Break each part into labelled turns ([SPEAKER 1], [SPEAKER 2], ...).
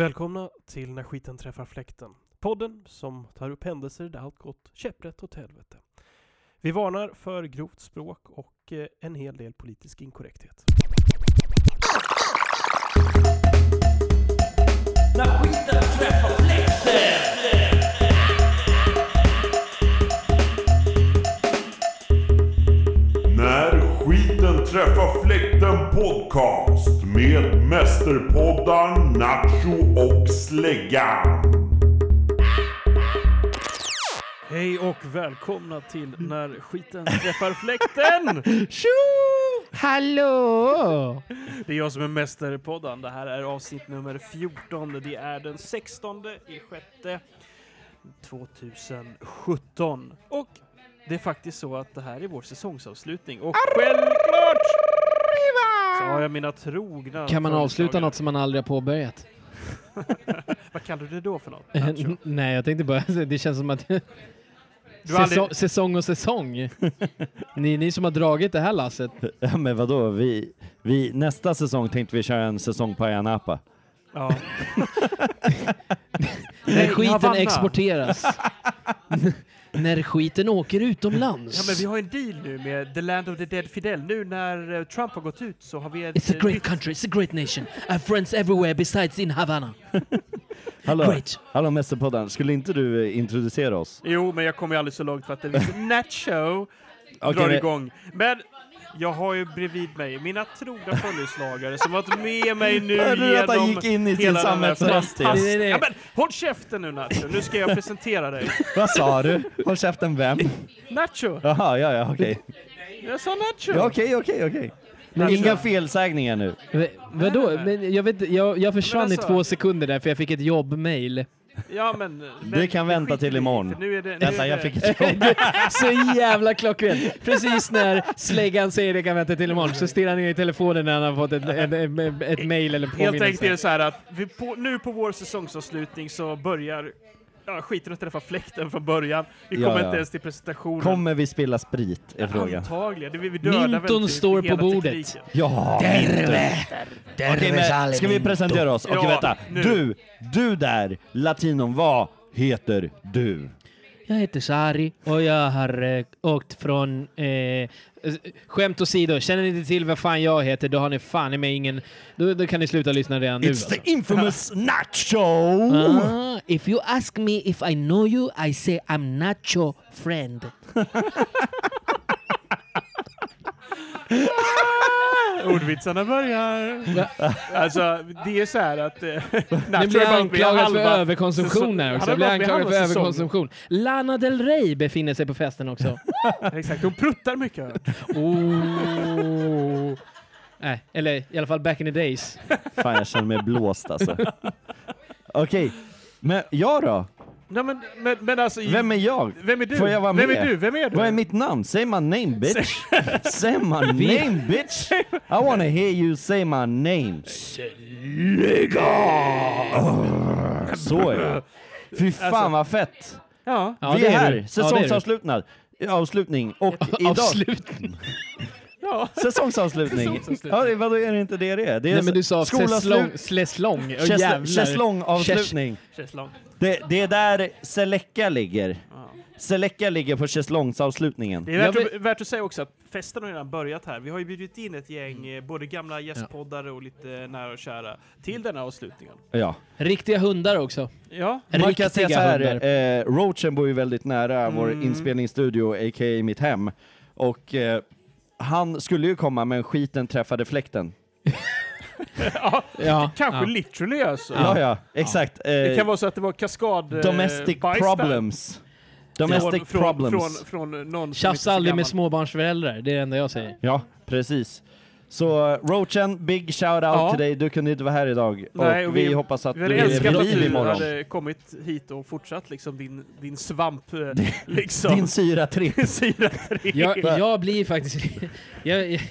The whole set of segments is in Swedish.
[SPEAKER 1] Välkomna till När skiten träffar fläkten. Podden som tar upp händelser där allt gått käpprätt åt helvete. Vi varnar för grovt språk och eh, en hel del politisk inkorrekthet.
[SPEAKER 2] När skiten träffar fläkten podcast med mästerpoddar Nacho och Släggan.
[SPEAKER 1] Hej och välkomna till När skiten träffar fläkten!
[SPEAKER 3] Tjo! Hallå!
[SPEAKER 1] Det är jag som är mästerpodden. Det här är avsnitt nummer 14. Det är den 16 i sjätte 2017. Och det är faktiskt så att det här är vår säsongsavslutning. Och självklart Så har jag mina trogna...
[SPEAKER 3] Kan man avsluta
[SPEAKER 1] följeslagare.
[SPEAKER 3] något som man aldrig har påbörjat?
[SPEAKER 1] Vad kallar du det då för något?
[SPEAKER 3] Eh,
[SPEAKER 1] Nacho?
[SPEAKER 3] n- Nej, jag tänkte bara, det känns som att...
[SPEAKER 1] Du har aldrig-
[SPEAKER 3] Säsong, säsong och säsong. ni, ni som har dragit det här lasset.
[SPEAKER 4] Ja, men vadå, vi, vi, nästa säsong tänkte vi köra en säsong på Ayia Napa.
[SPEAKER 1] Ja.
[SPEAKER 3] När skiten
[SPEAKER 1] Havanna.
[SPEAKER 3] exporteras. N- när skiten åker utomlands.
[SPEAKER 1] ja, men vi har en deal nu med The Land of the Dead Fidel. Nu när eh, Trump har gått ut så har vi ett...
[SPEAKER 3] It's a
[SPEAKER 1] eh,
[SPEAKER 3] great
[SPEAKER 1] nytt-
[SPEAKER 3] country, it's a great nation. I have friends everywhere besides in Havana.
[SPEAKER 4] Hallå,
[SPEAKER 3] Great.
[SPEAKER 4] Hallå Mästerpodden, skulle inte du eh, introducera oss?
[SPEAKER 1] Alltså, Jo, men jag kommer ju aldrig så långt för att det finns Nacho
[SPEAKER 4] Okej,
[SPEAKER 1] drar
[SPEAKER 4] men-
[SPEAKER 1] igång. Men jag har ju bredvid mig mina trogna följeslagare som varit med mig nu
[SPEAKER 4] Hörde du att han
[SPEAKER 1] genom
[SPEAKER 4] gick in i sin
[SPEAKER 1] hela den här
[SPEAKER 4] samhällsfest?
[SPEAKER 1] fantast-
[SPEAKER 3] Nej, nej, nej.
[SPEAKER 1] Ja, men håll käften nu Nacho, nu ska jag presentera dig.
[SPEAKER 4] Vad sa du? Håll käften vem?
[SPEAKER 1] Nacho!
[SPEAKER 4] Jaha, ja, ja, okej.
[SPEAKER 1] Jag sa Nacho!
[SPEAKER 4] Ja, okej, okej, okej.
[SPEAKER 1] Nacho.
[SPEAKER 4] Inga felsägningar nu.
[SPEAKER 3] V- vadå? Men jag, vet, jag, jag försvann
[SPEAKER 1] Men alltså-
[SPEAKER 3] i två sekunder där för jag fick ett jobbmail.
[SPEAKER 1] Ja, men, men
[SPEAKER 4] Det kan vänta
[SPEAKER 1] skiter
[SPEAKER 4] till
[SPEAKER 1] vi i,
[SPEAKER 4] imorgon.
[SPEAKER 1] för Nu är det, nu
[SPEAKER 4] Vänta,
[SPEAKER 1] är
[SPEAKER 4] jag
[SPEAKER 1] det-
[SPEAKER 4] fick ett jobb.
[SPEAKER 3] Så jävla klockrent. Precis när släggan säger det kan vänta till imorgon så stirrar han ner i telefonen när han har fått ett, ett, ett, ett mail eller
[SPEAKER 1] Helt enkelt är det
[SPEAKER 3] påminnelse.
[SPEAKER 1] så här att vi på, nu på vår säsongsavslutning så börjar ja, skiten att träffa fläkten från början. Vi
[SPEAKER 4] Ja,
[SPEAKER 1] kommer
[SPEAKER 4] ja.
[SPEAKER 1] inte ens till presentationen.
[SPEAKER 4] Kommer vi spilla sprit? Är frågan.
[SPEAKER 1] Antagligen. Det, vi vi dödar
[SPEAKER 3] Minton
[SPEAKER 1] väldigt mycket
[SPEAKER 3] står på
[SPEAKER 1] hela
[SPEAKER 3] bordet.
[SPEAKER 1] tekniken.
[SPEAKER 4] Ja! Okej, men ska vi presentera oss? Okej,
[SPEAKER 1] Ja,
[SPEAKER 4] vänta.
[SPEAKER 1] nu.
[SPEAKER 4] Du, du där, latinon, vad heter du?
[SPEAKER 3] Jag heter Sari och jag har eh, åkt från... Eh, skämt åsido, känner ni inte till vad fan jag heter då har ni fan i mig ingen... Då, då kan ni sluta lyssna redan nu.
[SPEAKER 4] It's the
[SPEAKER 3] alltså.
[SPEAKER 4] infamous Nacho!
[SPEAKER 3] Ah, if you ask me if I know you, I say I'm not your friend.
[SPEAKER 1] Ordvitsarna börjar. Alltså, det är så här att... Eh,
[SPEAKER 3] Nu
[SPEAKER 1] Nacho är
[SPEAKER 3] blir jag
[SPEAKER 1] bara uppe i
[SPEAKER 3] anklagad för
[SPEAKER 1] halva
[SPEAKER 3] överkonsumtion
[SPEAKER 1] säsong-
[SPEAKER 3] här också.
[SPEAKER 1] Han
[SPEAKER 3] Jag
[SPEAKER 1] är
[SPEAKER 3] blir
[SPEAKER 1] bara uppe i
[SPEAKER 3] anklagad för
[SPEAKER 1] halva säsongen.
[SPEAKER 3] överkonsumtion. Lana Del Rey befinner sig på festen också.
[SPEAKER 1] Exakt, hon pruttar mycket. har jag hört.
[SPEAKER 3] Oh. Nej, eller i alla fall back in the days.
[SPEAKER 4] Fan, jag känner mig blåst alltså. Okej, men jag då?
[SPEAKER 1] Nej, men, men, men alltså...
[SPEAKER 4] Vem är jag?
[SPEAKER 1] vem är du?
[SPEAKER 4] Får jag vara
[SPEAKER 1] vem
[SPEAKER 4] med?
[SPEAKER 1] är du? Vem är du?
[SPEAKER 4] Vad är mitt namn? Say my name bitch! say my name bitch! I wanna hear you say my name! Slägga! Så är jag. Fy
[SPEAKER 1] Alltså-
[SPEAKER 4] fan vad fett!
[SPEAKER 1] Ja.
[SPEAKER 3] Ja,
[SPEAKER 4] Vi
[SPEAKER 3] det
[SPEAKER 4] är
[SPEAKER 3] är
[SPEAKER 4] här,
[SPEAKER 3] du. Ja,
[SPEAKER 4] säsongsavslutning. Avslutning och idag...
[SPEAKER 3] Avslutning.
[SPEAKER 1] ja.
[SPEAKER 4] Säsongsavslutning. ja, det- vadå är det inte det det är? Det är
[SPEAKER 3] Nej men du sa
[SPEAKER 4] skolavslut-
[SPEAKER 3] säslong. Säslong. Åh, jävlar.
[SPEAKER 4] Schäsl- Schäslongavslutning.
[SPEAKER 1] Känns långt.
[SPEAKER 4] Det, det är där Seleka ligger.
[SPEAKER 1] Ja.
[SPEAKER 4] Seleka ligger på schäslongavslutningen.
[SPEAKER 1] Det är värt,
[SPEAKER 3] Jag
[SPEAKER 1] att, värt att säga också att festen har redan börjat här. Vi har ju bjudit in ett gäng,
[SPEAKER 3] Mm.
[SPEAKER 1] eh, både gamla gästpoddare och lite nära och kära, till den här avslutningen.
[SPEAKER 4] Ja.
[SPEAKER 3] Riktiga hundar också.
[SPEAKER 1] Ja,
[SPEAKER 4] Man kan säga så här,
[SPEAKER 3] hundar.
[SPEAKER 4] eh, Roachen bor ju väldigt nära vår
[SPEAKER 3] Mm.
[SPEAKER 4] inspelningsstudio, a.k.a. mitt hem. Och eh, han skulle ju komma, men skiten träffade fläkten.
[SPEAKER 3] Ja.
[SPEAKER 1] kanske
[SPEAKER 3] ja.
[SPEAKER 1] literally alltså.
[SPEAKER 4] Ja, ja, exakt. Eh,
[SPEAKER 1] Det kan vara så att det var kaskad... eh,
[SPEAKER 4] domestic
[SPEAKER 1] bajs där.
[SPEAKER 4] problems. Domestic
[SPEAKER 1] från, från,
[SPEAKER 4] problems.
[SPEAKER 1] Från, från eh, någon som
[SPEAKER 3] Tjafsa
[SPEAKER 1] inte är så
[SPEAKER 3] aldrig med
[SPEAKER 1] gammal.
[SPEAKER 3] småbarnsföräldrar, det är det enda jag säger.
[SPEAKER 4] Ja, precis. Så eh, Roachen, big shout out
[SPEAKER 1] Ja.
[SPEAKER 4] till dig. Du kunde inte vara här idag.
[SPEAKER 1] Nej,
[SPEAKER 4] och
[SPEAKER 1] och
[SPEAKER 4] vi,
[SPEAKER 1] vi-
[SPEAKER 4] hoppas att
[SPEAKER 1] Vi
[SPEAKER 4] du
[SPEAKER 1] hade
[SPEAKER 4] är vid
[SPEAKER 1] älskat att
[SPEAKER 4] liv
[SPEAKER 1] du
[SPEAKER 4] imorgon.
[SPEAKER 1] hade kommit hit och fortsatt liksom din, din svamp, eh, liksom.
[SPEAKER 4] Din syra tripp.
[SPEAKER 1] sida tre.
[SPEAKER 3] Jag, jag blir faktiskt... Jag, jag,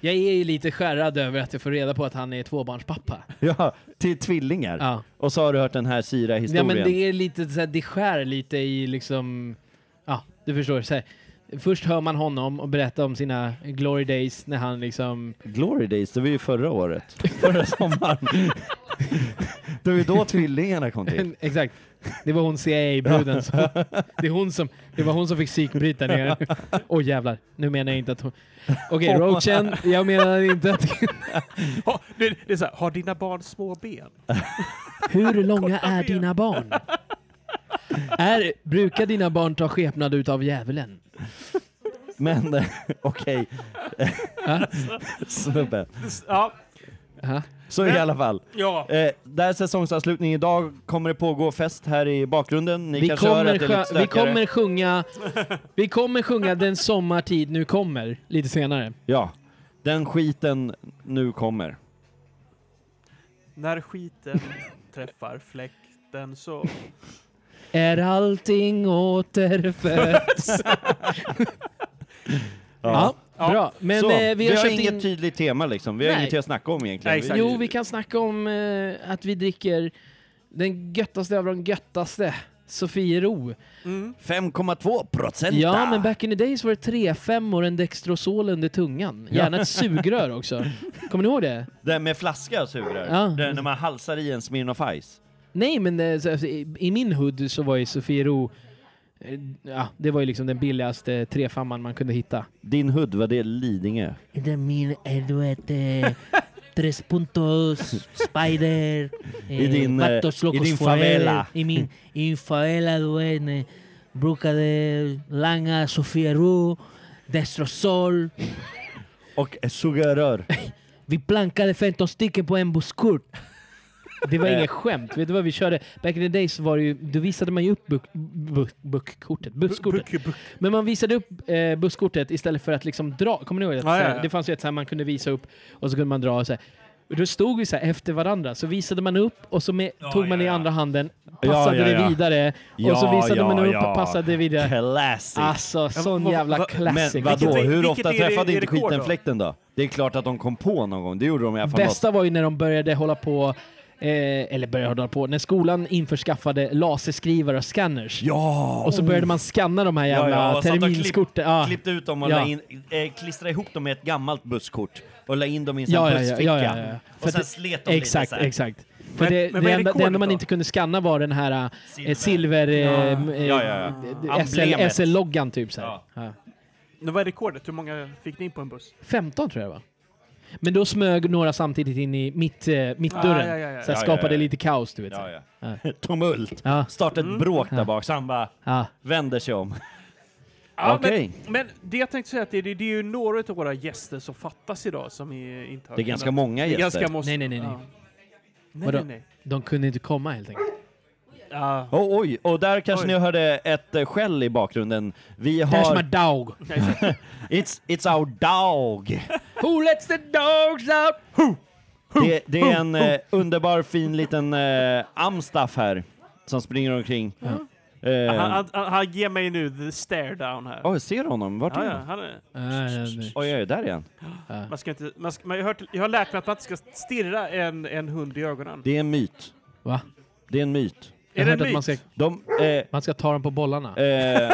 [SPEAKER 3] jag är ju lite skärrad över att jag får reda på att han är tvåbarnspappa.
[SPEAKER 4] Ja, till tvillingar.
[SPEAKER 3] Ja.
[SPEAKER 4] Och så har du hört den här
[SPEAKER 3] Ja
[SPEAKER 4] syra-historien.
[SPEAKER 3] men det är lite så här, det skär lite i liksom, ja du förstår. Så här. Först hör man honom och berätta om sina glory days när han liksom,
[SPEAKER 4] Glory Days, det var ju förra året. Förra sommaren. Det var ju då tvillingarna kom till.
[SPEAKER 3] Exakt. Det var hon CIA-bruden. som- Det, är hon som- det var hon som fick psykbryta ner. Åh jävlar, nu menar jag inte att hon... Okej, Roachen, jag menar inte att...
[SPEAKER 5] Ha, det, det är så här, har dina barn små ben?
[SPEAKER 3] Hur långa är dina barn? Är, brukar dina barn ta skepnad utav djävulen?
[SPEAKER 4] Men eh, okej, snubbe.
[SPEAKER 5] Ja,
[SPEAKER 3] Ja.
[SPEAKER 4] Så i alla fall.
[SPEAKER 5] ja.
[SPEAKER 4] Eh, där är säsongsavslutning idag. Kommer det pågå fest här i bakgrunden? Ni
[SPEAKER 3] Vi
[SPEAKER 4] kanske hör
[SPEAKER 3] kommer,
[SPEAKER 4] att det är lite
[SPEAKER 3] sjö, vi,
[SPEAKER 4] stökigare.
[SPEAKER 3] kommer sjunga, vi kommer sjunga Den sommartid nu kommer lite senare.
[SPEAKER 4] Ja, den skiten nu kommer.
[SPEAKER 5] När skiten träffar fläkten så...
[SPEAKER 3] Är allting återfött? ja.
[SPEAKER 5] Ja.
[SPEAKER 3] Bra, men
[SPEAKER 4] Så,
[SPEAKER 3] eh,
[SPEAKER 4] vi
[SPEAKER 3] vi
[SPEAKER 4] har,
[SPEAKER 3] har, köpt
[SPEAKER 4] inget
[SPEAKER 3] in...
[SPEAKER 4] tydligt tema liksom. Vi har
[SPEAKER 3] Nej.
[SPEAKER 4] inget att snacka om egentligen.
[SPEAKER 5] Nej, exakt.
[SPEAKER 3] Jo, vi kan snacka om eh, att vi dricker den göttaste av de göttaste, Sofiero.
[SPEAKER 4] 5,2 procent!
[SPEAKER 3] Ja, men back in the days var det tre femmor, en Dextrosol under tungan. Gärna ett sugrör också. Kommer ni ihåg det?
[SPEAKER 4] Den med flaska sugrör.
[SPEAKER 3] Ja.
[SPEAKER 4] Den när man halsar i en Smirnoff Ice.
[SPEAKER 3] Nej, men eh, så- alltså, i, i min hood så var ju Sofiero, eh, ja, det var ju liksom den billigaste trefemman man kunde hitta.
[SPEAKER 4] Din hud, var det Lidingö?
[SPEAKER 6] De mil, eh, du vet, eh, tres puntos, Spider,
[SPEAKER 4] I din, eh,
[SPEAKER 6] Patos
[SPEAKER 4] i
[SPEAKER 6] Locos
[SPEAKER 4] din
[SPEAKER 6] Forever,
[SPEAKER 4] favela.
[SPEAKER 6] I min i favela, du vet, eh, Bruca de Langa, Sofia Ru, Destrosol,
[SPEAKER 4] Och sugrör.
[SPEAKER 6] vi plankade 15 stycken på en busskort.
[SPEAKER 3] Det var
[SPEAKER 4] Eh.
[SPEAKER 3] inget skämt. Vet du vad vi körde? Back in the days var det ju, då visade man ju upp buck, buck, buckkortet, busskortet.
[SPEAKER 5] Buck, buck.
[SPEAKER 3] Men man visade upp eh, busskortet istället för att liksom dra. Kommer ni ihåg det?
[SPEAKER 5] Ja, ja, ja.
[SPEAKER 3] Såhär, Det fanns ju ett så man kunde visa upp och så kunde man dra och så Då stod vi så efter varandra, så visade man upp och så med, tog man i andra handen, passade
[SPEAKER 4] Ja, ja, ja.
[SPEAKER 3] det vidare och så
[SPEAKER 4] Ja,
[SPEAKER 3] visade
[SPEAKER 4] ja,
[SPEAKER 3] man upp
[SPEAKER 4] ja.
[SPEAKER 3] och passade vidare.
[SPEAKER 4] Classic!
[SPEAKER 3] Alltså, sån
[SPEAKER 5] vad-
[SPEAKER 3] jävla
[SPEAKER 5] vad-
[SPEAKER 3] classic.
[SPEAKER 4] Men vadå,
[SPEAKER 5] Vilket är-
[SPEAKER 4] hur
[SPEAKER 5] vilket
[SPEAKER 4] ofta
[SPEAKER 5] är det-
[SPEAKER 4] träffade
[SPEAKER 5] är
[SPEAKER 4] inte
[SPEAKER 5] rekord då?
[SPEAKER 4] skiten fläkten då? Det är klart att de kom på någon gång, det gjorde de i alla fall
[SPEAKER 3] Bästa var ju när de började hålla på, eh, eller började hålla på, när skolan införskaffade laserskrivare och scanners.
[SPEAKER 4] Ja!
[SPEAKER 3] Och så började man scanna de här jävla
[SPEAKER 4] och satt och
[SPEAKER 3] terminskorten.
[SPEAKER 4] Klipp,
[SPEAKER 3] Ja.
[SPEAKER 4] Klippte ut dem och
[SPEAKER 3] Ja.
[SPEAKER 4] la in, eh, klistrade ihop dem med ett gammalt busskort och la in dem i en
[SPEAKER 3] Ja,
[SPEAKER 4] ja,
[SPEAKER 3] ja, ja,
[SPEAKER 4] bussficka.
[SPEAKER 3] ja, ja, ja. För
[SPEAKER 4] Och sen
[SPEAKER 3] att-
[SPEAKER 4] slet de lite
[SPEAKER 3] Exakt,
[SPEAKER 4] så här.
[SPEAKER 3] exakt. För
[SPEAKER 5] Men-
[SPEAKER 3] det,
[SPEAKER 5] men
[SPEAKER 3] det,
[SPEAKER 5] vad är
[SPEAKER 3] enda, det enda
[SPEAKER 5] rekordet
[SPEAKER 3] man
[SPEAKER 5] då?
[SPEAKER 3] inte kunde scanna var den här
[SPEAKER 4] Silver.
[SPEAKER 3] eh, silver...
[SPEAKER 5] Ja.
[SPEAKER 3] Eh, eh,
[SPEAKER 4] Ja, ja, ja. Emblemet.
[SPEAKER 3] SL, loggan typ så här.
[SPEAKER 4] Ja.
[SPEAKER 3] Ja.
[SPEAKER 5] Men Vad är rekordet? Hur många fick ni in på en buss?
[SPEAKER 3] 15 tror jag det var. Men då smög några samtidigt in i mitt, eh, mittdörren.
[SPEAKER 5] Ah, ja, ja, ja.
[SPEAKER 3] Så här,
[SPEAKER 4] Ja,
[SPEAKER 3] skapade
[SPEAKER 4] ja, ja.
[SPEAKER 3] lite kaos, du vet. så här.
[SPEAKER 4] Ja, ja. Tumult!
[SPEAKER 3] Ja.
[SPEAKER 4] Startade
[SPEAKER 5] Mm.
[SPEAKER 4] ett bråk där bak, så han bara
[SPEAKER 3] Ja.
[SPEAKER 4] vänder sig om.
[SPEAKER 5] Ja,
[SPEAKER 4] Okej.
[SPEAKER 5] men, men det jag tänkte säga att det, det, det är ju några av våra gäster som fattas idag som är, inte har
[SPEAKER 4] Det är ganska många
[SPEAKER 5] Det är
[SPEAKER 4] gäster.
[SPEAKER 5] ganska måste,
[SPEAKER 3] Nej, nej, nej, nej.
[SPEAKER 5] Ja. Nej,
[SPEAKER 3] Vadå?
[SPEAKER 5] nej, nej.
[SPEAKER 3] De kunde inte komma helt enkelt.
[SPEAKER 5] Ja,
[SPEAKER 4] Oh, oj, och där kanske
[SPEAKER 5] Oj.
[SPEAKER 4] ni hörde ett eh, skäll i bakgrunden. Vi
[SPEAKER 3] That's my
[SPEAKER 4] har...
[SPEAKER 3] dog!
[SPEAKER 5] nej, exakt.
[SPEAKER 4] It's, it's our dog!
[SPEAKER 3] Who lets the dogs out?
[SPEAKER 4] Det, det är en eh, underbar fin liten eh, amstaff här som springer omkring. Eh,
[SPEAKER 5] han, han, han, han ger mig nu the stare down här.
[SPEAKER 4] oj, ser du honom? Vart är
[SPEAKER 5] ja, ja,
[SPEAKER 4] han?
[SPEAKER 5] han är,
[SPEAKER 3] Ah, ja, nej.
[SPEAKER 4] Oj, oj, där är han.
[SPEAKER 5] man ska inte, man ska, man, jag, har hört, jag har lärt mig att man inte ska stirra en, en hund i ögonen.
[SPEAKER 4] Det är en myt.
[SPEAKER 3] Va?
[SPEAKER 4] Det är en myt.
[SPEAKER 3] Jag
[SPEAKER 5] är det
[SPEAKER 3] har
[SPEAKER 5] en
[SPEAKER 3] hört att man
[SPEAKER 5] myt?
[SPEAKER 3] ska,
[SPEAKER 4] De... Eh,
[SPEAKER 3] man ska ta dem på bollarna.
[SPEAKER 4] eh,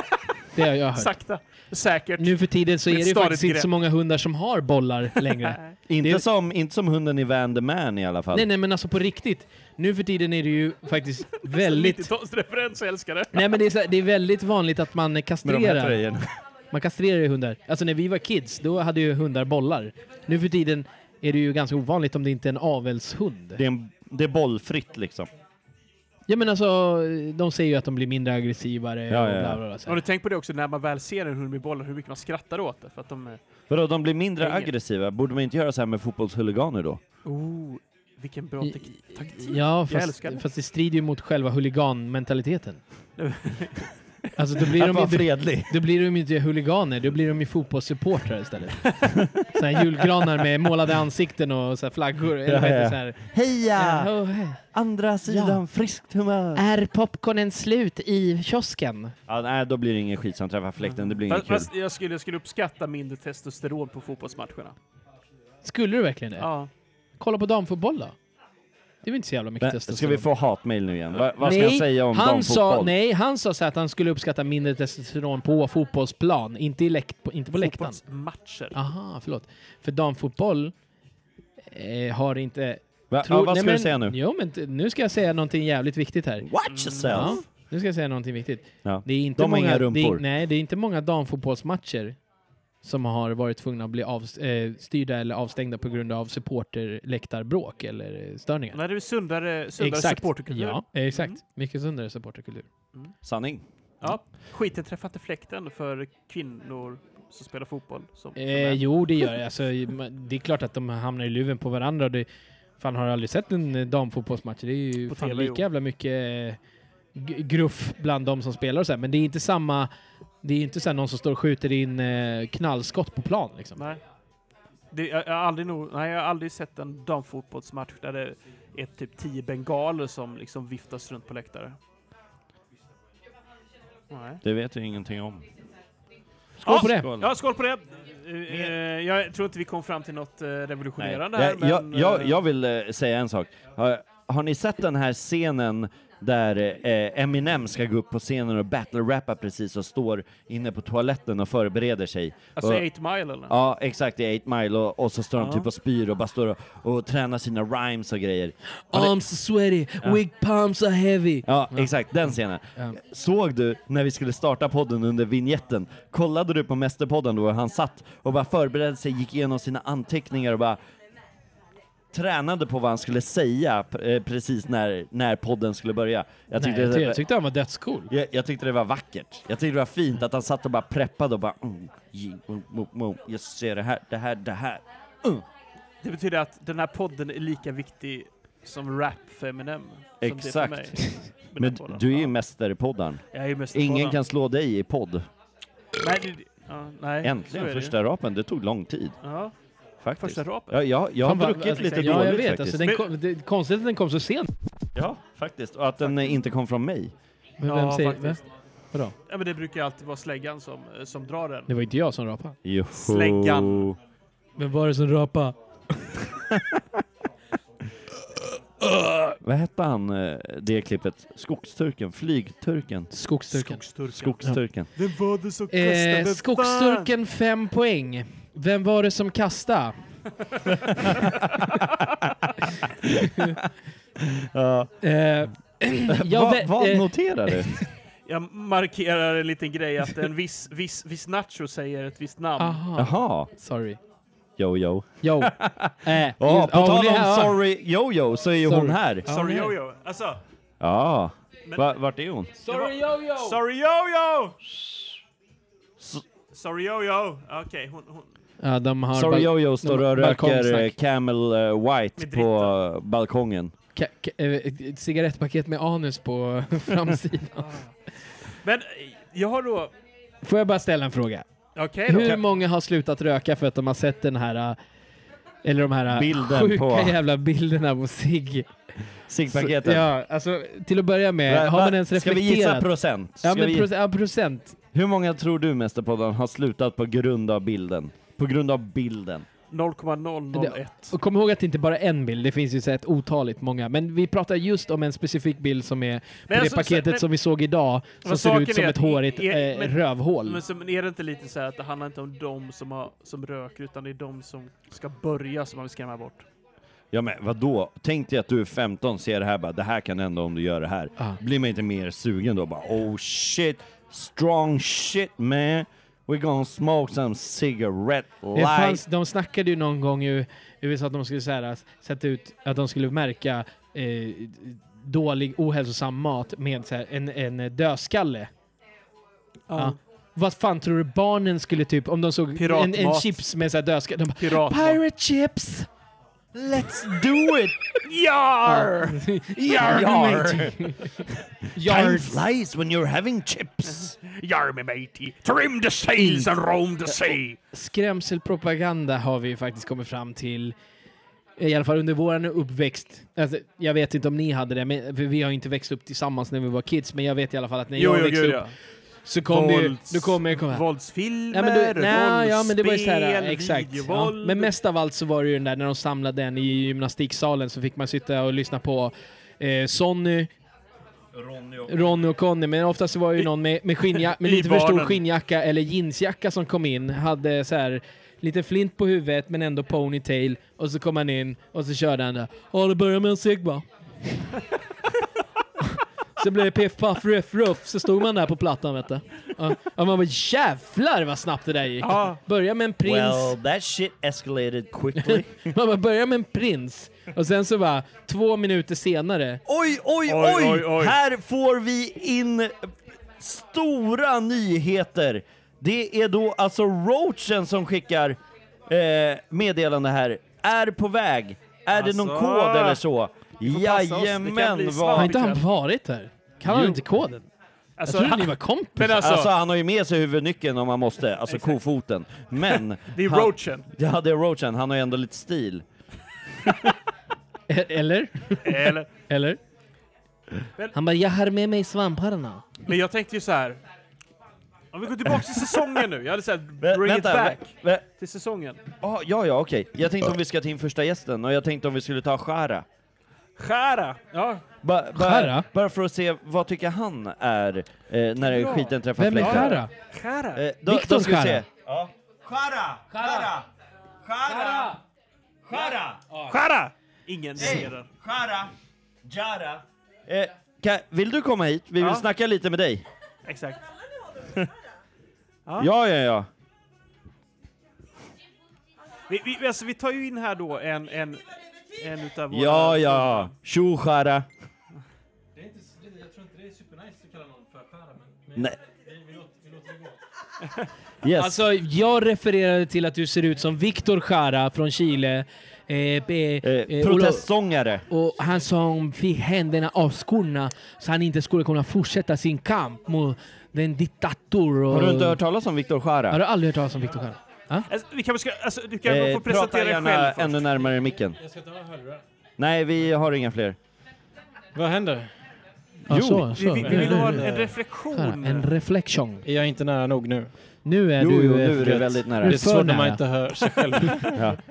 [SPEAKER 3] Det har jag hört.
[SPEAKER 5] Sakta, säkert.
[SPEAKER 3] Nu för tiden så
[SPEAKER 5] Med
[SPEAKER 3] är det
[SPEAKER 5] ett
[SPEAKER 3] ju
[SPEAKER 5] stadigt
[SPEAKER 3] faktiskt inte
[SPEAKER 5] grepp.
[SPEAKER 3] så många hundar som har bollar längre.
[SPEAKER 4] inte,
[SPEAKER 3] Det-
[SPEAKER 4] som, inte som hunden i Van the Man i alla fall.
[SPEAKER 3] Nej, nej, men alltså på riktigt. Nu för tiden är det ju faktiskt väldigt...
[SPEAKER 5] 90-talsreferens, jag älskar det.
[SPEAKER 3] Nej, men det är, så här, det är väldigt vanligt att man
[SPEAKER 4] Med de här
[SPEAKER 3] kastrerar.
[SPEAKER 4] tröjorna.
[SPEAKER 3] Man kastrerar ju hundar. Alltså när vi var kids, då hade ju hundar bollar. Nu för tiden är det ju ganska ovanligt om det inte är en avelshund.
[SPEAKER 4] Det är, en, det är bollfritt liksom.
[SPEAKER 3] Ja, men alltså, de säger ju att de blir mindre aggressivare
[SPEAKER 4] Ja,
[SPEAKER 3] och
[SPEAKER 4] ja, ja.
[SPEAKER 3] bla bla bla. så
[SPEAKER 5] Har
[SPEAKER 3] här.
[SPEAKER 5] du tänkt på det också när man väl ser en hund med bollar, hur mycket man skrattar åt det? För att de eh, är...
[SPEAKER 4] Vadå, de blir mindre
[SPEAKER 5] Hänger.
[SPEAKER 4] aggressiva? Borde man inte göra så här med fotbollshuliganer då?
[SPEAKER 5] Oh, vilken bra tek- taktik.
[SPEAKER 3] Ja,
[SPEAKER 5] Jag
[SPEAKER 3] fast,
[SPEAKER 5] älskar det.
[SPEAKER 3] fast det strider ju mot själva huliganmentaliteten. Alltså då blir
[SPEAKER 4] att
[SPEAKER 3] de
[SPEAKER 4] vara
[SPEAKER 3] ju...
[SPEAKER 4] fredlig.
[SPEAKER 3] Då blir de ju inte huliganer, då blir de ju fotbollssupportrar istället. så här julgranar med målade ansikten och så här flaggor. Eller vad
[SPEAKER 4] Ja,
[SPEAKER 3] heter
[SPEAKER 4] ja.
[SPEAKER 3] det, så här.
[SPEAKER 4] Heja!
[SPEAKER 3] Oh, hej.
[SPEAKER 4] Andra sidan, friskt humör!
[SPEAKER 3] Är popcornen slut i kiosken?
[SPEAKER 4] Ja, nej, då blir det ingen skit som träffar fläkten. Det blir inget
[SPEAKER 5] Fast,
[SPEAKER 4] kul.
[SPEAKER 5] fast jag, skulle, jag skulle uppskatta mindre testosteron på fotbollsmatcherna.
[SPEAKER 3] Skulle du verkligen det?
[SPEAKER 5] Ja.
[SPEAKER 3] Kolla på damfotboll då. Det är väl inte så jävla mycket
[SPEAKER 4] Men,
[SPEAKER 3] testosteron.
[SPEAKER 4] ska vi få hatmail nu igen? Va, vad ska
[SPEAKER 3] Nej,
[SPEAKER 4] jag säga om
[SPEAKER 3] han sa,
[SPEAKER 4] damfotboll?
[SPEAKER 3] Nej, han sa så här att han skulle uppskatta mindre testosteron på fotbollsplan, inte, i läkt, på, inte på läktaren.
[SPEAKER 5] Fotbollsmatcher.
[SPEAKER 3] Aha, förlåt. För damfotboll eh, har inte
[SPEAKER 4] Va, ja, vad ska du säga nu?
[SPEAKER 3] Jo, men t- nu ska jag säga någonting jävligt viktigt här.
[SPEAKER 4] Watch
[SPEAKER 3] Ja,
[SPEAKER 4] yourself!
[SPEAKER 3] nu ska jag säga någonting viktigt.
[SPEAKER 4] Ja.
[SPEAKER 3] Det är inte
[SPEAKER 4] De har
[SPEAKER 3] många,
[SPEAKER 4] inga rumpor.
[SPEAKER 3] Det är, nej, det är inte många damfotbollsmatcher som har varit tvungna att bli avstyrda eller avstängda på grund av supporterläktarbråk eller eh, störningar.
[SPEAKER 1] Nej, det är sundare, sundare supporterkultur.
[SPEAKER 3] Ja, eh, exakt.
[SPEAKER 1] Mm.
[SPEAKER 3] Mycket sundare supporterkultur.
[SPEAKER 4] Sanning.
[SPEAKER 1] Ja. Skiten träffar inte fläkten för kvinnor som spelar fotboll. Som, som
[SPEAKER 3] Eh,
[SPEAKER 1] är.
[SPEAKER 3] jo, det gör det. Alltså, ma- det är klart att de hamnar i luven på varandra. Och det, fan, har du aldrig sett en eh, damfotbollsmatch? Det är ju
[SPEAKER 1] På
[SPEAKER 3] fan
[SPEAKER 1] TV,
[SPEAKER 3] lika
[SPEAKER 1] jo.
[SPEAKER 3] jävla mycket eh, g- gruff bland de som spelar och så här. Men det är inte samma... Det är ju inte så här någon som står och skjuter in eh, knallskott på plan. Liksom.
[SPEAKER 1] Nej. Det, jag, jag, har aldrig nog, nej, jag har aldrig sett en damfotbollsmatch där det är typ tio bengaler som liksom viftas runt på läktare. Nej.
[SPEAKER 4] Det vet jag ingenting om.
[SPEAKER 3] Skål på det!
[SPEAKER 1] Ja, skål på det! Eh, eh, jag tror inte vi kom fram till något eh, revolutionerande här,
[SPEAKER 4] jag, jag,
[SPEAKER 1] men...
[SPEAKER 4] jag,
[SPEAKER 1] eh,
[SPEAKER 4] jag vill eh, säga en sak. Har, har ni sett den här scenen där eh, Eminem ska gå upp på scenen och battle-rappa precis och står inne på toaletten och förbereder sig?
[SPEAKER 1] Alltså
[SPEAKER 4] och,
[SPEAKER 1] 8 mile eller?
[SPEAKER 4] Ja, exakt. Det är 8 Mile och, och så står de
[SPEAKER 1] Ja.
[SPEAKER 4] typ och spyr och bara står och, och tränar sina rhymes och grejer.
[SPEAKER 6] Arms sweaty, weak palms are heavy.
[SPEAKER 4] Ja, exakt. Den scenen.
[SPEAKER 3] Ja.
[SPEAKER 4] Såg du när vi skulle starta podden under vignetten? Kollade du på Mästerpodden då han satt och bara förberedde sig, gick igenom sina anteckningar och bara tränade på vad han skulle säga eh, precis när, när podden skulle börja. Jag
[SPEAKER 3] Nej,
[SPEAKER 4] tyckte,
[SPEAKER 3] jag, ty- jag
[SPEAKER 4] det,
[SPEAKER 3] tyckte han var dödscool.
[SPEAKER 4] jag, jag tyckte det var vackert. Jag tyckte det var fint att han satt och bara preppade och bara mm, ji, mm, mm, mm, jag ser det här, det här, det här. Mm.
[SPEAKER 1] Det betyder att den här podden är lika viktig som rap för Eminem. Som Det är för
[SPEAKER 4] Exakt.
[SPEAKER 1] mig. Med den
[SPEAKER 4] Men
[SPEAKER 1] podden.
[SPEAKER 4] du är ju
[SPEAKER 1] Ja.
[SPEAKER 4] mästerpodden.
[SPEAKER 1] Jag är ju mest i
[SPEAKER 4] Ingen
[SPEAKER 1] podden.
[SPEAKER 4] kan slå dig i podd.
[SPEAKER 1] Nej, det, ja, nej. så är
[SPEAKER 4] Äntligen
[SPEAKER 1] det ju.
[SPEAKER 4] första rapen, det tog lång tid
[SPEAKER 1] Ja,
[SPEAKER 4] faktiskt.
[SPEAKER 1] första rapen.
[SPEAKER 4] Ja, jag, jag har
[SPEAKER 3] Fan, vad-
[SPEAKER 4] druckit
[SPEAKER 3] alltså,
[SPEAKER 4] lite
[SPEAKER 3] ja,
[SPEAKER 4] dåligt
[SPEAKER 3] jag vet,
[SPEAKER 4] faktiskt.
[SPEAKER 3] Alltså, den kom, det, är konstigt att den kom så sent.
[SPEAKER 4] Ja, faktiskt. Och att den eh, inte kom från mig.
[SPEAKER 3] Men
[SPEAKER 1] Ja,
[SPEAKER 3] vem säger, vem?
[SPEAKER 1] faktiskt.
[SPEAKER 3] Vadå?
[SPEAKER 1] Ja, men det brukar ju alltid vara släggan som, eh, som drar den.
[SPEAKER 3] Det var inte jag som rapade.
[SPEAKER 4] Joho.
[SPEAKER 1] Släggan.
[SPEAKER 3] Vem var det som rapade?
[SPEAKER 4] Vad hette han, eh, det klippet? Skogsturken? Flygturken?
[SPEAKER 3] Skogsturken.
[SPEAKER 4] Skogsturken.
[SPEAKER 1] Vem var det som
[SPEAKER 3] Eh,
[SPEAKER 1] fan?
[SPEAKER 3] skogsturken 5 poäng. Vem var det som kastade? Eh, jag
[SPEAKER 4] Va,
[SPEAKER 3] vä-
[SPEAKER 4] vad
[SPEAKER 3] eh,
[SPEAKER 4] noterar du?
[SPEAKER 1] Jag markerar en liten grej att en viss, viss, viss nacho säger ett visst namn.
[SPEAKER 3] aha,
[SPEAKER 4] Jaha.
[SPEAKER 3] sorry.
[SPEAKER 4] Yo, yo.
[SPEAKER 3] Jo. Eh, just-
[SPEAKER 4] Ja, på
[SPEAKER 3] hon
[SPEAKER 4] tal
[SPEAKER 3] är här,
[SPEAKER 4] om
[SPEAKER 3] ja.
[SPEAKER 4] Sorry Yo-Yo så är ju
[SPEAKER 3] Sorry.
[SPEAKER 4] hon här.
[SPEAKER 3] Ja,
[SPEAKER 1] Sorry
[SPEAKER 3] hon är här.
[SPEAKER 1] Jojo. Alltså,
[SPEAKER 4] Ja. Va, vart är hon?
[SPEAKER 3] Sorry Jojo!
[SPEAKER 1] sorry Jojo! Sorry Jojo. Okej, hon, hon...
[SPEAKER 3] Ja, de har
[SPEAKER 4] Sorry
[SPEAKER 3] bal-
[SPEAKER 4] Yo-Yo står och röker eh,
[SPEAKER 3] balkongsnack.
[SPEAKER 4] Camel eh, White
[SPEAKER 1] Med
[SPEAKER 4] på eh, balkongen.
[SPEAKER 3] ka- ka- eh, ett cigarettpaket med anus på framsidan.
[SPEAKER 1] Men eh, jag har då...
[SPEAKER 3] Får jag bara ställa en fråga?
[SPEAKER 1] Okej då.
[SPEAKER 3] Hur många har slutat röka för att de har sett den här eh, eller de här eh,
[SPEAKER 4] Bilden
[SPEAKER 3] sjuka
[SPEAKER 4] på-
[SPEAKER 3] jävla bilderna på sig.
[SPEAKER 4] Ciggpaketet.
[SPEAKER 3] Ja, alltså till att börja
[SPEAKER 4] Va-
[SPEAKER 3] med, har
[SPEAKER 4] va-
[SPEAKER 3] man ens
[SPEAKER 4] Ska vi
[SPEAKER 3] reflekterat?
[SPEAKER 4] gissa procent? Ska
[SPEAKER 3] Ja, men
[SPEAKER 4] vi...
[SPEAKER 3] proce- ja, procent.
[SPEAKER 4] Hur många tror du, Mästerpodden, har slutat på grund av bilden? På grund av bilden.
[SPEAKER 1] 0,001.
[SPEAKER 3] Och kom ihåg att det inte bara är en bild, det finns ju så här ett otaligt många. Men vi pratar just om en specifik bild som är på det
[SPEAKER 1] alltså,
[SPEAKER 3] paketet
[SPEAKER 1] så- men-
[SPEAKER 3] som vi såg idag, som
[SPEAKER 1] Men
[SPEAKER 3] ser
[SPEAKER 1] saken
[SPEAKER 3] ut som
[SPEAKER 1] är
[SPEAKER 3] ett
[SPEAKER 1] att-
[SPEAKER 3] hårigt
[SPEAKER 1] är-
[SPEAKER 3] eh,
[SPEAKER 1] men-
[SPEAKER 3] rövhål.
[SPEAKER 1] Men så, men är det inte lite så här att det handlar inte om de som, har, som röker utan det är de som ska börja som man vill skrämma bort?
[SPEAKER 4] Ja men vadå? Tänk dig att du är 15 ser det här bara, det här kan hända om du gör det här.
[SPEAKER 3] Ah.
[SPEAKER 4] Blir man inte mer sugen då? Bara oh shit, strong shit man. We're gonna smoke some cigarette
[SPEAKER 3] Det
[SPEAKER 4] light.
[SPEAKER 3] fanns, de snackade ju någon gång i USA att de skulle så här, sätta ut, att de skulle märka eh, dålig ohälsosam mat med så här, en, en dödskalle. Ja. Vad fan tror du barnen skulle typ, om de såg en, en
[SPEAKER 1] Piratmat.
[SPEAKER 3] chips med så här dödskalle, de bara
[SPEAKER 1] Pirat.
[SPEAKER 3] Pirate chips!
[SPEAKER 4] Let's do it!
[SPEAKER 1] Jar!
[SPEAKER 4] Jar! Time
[SPEAKER 3] Yard.
[SPEAKER 4] flies when you're having chips.
[SPEAKER 1] Jar me matey! Trim the sails and roam the sea!
[SPEAKER 3] Skrämselpropaganda har vi ju faktiskt kommit fram till. eh, I alla fall under vår uppväxt. Alltså, jag vet inte om ni hade det, men, för vi har ju inte växt upp tillsammans när vi var kids. Men jag vet i alla fall att när jag växte upp så kom det ju... Då kom jag, kom här.
[SPEAKER 1] Våldsfilmer,
[SPEAKER 3] Ja, men du, nej,
[SPEAKER 1] våldsspel,
[SPEAKER 3] ja, men det var ju så här, exakt. Ja.
[SPEAKER 1] videovåld.
[SPEAKER 3] Men mest av allt så var det ju den där när de samlade den i gymnastiksalen så fick man sitta och lyssna på eh, Sonny, Ronny och Conny, men oftast så var det ju någon med, med, skinnja, med
[SPEAKER 1] I
[SPEAKER 3] lite för stor
[SPEAKER 1] baren.
[SPEAKER 3] skinnjacka eller jeansjacka som kom in, hade så här lite flint på huvudet men ändå ponytail. Och så kom han in och så körde han där. Ja, det börjar med en Sigma. så blev det piff, paff, ruff, ruff. Så stod man där på plattan vet du. Ja, Ja, man bara jävlar vad snabbt det där gick.
[SPEAKER 1] Ja.
[SPEAKER 3] Börja med en prins.
[SPEAKER 4] Well, that shit escalated quickly.
[SPEAKER 3] Man bara börjar med en prins. Och sen så bara två minuter senare.
[SPEAKER 4] Oj, oj, oj,
[SPEAKER 2] Oj, oj, oj.
[SPEAKER 4] Här får vi in stora nyheter. Det är då alltså Roachen som skickar eh, meddelande här. Är på väg. Är det någon
[SPEAKER 1] Alltså.
[SPEAKER 4] kod eller så?
[SPEAKER 1] får passa oss. Det kan bli
[SPEAKER 4] Jajamän,
[SPEAKER 3] Har
[SPEAKER 4] vad...
[SPEAKER 1] svart.
[SPEAKER 3] inte han varit här? Kan han
[SPEAKER 4] Jo.
[SPEAKER 3] inte koden? Jag
[SPEAKER 1] Alltså,
[SPEAKER 3] trodde
[SPEAKER 1] han-
[SPEAKER 3] ni var kompis.
[SPEAKER 1] men alltså,
[SPEAKER 4] Alltså han har ju med sig huvudnyckeln om han måste, alltså kofoten. Men...
[SPEAKER 1] det är
[SPEAKER 4] han-
[SPEAKER 1] roachen.
[SPEAKER 4] Ja, det är Roachen. Han har ju ändå lite stil.
[SPEAKER 3] E- Eller?
[SPEAKER 1] Eller,
[SPEAKER 3] Eller?
[SPEAKER 6] Han bara, jag har med mig svamparna.
[SPEAKER 1] men jag tänkte ju så här. Om vi går tillbaka till säsongen nu. Jag hade sagt bring
[SPEAKER 4] Vä-
[SPEAKER 1] it
[SPEAKER 4] vänta,
[SPEAKER 1] back
[SPEAKER 4] vä- vä-
[SPEAKER 1] till säsongen.
[SPEAKER 4] ah, ja, ja, okej. Jag tänkte om vi ska ta in första gästen och jag tänkte om vi skulle ta Shara.
[SPEAKER 1] Skära! Ja,
[SPEAKER 4] Ba,
[SPEAKER 3] Skära?
[SPEAKER 4] bara, bara för att se, vad tycker han är eh, när
[SPEAKER 1] Bra.
[SPEAKER 4] skiten träffar
[SPEAKER 3] Vem är
[SPEAKER 4] fläkten?
[SPEAKER 3] Kara?
[SPEAKER 1] skära.
[SPEAKER 4] Eh, då,
[SPEAKER 3] Viktor
[SPEAKER 4] då ska vi
[SPEAKER 3] Skära.
[SPEAKER 4] se.
[SPEAKER 1] Skära! Ingen ser den.
[SPEAKER 4] Eh, ka, vill du komma hit? Vi vill
[SPEAKER 1] Ja.
[SPEAKER 4] snacka lite med dig.
[SPEAKER 1] Exakt.
[SPEAKER 4] Ja, ja, ja.
[SPEAKER 1] Vi, vi, alltså, vi tar ju in här då en, en, en utav våra...
[SPEAKER 4] Ja, ja. Tjo Skära. Nej. Yes.
[SPEAKER 3] Alltså, jag refererade till att du ser ut som Victor Jara från Chile. Eh, be-
[SPEAKER 4] eh,
[SPEAKER 3] eh,
[SPEAKER 4] protestsångare.
[SPEAKER 3] Och han som fick händerna avskurna så han inte skulle kunna fortsätta sin kamp mot den diktator. Och...
[SPEAKER 4] Har du inte hört talas om Viktor
[SPEAKER 3] Har
[SPEAKER 4] Skära?
[SPEAKER 3] du aldrig hört talas om Victor Jara? Ja?
[SPEAKER 1] Alltså, vi kan, ska, alltså, du kan
[SPEAKER 4] Eh,
[SPEAKER 1] få
[SPEAKER 4] prata
[SPEAKER 1] presentera dig själv
[SPEAKER 4] gärna
[SPEAKER 1] först.
[SPEAKER 4] ännu närmare micken. Jag ska ta Nej, vi har inga fler.
[SPEAKER 7] Vad händer?
[SPEAKER 3] Ja,
[SPEAKER 4] Jo,
[SPEAKER 3] så,
[SPEAKER 1] Vi,
[SPEAKER 3] så.
[SPEAKER 1] vi, vi vill ha en,
[SPEAKER 3] Eh,
[SPEAKER 1] en reflektion.
[SPEAKER 3] Jara, en reflektion.
[SPEAKER 7] Är jag inte nära nog nu?
[SPEAKER 3] Nu är
[SPEAKER 4] Jo,
[SPEAKER 3] du,
[SPEAKER 4] jo,
[SPEAKER 3] eh,
[SPEAKER 4] nu är
[SPEAKER 3] för-
[SPEAKER 4] det väldigt
[SPEAKER 7] Det
[SPEAKER 4] nära.
[SPEAKER 7] är
[SPEAKER 3] för
[SPEAKER 7] svårt när man
[SPEAKER 3] nära.
[SPEAKER 7] inte hör sig själv.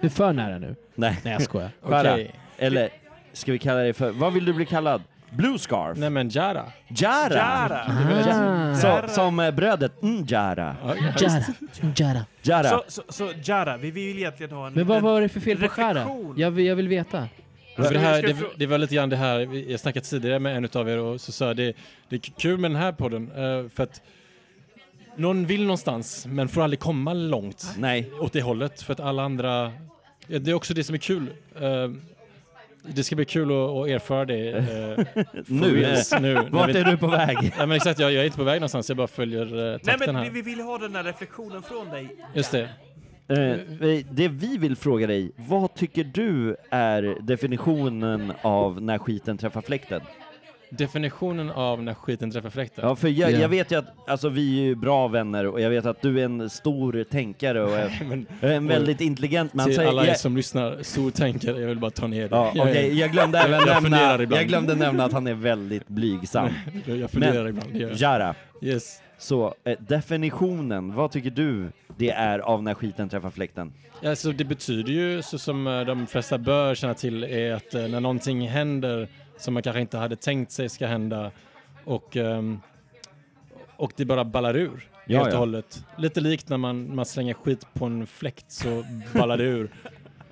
[SPEAKER 3] du är för nära nu.
[SPEAKER 4] Nej,
[SPEAKER 3] Nej, jag skojar.
[SPEAKER 4] Skära.
[SPEAKER 7] Okej.
[SPEAKER 4] Eller ska vi kalla dig för, vad vill du bli kallad? Blue scarf?
[SPEAKER 7] Nej men Jara.
[SPEAKER 4] Jara!
[SPEAKER 1] Jara.
[SPEAKER 3] Ah.
[SPEAKER 4] Så, som eh, brödet mm, Jara.
[SPEAKER 6] Jara, Jara.
[SPEAKER 4] Jara.
[SPEAKER 1] Så, så, så Jara, vi vill egentligen ha en...
[SPEAKER 3] Men vad
[SPEAKER 1] en,
[SPEAKER 3] var det för fel på Jara?
[SPEAKER 1] Reflektion.
[SPEAKER 3] Jag, vill- jag vill veta.
[SPEAKER 7] Det var, det, här,
[SPEAKER 1] Ska vi-
[SPEAKER 7] det,
[SPEAKER 1] ska vi frå-
[SPEAKER 7] det var lite grann det här, vi- jag snackade tidigare med en utav er och så sa jag det, det är kul med den här podden eh, för att någon vill någonstans men får aldrig komma långt
[SPEAKER 4] Nej.
[SPEAKER 7] åt det hållet för att alla andra, Ja, det är också det som är kul. Eh, Det ska bli kul att, att erfara det eh, for
[SPEAKER 4] Nu,
[SPEAKER 7] reals
[SPEAKER 4] eh,
[SPEAKER 7] nu.
[SPEAKER 4] Vart är du på väg?
[SPEAKER 7] Ja, men exakt, jag, jag är inte på väg någonstans, jag bara följer eh,
[SPEAKER 1] Nej,
[SPEAKER 7] takten
[SPEAKER 1] men vi-
[SPEAKER 7] här.
[SPEAKER 1] vi vill ha den där reflektionen från dig.
[SPEAKER 7] Just det.
[SPEAKER 4] Eh, Det vi vill fråga dig, vad tycker du är definitionen av när skiten träffar fläkten?
[SPEAKER 7] Definitionen av när skiten träffar fläkten.
[SPEAKER 4] Ja, för jag,
[SPEAKER 3] Ja.
[SPEAKER 4] jag vet ju att, alltså vi är ju bra vänner och jag vet att du är en stor tänkare och är,
[SPEAKER 7] Men
[SPEAKER 4] en väldigt intelligent man.
[SPEAKER 7] till
[SPEAKER 4] Så jag-
[SPEAKER 7] alla er
[SPEAKER 4] jag-
[SPEAKER 7] som lyssnar, stor tänkare, jag vill bara ta ner det.
[SPEAKER 4] Ja,
[SPEAKER 7] Jag-
[SPEAKER 4] okej, jag glömde även
[SPEAKER 7] jag funderar
[SPEAKER 4] nämna,
[SPEAKER 7] ibland.
[SPEAKER 4] jag glömde nämna att han är väldigt blygsam.
[SPEAKER 7] Jag, jag funderar
[SPEAKER 4] Men-
[SPEAKER 7] ibland. det gör jag.
[SPEAKER 4] Jara,
[SPEAKER 7] Yes.
[SPEAKER 4] så eh, definitionen, vad tycker du det är av när skiten träffar fläkten?
[SPEAKER 7] Alltså, det betyder ju, så som eh, de flesta bör känna till, är att eh, när någonting händer som man kanske inte hade tänkt sig ska hända och, ehm, och det bara ballar ur
[SPEAKER 4] Ja,
[SPEAKER 7] helt
[SPEAKER 4] ja.
[SPEAKER 7] och hållet. Lite likt när man, man slänger skit på en fläkt så ballar det ur.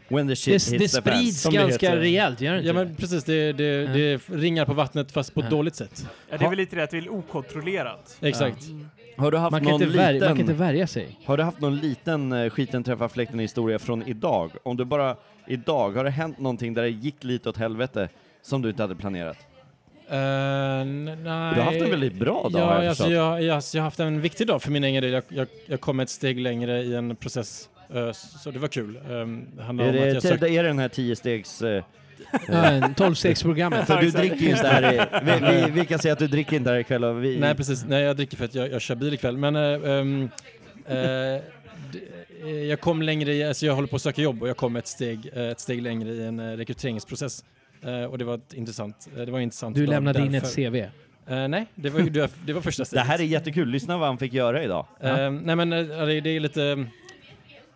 [SPEAKER 4] When the shit
[SPEAKER 3] Det,
[SPEAKER 4] hits
[SPEAKER 3] det
[SPEAKER 4] the fan.
[SPEAKER 3] sprids
[SPEAKER 7] som det
[SPEAKER 3] ganska
[SPEAKER 7] heter.
[SPEAKER 3] rejält, gör det inte
[SPEAKER 7] Ja men precis, det, det,
[SPEAKER 3] Ja.
[SPEAKER 7] det ringar på vattnet fast på ett
[SPEAKER 3] Ja.
[SPEAKER 7] dåligt sätt.
[SPEAKER 1] Ja, det är väl lite det att vi vill okontrollerat.
[SPEAKER 7] Exakt.
[SPEAKER 4] Har du haft
[SPEAKER 3] man, kan
[SPEAKER 4] någon
[SPEAKER 3] inte värja, man kan inte
[SPEAKER 4] liten,
[SPEAKER 3] värja sig.
[SPEAKER 4] har du haft någon liten eh, skiten träffar fläkten historia från idag? Om du bara, idag, har det hänt någonting där det gick lite åt helvete som du inte hade planerat?
[SPEAKER 7] Eh, n- nej.
[SPEAKER 4] Du har haft en väldigt bra dag, har
[SPEAKER 7] ja,
[SPEAKER 4] jag
[SPEAKER 7] alltså,
[SPEAKER 4] förstått.
[SPEAKER 7] jag, jag, alltså, jag har haft en viktig dag för min egen del. Jag, jag, jag kom ett steg längre i en process, eh, så det var kul. Eh, det handlar
[SPEAKER 4] Är
[SPEAKER 7] om att
[SPEAKER 4] det,
[SPEAKER 7] jag sökte...
[SPEAKER 4] är det den här 10 stegs... eh,
[SPEAKER 3] Ja, 12-6-programmet.
[SPEAKER 4] För du dricker ju inte här i, vi, vi, vi kan säga att du dricker inte här ikväll och vi...
[SPEAKER 7] Nej, precis. Nej, jag dricker för att jag, jag kör bil ikväll. Men eh, ehm, eh, d- eh, jag kom längre i, alltså jag håller på att söka jobb och jag kom ett steg, eh, ett steg längre i en eh, rekryteringsprocess. Eh, och det var ett intressant. eh, det var en intressant
[SPEAKER 3] Du
[SPEAKER 7] dag
[SPEAKER 3] lämnade in
[SPEAKER 7] därför.
[SPEAKER 3] ett CV.
[SPEAKER 7] Eh, nej, det var, ju- det var- det var första
[SPEAKER 4] Det
[SPEAKER 7] steget. Ehm,
[SPEAKER 4] här är jättekul, lyssna vad han fick göra idag.
[SPEAKER 7] Eh, nej men eh, det, det är lite...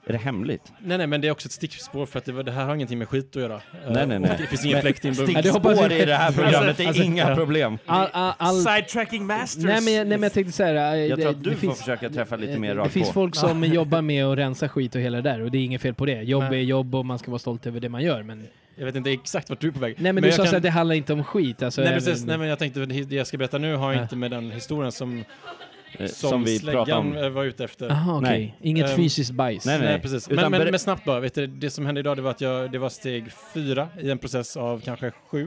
[SPEAKER 4] Är det hemligt?
[SPEAKER 7] Nej, nej, men det är också ett stickspår för att det, var- det här har ingenting med skit att göra.
[SPEAKER 4] Nej, nej, nej.
[SPEAKER 7] Och Det Alltså, finns ingen
[SPEAKER 4] Men
[SPEAKER 7] fläkt inbundna.
[SPEAKER 3] Ja, det hoppas
[SPEAKER 4] Stickspår
[SPEAKER 3] jag-
[SPEAKER 4] i det här programmet, det är inga problem.
[SPEAKER 3] All, all, all,
[SPEAKER 1] Sidetracking masters!
[SPEAKER 3] nej, men, jag- nej men jag tänkte eh, såhär...
[SPEAKER 4] Jag tror att du får försöka träffa
[SPEAKER 7] eh,
[SPEAKER 4] lite mer
[SPEAKER 3] Det
[SPEAKER 4] rakt
[SPEAKER 3] finns
[SPEAKER 4] på.
[SPEAKER 3] folk som jobbar med att rensa skit och hela det där och det är inget fel på det. Jobb är
[SPEAKER 7] Nej.
[SPEAKER 3] jobb och man ska vara stolt över det man gör. Men, nej
[SPEAKER 7] Jag vet inte exakt vart du är på väg.
[SPEAKER 3] men, du
[SPEAKER 7] jag
[SPEAKER 3] sa
[SPEAKER 7] kan-
[SPEAKER 3] så att det handlar inte om skit. Alltså,
[SPEAKER 7] Nej,
[SPEAKER 3] även-
[SPEAKER 7] precis. Nej, men jag tänkte det jag ska berätta nu har
[SPEAKER 3] Nej.
[SPEAKER 7] inte med den historien som,
[SPEAKER 4] eh,
[SPEAKER 7] som,
[SPEAKER 4] Som vi pratade
[SPEAKER 7] släggan
[SPEAKER 4] om.
[SPEAKER 7] eh, var ute efter.
[SPEAKER 3] Aha, okej.
[SPEAKER 4] Nej.
[SPEAKER 3] Inget
[SPEAKER 7] Ehm,
[SPEAKER 3] fysiskt bajs.
[SPEAKER 4] nej,
[SPEAKER 7] Nej, precis.
[SPEAKER 4] Utan
[SPEAKER 7] Men, men,
[SPEAKER 4] berä-
[SPEAKER 7] men snabbt bara, vet du, det som hände idag det var att jag, det var steg fyra i en process av kanske sju.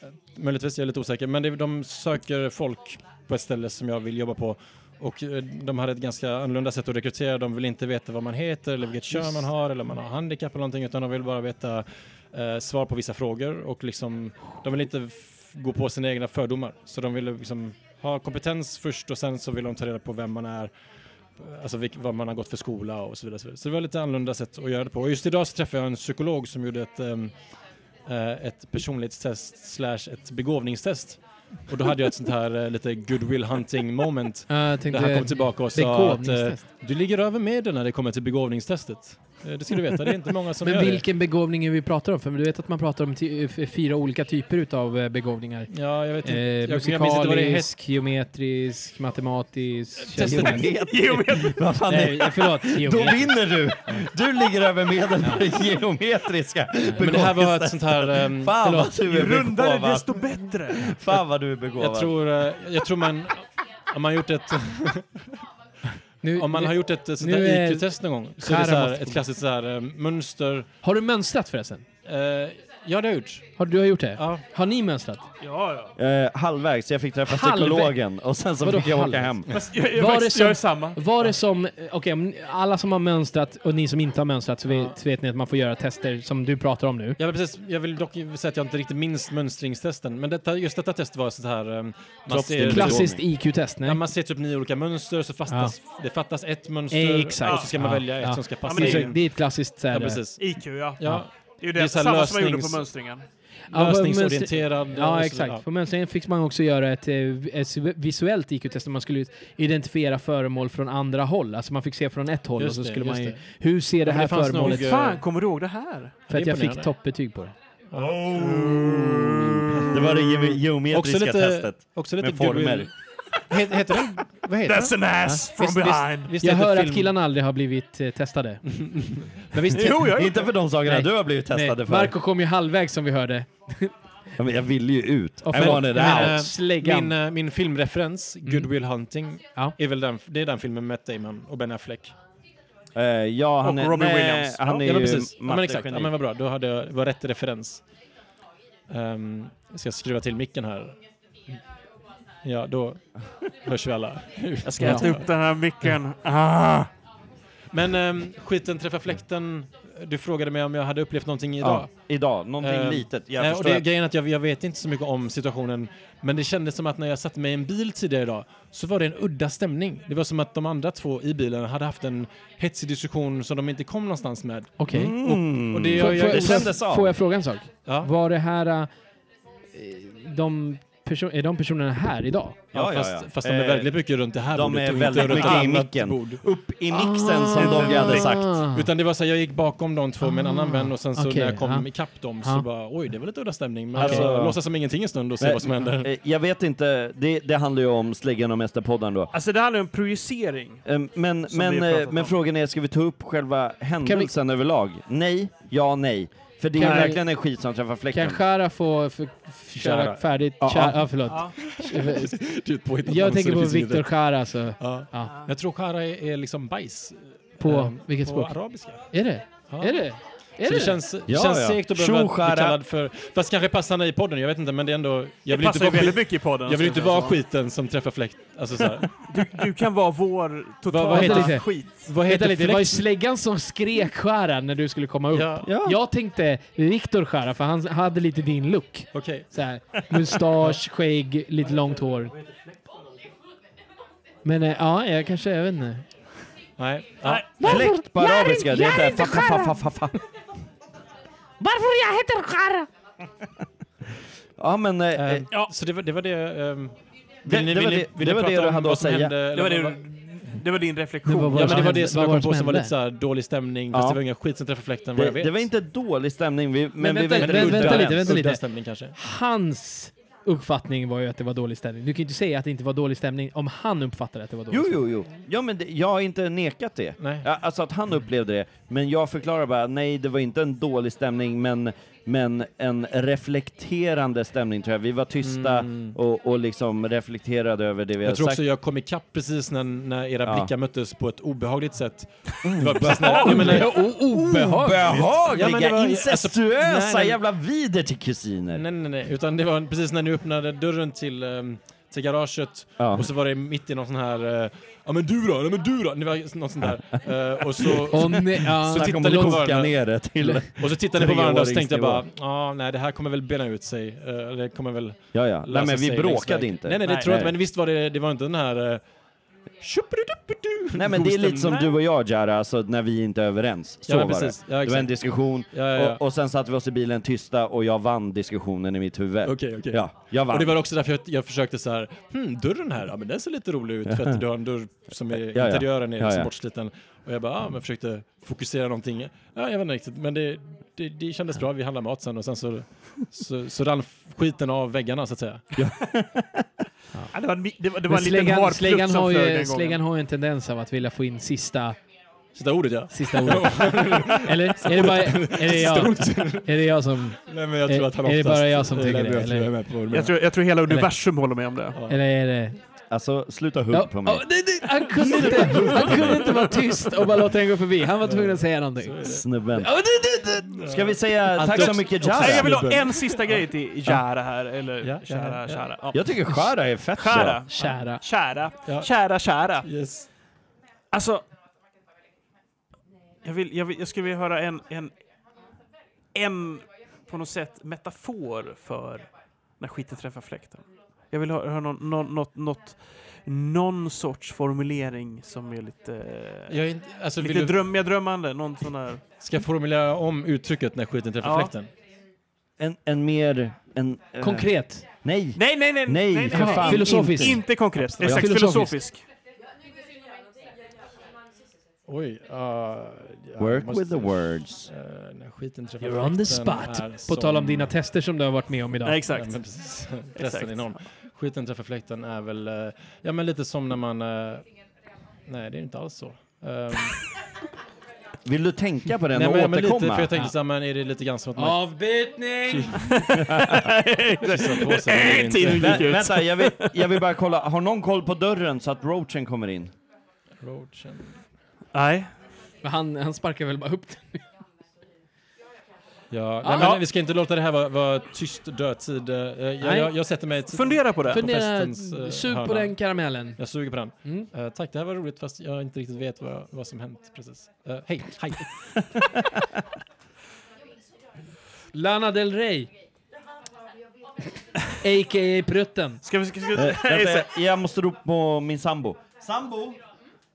[SPEAKER 7] Eh, Möjligtvis, jag är lite osäker. Men det, de söker folk på ett ställe som jag vill jobba på. Och eh, de hade ett ganska annorlunda sätt att rekrytera. De vill inte veta vad man heter eller vilket kön man har eller om man har handikapp eller någonting utan de vill bara veta eh, svar på vissa frågor och liksom de vill inte f- gå på sina egna fördomar. Så de vill liksom ha kompetens först och sen så vill de ta reda på vem man är alltså vilk, vad man har gått för skola och så vidare. så vidare. Så det var lite annorlunda sätt att göra det på. Och just idag så träffade jag en psykolog som gjorde ett, ehm, eh, ett personlighetstest slash ett begåvningstest. Och då hade jag ett sånt här eh, lite goodwill hunting moment.
[SPEAKER 3] Ja, jag
[SPEAKER 7] Där
[SPEAKER 3] tänkte...
[SPEAKER 7] han kom tillbaka och sa att eh,
[SPEAKER 3] begåvningstest.
[SPEAKER 7] du ligger över medel när det kommer till begåvningstestet. Eh, det ska du veta, det är inte många som
[SPEAKER 3] men
[SPEAKER 7] gör
[SPEAKER 3] vilken begåvning är vi pratar om? För du vet att man pratar om ty- f- fyra olika typer utav eh, begåvningar.
[SPEAKER 7] det. Ja, jag vet
[SPEAKER 3] Eh,
[SPEAKER 7] inte. jag, jag minns inte vad det hette.
[SPEAKER 3] musikalisk, geometrisk, matematisk,
[SPEAKER 7] Testet.
[SPEAKER 3] geometrisk.
[SPEAKER 4] Vad fan är
[SPEAKER 3] Nej, förlåt.
[SPEAKER 4] Då
[SPEAKER 3] Geometrisk.
[SPEAKER 4] vinner du! Du ligger över medel på det geometriska
[SPEAKER 7] Men det här var ett sånt här... ehm,
[SPEAKER 4] Fan vad
[SPEAKER 7] förlåt.
[SPEAKER 4] du
[SPEAKER 1] ju
[SPEAKER 4] är
[SPEAKER 1] rundare
[SPEAKER 4] begåvad!
[SPEAKER 1] desto bättre!
[SPEAKER 4] Fan vad du är begåvad!
[SPEAKER 7] Jag tror, eh, jag tror man... Om man, gjort ett,
[SPEAKER 3] Nu,
[SPEAKER 7] om man
[SPEAKER 3] nu,
[SPEAKER 7] har
[SPEAKER 3] har,
[SPEAKER 7] gjort ett eh, sånt
[SPEAKER 3] nu är-
[SPEAKER 7] här IQ-test någon gång så är det så här,
[SPEAKER 3] Skärm-
[SPEAKER 7] ett klassiskt så här, eh, mönster.
[SPEAKER 3] du mönstrat förresten?
[SPEAKER 7] Eh, ja, det har jag gjort.
[SPEAKER 3] Har, du har gjort det?
[SPEAKER 7] Ja.
[SPEAKER 3] Har ni mönstrat?
[SPEAKER 1] Ja, ja.
[SPEAKER 4] Eh, halvvägs, jag fick träffa
[SPEAKER 3] Halvvägs?
[SPEAKER 4] psykologen och sen så
[SPEAKER 3] Vadå
[SPEAKER 4] fick jag åka
[SPEAKER 3] halvvägs?
[SPEAKER 4] hem.
[SPEAKER 1] Fast jag, jag,
[SPEAKER 3] Var det
[SPEAKER 1] faktiskt,
[SPEAKER 3] som-
[SPEAKER 1] jag är samma.
[SPEAKER 3] Var det som, eh, okej, om ni- alla som har mönstrat och ni som inte har mönstrat så vet, så vet ni att man får göra tester som du pratar om nu.
[SPEAKER 7] Jag vill, precis, jag vill dock säga att jag inte riktigt minns mönstringstesten, men detta, just detta test var så här... ehm, Man
[SPEAKER 4] Kroppsdel-
[SPEAKER 7] ser,
[SPEAKER 4] Klass-
[SPEAKER 3] Klassiskt IQ-test, nej?
[SPEAKER 7] ja, man ser typ nio olika mönster, så fattas, det fattas ett mönster
[SPEAKER 3] Exakt.
[SPEAKER 7] och så ska man
[SPEAKER 3] Ja.
[SPEAKER 7] välja ett
[SPEAKER 3] Ja.
[SPEAKER 7] som ska
[SPEAKER 1] Ja,
[SPEAKER 7] passa
[SPEAKER 1] men
[SPEAKER 3] det, är,
[SPEAKER 7] in.
[SPEAKER 3] det är ett klassiskt så här,
[SPEAKER 7] Ja, precis.
[SPEAKER 1] IQ, ja.
[SPEAKER 7] Ja.
[SPEAKER 1] Det är ju
[SPEAKER 7] Det är
[SPEAKER 1] det,
[SPEAKER 7] så här
[SPEAKER 1] samma som man gjorde
[SPEAKER 7] lösnings-
[SPEAKER 1] på mönstringen.
[SPEAKER 3] Ja,
[SPEAKER 7] Lösningsorienterad. och så-
[SPEAKER 3] Ja, exakt. På mönstringen fick man också göra ett, eh, ett visuellt IQ-test där man skulle identifiera föremål från andra håll. Alltså man fick se från ett håll
[SPEAKER 7] Just
[SPEAKER 3] och så
[SPEAKER 7] det,
[SPEAKER 3] skulle
[SPEAKER 7] just
[SPEAKER 3] man ju,
[SPEAKER 7] det.
[SPEAKER 3] Hur ser det
[SPEAKER 7] men
[SPEAKER 3] här
[SPEAKER 7] det fanns
[SPEAKER 3] föremålet
[SPEAKER 7] nog, eh,
[SPEAKER 1] Fan, kommer du ihåg det här?
[SPEAKER 3] För att
[SPEAKER 7] det är
[SPEAKER 3] jag fick
[SPEAKER 7] imponerande.
[SPEAKER 3] toppbetyg på det.
[SPEAKER 4] Det var det ge- geometriska
[SPEAKER 7] Också lite,
[SPEAKER 4] testet.
[SPEAKER 7] också lite
[SPEAKER 4] Med former.
[SPEAKER 7] goodwill. Het- Heter den? Vad heter den?
[SPEAKER 1] That's an ass from
[SPEAKER 7] Visst- visst-
[SPEAKER 1] behind!
[SPEAKER 7] visst
[SPEAKER 3] Jag
[SPEAKER 7] heter
[SPEAKER 3] hör
[SPEAKER 7] film-
[SPEAKER 3] att killarna aldrig har blivit eh, testade.
[SPEAKER 7] Men visst,
[SPEAKER 1] Jo, jag
[SPEAKER 4] Inte för de sakerna
[SPEAKER 3] Nej.
[SPEAKER 4] du har blivit testade
[SPEAKER 3] Nej,
[SPEAKER 4] för.
[SPEAKER 3] Marco kom ju halvvägs som vi hörde.
[SPEAKER 4] Ja, men jag ville ju ut.
[SPEAKER 3] Och
[SPEAKER 4] I
[SPEAKER 3] för-
[SPEAKER 4] wanted
[SPEAKER 3] jag menar,
[SPEAKER 4] out.
[SPEAKER 7] eh,
[SPEAKER 3] Släggan. Mm.
[SPEAKER 7] Min, eh, min filmreferens, Good Will Hunting,
[SPEAKER 3] Ja.
[SPEAKER 7] är väl den, det är den filmen med Matt Damon och Ben Affleck.
[SPEAKER 4] Eh, ja, han
[SPEAKER 1] Och
[SPEAKER 4] är,
[SPEAKER 1] Robin
[SPEAKER 4] nej,
[SPEAKER 1] Williams.
[SPEAKER 4] Han är
[SPEAKER 7] ja, men
[SPEAKER 4] ju
[SPEAKER 7] precis. Ja, men exakt. Ja,
[SPEAKER 4] mattegeni.
[SPEAKER 7] men vad bra, då hade jag, det var rätt referens. Ehm, jag ska skruva till micken här. Ja, då hörs vi alla.
[SPEAKER 1] Jag ska
[SPEAKER 3] Ja.
[SPEAKER 1] äta upp den här micken. Ah.
[SPEAKER 7] Men ehm, skiten träffar fläkten. Du frågade mig om jag hade upplevt någonting idag.
[SPEAKER 4] Ja, idag, någonting
[SPEAKER 7] Eh,
[SPEAKER 4] litet. Jag
[SPEAKER 7] Nej, och
[SPEAKER 4] förstår
[SPEAKER 7] det,
[SPEAKER 4] att-
[SPEAKER 7] Grejen är att jag, jag vet inte så mycket om situationen, men det kändes som att när jag satte mig i en bil tidigare idag så var det en udda stämning. Det var som att de andra två i bilen hade haft en hetsig diskussion som de inte kom någonstans med.
[SPEAKER 3] Okej.
[SPEAKER 4] Mm.
[SPEAKER 7] Och det,
[SPEAKER 3] Får-
[SPEAKER 7] jag,
[SPEAKER 3] får-
[SPEAKER 7] jag,
[SPEAKER 4] det
[SPEAKER 3] får-
[SPEAKER 4] kändes av.
[SPEAKER 3] Får jag fråga en sak?
[SPEAKER 7] ja,
[SPEAKER 3] Var det här... eh, De perso- är de personerna här idag?
[SPEAKER 7] ja,
[SPEAKER 4] Ja, ja,
[SPEAKER 7] fast,
[SPEAKER 4] ja.
[SPEAKER 7] fast de är
[SPEAKER 4] Eh,
[SPEAKER 7] väldigt mycket runt det här
[SPEAKER 4] de
[SPEAKER 7] bordet
[SPEAKER 4] är
[SPEAKER 7] och
[SPEAKER 4] väldigt
[SPEAKER 7] inte runt
[SPEAKER 4] mycket i
[SPEAKER 7] annat
[SPEAKER 4] micken.
[SPEAKER 7] bord. Ah.
[SPEAKER 4] Upp i mixen som Dogge hade sagt.
[SPEAKER 7] Utan det var så här, jag gick bakom de två med en annan vän och sen så
[SPEAKER 3] Ah. Okej,
[SPEAKER 7] när jag kom
[SPEAKER 3] ja. Ah.
[SPEAKER 7] ikapp dem
[SPEAKER 3] Ja.
[SPEAKER 7] så bara oj, det var lite udda stämning. Men
[SPEAKER 4] Alltså-
[SPEAKER 7] jag låtsas som ingenting en stund och se
[SPEAKER 4] Nej.
[SPEAKER 7] vad som händer.
[SPEAKER 4] Eh, Jag vet inte, det, det handlar ju om släggan och mästerpodden då.
[SPEAKER 1] Alltså det handlar ju om projicering.
[SPEAKER 4] Eh, Men,
[SPEAKER 1] Som vi
[SPEAKER 4] men,
[SPEAKER 1] har
[SPEAKER 4] eh,
[SPEAKER 1] pratat
[SPEAKER 4] men
[SPEAKER 1] om.
[SPEAKER 4] frågan är, ska vi ta upp själva händelsen överlag? Nej, ja, nej. För det är
[SPEAKER 3] Kan vi-
[SPEAKER 4] verkligen en skit som träffar fläkten.
[SPEAKER 3] Kan Shara få för, f- köra
[SPEAKER 7] Shara.
[SPEAKER 3] färdigt?
[SPEAKER 4] Ja,
[SPEAKER 3] Shara,
[SPEAKER 4] ja.
[SPEAKER 3] ja, förlåt.
[SPEAKER 1] Ja.
[SPEAKER 7] Det är ett påhittat namn,
[SPEAKER 3] Jag
[SPEAKER 7] så
[SPEAKER 3] tänker
[SPEAKER 7] det
[SPEAKER 3] på
[SPEAKER 7] finns inget-
[SPEAKER 3] Viktor Shara alltså.
[SPEAKER 7] Ja.
[SPEAKER 3] Ja.
[SPEAKER 7] Jag tror Kara är, är liksom bajs.
[SPEAKER 3] På
[SPEAKER 7] Ehm,
[SPEAKER 3] vilket
[SPEAKER 7] på
[SPEAKER 3] språk?
[SPEAKER 7] arabiska.
[SPEAKER 3] Är det?
[SPEAKER 7] Ja.
[SPEAKER 3] Är det? Är
[SPEAKER 7] Så det
[SPEAKER 3] det?
[SPEAKER 7] känns, det
[SPEAKER 4] Ja,
[SPEAKER 7] känns
[SPEAKER 4] ja.
[SPEAKER 7] segt att behöva bli
[SPEAKER 4] Tjoskärra.
[SPEAKER 7] kallad för... Fast kanske passar i podden, jag vet inte, men det är ändå... Jag
[SPEAKER 1] Det
[SPEAKER 7] vill, inte
[SPEAKER 1] passar ju
[SPEAKER 7] vara,
[SPEAKER 1] väldigt
[SPEAKER 7] skit,
[SPEAKER 1] mycket i podden. alltså,
[SPEAKER 7] jag vill inte
[SPEAKER 1] ska
[SPEAKER 7] vara
[SPEAKER 1] säga.
[SPEAKER 7] skiten som träffar fläkt. Alltså så här.
[SPEAKER 1] Du kan vara vår totala
[SPEAKER 7] vad
[SPEAKER 3] heter det?
[SPEAKER 1] skit.
[SPEAKER 7] Vad
[SPEAKER 3] Vänta
[SPEAKER 7] heter
[SPEAKER 3] lite, det var ju
[SPEAKER 7] fläkt?
[SPEAKER 3] släggan som skrek Shara när du skulle komma upp.
[SPEAKER 7] Ja,
[SPEAKER 4] Ja.
[SPEAKER 3] Jag tänkte Viktor Shara, för han hade lite din look.
[SPEAKER 7] okej.
[SPEAKER 3] Så här, mustasch, skägg, lite långt hår. Men eh, ja, jag kanske, jag vet inte.
[SPEAKER 7] Nej. Ja.
[SPEAKER 4] Fläkt på arabiska, det heter fa, fa, fa, fa, fa, fa.
[SPEAKER 6] Varför jag heter Kara?
[SPEAKER 4] Ja, men... eh, eh,
[SPEAKER 7] Ehm, Så det var det... Var det ehm,
[SPEAKER 4] det var det- det var det du hade att säga.
[SPEAKER 1] Det var det, det var din reflektion.
[SPEAKER 3] Det var vad
[SPEAKER 7] Ja, men det var
[SPEAKER 3] hände?
[SPEAKER 7] det som
[SPEAKER 3] Vad
[SPEAKER 7] jag
[SPEAKER 3] var
[SPEAKER 7] kom
[SPEAKER 3] det
[SPEAKER 7] på
[SPEAKER 3] som
[SPEAKER 7] som var lite
[SPEAKER 3] hände?
[SPEAKER 7] såhär dålig stämning,
[SPEAKER 4] Ja.
[SPEAKER 7] fast det var ingen skit som träffade fläkten vad
[SPEAKER 4] Det,
[SPEAKER 7] jag vet.
[SPEAKER 4] det var inte dålig stämning, vi, men,
[SPEAKER 3] Men
[SPEAKER 4] vi
[SPEAKER 3] vänta,
[SPEAKER 4] var inte
[SPEAKER 3] vänta,
[SPEAKER 4] riktigt
[SPEAKER 3] vänta lite,
[SPEAKER 4] överens.
[SPEAKER 3] vänta lite.
[SPEAKER 7] Udda stämning kanske.
[SPEAKER 3] Hans uppfattning var ju att det var dålig stämning. Du kan ju inte säga att det inte var dålig stämning om han uppfattade att det var dålig
[SPEAKER 4] Jo,
[SPEAKER 3] stämning.
[SPEAKER 4] jo, jo. Ja, men det, jag har inte nekat det.
[SPEAKER 7] Nej.
[SPEAKER 4] Ja, alltså att han upplevde det. Men jag förklarar bara, nej, det var inte en dålig stämning, men, men en reflekterande stämning tror jag. Vi var tysta och, och liksom reflekterade över det vi
[SPEAKER 7] Mm. Jag
[SPEAKER 4] hade
[SPEAKER 7] tror
[SPEAKER 4] sagt.
[SPEAKER 7] också jag kom ikapp precis när, när era
[SPEAKER 4] Ja. Oh.
[SPEAKER 7] blickar möttes på ett obehagligt sätt. Det var precis när, jag menar,
[SPEAKER 4] Behagliga,
[SPEAKER 7] Ja, men det var-
[SPEAKER 4] incestuösa
[SPEAKER 7] alltså, nej, nej.
[SPEAKER 4] jävla vider till kusiner!
[SPEAKER 7] nej, nej, nej, utan det var precis när ni öppnade dörren till, ehm, till garaget
[SPEAKER 4] Ja.
[SPEAKER 7] och så var det mitt i någon sån här, eh, ja men du då, ja men du då, det var något sånt där. Eh, och så,
[SPEAKER 3] Och nej, ja.
[SPEAKER 7] Så
[SPEAKER 4] Jag
[SPEAKER 7] tittade
[SPEAKER 4] kommer
[SPEAKER 7] ni på
[SPEAKER 4] koka
[SPEAKER 7] varandra.
[SPEAKER 4] ner det till...
[SPEAKER 7] och så tittade ni på varandra och så tänkte jag bara,
[SPEAKER 4] Treåringsnivå.
[SPEAKER 7] ja nej det här kommer väl bena ut sig, Eh, eller det kommer väl
[SPEAKER 4] Ja, ja. Nej,
[SPEAKER 7] lösa
[SPEAKER 4] men vi
[SPEAKER 7] sig längs
[SPEAKER 4] bråkade
[SPEAKER 7] vägen.
[SPEAKER 4] inte.
[SPEAKER 7] Nej, nej, det
[SPEAKER 1] Nej.
[SPEAKER 7] tror jag inte,
[SPEAKER 4] Nej.
[SPEAKER 7] men visst var det, det var inte den här... eh, tjupidupidu-
[SPEAKER 4] Nej men det är lite som
[SPEAKER 7] Nej.
[SPEAKER 4] du och jag Jara, alltså när vi inte är överens. Så
[SPEAKER 7] Ja, men
[SPEAKER 4] var
[SPEAKER 7] precis.
[SPEAKER 4] det.
[SPEAKER 7] Ja,
[SPEAKER 4] det var en
[SPEAKER 7] exakt.
[SPEAKER 4] diskussion
[SPEAKER 7] Ja, ja, ja.
[SPEAKER 4] Och, och sen satte vi oss i bilen tysta och jag vann diskussionen i mitt huvud.
[SPEAKER 7] Okej, okej.
[SPEAKER 4] Ja, jag vann.
[SPEAKER 7] Och det var också därför jag, jag försökte så här, hmm, dörren här, ja men den ser lite rolig ut för att du har en dörr som är,
[SPEAKER 4] ja.
[SPEAKER 7] interiören är
[SPEAKER 4] Ja,
[SPEAKER 7] liksom
[SPEAKER 4] ja.
[SPEAKER 7] bortsliten. Och jag bara, ah, men försökte fokusera någonting. Ja, jag vet inte riktigt, men det, det, det kändes bra. Vi handlade mat sen och sen så, så, så rann skiten av väggarna så att säga.
[SPEAKER 1] Ja, det var, en mi- det var, det var
[SPEAKER 3] Men
[SPEAKER 1] en liten
[SPEAKER 3] släggan,
[SPEAKER 1] harplutt
[SPEAKER 3] släggan,
[SPEAKER 1] som
[SPEAKER 3] har
[SPEAKER 1] flög
[SPEAKER 3] ju,
[SPEAKER 1] den gången.
[SPEAKER 3] släggan har ju en tendens av att vilja få in sista,
[SPEAKER 7] Sista ordet ja.
[SPEAKER 3] sista ordet. Eller är det bara är det jag, är det jag som...
[SPEAKER 7] Nej, men jag
[SPEAKER 3] Är-
[SPEAKER 7] tror att han
[SPEAKER 3] är det
[SPEAKER 7] oftast
[SPEAKER 3] bara jag som
[SPEAKER 7] är
[SPEAKER 3] tycker
[SPEAKER 7] med
[SPEAKER 3] det,
[SPEAKER 7] på-
[SPEAKER 3] eller?
[SPEAKER 7] är med på vad du menar.
[SPEAKER 1] Jag tror, jag tror hela universum håller med om det.
[SPEAKER 3] Eller är det...
[SPEAKER 4] Alltså sluta hugg
[SPEAKER 3] Ja,
[SPEAKER 4] på mig.
[SPEAKER 3] ja, nej, nej, han, kunde inte, han kunde inte vara tyst och bara låta den gå förbi. Han var tvungen att säga någonting.
[SPEAKER 4] Snubben.
[SPEAKER 3] Ja, det- det- det-
[SPEAKER 4] Ska vi säga tack så mycket Jara?
[SPEAKER 1] Nej, jag vill
[SPEAKER 4] Jag,
[SPEAKER 1] ha en sista grej till Kära här, eller
[SPEAKER 7] Ja, ja,
[SPEAKER 1] kära,
[SPEAKER 7] ja.
[SPEAKER 1] kära. Ja.
[SPEAKER 4] tycker Jara är fett
[SPEAKER 1] Kära,
[SPEAKER 3] Kära.
[SPEAKER 1] kära,
[SPEAKER 7] Ja.
[SPEAKER 1] kära, kära.
[SPEAKER 7] Yes.
[SPEAKER 1] Alltså... Jag, vill, jag, vill, jag skulle vilja höra en, en, en på något sätt metafor för när skiten träffar fläkten. Jag vill höra, höra någon, någon, något, något, någon sorts formulering som är lite,
[SPEAKER 7] Jag är inte, alltså, vill
[SPEAKER 1] lite
[SPEAKER 7] du,
[SPEAKER 1] drömmiga drömmande. Någon sån här...
[SPEAKER 7] ska jag formulera om uttrycket när skiten träffar
[SPEAKER 1] Ja.
[SPEAKER 7] fläkten?
[SPEAKER 4] En, en mer... En, eh,
[SPEAKER 3] Konkret.
[SPEAKER 4] Nej!
[SPEAKER 1] Nej, nej, nej!
[SPEAKER 4] Nej,
[SPEAKER 1] nej,
[SPEAKER 4] för fan.
[SPEAKER 3] Filosofiskt.
[SPEAKER 4] Inte.
[SPEAKER 1] Inte konkret. Exakt,
[SPEAKER 3] Filosofiskt.
[SPEAKER 1] filosofisk.
[SPEAKER 7] Oj. Uh,
[SPEAKER 4] Work with the words.
[SPEAKER 7] Eh, när skiten träffar
[SPEAKER 3] You're on the
[SPEAKER 7] fläkten
[SPEAKER 3] spot.
[SPEAKER 7] är
[SPEAKER 3] På tal om
[SPEAKER 7] som-
[SPEAKER 3] dina tester som du har varit med om
[SPEAKER 1] Nej,
[SPEAKER 3] idag.
[SPEAKER 1] exakt.
[SPEAKER 7] Ja, men precis. Pressen
[SPEAKER 1] Exakt.
[SPEAKER 7] är enorm. Skiten träffar fläkten är väl, eh, ja men lite som när man, eh, nej det är inte alls så. Um,
[SPEAKER 4] Vill du tänka på den
[SPEAKER 7] nej,
[SPEAKER 4] och
[SPEAKER 7] men, men lite,
[SPEAKER 4] återkomma?
[SPEAKER 7] för jag tänkte såhär, men är det lite grann som att man
[SPEAKER 3] Avbytning!
[SPEAKER 7] kissar på sig? Det är inte-
[SPEAKER 1] Tiden gick
[SPEAKER 4] Vä-
[SPEAKER 1] ut.
[SPEAKER 4] vänta, jag vill, jag vill bara kolla. Har någon koll på dörren så att roachen kommer in?
[SPEAKER 7] Roachen.
[SPEAKER 1] Nej.
[SPEAKER 3] Men han, han sparkar väl bara upp den.
[SPEAKER 7] Ja, nej, men,
[SPEAKER 1] Ja.
[SPEAKER 7] vi ska inte låta det här vara, vara tyst dödtid. Eh, jag,
[SPEAKER 3] Nej.
[SPEAKER 7] jag, jag sätter mig ett,
[SPEAKER 1] Fundera på det.
[SPEAKER 3] Fundera,
[SPEAKER 7] festens, eh,
[SPEAKER 3] sug på
[SPEAKER 7] hörna.
[SPEAKER 3] den karamellen.
[SPEAKER 7] jag suger på den.
[SPEAKER 3] Mm.
[SPEAKER 7] Eh, tack, det här var roligt fast jag inte riktigt vet vad, vad som hänt precis. Eh, hej, hej.
[SPEAKER 3] Lana Del Rey. A.k.a. Prutten.
[SPEAKER 1] Ska vi... Ska, ska,
[SPEAKER 4] Eh, vänta, jag måste ropa på min sambo. Sambo!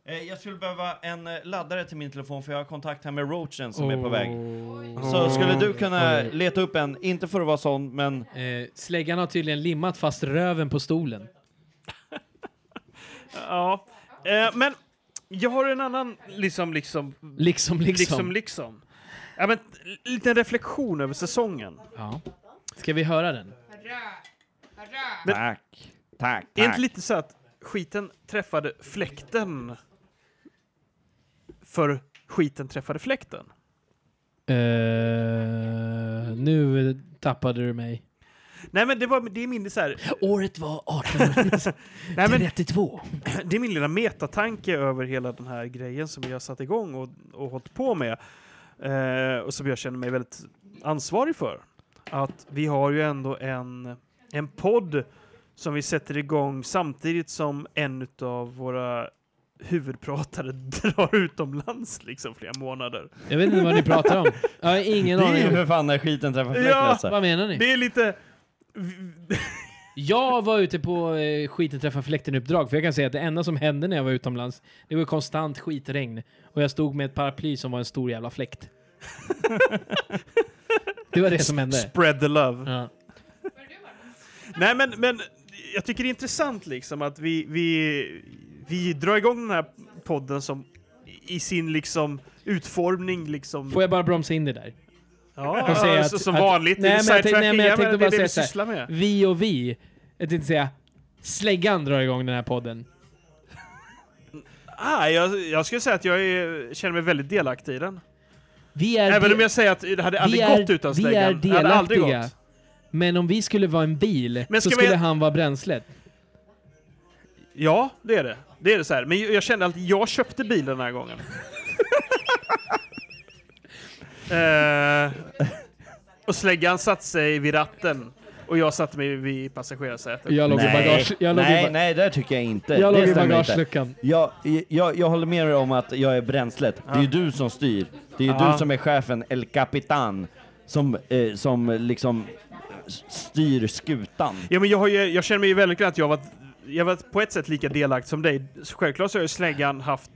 [SPEAKER 4] Eh, jag skulle behöva en eh, laddare till min telefon för jag har kontakt här med roachen som är på väg.
[SPEAKER 3] Oh.
[SPEAKER 4] Så skulle du kunna leta upp en, inte för att vara sån, men
[SPEAKER 3] Eh, släggan har tydligen limmat fast röven på stolen.
[SPEAKER 1] Ja, eh, men jag har en annan liksom, liksom,
[SPEAKER 3] Liksom, liksom.
[SPEAKER 1] liksom, liksom. Ja, men, l- liten reflektion över säsongen.
[SPEAKER 3] Ja. Ska vi höra den?
[SPEAKER 4] tack. Tack,
[SPEAKER 1] Är inte
[SPEAKER 4] tack.
[SPEAKER 1] lite så att skiten träffade fläkten för skiten träffade fläkten?
[SPEAKER 3] Eh, nu tappade du mig.
[SPEAKER 1] Nej, men det, var, det är min lite så här,
[SPEAKER 3] Året var 1832.
[SPEAKER 1] nej, men, det är min lilla metatanke över hela den här grejen som jag har satt igång och, och hållit på med eh, och som jag känner mig väldigt ansvarig för. Att vi har ju ändå en, en podd som vi sätter igång samtidigt som en av våra huvudpratare drar utomlands liksom flera månader.
[SPEAKER 3] Jag vet inte vad ni pratar om. Jag har ingen
[SPEAKER 4] Det är ju
[SPEAKER 3] aning.
[SPEAKER 4] för
[SPEAKER 3] om-
[SPEAKER 4] fan när skiten träffar fläkten
[SPEAKER 1] Ja.
[SPEAKER 4] alltså.
[SPEAKER 3] Vad menar ni?
[SPEAKER 1] Det är lite...
[SPEAKER 3] Jag var ute på eh, skiten träffa fläkten-uppdrag, för jag kan säga att det enda som hände när jag var utomlands, det var konstant skitregn. Och jag stod med ett paraply som var en stor jävla fläkt. det var det som hände.
[SPEAKER 1] Spread the love.
[SPEAKER 3] Ja.
[SPEAKER 1] Nej, men, men jag tycker det är intressant liksom att vi, vi, vi drar igång den här podden som i sin liksom utformning liksom...
[SPEAKER 3] Får jag bara bromsa in det där?
[SPEAKER 1] ja,
[SPEAKER 3] jag säga
[SPEAKER 1] så,
[SPEAKER 3] att-
[SPEAKER 1] som
[SPEAKER 3] att-
[SPEAKER 1] vanligt.
[SPEAKER 3] nej, men jag
[SPEAKER 1] sidetrack
[SPEAKER 3] tänkte- nej, men jag
[SPEAKER 1] igen,
[SPEAKER 3] tänkte
[SPEAKER 1] det är
[SPEAKER 3] bara
[SPEAKER 1] det vi
[SPEAKER 3] säga så
[SPEAKER 1] sysslar med.
[SPEAKER 3] Vi och vi. Jag tänkte säga, släggan drar igång den här podden.
[SPEAKER 1] Ah, jag, jag skulle säga att jag är, känner mig väldigt delaktig i den.
[SPEAKER 3] Vi är,
[SPEAKER 1] Även
[SPEAKER 3] de-
[SPEAKER 1] om jag säger att det hade aldrig
[SPEAKER 3] vi är,
[SPEAKER 1] gått utan
[SPEAKER 3] vi är
[SPEAKER 1] släggan. Det hade aldrig
[SPEAKER 3] delaktiga.
[SPEAKER 1] gått.
[SPEAKER 3] Men om vi skulle vara en bil
[SPEAKER 1] Men
[SPEAKER 3] så
[SPEAKER 1] ska vi-
[SPEAKER 3] skulle han vara bränslet.
[SPEAKER 1] Ja, det är det. Det är det så här. Men jag kände att jag köpte bilen den här gången. eh, och släggan satte sig vid ratten. Och jag satte mig vid passagerarsätet.
[SPEAKER 3] Och jag låg i bagage... Jag låg
[SPEAKER 4] nej,
[SPEAKER 3] i, ba-
[SPEAKER 4] nej, det tycker jag inte.
[SPEAKER 3] jag
[SPEAKER 4] det
[SPEAKER 3] låg i
[SPEAKER 4] stämmer
[SPEAKER 3] bagageluckan.
[SPEAKER 4] inte. Jag, jag, jag håller med dig om att jag är bränslet. Det är ju du som styr. Det är ju
[SPEAKER 1] Ja.
[SPEAKER 4] du som är chefen, El Capitan, som, eh, som liksom styr skutan.
[SPEAKER 1] Ja, men jag, har ju, jag känner mig ju väldigt glad att jag varit, jag varit på ett sätt lika delaktig som dig. Så Självklart så har ju släggan haft,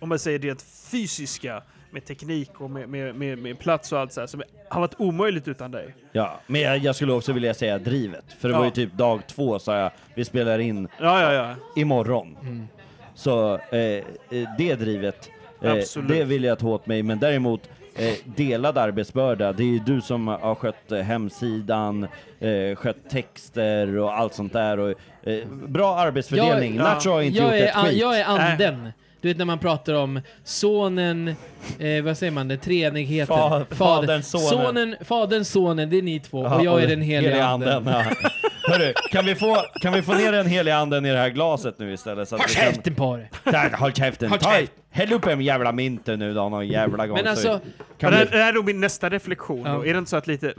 [SPEAKER 1] om man säger det fysiska, med teknik och med, med, med, med plats och allt så här, som har varit omöjligt utan dig.
[SPEAKER 4] Ja, men jag, jag skulle också vilja säga drivet. För det
[SPEAKER 1] Ja.
[SPEAKER 4] var ju typ dag två sa jag, vi spelar in
[SPEAKER 1] Ja, ja, Mm. ja.
[SPEAKER 4] imorgon. Så eh, eh, det drivet, eh,
[SPEAKER 1] Absolut.
[SPEAKER 4] det vill jag ta åt mig. Men däremot eh, delad arbetsbörda, det är ju du som har skött eh, hemsidan, eh, skött texter och allt sånt där. Och, eh, bra arbetsfördelning.
[SPEAKER 3] Jag-
[SPEAKER 4] Nacho har inte
[SPEAKER 3] jag
[SPEAKER 4] gjort
[SPEAKER 3] är,
[SPEAKER 4] ett
[SPEAKER 3] an-
[SPEAKER 4] skit.
[SPEAKER 1] Äh.
[SPEAKER 3] Jag är anden. Du vet när man pratar om sonen, eh, vad säger man, det treenigheten.
[SPEAKER 4] Fa-
[SPEAKER 3] Fader-
[SPEAKER 4] fadern, sonen.
[SPEAKER 3] sonen. Fadern, sonen, det är ni två.
[SPEAKER 4] Ja,
[SPEAKER 3] och jag är den heliga
[SPEAKER 4] heliga
[SPEAKER 3] anden.
[SPEAKER 4] ja. Hörru, kan vi, få, kan vi få ner den heliga anden i det här glaset nu istället? Så att
[SPEAKER 3] Håll
[SPEAKER 4] vi kan-
[SPEAKER 3] käften på dig!
[SPEAKER 4] Där, håll käften!
[SPEAKER 3] Håll
[SPEAKER 4] Ta,
[SPEAKER 3] käft.
[SPEAKER 4] häll upp en jävla minter nu då, någon jävla gång.
[SPEAKER 3] Men
[SPEAKER 4] så-
[SPEAKER 3] alltså,
[SPEAKER 4] kan
[SPEAKER 1] det,
[SPEAKER 4] vi...
[SPEAKER 1] här, det här är nog min nästa reflektion.
[SPEAKER 3] Ja.
[SPEAKER 1] Då. Är det inte så att lite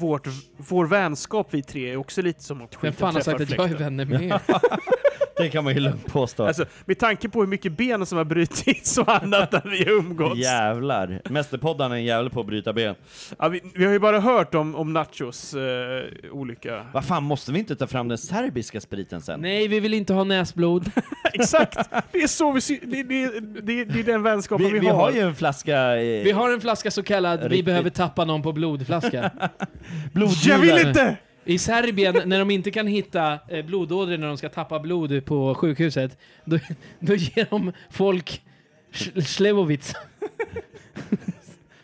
[SPEAKER 1] vårt, vår vänskap vi tre är också lite som att
[SPEAKER 3] Vem
[SPEAKER 1] skiten
[SPEAKER 3] fan har sagt
[SPEAKER 1] träffar
[SPEAKER 3] att jag är
[SPEAKER 1] fläkten?
[SPEAKER 3] vänner med er?
[SPEAKER 4] Det kan man ju lugnt påstå.
[SPEAKER 1] Alltså, med tanke på hur mycket ben som har brutits och annat där vi har umgåtts.
[SPEAKER 4] Jävlar. Mästerpoddarna är en jävel på att bryta ben.
[SPEAKER 1] Ja, vi, vi har ju bara hört om, om Nachos eh, olycka.
[SPEAKER 4] Vad fan, måste vi inte ta fram den serbiska spriten sen?
[SPEAKER 3] Nej, vi vill inte ha näsblod.
[SPEAKER 1] Exakt! Det är så vi sy- det, det, det, det är den vänskapen
[SPEAKER 4] Vi,
[SPEAKER 1] vi,
[SPEAKER 4] vi
[SPEAKER 1] har.
[SPEAKER 4] har ju en flaska eh,
[SPEAKER 3] Vi har en flaska så kallad vi
[SPEAKER 4] Riktigt.
[SPEAKER 3] behöver tappa någon på blodflaska.
[SPEAKER 1] Jag
[SPEAKER 4] blodgivare.
[SPEAKER 1] vill inte!
[SPEAKER 3] I Serbien, när de inte kan hitta eh, blodådror när de ska tappa blod på sjukhuset, då, då ger de folk Sch- Slevovic.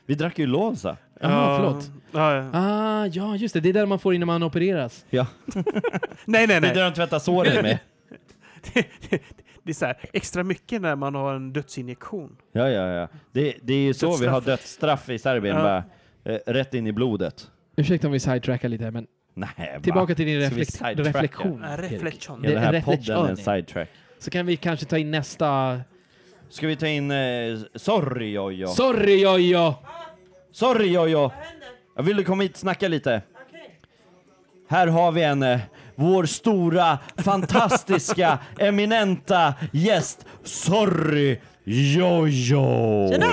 [SPEAKER 4] Vi drack ju Lonsa.
[SPEAKER 3] Jaha, förlåt.
[SPEAKER 1] Ja, ja.
[SPEAKER 3] Ah, ja just det. Det är där man får innan man opereras.
[SPEAKER 4] Ja.
[SPEAKER 1] Nej, nej,
[SPEAKER 4] Det är
[SPEAKER 1] nej.
[SPEAKER 4] det de tvättar såren med.
[SPEAKER 1] Det är så här, extra mycket när man har en dödsinjektion.
[SPEAKER 4] Ja, ja, ja. Det, det är ju så vi har dödsstraff i Serbien.
[SPEAKER 1] Ja.
[SPEAKER 4] Bara, eh, rätt in i blodet.
[SPEAKER 3] Ursäkta om vi sidetrackar lite här, men
[SPEAKER 4] Nej, va?
[SPEAKER 3] tillbaka till din
[SPEAKER 4] Ska vi
[SPEAKER 3] reflekt-
[SPEAKER 4] sidetracka?
[SPEAKER 3] reflektion.
[SPEAKER 1] Ja, reflektion.
[SPEAKER 4] Är
[SPEAKER 3] Det-
[SPEAKER 4] den här
[SPEAKER 3] reflektion.
[SPEAKER 4] podden en sidetrack?
[SPEAKER 3] Så kan vi kanske ta in nästa...
[SPEAKER 4] Ska vi ta in eh, Sorry Jojo?
[SPEAKER 3] Sorry Jojo!
[SPEAKER 4] Sorry Jojo! Jag ville komma hit och snacka lite. Här har vi en, eh, vår stora, fantastiska, eminenta gäst, Sorry Jojo! Tjena!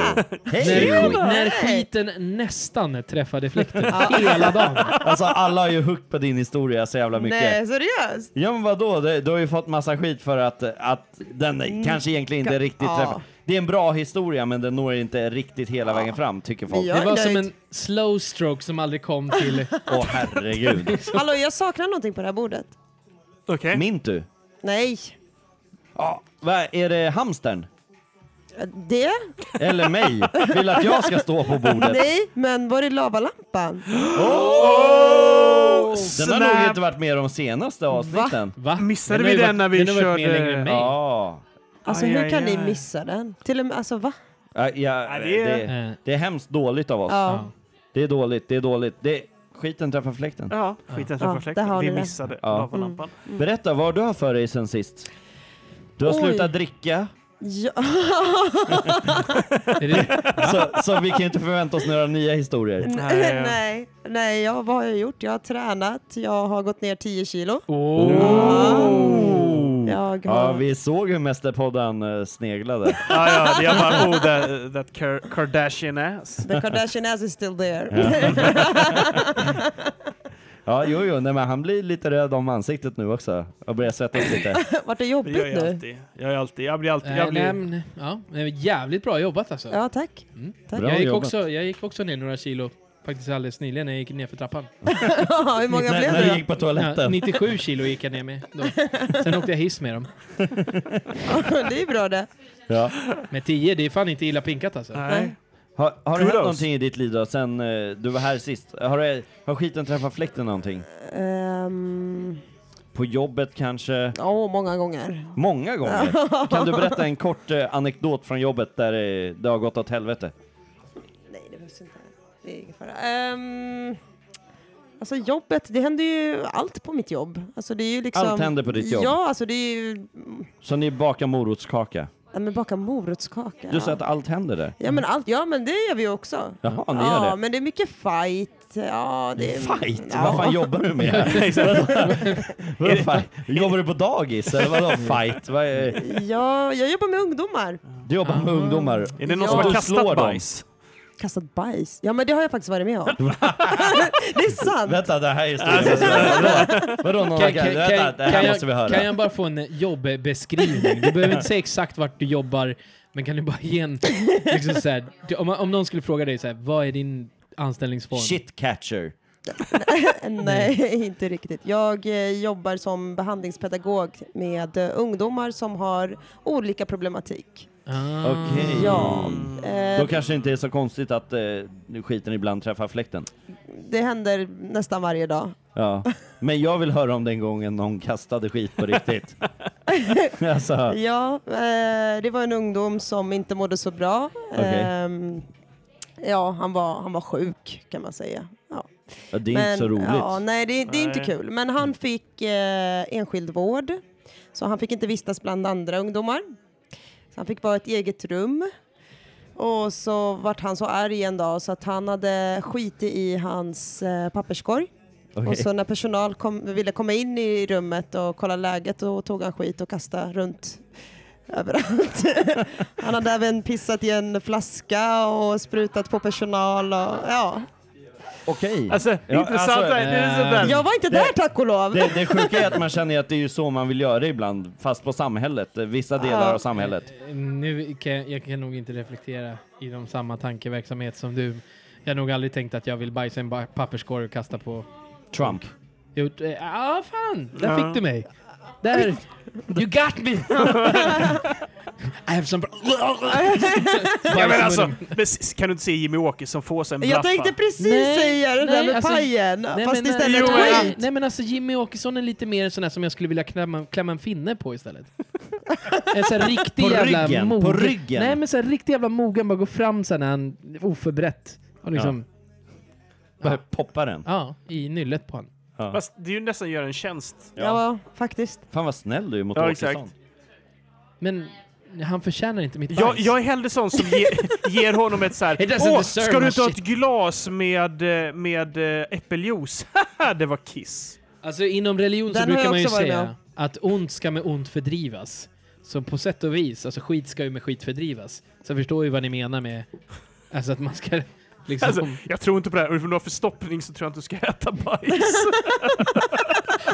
[SPEAKER 3] När,
[SPEAKER 4] Hej!
[SPEAKER 3] sk- när skiten nästan träffade fläkten. Hela dagen.
[SPEAKER 4] Alltså alla har ju huggt på din historia så jävla mycket.
[SPEAKER 8] Nej, seriöst?
[SPEAKER 4] Ja men vadå, Det- du har ju fått massa skit för att, att den kanske egentligen inte riktigt
[SPEAKER 8] Mm. ja.
[SPEAKER 4] träffar. Det är en bra historia men den når inte riktigt hela vägen fram tycker folk.
[SPEAKER 8] Men
[SPEAKER 4] Åh
[SPEAKER 8] jag-
[SPEAKER 3] Det var som
[SPEAKER 8] nöjd.
[SPEAKER 3] en slow stroke som aldrig kom till...
[SPEAKER 4] herregud.
[SPEAKER 8] Hallå, jag saknar någonting på det här bordet.
[SPEAKER 1] Okej.
[SPEAKER 4] Mint du?
[SPEAKER 8] Nej,
[SPEAKER 4] Ja. Va, är det hamstern?
[SPEAKER 8] det?
[SPEAKER 4] Eller mig? Vill att jag ska stå på bordet?
[SPEAKER 8] Nej, men var är lavalampan?
[SPEAKER 1] Oh!
[SPEAKER 4] Den har nog inte varit med de senaste avsnitten.
[SPEAKER 3] Va?
[SPEAKER 1] Missade
[SPEAKER 3] har
[SPEAKER 1] vi
[SPEAKER 3] ju
[SPEAKER 1] den när
[SPEAKER 3] varit-
[SPEAKER 1] vi
[SPEAKER 3] har varit med
[SPEAKER 1] körde-
[SPEAKER 3] längre än mig.
[SPEAKER 4] Ja.
[SPEAKER 8] Alltså
[SPEAKER 1] Aj,
[SPEAKER 8] hur
[SPEAKER 1] aj,
[SPEAKER 8] kan
[SPEAKER 1] aj.
[SPEAKER 8] ni missa den? Till och med, alltså va?
[SPEAKER 4] Ja, ja,
[SPEAKER 1] det
[SPEAKER 4] det,
[SPEAKER 1] är-
[SPEAKER 3] Eh.
[SPEAKER 4] det är hemskt dåligt av oss.
[SPEAKER 8] Ja.
[SPEAKER 4] Det är dåligt, det är dåligt. Det, skiten träffar fläkten.
[SPEAKER 1] Ja, skiten
[SPEAKER 8] Ja,
[SPEAKER 1] ja,
[SPEAKER 8] där har
[SPEAKER 1] Vi
[SPEAKER 8] ni Mm. det.
[SPEAKER 1] missade
[SPEAKER 4] Ja.
[SPEAKER 1] lavalampan.
[SPEAKER 4] Berätta, vad har du har för dig sen sist? Du har
[SPEAKER 8] Oj.
[SPEAKER 4] slutat dricka,
[SPEAKER 8] Ja.
[SPEAKER 3] Är det-
[SPEAKER 4] så, så vi kan ju inte förvänta oss några nya historier.
[SPEAKER 1] Nej.
[SPEAKER 8] nej, nej, ja, vad har jag gjort? Jag har tränat, jag har gått ner 10 kilo. Jag har...
[SPEAKER 4] Oh. Ja, vi såg hur Mästerpodden eh, sneglade.
[SPEAKER 1] Ja, ja, det är bara oh, that, that Kar- Kardashian ass.
[SPEAKER 8] The Kardashian ass is still there.
[SPEAKER 4] Ja, jo, jo, nej, men han blir lite röd om ansiktet nu också och börjar svettas lite.
[SPEAKER 8] Vart det
[SPEAKER 1] Det
[SPEAKER 8] jobbigt
[SPEAKER 1] gör jag
[SPEAKER 8] nu?
[SPEAKER 1] alltid. Jag, är alltid. jag blir alltid...
[SPEAKER 3] Nej,
[SPEAKER 1] Jag blir...
[SPEAKER 3] nej, men- ja, men jävligt bra jobbat alltså.
[SPEAKER 8] Ja, tack.
[SPEAKER 4] Bra
[SPEAKER 3] jag, gick
[SPEAKER 4] jobbat.
[SPEAKER 3] också, jag gick också ner några kilo. Faktiskt alldeles nyligen när jag gick ner för trappan.
[SPEAKER 8] Ja, Hur många
[SPEAKER 4] när,
[SPEAKER 8] blev
[SPEAKER 4] när du
[SPEAKER 8] det
[SPEAKER 4] gick på
[SPEAKER 3] Ja,
[SPEAKER 4] toaletten.
[SPEAKER 3] 97 kilo gick jag ner med då. Sen åkte jag hiss med dem.
[SPEAKER 8] då? Det är bra det.
[SPEAKER 4] Ja.
[SPEAKER 3] Med 10, det är fan inte illa pinkat alltså.
[SPEAKER 1] Nej.
[SPEAKER 4] Har, har det
[SPEAKER 1] Kudos.
[SPEAKER 4] hänt någonting i ditt liv då, sen eh, du var här sist? Har, det- har skiten träffat fläkten någonting?
[SPEAKER 8] Ehm,
[SPEAKER 4] På jobbet kanske?
[SPEAKER 8] Ja, många gånger.
[SPEAKER 4] Många gånger? Kan du berätta en kort eh, anekdot från jobbet där eh, det har gått åt helvete?
[SPEAKER 8] Nej, det behövs inte. Det är ingen fara. Ehm, alltså jobbet, det händer ju allt på mitt jobb. Alltså, det är ju liksom,
[SPEAKER 4] Allt händer på ditt jobb?
[SPEAKER 8] Ja, alltså det är ju...
[SPEAKER 4] Så ni bakar morotskaka?
[SPEAKER 8] Ja, men baka morotskaka.
[SPEAKER 4] Du sa att allt händer där? Mm.
[SPEAKER 8] Ja men, allt, ja, men det gör vi också.
[SPEAKER 4] Jaha, ni
[SPEAKER 8] ja,
[SPEAKER 4] gör det?
[SPEAKER 8] men det är mycket fight. Ja, det är,
[SPEAKER 4] Fight?
[SPEAKER 8] Ja.
[SPEAKER 4] Vad fan jobbar du med här? Vadå fight? Jobbar du på dagis eller vadå fight? Vad är-
[SPEAKER 8] Ja, jag jobbar med ungdomar.
[SPEAKER 4] Du jobbar med ungdomar?
[SPEAKER 1] Är det någon
[SPEAKER 8] Ja.
[SPEAKER 1] som
[SPEAKER 4] Du
[SPEAKER 1] har
[SPEAKER 4] slår dem.
[SPEAKER 1] kastat bajs?
[SPEAKER 8] Kastat bajs. Ja, men det har jag faktiskt varit med om. det är sant. Alltså,
[SPEAKER 4] Vänta, det här är historien. Alltså, Vadå? Vadå någon
[SPEAKER 3] Kan,
[SPEAKER 4] kan,
[SPEAKER 3] kan,
[SPEAKER 4] Vänta,
[SPEAKER 3] kan,
[SPEAKER 4] det här
[SPEAKER 3] kan,
[SPEAKER 4] måste vi höra.
[SPEAKER 3] jag, kan jag bara få en eh, jobbeskrivning? Du behöver inte säga exakt vart du jobbar, men kan du bara ge en... Liksom så här, om, om någon skulle fråga dig så här, vad är din anställningsform?
[SPEAKER 4] Shit catcher.
[SPEAKER 8] Nej, inte riktigt. Jag eh, jobbar som behandlingspedagog med eh, ungdomar som har olika problematik.
[SPEAKER 3] Ah.
[SPEAKER 4] Okej.
[SPEAKER 8] Ja, eh,
[SPEAKER 4] Då kanske det inte är så konstigt att eh, skiten ibland träffar fläkten.
[SPEAKER 8] det händer nästan varje dag.
[SPEAKER 4] Ja. Men jag vill höra om den gången någon kastade skit på riktigt. alltså,
[SPEAKER 8] Ja, eh, det var en ungdom som inte mådde så bra.
[SPEAKER 4] Okej.
[SPEAKER 8] Ehm, ja, han var, han var sjuk kan man säga. Ja.
[SPEAKER 4] ja, det är inte så roligt. Mm.
[SPEAKER 8] Ja, nej, det, det är inte
[SPEAKER 1] Nej.
[SPEAKER 8] kul. Men han fick eh, enskild vård, så han fick inte vistas bland andra ungdomar. Så han fick vara i ett eget rum. Och så vart han så arg en dag så att han hade skitit i hans eh, papperskorg.
[SPEAKER 4] Okej.
[SPEAKER 8] Och så när personal kom, ville komma in i rummet och kolla läget då tog han skit och kastade runt överallt. han hade även pissat i en flaska och sprutat på personal. Och, ja.
[SPEAKER 4] Okej.
[SPEAKER 1] Alltså,
[SPEAKER 4] Ja,
[SPEAKER 1] intressant.
[SPEAKER 4] alltså,
[SPEAKER 1] det är sådär.
[SPEAKER 8] Jag var inte där tack och lov.
[SPEAKER 4] Det, det sjuka är att man känner ju att det är ju så man vill göra ibland, fast på samhället, eh, vissa delar
[SPEAKER 8] Ja.
[SPEAKER 4] av samhället.
[SPEAKER 3] Nu kan jag, jag kan nog inte reflektera inom samma tankeverksamhet som du. Jag har nog aldrig tänkt att jag vill bajsa i en ba- papperskorg och kasta på...
[SPEAKER 4] Trump.
[SPEAKER 3] Ja, ah, fan! Där
[SPEAKER 1] Ja.
[SPEAKER 3] fick du mig! Där! You got me! I have some...
[SPEAKER 1] Ja, men alltså, men s- kan du inte se Jimmy Åkesson få sig en
[SPEAKER 8] Jag
[SPEAKER 1] blaffa?
[SPEAKER 8] tänkte precis
[SPEAKER 3] Nej,
[SPEAKER 8] säga det där
[SPEAKER 3] nej,
[SPEAKER 8] med
[SPEAKER 3] alltså,
[SPEAKER 8] pajen,
[SPEAKER 3] nej,
[SPEAKER 8] fast
[SPEAKER 3] men-
[SPEAKER 8] istället
[SPEAKER 1] Jo, men-
[SPEAKER 8] skit.
[SPEAKER 3] Nej, nej men alltså Jimmy Åkesson är lite mer sån här som jag skulle vilja klämma, klämma en finne på istället. En sån här riktig
[SPEAKER 4] På
[SPEAKER 3] jävla
[SPEAKER 4] ryggen, på
[SPEAKER 3] mogen.
[SPEAKER 4] ryggen.
[SPEAKER 3] Nej men sån här riktig jävla mogen, bara gå fram sen när han oförberett. Och liksom,
[SPEAKER 4] Bara poppa den.
[SPEAKER 3] ja. i nyllet på han.
[SPEAKER 1] Fast det är ju nästan att göra en tjänst.
[SPEAKER 8] Ja. faktiskt.
[SPEAKER 4] Fan vad snäll du är mot
[SPEAKER 1] Ja,
[SPEAKER 4] Åkesson.
[SPEAKER 1] exakt.
[SPEAKER 3] Men han förtjänar inte mitt
[SPEAKER 1] Jag,
[SPEAKER 3] bajs.
[SPEAKER 1] jag är hellre sån som ger, ger honom ett så här.
[SPEAKER 3] It doesn't
[SPEAKER 1] Åh,
[SPEAKER 3] deserve
[SPEAKER 1] ska
[SPEAKER 3] my
[SPEAKER 1] du ta ett
[SPEAKER 3] shit."
[SPEAKER 1] glas med, eh, med eh, äppeljuice? Haha, det var kiss.
[SPEAKER 3] Alltså inom religion så
[SPEAKER 8] Den har
[SPEAKER 3] brukar
[SPEAKER 8] jag
[SPEAKER 3] man ju
[SPEAKER 8] också varit med
[SPEAKER 3] säga att ont ska med ont fördrivas. Så på sätt och vis, alltså skit ska ju med skit fördrivas. Så jag förstår ju vad ni menar med alltså att man ska liksom...
[SPEAKER 1] Alltså, jag tror inte på det här. Om du har förstoppning så tror jag inte du ska äta bajs.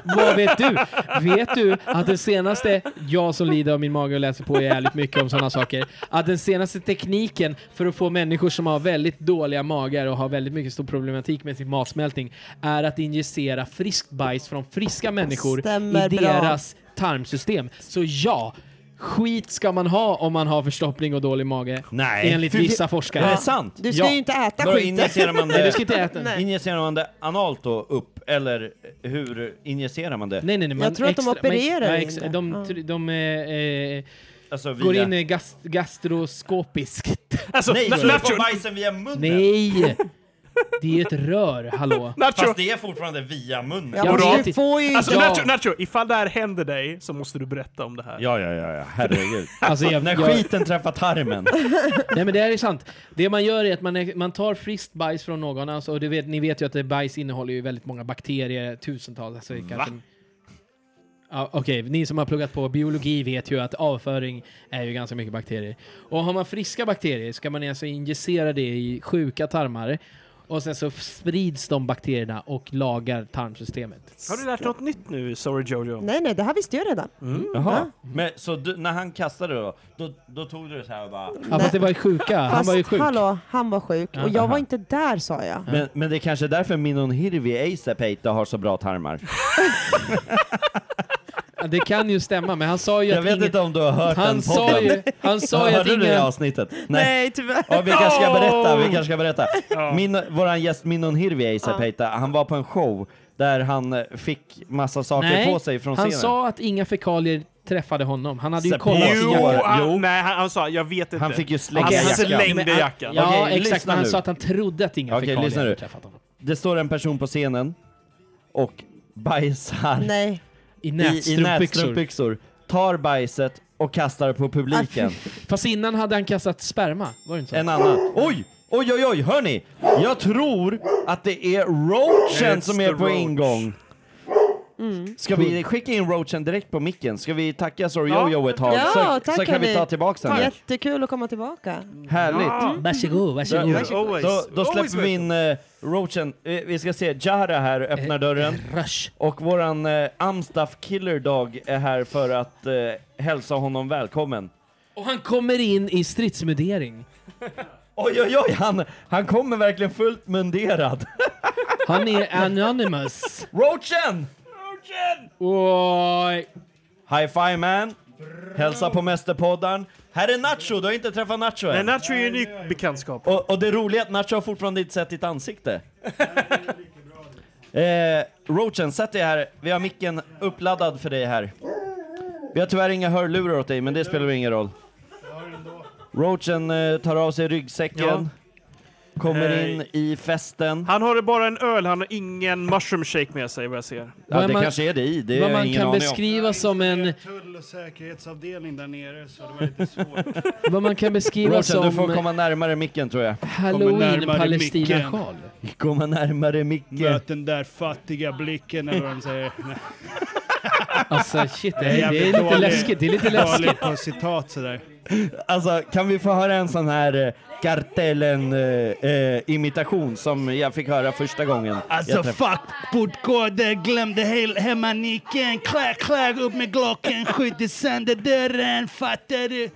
[SPEAKER 3] Vad vet du? Vet du att den senaste, jag som lider av min mage och läser på jävligt mycket om sådana saker, att den senaste tekniken för att få människor som har väldigt dåliga magar och har väldigt mycket stor problematik med sin matsmältning är att injicera friskt bajs från friska människor
[SPEAKER 8] Stämmer
[SPEAKER 3] i
[SPEAKER 8] bra.
[SPEAKER 3] deras tarmsystem. Så ja, skit ska man ha om man har förstoppning och dålig mage.
[SPEAKER 4] Nej.
[SPEAKER 3] Enligt
[SPEAKER 4] Fy-
[SPEAKER 3] vissa forskare.
[SPEAKER 4] Är det sant?
[SPEAKER 8] Du ska
[SPEAKER 3] Ja.
[SPEAKER 8] ju inte äta
[SPEAKER 4] Vadå,
[SPEAKER 8] skiten.
[SPEAKER 4] injicerar man
[SPEAKER 3] Nej, du
[SPEAKER 4] det,
[SPEAKER 3] ska inte äta den.
[SPEAKER 8] Nej.
[SPEAKER 4] injicerar man det analt då upp, eller hur injicerar man det?
[SPEAKER 3] Nej, nej, nej. man
[SPEAKER 8] tror att de
[SPEAKER 3] extra- man-
[SPEAKER 8] opererar
[SPEAKER 3] ja,
[SPEAKER 8] in
[SPEAKER 3] ex-
[SPEAKER 8] det.
[SPEAKER 3] De,
[SPEAKER 8] Ja.
[SPEAKER 3] de, de eh, eh,
[SPEAKER 4] Alltså
[SPEAKER 3] går
[SPEAKER 4] via...
[SPEAKER 3] in eh, gast, gastroskopiskt.
[SPEAKER 1] Alltså,
[SPEAKER 4] Nej,
[SPEAKER 1] na-
[SPEAKER 4] du får
[SPEAKER 1] nacho,
[SPEAKER 4] bajsen via munnen!
[SPEAKER 3] Nej! Det är ett rör, hallå.
[SPEAKER 1] nacho,
[SPEAKER 4] Fast det är fortfarande via munnen.
[SPEAKER 8] Ja,
[SPEAKER 3] Jag
[SPEAKER 8] men
[SPEAKER 3] vet
[SPEAKER 8] du
[SPEAKER 3] inte.
[SPEAKER 8] får ju
[SPEAKER 1] alltså,
[SPEAKER 3] Ja.
[SPEAKER 1] nacho, nacho, ifall det här händer dig så måste du berätta om det här.
[SPEAKER 4] Ja, ja, ja, ja. herregud.
[SPEAKER 3] Alltså jag,
[SPEAKER 4] När
[SPEAKER 3] jag,
[SPEAKER 4] skiten träffar tarmen.
[SPEAKER 3] nej men det här är sant. Det man gör är att man, är, man tar friskt bajs från någon, alltså, och du vet, ni vet ju att det bajs innehåller ju väldigt många bakterier, tusentals. Alltså, kanske, ja, Okej, ni som har pluggat på biologi vet ju att avföring är ju ganska mycket bakterier. Och har man friska bakterier ska man alltså injicera det i sjuka tarmar. Och sen så sprids de bakterierna och lagar tarmsystemet.
[SPEAKER 1] Har du lärt dig något nytt nu, Sorry Jojo?
[SPEAKER 8] Nej, nej, det här visste jag redan.
[SPEAKER 3] Mm.
[SPEAKER 4] Jaha. Men, så du, när han kastade då, då, då tog du det så här och bara...
[SPEAKER 3] Ja, fast det var ju sjuka. Han
[SPEAKER 8] Fast,
[SPEAKER 3] var ju sjuk.
[SPEAKER 8] Hallå, han var sjuk. Och jag var inte där sa jag.
[SPEAKER 4] Men, men det är kanske är därför Minon Hirvi Asapeita har så bra tarmar.
[SPEAKER 3] Ja, Det kan ju stämma, men han sa ju
[SPEAKER 4] Jag
[SPEAKER 3] att
[SPEAKER 4] vet
[SPEAKER 3] ingen...
[SPEAKER 4] inte om du har hört
[SPEAKER 3] han
[SPEAKER 4] den podden.
[SPEAKER 3] sa ju, han sa ju att
[SPEAKER 4] Hörde du det
[SPEAKER 3] ingen...
[SPEAKER 4] avsnittet?
[SPEAKER 8] tyvärr.
[SPEAKER 4] Ja, vi kanske ska berätta. Vi kanske ska berätta. Min, våran gäst Minon Hirvi Asapeita, han var på en show där han eh, fick massa saker på sig från
[SPEAKER 3] han
[SPEAKER 4] scenen.
[SPEAKER 3] sa att inga fekalier träffade honom. Han hade ju
[SPEAKER 4] Sepp-
[SPEAKER 3] kollat
[SPEAKER 4] Jo,
[SPEAKER 3] sin jacka.
[SPEAKER 1] han,
[SPEAKER 4] Jo.
[SPEAKER 1] ah, Nej, han, han sa jag vet inte.
[SPEAKER 4] Han fick ju slänga
[SPEAKER 3] Okej,
[SPEAKER 1] han
[SPEAKER 3] jackan.
[SPEAKER 1] slängde
[SPEAKER 3] Men han-
[SPEAKER 1] jackan.
[SPEAKER 3] Ja,
[SPEAKER 4] Okej,
[SPEAKER 3] exakt.
[SPEAKER 4] lyssna
[SPEAKER 3] Men han
[SPEAKER 4] nu.
[SPEAKER 3] sa att han trodde att inga
[SPEAKER 4] Okej,
[SPEAKER 3] fekalier
[SPEAKER 4] lyssna nu.
[SPEAKER 3] hade träffat honom.
[SPEAKER 4] Det står en person på scenen och bajsar
[SPEAKER 8] Nej,
[SPEAKER 3] I
[SPEAKER 4] i, i
[SPEAKER 3] nätstrumpbyxor.
[SPEAKER 4] nätstrumpbyxor, tar bajset och kastar på publiken.
[SPEAKER 8] Ah,
[SPEAKER 3] Fast innan hade han kastat sperma, var det inte så?
[SPEAKER 4] En annan. Oj! Oj, oj, oj, hör ni? Jag tror att det är roachen
[SPEAKER 1] It's
[SPEAKER 4] som
[SPEAKER 1] the
[SPEAKER 4] är på
[SPEAKER 1] roach.
[SPEAKER 4] ingång.
[SPEAKER 8] Mm.
[SPEAKER 4] Ska vi skicka in roachen direkt på micken? Ska vi tacka Sorry
[SPEAKER 1] Ja.
[SPEAKER 4] Jojo ett tag?
[SPEAKER 8] Ja,
[SPEAKER 4] så, så
[SPEAKER 8] tackar
[SPEAKER 4] kan vi
[SPEAKER 8] vi.
[SPEAKER 4] ta tillbaka den.
[SPEAKER 8] jättekul att komma tillbaka.
[SPEAKER 4] Härligt.
[SPEAKER 3] Mm.
[SPEAKER 6] Varsågod, varsågod.
[SPEAKER 4] Då, då, då släpper vi in eh, roachen. Eh, vi ska se, Jara här öppnar
[SPEAKER 3] Eh,
[SPEAKER 4] dörren.
[SPEAKER 6] Rush.
[SPEAKER 4] Och våran eh, Amstaff Killer Dog är här för att eh, hälsa honom välkommen.
[SPEAKER 3] Och han kommer in i stridsmundering.
[SPEAKER 4] Oj, oj, oj! Han, han kommer verkligen fullt munderad.
[SPEAKER 3] Han är anonymous.
[SPEAKER 4] Roachen!
[SPEAKER 3] Oj.
[SPEAKER 4] High five man! Hälsa på mästerpoddaren. Här är Nacho, du har inte träffat Nacho
[SPEAKER 1] Men
[SPEAKER 4] än.
[SPEAKER 1] Nacho är ju en ny bekantskap.
[SPEAKER 4] Och, och det roliga är att Nacho har fortfarande inte sett ditt ansikte. eh, Roachen, sätt dig här. Vi har micken uppladdad för dig här. Vi har tyvärr inga hörlurar åt dig, men det spelar väl ingen roll. Roachen eh, tar av sig ryggsäcken. Kommer
[SPEAKER 1] Eh,
[SPEAKER 4] in i festen.
[SPEAKER 1] Han har bara en öl, han har ingen mushroom shake med sig vad jag ser.
[SPEAKER 4] Ja,
[SPEAKER 3] Vad
[SPEAKER 4] det
[SPEAKER 3] man-
[SPEAKER 4] kanske är det i. Det
[SPEAKER 3] Vad
[SPEAKER 4] har jag
[SPEAKER 3] man
[SPEAKER 4] ingen
[SPEAKER 3] kan
[SPEAKER 4] aning om.
[SPEAKER 3] beskriva som en...
[SPEAKER 9] tull och säkerhetsavdelning där nere så det var lite svårt.
[SPEAKER 3] Vad man kan beskriva
[SPEAKER 4] Roachen, du får
[SPEAKER 3] som
[SPEAKER 4] komma närmare micken tror jag.
[SPEAKER 9] Kommer närmare micken.
[SPEAKER 3] halloween-palestinasjal.
[SPEAKER 4] Komma närmare micken.
[SPEAKER 9] Möt den där fattiga blicken eller vad de säger. Nej,
[SPEAKER 3] Alltså shit, det är, det
[SPEAKER 9] jävligt
[SPEAKER 3] är lite
[SPEAKER 9] dålig-
[SPEAKER 3] läskigt. Det är lite läskigt.
[SPEAKER 9] Dålig på citat sådär.
[SPEAKER 4] Alltså, kan vi få höra en sån här eh, Kartellen-imitation som jag fick höra första gången?
[SPEAKER 9] Alltså
[SPEAKER 4] jag träffade-
[SPEAKER 9] fuck portkoden, glömde hel- hemma nicken. Klack, klack, upp med klockan, skjuter sönder dörren, fattar du?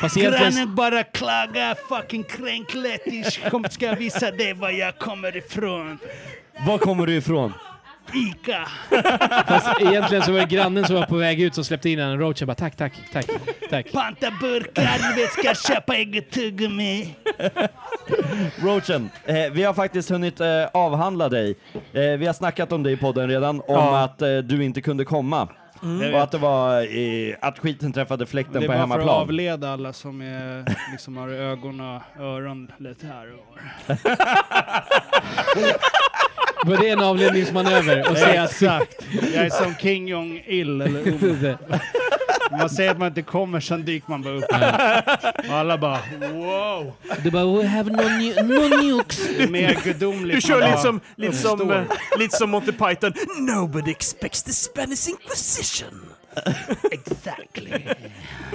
[SPEAKER 3] Fast egentligen,
[SPEAKER 9] Grannen bara klagar, fucking kränk lettish. Kom ska visa dig var jag kommer ifrån.
[SPEAKER 4] Var kommer du ifrån?
[SPEAKER 9] Ica.
[SPEAKER 3] fast egentligen så var det grannen som var på väg ut som släppte in en roach. Jag bara tack, tack, tack, tack.
[SPEAKER 9] Panta burkar, du vet ska köpa eget tuggummi.
[SPEAKER 4] Roachen, eh, vi har faktiskt hunnit eh, avhandla dig. Eh, vi har snackat om dig i podden redan, om att eh, du inte kunde komma. Och att det var eh, att skiten träffade fläkten på
[SPEAKER 9] Mm. Det är bara för att
[SPEAKER 4] hemmaplan.
[SPEAKER 9] avleda alla som är, liksom har ögon och öron lite här och var.
[SPEAKER 3] Var det en avledningsmanöver? Och säga att...
[SPEAKER 9] Exakt. Jag är som King Jong-Il. Eller Om. Man säger att man inte kommer, sen dyker man bara upp. Och alla bara wow.
[SPEAKER 6] Du bara, we have no, nu- no nukes.
[SPEAKER 9] Det är mer gudomligt.
[SPEAKER 1] Du kör
[SPEAKER 9] man
[SPEAKER 1] lite
[SPEAKER 9] bara
[SPEAKER 1] som, lite som,
[SPEAKER 9] uppstår.
[SPEAKER 1] eh, lite som Monty Python. Nobody expects the Spanish Inquisition.
[SPEAKER 9] Exactly.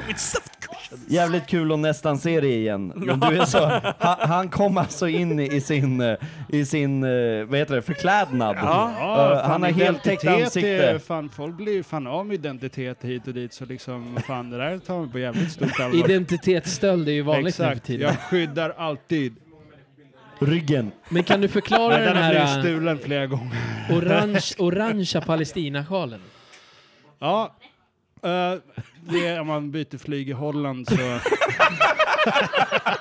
[SPEAKER 1] With soft cushion.
[SPEAKER 4] Jävligt kul att nästan se dig igen. Men du är så, han, han kom alltså in i sin, eh, i sin eh, vad heter det, förklädnad.
[SPEAKER 9] Ja,
[SPEAKER 4] Eh,
[SPEAKER 9] fan,
[SPEAKER 4] han har helt
[SPEAKER 9] identitet
[SPEAKER 4] täckt ansikte.
[SPEAKER 9] är- Fan, folk blir ju fan av med identitet hit och dit så liksom fan det där tar man på jävligt stort allvar.
[SPEAKER 3] Identitetsstöld är ju vanligt nu för
[SPEAKER 9] Exakt,
[SPEAKER 3] tiden.
[SPEAKER 9] jag skyddar alltid.
[SPEAKER 4] Ryggen.
[SPEAKER 3] Men kan du förklara
[SPEAKER 9] Men
[SPEAKER 3] den
[SPEAKER 9] den har blivit
[SPEAKER 3] här äh,
[SPEAKER 9] stulen flera gånger.
[SPEAKER 3] orange, orangea palestinasjalen?
[SPEAKER 9] Ja, eh, det är, om man byter flyg i Holland så...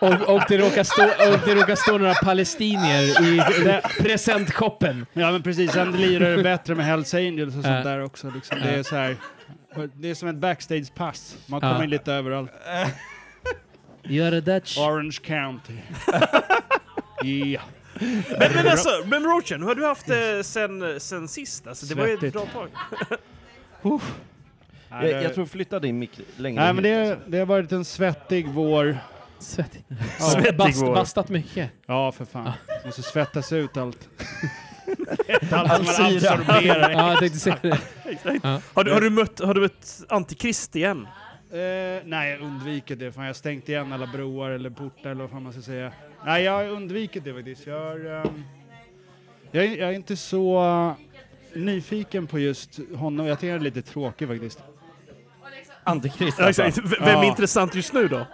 [SPEAKER 3] Och, och, det råkar stå, och det råkar stå några palestinier i i presentshoppen.
[SPEAKER 9] Ja men precis, sen lirar det bättre med Hells Angels och
[SPEAKER 3] Ja.
[SPEAKER 9] sånt där också. Liksom. Det är så här... Det är som ett backstage-pass. Man kommer
[SPEAKER 3] Ja.
[SPEAKER 9] in lite överallt.
[SPEAKER 6] You are a Dutch.
[SPEAKER 9] Orange County. yeah.
[SPEAKER 1] Men, men alltså, men Roachen, hur har du haft det sen, sen sist? Alltså, det var ju ett
[SPEAKER 9] Svettigt.
[SPEAKER 1] bra tag.
[SPEAKER 9] Nej,
[SPEAKER 4] Jag, jag tror flytta din mick längre
[SPEAKER 9] Nej
[SPEAKER 4] hit,
[SPEAKER 9] men det,
[SPEAKER 4] alltså.
[SPEAKER 9] det har varit en svettig vår.
[SPEAKER 3] Svettig.
[SPEAKER 1] Svettig
[SPEAKER 3] Bast,
[SPEAKER 1] vår.
[SPEAKER 3] bastat mycket.
[SPEAKER 9] Ja för fan. Måste svettas ut allt.
[SPEAKER 4] All syra.
[SPEAKER 3] Ja, jag tänkte säga det.
[SPEAKER 1] Har du, har du mött, har du mött Antikrist igen?
[SPEAKER 9] Eh, nej, jag undviker det. Fan, jag har stängt igen alla broar eller portar eller vad fan man ska säga. Nej, jag har undvikit det faktiskt. Jag, har, ehm, jag, är- jag är inte så eh, nyfiken på just honom. Jag tycker han är lite tråkig faktiskt.
[SPEAKER 4] Antikrist
[SPEAKER 1] Ja,
[SPEAKER 4] alltså.
[SPEAKER 1] exakt. V- Vem är
[SPEAKER 9] Ja.
[SPEAKER 1] intressant just nu då?
[SPEAKER 9] Eh,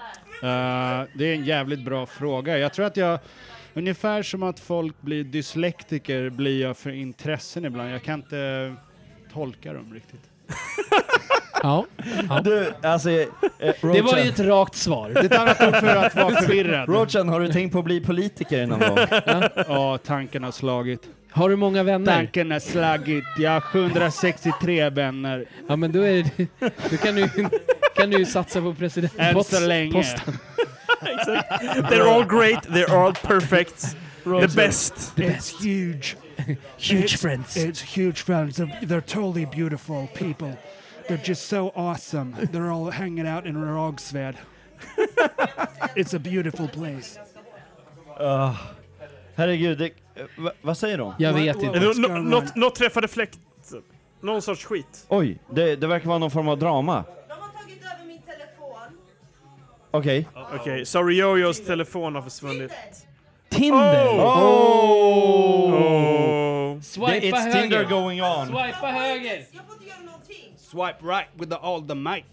[SPEAKER 9] det är en jävligt bra fråga. Jag tror att jag, ungefär som att folk blir dyslektiker blir jag för intressen ibland. Jag kan inte tolka dem riktigt.
[SPEAKER 3] Ja.
[SPEAKER 4] Du, alltså... Eh,
[SPEAKER 3] Det var
[SPEAKER 4] Roachan-
[SPEAKER 3] ju ett rakt svar.
[SPEAKER 9] Det är ett annat ord för att vara förvirrad.
[SPEAKER 4] Roachan, har du tänkt på att bli politiker någon gång?
[SPEAKER 9] Ja, tanken har slagit.
[SPEAKER 3] Har du många vänner?
[SPEAKER 9] Tanken har slagit. Jag har 763 vänner.
[SPEAKER 3] Ja, men då, är det, då kan, du, kan du ju satsa på
[SPEAKER 9] Än så
[SPEAKER 3] presidentposten.
[SPEAKER 9] länge.
[SPEAKER 3] posten.
[SPEAKER 1] They're all great, they're all perfect, the best.
[SPEAKER 10] It's huge.
[SPEAKER 6] Huge friends.
[SPEAKER 10] It's huge friends. They're, they're totally beautiful people. They're just so awesome. They're all hanging out in Rogsved. it's a beautiful place.
[SPEAKER 4] Ah, herregud, det, eh, va, vad säger de?
[SPEAKER 3] Jag vet inte.
[SPEAKER 10] What's
[SPEAKER 1] Nå-
[SPEAKER 10] going on?
[SPEAKER 1] Något något träffade fläkten. Någon sorts skit.
[SPEAKER 4] Oj, det, det verkar vara någon form av drama.
[SPEAKER 8] De har tagit över min telefon.
[SPEAKER 4] Okej.
[SPEAKER 1] Okej, sorry Jojos telefon har försvunnit.
[SPEAKER 3] Tinder!
[SPEAKER 9] Oh!
[SPEAKER 1] Oh.
[SPEAKER 4] Det-
[SPEAKER 3] Swipa
[SPEAKER 4] It's Tinder
[SPEAKER 3] höger!
[SPEAKER 4] going on.
[SPEAKER 3] Swipa höger!
[SPEAKER 8] Jag får inte göra någonting.
[SPEAKER 9] Swipe right with the all the might.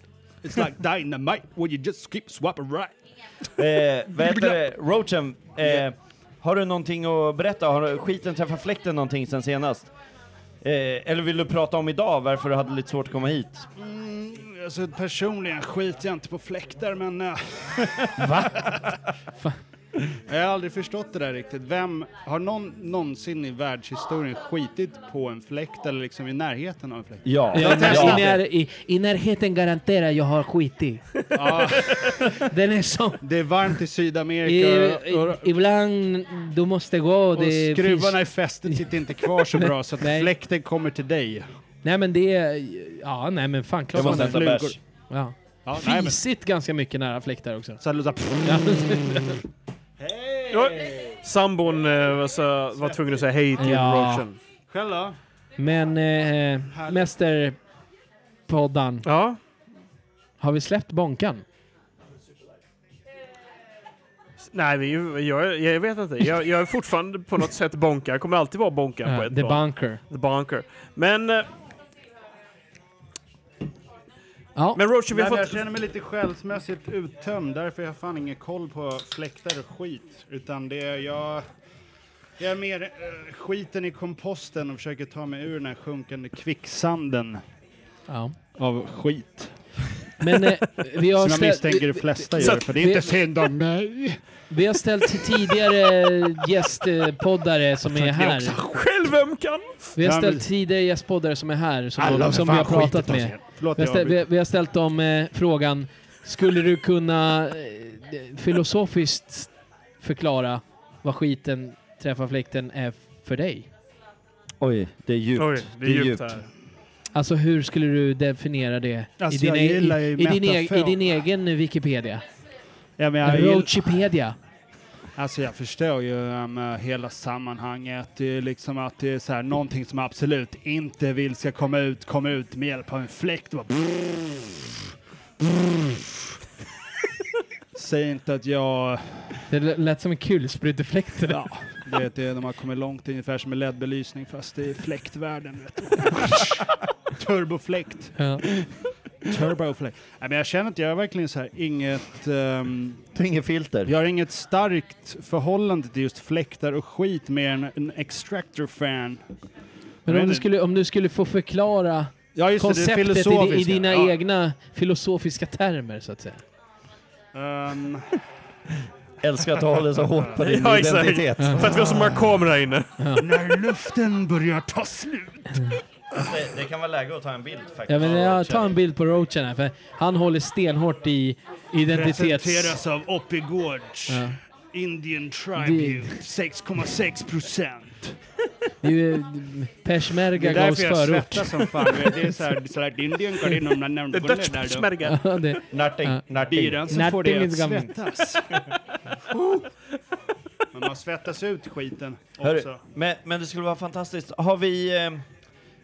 [SPEAKER 9] It's like dynamite where you just keep swiping right.
[SPEAKER 4] Eh, vad heter det? Roachan, eh, har du någonting att berätta? Har du- skiten träffat fläkten någonting sen senast? Eh, eller vill du prata om idag, varför du hade lite svårt att komma hit?
[SPEAKER 9] Alltså personligen skiter jag inte på fläktar men... eh, jag har aldrig förstått det där riktigt. Vem, har någon någonsin i världshistorien skitit på en fläkt eller liksom i närheten av en fläkt?
[SPEAKER 4] Ja.
[SPEAKER 3] Ja, men
[SPEAKER 4] Ja.
[SPEAKER 3] i, när, i, I närheten garanterar jag har skitit.
[SPEAKER 9] Ja,
[SPEAKER 3] Den är som...
[SPEAKER 9] det är varmt i
[SPEAKER 3] I,
[SPEAKER 9] Sydamerika och, och,
[SPEAKER 3] i, ibland du måste gå.
[SPEAKER 9] och
[SPEAKER 3] Det
[SPEAKER 9] skruvarna
[SPEAKER 3] finns,
[SPEAKER 9] i fästet sitter inte kvar så bra så att
[SPEAKER 3] Nej.
[SPEAKER 9] fläkten kommer till dig.
[SPEAKER 3] nej men det är... Ja, nej men fan klart
[SPEAKER 4] Jag måste
[SPEAKER 3] man
[SPEAKER 4] hämta
[SPEAKER 3] är.
[SPEAKER 4] bärs.
[SPEAKER 3] Ja.
[SPEAKER 9] Ja, nej, men,
[SPEAKER 3] Fisigt ganska mycket nära fläktar också.
[SPEAKER 9] så här låter det så här-
[SPEAKER 3] Ja.
[SPEAKER 1] Oj. Sambon eh, var, så, var tvungen att säga hej till
[SPEAKER 3] Ja.
[SPEAKER 1] Roachen.
[SPEAKER 9] Själv då?
[SPEAKER 3] Men eh, mästerpoddan,
[SPEAKER 1] Ja.
[SPEAKER 3] har vi släppt Bonkan?
[SPEAKER 1] Nej, men ju- jag, jag vet inte. Jag, jag är fortfarande på något sätt bonka. Jag kommer alltid vara bonka på
[SPEAKER 3] Ja,
[SPEAKER 1] ett
[SPEAKER 3] The
[SPEAKER 1] plan.
[SPEAKER 3] Bunker.
[SPEAKER 1] The Bonker. Men, eh,
[SPEAKER 3] Ja.
[SPEAKER 1] men Roachen, vi
[SPEAKER 9] Nej,
[SPEAKER 1] har
[SPEAKER 9] men jag
[SPEAKER 1] fått...
[SPEAKER 9] känner mig lite själsmässigt uttömd, därför har jag fan ingen koll på fläktar och skit. Utan det är jag... Jag är mer eh, skiten i komposten och försöker ta mig ur den här sjunkande kvicksanden
[SPEAKER 3] Ja.
[SPEAKER 9] av skit.
[SPEAKER 3] Men eh, vi, har
[SPEAKER 9] Som jag misstänker
[SPEAKER 3] ställt,
[SPEAKER 9] de flesta
[SPEAKER 1] så
[SPEAKER 9] gör,
[SPEAKER 1] att-
[SPEAKER 9] för det är inte
[SPEAKER 3] vi-
[SPEAKER 9] synd om eh, mig.
[SPEAKER 3] vi har ställt tidigare gästpoddare som är här.
[SPEAKER 1] Självömkan!
[SPEAKER 3] Vi har
[SPEAKER 9] Ja, men-
[SPEAKER 3] ställt tidigare gästpoddare som är här, som,
[SPEAKER 9] Alla har för
[SPEAKER 3] som vi har
[SPEAKER 9] fan skitit
[SPEAKER 3] pratat
[SPEAKER 9] oss
[SPEAKER 3] med.
[SPEAKER 9] igen. Förlåt,
[SPEAKER 3] Vi har,
[SPEAKER 9] jag
[SPEAKER 3] ställt,
[SPEAKER 9] avbryter.
[SPEAKER 3] vi, vi har ställt dem eh, frågan, skulle du kunna eh, filosofiskt förklara vad skiten träffar fläkten är för dig?
[SPEAKER 4] Oj, det är djupt.
[SPEAKER 1] Oj, det är djupt här.
[SPEAKER 3] Alltså hur skulle du definiera det
[SPEAKER 9] Alltså,
[SPEAKER 3] i,
[SPEAKER 9] jag
[SPEAKER 3] e-
[SPEAKER 9] gillar
[SPEAKER 3] i,
[SPEAKER 9] ju
[SPEAKER 3] i, din e- i
[SPEAKER 9] metafon.
[SPEAKER 3] din egen Wikipedia?
[SPEAKER 9] Ja, men jag, gillar-
[SPEAKER 3] Roachipedia.
[SPEAKER 9] Alltså jag förstår ju um, hela sammanhanget. Det är liksom att det är så här, någonting som jag absolut inte vill ska komma ut, komma ut med hjälp av en fläkt. Bara Säg inte att jag...
[SPEAKER 3] Det l- lät som en kulsprutefläkt. det där.
[SPEAKER 9] Ja, du vet, det är när man kommer långt ungefär som med LED-belysning fast i fläktvärlden. Vet du. Turbofläkt.
[SPEAKER 3] Ja.
[SPEAKER 9] Turbofläkt. Nej, men jag känner att jag har verkligen så här inget... ehm,
[SPEAKER 4] Du har inget filter.
[SPEAKER 9] jag har inget starkt förhållande till just fläktar och skit mer än en Extractor-fan.
[SPEAKER 3] Men om
[SPEAKER 9] Men-
[SPEAKER 3] du, skulle, om du skulle få förklara
[SPEAKER 9] Ja, just det, det är
[SPEAKER 3] konceptet i, di- i
[SPEAKER 9] filosofiskt.
[SPEAKER 3] dina
[SPEAKER 9] ja.
[SPEAKER 3] egna filosofiska termer så att säga.
[SPEAKER 9] Ehm,
[SPEAKER 4] Älskar att du håller så hårt på din
[SPEAKER 1] Ja, exakt.
[SPEAKER 4] identitet.
[SPEAKER 1] För att vi har så många kameror här inne.
[SPEAKER 10] När luften börjar ta slut.
[SPEAKER 4] Det, kan vara läge att ta en bild faktiskt.
[SPEAKER 3] Ja, men jag tar en bild på Roachen här, för han håller stenhårt i identitets...
[SPEAKER 10] Presenteras av Oppigårds.
[SPEAKER 3] Ja.
[SPEAKER 10] Indian
[SPEAKER 3] Det-
[SPEAKER 10] Tribute. 6,6 procent.
[SPEAKER 3] Det är ju
[SPEAKER 9] det
[SPEAKER 3] peshmerga
[SPEAKER 9] är
[SPEAKER 3] gaus
[SPEAKER 9] därför jag
[SPEAKER 3] förort.
[SPEAKER 9] svettas som fan. Det är såhär, såhär Indien går in om den nämnde
[SPEAKER 1] Det är Dutch
[SPEAKER 9] där då.
[SPEAKER 1] Peshmerga.
[SPEAKER 3] Ja, det-
[SPEAKER 4] Nothing, nothing.
[SPEAKER 9] Biran så får
[SPEAKER 3] Nothing
[SPEAKER 9] det att
[SPEAKER 3] is coming.
[SPEAKER 9] svettas. Men man svettas ut skiten
[SPEAKER 4] Hörru,
[SPEAKER 9] också.
[SPEAKER 4] men, men det skulle vara fantastiskt. Har vi... ehm,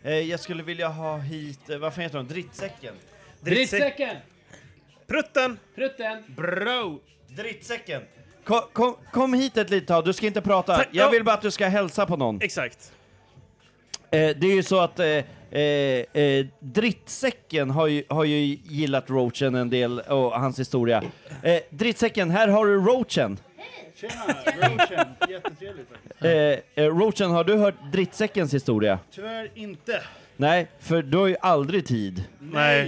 [SPEAKER 4] Eh, jag skulle vilja ha hit... Eh, vad fan heter de? Drittsäcken?
[SPEAKER 3] Drittsäcken!
[SPEAKER 1] Prutten!
[SPEAKER 3] Prutten!
[SPEAKER 4] Bro! Drittsäcken! Kom, kom, kom hit ett litet tag, du ska inte prata.
[SPEAKER 1] Tack, ja.
[SPEAKER 4] Jag vill bara att du ska hälsa på någon.
[SPEAKER 1] Exakt.
[SPEAKER 4] Eh, det är ju så att eh, eh, eh, Drittsäcken har ju, har ju gillat Roachen en del och hans historia. Eh, drittsäcken, här har du Roachen.
[SPEAKER 9] Tjena, Roachen. Jättetrevligt. faktiskt.
[SPEAKER 4] Eh, eh, Roachen, har du hört Drittsäckens historia?
[SPEAKER 9] Tyvärr inte.
[SPEAKER 4] Nej, för du har ju aldrig tid.
[SPEAKER 1] Nej.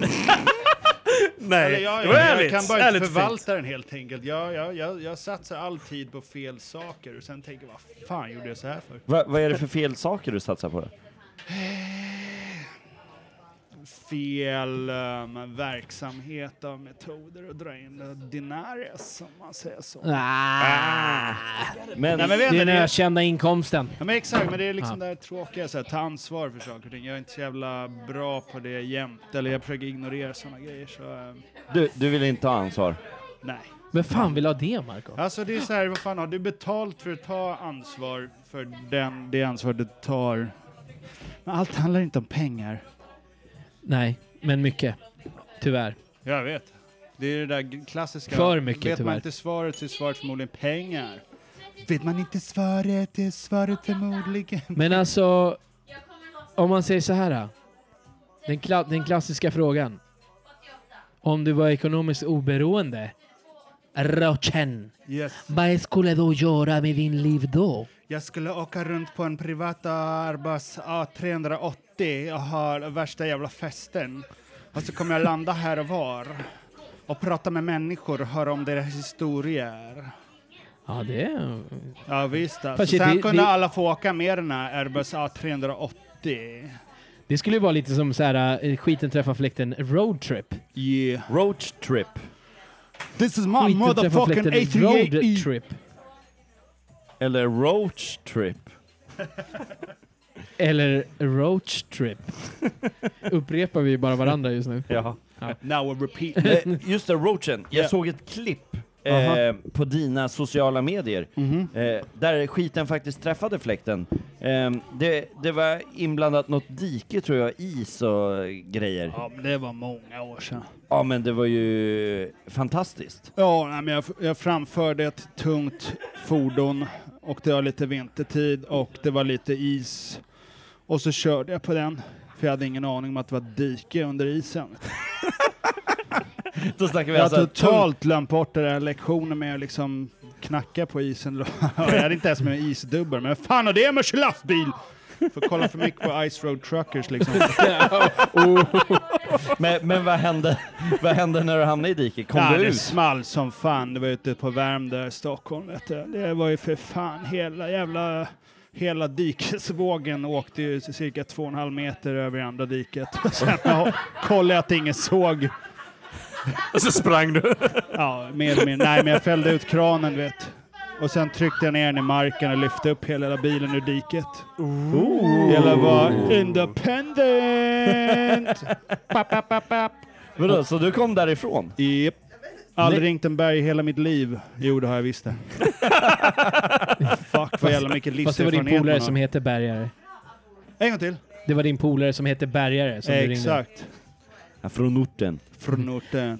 [SPEAKER 9] Eller
[SPEAKER 1] Nej,
[SPEAKER 9] jag,
[SPEAKER 1] det var
[SPEAKER 9] jag,
[SPEAKER 1] ärligt.
[SPEAKER 9] jag kan bara inte
[SPEAKER 1] ärligt och
[SPEAKER 9] förvalta
[SPEAKER 1] fint.
[SPEAKER 9] den helt enkelt. Jag, jag, jag, jag satsar all tid på fel saker och sen tänker jag, vad fan gjorde jag så här för?
[SPEAKER 4] Va, vad är det för fel saker du satsar på? då?
[SPEAKER 9] Fel ehm, verksamhet av metoder och dra in dinaries om man säger så.
[SPEAKER 4] Men,
[SPEAKER 9] Ah. Nej, men vet
[SPEAKER 3] Ah. Det är den
[SPEAKER 9] ni,
[SPEAKER 3] ökända inkomsten.
[SPEAKER 9] Ja, men exakt, men det är liksom det här tråkiga, så här, ta ansvar för saker och ting. Jag är inte så jävla bra på det jämt, eller jag försöker ignorera sådana grejer. Så, ehm,
[SPEAKER 4] du, du vill inte ta ansvar.
[SPEAKER 9] nej.
[SPEAKER 3] Vem fan vill ha det, Marco?
[SPEAKER 9] Alltså det är så här, vad fan, har du betalt för att ta ansvar för den, det ansvar du tar? Men allt handlar inte om pengar.
[SPEAKER 3] Nej, men mycket. Tyvärr.
[SPEAKER 9] Jag vet. Det är det där g- klassiska.
[SPEAKER 3] För mycket,
[SPEAKER 9] Vet
[SPEAKER 3] tyvärr.
[SPEAKER 9] man inte svaret så är svaret förmodligen pengar. Vet man inte svaret är svaret förmodligen...
[SPEAKER 3] Men alltså, om man säger så här. då. Den, kla den klassiska frågan. Om du var ekonomiskt oberoende, Rochen,
[SPEAKER 9] Yes.
[SPEAKER 6] Vad skulle du göra med din liv då?
[SPEAKER 9] Jag skulle åka runt på en privata Airbus A380 och ha värsta jävla festen. Och så kommer jag landa här och var och prata med människor och höra om deras historier.
[SPEAKER 3] Ja, det är...
[SPEAKER 9] Ja visst alltså.
[SPEAKER 3] Fast shit,
[SPEAKER 9] Sen
[SPEAKER 3] det-
[SPEAKER 9] kunde
[SPEAKER 3] det-
[SPEAKER 9] alla få åka med den här Airbus A380.
[SPEAKER 3] Det skulle ju vara lite som så här, eh, skiten träffar fläkten roadtrip.
[SPEAKER 9] Yeah.
[SPEAKER 4] Road trip.
[SPEAKER 9] This is my
[SPEAKER 3] Skiten träffar
[SPEAKER 9] motherfucking
[SPEAKER 3] fläkten
[SPEAKER 9] A380.
[SPEAKER 3] roadtrip.
[SPEAKER 4] Eller roach trip.
[SPEAKER 3] Eller roadtrip. Upprepar vi bara varandra just nu.
[SPEAKER 4] Ja.
[SPEAKER 9] Now I repeat.
[SPEAKER 4] Eh, just det, roachen. Jag
[SPEAKER 9] Ja.
[SPEAKER 4] såg ett klipp
[SPEAKER 9] Aha. Mhm.
[SPEAKER 4] eh, på dina sociala medier eh, där skiten faktiskt träffade fläkten. Eh, det, det var inblandat något dike tror jag, is och eh, grejer.
[SPEAKER 9] Ja, men det var många år sedan.
[SPEAKER 4] Ja men det var ju fantastiskt.
[SPEAKER 9] Ja, nej, men jag, jag framförde ett tungt fordon och det var lite vintertid och det var lite is. Och så körde jag på den, för jag hade ingen aning om att det var ett dike under isen.
[SPEAKER 4] Då snackar vi
[SPEAKER 9] Jag har
[SPEAKER 4] alltså...
[SPEAKER 9] totalt glömt bort den där lektionen med att liksom knacka på isen. jag hade inte ens med mig isdubbel, men fan har det med lastbil? Får kolla för mycket på Ice Road Truckers liksom.
[SPEAKER 4] Men, men vad, hände, vad hände när du hamnade i diket? Kom
[SPEAKER 9] ja,
[SPEAKER 4] du
[SPEAKER 9] det
[SPEAKER 4] ut?
[SPEAKER 9] small som fan. Det var ute på Värmdö, Stockholm. Vet du. Det var ju för fan hela jävla... Hela dikesvågen åkte ju cirka två och en halv meter över andra diket. Sen jag kollade jag att ingen såg.
[SPEAKER 1] Och så sprang du.
[SPEAKER 9] Ja, mer eller mindre. Nej, men jag fällde ut kranen vet. Och sen tryckte jag ner den i marken och lyfte upp hela jävla bilen ur diket. Hela var independent! Papp, papp, papp, papp.
[SPEAKER 4] Vadå, så du kom därifrån?
[SPEAKER 9] Japp. Aldrig ringt en berg i hela mitt liv. Jo, det har jag visst det. Fuck vad jävla mycket
[SPEAKER 3] Fast det var
[SPEAKER 9] livserfarenhet
[SPEAKER 3] din
[SPEAKER 9] man
[SPEAKER 3] polare
[SPEAKER 9] har.
[SPEAKER 3] som heter Bergare.
[SPEAKER 9] En gång till.
[SPEAKER 3] Det var din polare som heter Bergare som du ringde.
[SPEAKER 9] Exakt.
[SPEAKER 4] Ja, från orten.
[SPEAKER 9] Från orten.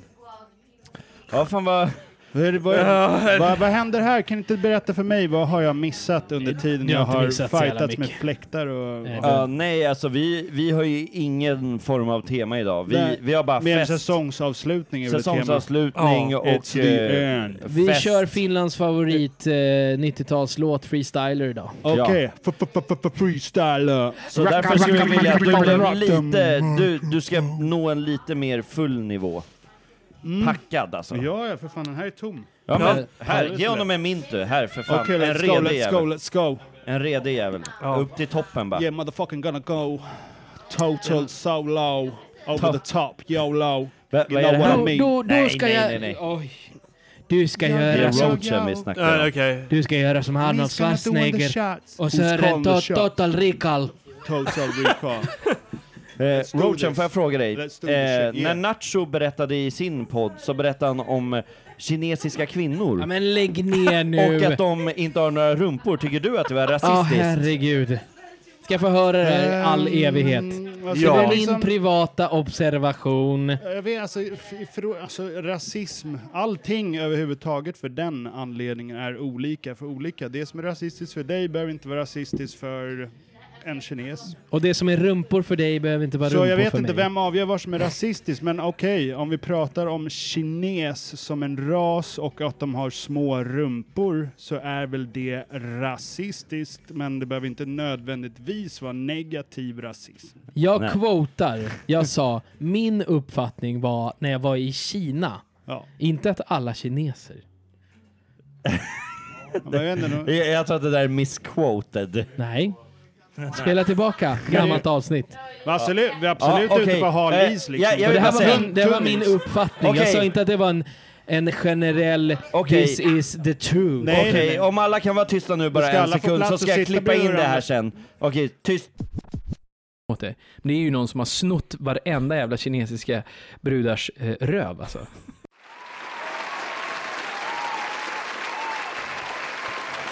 [SPEAKER 4] Ja fan vad...
[SPEAKER 9] Vad, vad, vad, vad händer här? Kan du inte berätta för mig? Vad har jag missat under tiden
[SPEAKER 3] Ni har
[SPEAKER 9] jag
[SPEAKER 3] inte
[SPEAKER 9] har
[SPEAKER 3] missat så jävla
[SPEAKER 9] fightats med
[SPEAKER 3] mycket.
[SPEAKER 9] fläktar och...
[SPEAKER 3] Nej,
[SPEAKER 9] och
[SPEAKER 4] Ja, nej alltså vi, vi har ju ingen form av tema idag. Vi,
[SPEAKER 9] Nej,
[SPEAKER 4] vi har bara
[SPEAKER 9] med en
[SPEAKER 4] fest.
[SPEAKER 9] säsongsavslutning är väl ett tema.
[SPEAKER 4] Säsongsavslutning
[SPEAKER 1] Ja,
[SPEAKER 4] och...
[SPEAKER 9] It's the
[SPEAKER 4] eh,
[SPEAKER 9] end.
[SPEAKER 3] Vi
[SPEAKER 4] fest.
[SPEAKER 3] kör Finlands favorit eh, 90-talslåt, Freestyler idag.
[SPEAKER 9] Okej. F- f- f- f- Freestyle.
[SPEAKER 4] Så därför skulle vi vilja att du blev lite...
[SPEAKER 9] Mm.
[SPEAKER 4] Du, du ska nå en lite mer full nivå. Packad alltså. Ja,
[SPEAKER 9] Mm. Ja, ja, för fan. Den här är tom.
[SPEAKER 4] men, här, ge honom en mint du. Här för fan.
[SPEAKER 9] Okej,
[SPEAKER 4] en
[SPEAKER 9] let's go,
[SPEAKER 4] redig
[SPEAKER 9] let's go,
[SPEAKER 4] jävel.
[SPEAKER 9] let's go.
[SPEAKER 4] En redig jävel. Upp till toppen bara.
[SPEAKER 9] Yeah, motherfucking gonna go. Total solo. Over the top, YOLO.
[SPEAKER 4] Va, vad är det
[SPEAKER 9] Vad
[SPEAKER 3] Då,
[SPEAKER 4] här?
[SPEAKER 9] mean?
[SPEAKER 3] då, då
[SPEAKER 4] Nej,
[SPEAKER 3] ska
[SPEAKER 4] nej,
[SPEAKER 3] jag...
[SPEAKER 4] nej, nej.
[SPEAKER 3] Oj. Du ska
[SPEAKER 4] Det är
[SPEAKER 3] göra som...
[SPEAKER 4] roachen vi snackar
[SPEAKER 1] Ja,
[SPEAKER 4] om.
[SPEAKER 1] Okej.
[SPEAKER 3] Du ska göra som Arnold Schwarzenegger. Och så
[SPEAKER 9] Who's
[SPEAKER 3] är det
[SPEAKER 9] calling the
[SPEAKER 3] to-
[SPEAKER 9] shot?
[SPEAKER 3] Total Recall.
[SPEAKER 9] Total recall.
[SPEAKER 4] Eh,
[SPEAKER 9] do
[SPEAKER 4] Roachen,
[SPEAKER 9] this.
[SPEAKER 4] får jag fråga dig?
[SPEAKER 9] Let's
[SPEAKER 4] Eh,
[SPEAKER 9] do this shit, yeah.
[SPEAKER 4] När Nacho berättade i sin podd så berättade han om eh, kinesiska kvinnor.
[SPEAKER 3] Ja, men lägg ner nu.
[SPEAKER 4] Och att de inte har några rumpor. Tycker du att det var
[SPEAKER 3] Ja,
[SPEAKER 4] rasistiskt?
[SPEAKER 3] herregud. Ska jag få höra det här i all evighet?
[SPEAKER 9] Mm, Alltså,
[SPEAKER 3] Det
[SPEAKER 9] det
[SPEAKER 3] är
[SPEAKER 9] är
[SPEAKER 3] din
[SPEAKER 9] liksom-
[SPEAKER 3] privata observation.
[SPEAKER 9] Jag vet, alltså, f- för, alltså, rasism, allting överhuvudtaget för den anledningen är olika för olika. Det som är rasistiskt för dig behöver inte vara rasistiskt för en kines.
[SPEAKER 3] Och det som är rumpor för dig behöver inte vara
[SPEAKER 9] Så
[SPEAKER 3] rumpor
[SPEAKER 9] jag vet
[SPEAKER 3] för
[SPEAKER 9] inte
[SPEAKER 3] mig.
[SPEAKER 9] vem avgör vad som är rasistiskt, men okej, om vi pratar om kines som en ras och att de har små rumpor så är väl det rasistiskt, men det behöver inte nödvändigtvis vara negativ rasism.
[SPEAKER 3] Jag
[SPEAKER 4] Nej.
[SPEAKER 3] quotar. Jag sa min uppfattning var när jag var i Kina.
[SPEAKER 9] Ja.
[SPEAKER 3] Inte att alla kineser.
[SPEAKER 9] Men jag vet inte, nog-
[SPEAKER 4] Jag, jag tror att det där är misquoted.
[SPEAKER 3] Nej. Spela tillbaka gammalt avsnitt.
[SPEAKER 9] Men absolut, vi är absolut
[SPEAKER 4] Ja, okej.
[SPEAKER 9] ute på hal
[SPEAKER 4] Eh,
[SPEAKER 9] is
[SPEAKER 4] ja,
[SPEAKER 9] liksom.
[SPEAKER 4] jag
[SPEAKER 3] Och
[SPEAKER 4] vill
[SPEAKER 3] det här
[SPEAKER 4] bara säga-
[SPEAKER 3] var min, det var min
[SPEAKER 9] Tunnis.
[SPEAKER 3] uppfattning. Jag
[SPEAKER 4] Okej.
[SPEAKER 3] sa inte att det var en, en generell
[SPEAKER 4] Okej.
[SPEAKER 3] “this is the truth”.
[SPEAKER 9] Nej, nej,
[SPEAKER 4] Okej,
[SPEAKER 9] nej.
[SPEAKER 4] om alla kan vara tysta nu
[SPEAKER 9] Du
[SPEAKER 4] bara
[SPEAKER 9] ska
[SPEAKER 4] en
[SPEAKER 9] alla få
[SPEAKER 4] sekund
[SPEAKER 9] plats
[SPEAKER 4] så
[SPEAKER 9] och
[SPEAKER 4] ska jag
[SPEAKER 9] sitta
[SPEAKER 4] klippa in det
[SPEAKER 9] bredvid
[SPEAKER 4] här
[SPEAKER 9] varandra.
[SPEAKER 4] sen. Okej, tyst.
[SPEAKER 11] åt det. Men det är ju någon som har snott varenda jävla kinesiska brudars eh, röv alltså.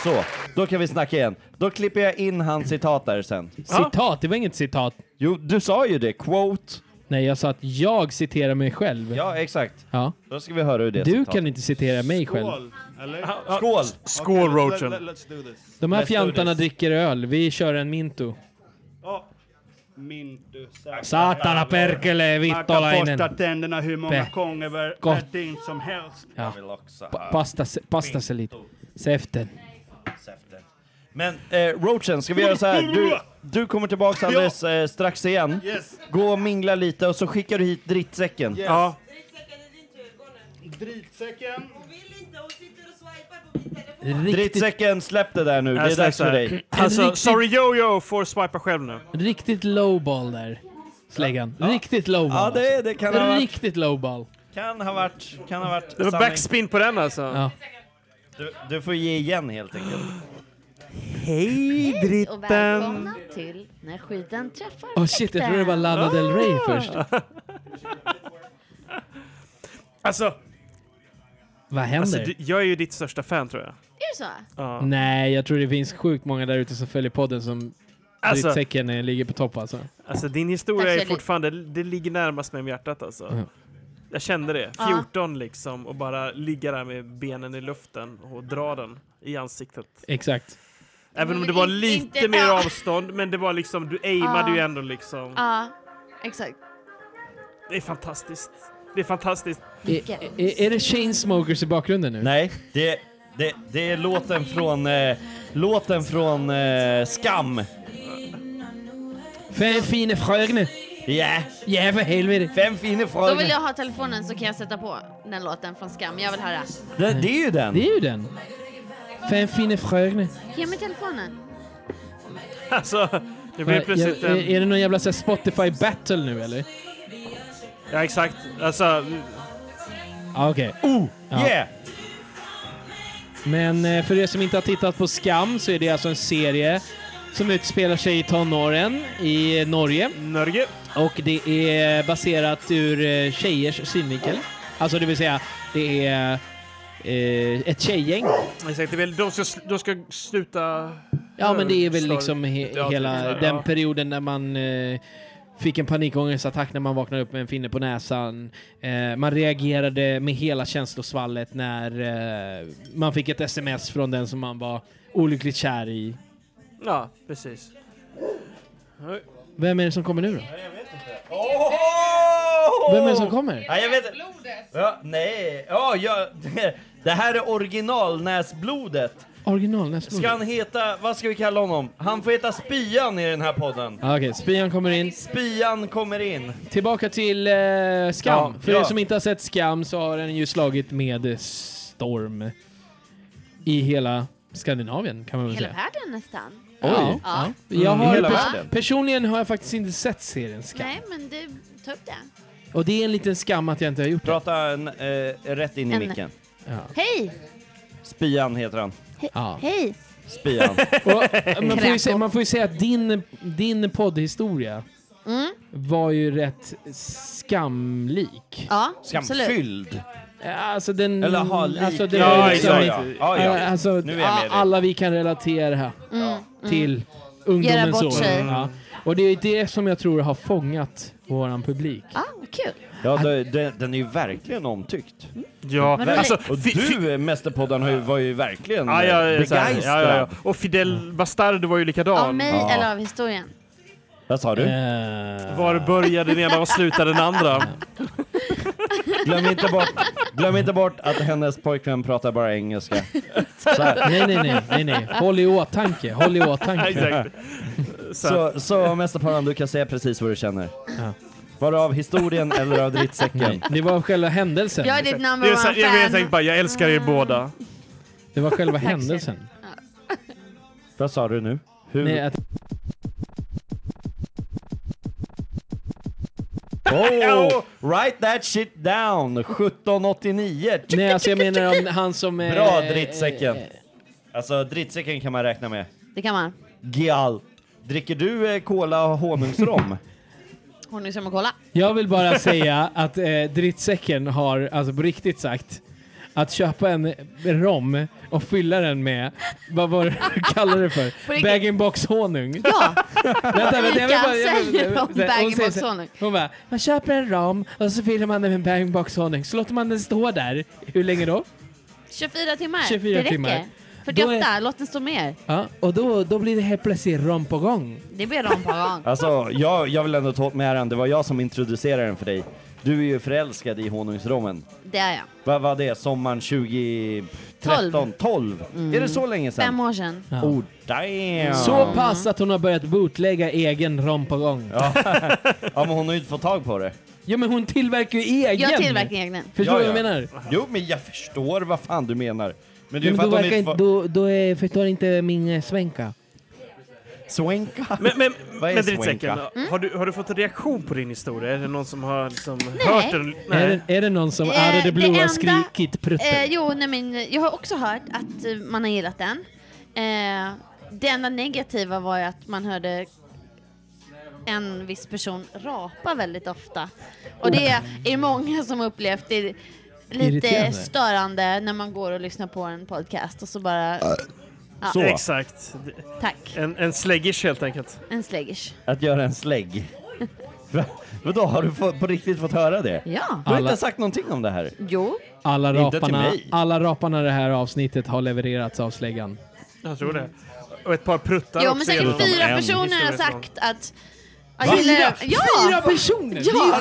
[SPEAKER 4] Så, då kan vi snacka igen. Då klipper jag in hans citat där sen.
[SPEAKER 3] Citat, det var inget citat.
[SPEAKER 4] Jo, du sa ju det. Quote.
[SPEAKER 3] Nej, jag sa att jag citerar mig själv.
[SPEAKER 4] Ja, exakt.
[SPEAKER 3] Ja.
[SPEAKER 4] Då ska vi höra hur det
[SPEAKER 3] Du
[SPEAKER 4] citatet-
[SPEAKER 3] kan inte citera mig själv.
[SPEAKER 9] Skål, eller?
[SPEAKER 4] Skål!
[SPEAKER 1] Skål
[SPEAKER 9] Let-
[SPEAKER 1] roachen.
[SPEAKER 9] let- Let's do this.
[SPEAKER 3] De här fjantarna dricker öl. Vi kör en Minto.
[SPEAKER 9] Ja. Min du säkert.
[SPEAKER 3] Satana perkele,
[SPEAKER 9] Man kan
[SPEAKER 3] vittolainen.
[SPEAKER 9] borsta tänderna hur många
[SPEAKER 3] Pe-
[SPEAKER 9] gånger per
[SPEAKER 3] Ko-
[SPEAKER 9] per dygn som helst.
[SPEAKER 3] Ja.
[SPEAKER 4] Jag vill också
[SPEAKER 3] Pa-
[SPEAKER 4] ha
[SPEAKER 3] Pasta, pasta sig lite. Säften.
[SPEAKER 4] säften. Men eh, Roachen, ska vi göra så här? Du, du kommer tillbaka alldeles eh, strax igen.
[SPEAKER 9] Yes,
[SPEAKER 4] Gå och mingla lite och så skickar du hit drittsäcken.
[SPEAKER 9] yes.
[SPEAKER 1] Ja,
[SPEAKER 9] Dritsäcken.
[SPEAKER 3] Riktigt,
[SPEAKER 4] Drittsäcken, släpp det där nu. Det är
[SPEAKER 1] jag
[SPEAKER 4] dags för
[SPEAKER 1] släpper.
[SPEAKER 4] dig.
[SPEAKER 1] alltså
[SPEAKER 3] riktigt-
[SPEAKER 1] sorry Jojo får swipa själv nu.
[SPEAKER 3] riktigt lowball där. Släggan. Riktigt lowball.
[SPEAKER 4] Ja, det, det kan, ha
[SPEAKER 3] alltså.
[SPEAKER 4] varit,
[SPEAKER 3] Riktigt lowball.
[SPEAKER 4] kan ha varit... Kan ha varit
[SPEAKER 1] Det var
[SPEAKER 4] sanning.
[SPEAKER 1] backspin på den alltså.
[SPEAKER 3] Ja.
[SPEAKER 4] du, du får ge igen helt enkelt.
[SPEAKER 1] Hej
[SPEAKER 12] Och
[SPEAKER 1] dritten!
[SPEAKER 12] välkomna till När skiten träffar
[SPEAKER 3] Åh Oh, shit, jag trodde det var Lana Del
[SPEAKER 9] Ah!
[SPEAKER 3] Rey först.
[SPEAKER 1] Alltså,
[SPEAKER 3] Vad händer?
[SPEAKER 1] alltså du, jag är ju ditt största fan tror jag.
[SPEAKER 12] Är det så?
[SPEAKER 1] Ja.
[SPEAKER 3] Nej, jag tror det finns sjukt många där ute som följer podden som
[SPEAKER 1] Alltså-
[SPEAKER 3] drittsäcken eh, ligger på topp alltså.
[SPEAKER 1] Alltså din
[SPEAKER 12] Tack
[SPEAKER 1] historia
[SPEAKER 12] så
[SPEAKER 1] är
[SPEAKER 12] mycket.
[SPEAKER 1] fortfarande, det ligger närmast mig om hjärtat alltså.
[SPEAKER 3] Ja.
[SPEAKER 1] Jag kände det.
[SPEAKER 12] Ja.
[SPEAKER 1] 14 liksom och bara ligga där med benen i luften och dra den i ansiktet.
[SPEAKER 3] Exakt.
[SPEAKER 1] Även om
[SPEAKER 12] Men
[SPEAKER 1] det var
[SPEAKER 12] Mm, in-
[SPEAKER 1] lite
[SPEAKER 12] inte-
[SPEAKER 1] mer
[SPEAKER 12] ja.
[SPEAKER 1] avstånd, men det var liksom, du aimade
[SPEAKER 12] Ja.
[SPEAKER 1] ju ändå liksom.
[SPEAKER 12] Ja, exakt.
[SPEAKER 1] Det är fantastiskt. Det är fantastiskt.
[SPEAKER 3] Är, är, är det Chainsmokers i bakgrunden nu?
[SPEAKER 4] Nej, det, det, det är låten från, eh, låten från eh, Skam.
[SPEAKER 3] Fem fine frögne!
[SPEAKER 4] Ja,
[SPEAKER 3] Ja, för helvete!
[SPEAKER 4] fem fina
[SPEAKER 12] Då vill
[SPEAKER 4] frågor.
[SPEAKER 12] jag ha telefonen så kan jag sätta på den låten från Skam. Jag vill höra.
[SPEAKER 4] Det, det är ju den.
[SPEAKER 3] Det är ju den. Fem fine frögne.
[SPEAKER 12] Ge mig telefonen.
[SPEAKER 1] Alltså, det
[SPEAKER 3] Ja,
[SPEAKER 1] blir plötsligt
[SPEAKER 3] är,
[SPEAKER 1] en...
[SPEAKER 3] är det någon jävla så här, Spotify battle nu eller?
[SPEAKER 1] Ja, exakt. Alltså,
[SPEAKER 3] Ah, Okej.
[SPEAKER 4] Oh,
[SPEAKER 3] Ja.
[SPEAKER 4] yeah!
[SPEAKER 3] Men eh, för er som inte har tittat på Skam så är det alltså en serie som utspelar sig i tonåren i Norge.
[SPEAKER 1] Norge.
[SPEAKER 3] Och det är baserat ur eh, tjejers synvinkel. Alltså det vill säga, det är eh, ett tjejgäng.
[SPEAKER 1] Exakt, det är väl, de ska, sl- de ska sluta...
[SPEAKER 3] Ja men det är väl
[SPEAKER 1] Slår-
[SPEAKER 3] liksom he-
[SPEAKER 1] Ja,
[SPEAKER 3] hela
[SPEAKER 1] typ så här,
[SPEAKER 3] den
[SPEAKER 1] ja.
[SPEAKER 3] perioden när man eh, fick en panikångestattack när man vaknade upp med en finne på näsan. Eh, man reagerade med hela känslosvallet när eh, man fick ett sms från den som man var olyckligt kär i.
[SPEAKER 1] Ja, precis. Oj.
[SPEAKER 3] Vem är det som kommer nu då?
[SPEAKER 4] Oh!
[SPEAKER 3] Vem är det som kommer?
[SPEAKER 4] Ja, jag vet ja, Nej, ja, jag, det här är originalnäsblodet.
[SPEAKER 3] Original nästa
[SPEAKER 4] Ska han heta, vad ska vi kalla honom? Han får heta Spian i den här podden.
[SPEAKER 3] Ah, Okej, Spian kommer in.
[SPEAKER 4] Spian kommer in.
[SPEAKER 3] Tillbaka till eh,
[SPEAKER 4] Ja,
[SPEAKER 3] Skam. För
[SPEAKER 4] ja.
[SPEAKER 3] er som inte har sett Skam så har den ju slagit med eh, storm i hela Skandinavien kan man väl
[SPEAKER 12] Hela
[SPEAKER 3] säga.
[SPEAKER 12] världen nästan.
[SPEAKER 3] Ja. Mm.
[SPEAKER 12] Ja.
[SPEAKER 3] Jag
[SPEAKER 4] I
[SPEAKER 3] har
[SPEAKER 4] hela
[SPEAKER 3] pers-
[SPEAKER 4] världen.
[SPEAKER 3] personligen har jag faktiskt inte sett serien Skam.
[SPEAKER 12] Nej, men du, ta upp det.
[SPEAKER 3] Och det är en liten skam att jag inte har gjort det.
[SPEAKER 4] Prata en, eh, rätt in i
[SPEAKER 12] En-
[SPEAKER 4] micken.
[SPEAKER 12] Hej!
[SPEAKER 4] Spian heter han.
[SPEAKER 3] Ja.
[SPEAKER 12] Hej!
[SPEAKER 4] Spian.
[SPEAKER 3] Och, man, får ju
[SPEAKER 12] Kräkor.
[SPEAKER 3] se, man får ju säga att din, din poddhistoria
[SPEAKER 12] Mm.
[SPEAKER 3] var ju rätt skamlik.
[SPEAKER 12] Ja, absolut.
[SPEAKER 4] Skamfylld.
[SPEAKER 3] Alltså den...
[SPEAKER 4] Eller ha lik.
[SPEAKER 3] alltså, det
[SPEAKER 1] Ja,
[SPEAKER 3] var ju liksom,
[SPEAKER 1] ja,
[SPEAKER 4] ja. Ja, ja.
[SPEAKER 3] äh, Alltså,
[SPEAKER 4] Nu är jag med dig.
[SPEAKER 3] alla vi kan relatera
[SPEAKER 12] Mm.
[SPEAKER 3] till ungdomens
[SPEAKER 12] Göra bort
[SPEAKER 3] år.
[SPEAKER 12] sig.
[SPEAKER 3] Ja. Och det är det som jag tror har fångat våran publik.
[SPEAKER 12] Ah, kul.
[SPEAKER 4] Ja, det, det, den är ju verkligen omtyckt.
[SPEAKER 1] Ja,
[SPEAKER 12] Vadå, alltså,
[SPEAKER 4] och du, Mästerpodden, har ju- var ju verkligen
[SPEAKER 1] Ja, ja,
[SPEAKER 4] eh,
[SPEAKER 1] ja, så här, ja,
[SPEAKER 4] begeistrad.
[SPEAKER 1] ja, ja. Och Fidel Bastardo var ju likadan.
[SPEAKER 12] Av mig eller av historien?
[SPEAKER 4] Vad sa du?
[SPEAKER 3] Eh,
[SPEAKER 1] Var började den ena och slutade den andra?
[SPEAKER 4] Glöm inte, bort, glöm inte bort att hennes pojkvän pratar bara engelska. Så här.
[SPEAKER 3] Nej, nej, nej, nej, nej. Håll i åtanke, håll i åtanke.
[SPEAKER 4] Exakt. Så, så Mästerpodden, du kan säga precis vad du känner. Var det av historien eller av drittsäcken?
[SPEAKER 3] Det var själva händelsen.
[SPEAKER 12] Jag är ditt number one fan.
[SPEAKER 1] jag tänkte bara, jag älskar er båda.
[SPEAKER 3] Det var själva
[SPEAKER 12] Tack så
[SPEAKER 3] händelsen.
[SPEAKER 4] Vad sa du nu? Hur?
[SPEAKER 3] Nej, att...
[SPEAKER 4] Oh, write that shit down! 1789!
[SPEAKER 3] Nej, alltså jag menar om han som... eh,
[SPEAKER 4] Bra drittsäcken! Alltså drittsäcken kan man räkna med.
[SPEAKER 12] Det kan man.
[SPEAKER 4] Gial, dricker du eh, cola och honungsrom?
[SPEAKER 12] Honungsrom och cola.
[SPEAKER 3] Jag vill bara säga att eh, drittsäcken har, alltså på riktigt sagt, att köpa en rom och fylla den med, vad var det du kallade det
[SPEAKER 12] På
[SPEAKER 3] för?
[SPEAKER 12] riktigt.
[SPEAKER 3] Bag-in-box honung?
[SPEAKER 12] Ja!
[SPEAKER 3] Vänta, vänta, jag vill bara- jag vill-
[SPEAKER 12] säger om
[SPEAKER 3] hon säger
[SPEAKER 12] bag-in-box
[SPEAKER 3] så här-
[SPEAKER 12] honung.
[SPEAKER 3] Hon bara, man köper en ram och så fyller man den med bag-in-box honung, så låter man den stå där. Hur länge då?
[SPEAKER 12] 24 timmar.
[SPEAKER 3] 24
[SPEAKER 12] det räcker.
[SPEAKER 3] timmar. Då
[SPEAKER 12] 48,
[SPEAKER 3] är-
[SPEAKER 12] låt den stå mer.
[SPEAKER 3] Ja, och då, då blir det helt plötsligt rom på gång.
[SPEAKER 12] Det blir rom på gång.
[SPEAKER 4] Alltså, jag, jag vill ändå ta åt mig äran. Det var jag som introducerade den för dig. Du är ju förälskad i honungsrommen.
[SPEAKER 12] Det är jag.
[SPEAKER 4] Vad var det? Sommaren 2013? 12? Är det så länge sedan?
[SPEAKER 12] Mm. Fem år sedan.
[SPEAKER 3] Ja.
[SPEAKER 4] Oh, damn!
[SPEAKER 3] Så pass att hon har börjat bootlägga egen rom på gång.
[SPEAKER 4] Ja. ja, men hon har ju inte fått tag på det.
[SPEAKER 3] Ja, men hon tillverkar ju egen!
[SPEAKER 12] Jag tillverkar egna.
[SPEAKER 3] Förstår du
[SPEAKER 4] Ja,
[SPEAKER 3] vad jag
[SPEAKER 4] ja.
[SPEAKER 3] menar?
[SPEAKER 4] Jo, men jag förstår vad fan du menar. Men det är
[SPEAKER 3] Ja,
[SPEAKER 4] ju för
[SPEAKER 3] men då,
[SPEAKER 4] att hon
[SPEAKER 3] verkar,
[SPEAKER 4] inte
[SPEAKER 3] inte-
[SPEAKER 4] får...
[SPEAKER 3] då, då eh, förstår inte min eh, svänka.
[SPEAKER 4] Swenka?
[SPEAKER 1] Men, men,
[SPEAKER 4] Vad är
[SPEAKER 1] men drittsäcken,
[SPEAKER 4] swenka?
[SPEAKER 12] Mm?
[SPEAKER 1] har, du, har du fått en reaktion på din historia? Är det någon som har liksom
[SPEAKER 12] Nej.
[SPEAKER 1] hört den?
[SPEAKER 3] Är, det- är det någon som
[SPEAKER 12] Eh,
[SPEAKER 3] är det
[SPEAKER 12] det
[SPEAKER 3] blå har
[SPEAKER 12] enda-
[SPEAKER 3] skrikit prutten?
[SPEAKER 12] Eh, jo, nej, men jag har också hört att eh, man har gillat den. Eh, det enda negativa var ju att man hörde en viss person rapa väldigt ofta. Och det är många som upplevt det lite
[SPEAKER 1] Irriterande.
[SPEAKER 12] störande när man går och lyssnar på en podcast och så bara... Ja,
[SPEAKER 4] Så.
[SPEAKER 1] Exakt.
[SPEAKER 12] Tack.
[SPEAKER 1] En, en släggish helt enkelt.
[SPEAKER 12] En släggish.
[SPEAKER 4] Att göra en slägg? Va? Vadå, har du fått, på riktigt fått höra det?
[SPEAKER 12] Ja.
[SPEAKER 4] Du har
[SPEAKER 3] Alla-
[SPEAKER 4] inte sagt någonting om det här?
[SPEAKER 12] Jo.
[SPEAKER 3] Alla
[SPEAKER 4] Inte till
[SPEAKER 3] raparna,
[SPEAKER 4] mig.
[SPEAKER 3] alla raparna i det här avsnitt har levererats av släggan.
[SPEAKER 1] Jag tror det. Och ett par pruttar
[SPEAKER 12] Jo,
[SPEAKER 1] också
[SPEAKER 12] men
[SPEAKER 1] genom-
[SPEAKER 12] säkert fyra
[SPEAKER 1] en
[SPEAKER 12] personer har
[SPEAKER 1] historia
[SPEAKER 12] sagt att...
[SPEAKER 1] Va?
[SPEAKER 12] jag gillar-
[SPEAKER 1] Fyra-
[SPEAKER 12] ja.
[SPEAKER 1] fyra
[SPEAKER 3] personer?
[SPEAKER 12] Ja.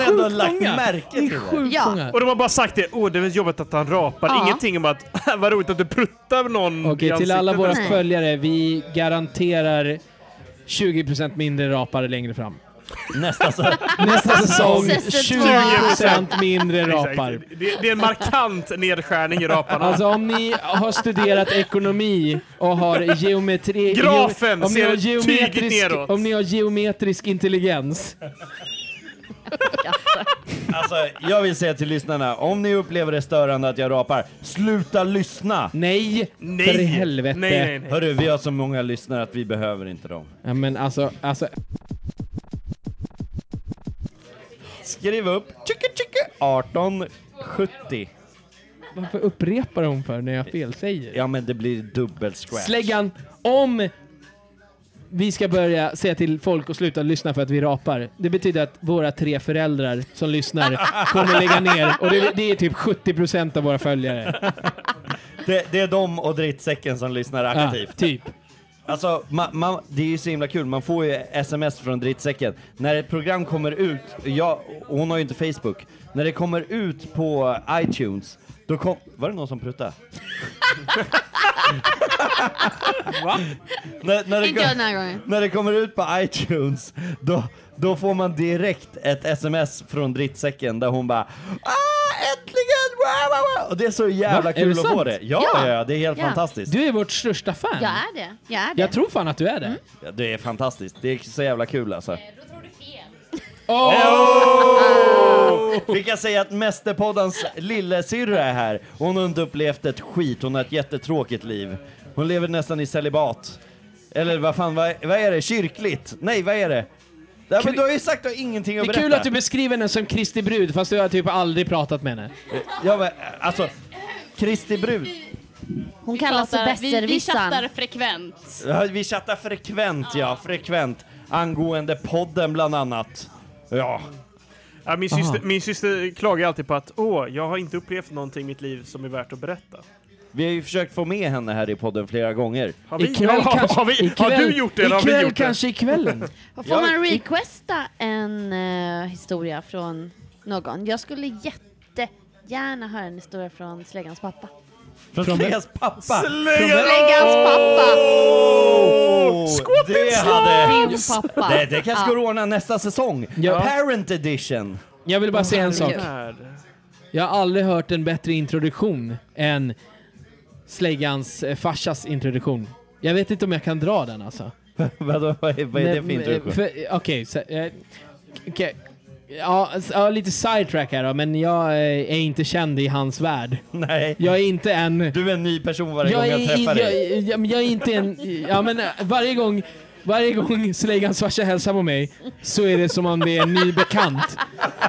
[SPEAKER 12] ja.
[SPEAKER 1] Och de har bara sagt det, åh det är jobbigt att han rapar.
[SPEAKER 12] Ja.
[SPEAKER 1] Ingenting om att, vad roligt att du pruttar någon i
[SPEAKER 3] Okej, till
[SPEAKER 1] ansiktet
[SPEAKER 3] alla våra
[SPEAKER 1] nästan.
[SPEAKER 3] följare, vi garanterar 20% mindre rapare längre fram.
[SPEAKER 4] Nästa,
[SPEAKER 3] alltså, Nästa
[SPEAKER 12] Alltså,
[SPEAKER 3] säsong,
[SPEAKER 1] Säsong
[SPEAKER 3] 20% mindre
[SPEAKER 1] Exakt.
[SPEAKER 3] rapar.
[SPEAKER 1] Det, det är en markant nedskärning i raparna.
[SPEAKER 3] Alltså om ni har studerat ekonomi och har geometri...
[SPEAKER 1] Grafen
[SPEAKER 3] om ni
[SPEAKER 1] ser
[SPEAKER 3] har
[SPEAKER 1] tydligt
[SPEAKER 3] geometrisk,
[SPEAKER 1] neråt.
[SPEAKER 3] Om ni har geometrisk intelligens.
[SPEAKER 4] Alltså, jag vill säga till lyssnarna, om ni upplever det störande att jag rapar, sluta lyssna!
[SPEAKER 3] Nej!
[SPEAKER 4] nej
[SPEAKER 3] för helvete. Nej, nej, nej.
[SPEAKER 4] Hörru, vi har så många lyssnare att vi behöver inte dem.
[SPEAKER 3] Ja, men alltså, alltså...
[SPEAKER 4] Skriv upp tjicka, tjicka, 1870.
[SPEAKER 3] Varför upprepar hon för när jag felsäger?
[SPEAKER 4] Ja, men det blir dubbel scratch.
[SPEAKER 3] Släggan, om vi ska börja säga till folk att sluta lyssna för att vi rapar. Det betyder att våra tre föräldrar som lyssnar kommer lägga ner. Och det, det är typ 70% av våra följare.
[SPEAKER 4] Det, det är de och drittsäcken som lyssnar aktivt.
[SPEAKER 3] typ.
[SPEAKER 4] Alltså, ma, ma, det är ju så himla kul, man får ju sms från drittsäcken. När ett program kommer ut, jag, och hon har ju inte Facebook, när det kommer ut på iTunes, då kom, Var det någon som pruttade? Va? När, när, det,
[SPEAKER 12] Inte jag den
[SPEAKER 4] kom-
[SPEAKER 12] här gången.
[SPEAKER 4] när det kommer ut på iTunes, då, då får man direkt ett sms från drittsäcken där hon bara Äntligen! Wow, wow, wow. Och det är så jävla
[SPEAKER 3] Va? Är
[SPEAKER 4] kul
[SPEAKER 3] det
[SPEAKER 4] att få
[SPEAKER 3] sant?
[SPEAKER 13] Eh,
[SPEAKER 4] det. Ja, ja.
[SPEAKER 12] Ja.
[SPEAKER 4] ja, det är helt
[SPEAKER 12] Ja.
[SPEAKER 4] fantastiskt.
[SPEAKER 3] Du är vårt största fan.
[SPEAKER 12] Jag är det. Jag är det. Mm.
[SPEAKER 3] Jag tror fan att du är det.
[SPEAKER 4] Ja, det är fantastiskt. Det är så jävla kul alltså. Oh! Vi kan säga att Mästerpoddens lillasyrra är här. Hon har inte upplevt ett skit, hon har ett jättetråkigt liv. Hon lever nästan i celibat. Eller vad fan, vad, vad är det? Kyrkligt? Nej, vad är det? Ja, men du har ju sagt att du har ingenting att
[SPEAKER 3] Det är
[SPEAKER 4] berätta.
[SPEAKER 3] kul att du beskriver henne som Kristi brud fast du har typ aldrig pratat med henne.
[SPEAKER 4] Ja, men alltså, Kristi brud.
[SPEAKER 12] Hon kallas
[SPEAKER 14] pratar- vi, vi
[SPEAKER 12] besserwissern.
[SPEAKER 14] chattar frekvent.
[SPEAKER 4] Ja, Vi chattar frekvent, ja. Frekvent. angående podden bland annat. Ja.
[SPEAKER 1] Ja, min, syster, min syster klagar alltid på att åh, jag har inte upplevt någonting i mitt liv som är värt att berätta.
[SPEAKER 4] Vi har ju försökt få med henne här i podden flera gånger.
[SPEAKER 1] Har vi- Ikväll har- kanske- har vi- har ikväll- du gjort det eller har vi ikväll gjort det? kanske
[SPEAKER 3] ikvällen.
[SPEAKER 12] Får man requesta en eh, historia från någon? Jag skulle jättegärna höra en historia från Släggans pappa.
[SPEAKER 4] Från Slegans pappa!
[SPEAKER 12] Släggans pappa!
[SPEAKER 4] Skåp det
[SPEAKER 12] slav! Din pappa.
[SPEAKER 4] Det, det kanske går
[SPEAKER 12] Ja.
[SPEAKER 4] att ordna nästa säsong. Parent edition.
[SPEAKER 3] Jag vill bara säga en sak. Jag har aldrig hört en bättre introduktion än Släggans eh, farsas introduktion. Jag vet inte om jag kan dra den alltså. eh,
[SPEAKER 4] Vadå, vad är, vad är det för introduktion?
[SPEAKER 3] för- Okej, så, eh, okej. Ja, s- ja, lite sidetrack här då, men jag eh, är inte känd i hans värld.
[SPEAKER 4] Nej.
[SPEAKER 3] Jag är inte en...
[SPEAKER 4] Du är en ny person varje gång jag
[SPEAKER 3] är-
[SPEAKER 4] träffar
[SPEAKER 3] jag,
[SPEAKER 4] dig.
[SPEAKER 3] Jag, men jag är inte en... Ja, men eh, varje gång... Varje gång Slegans farsa hälsar på mig så är det som om det är en ny bekant.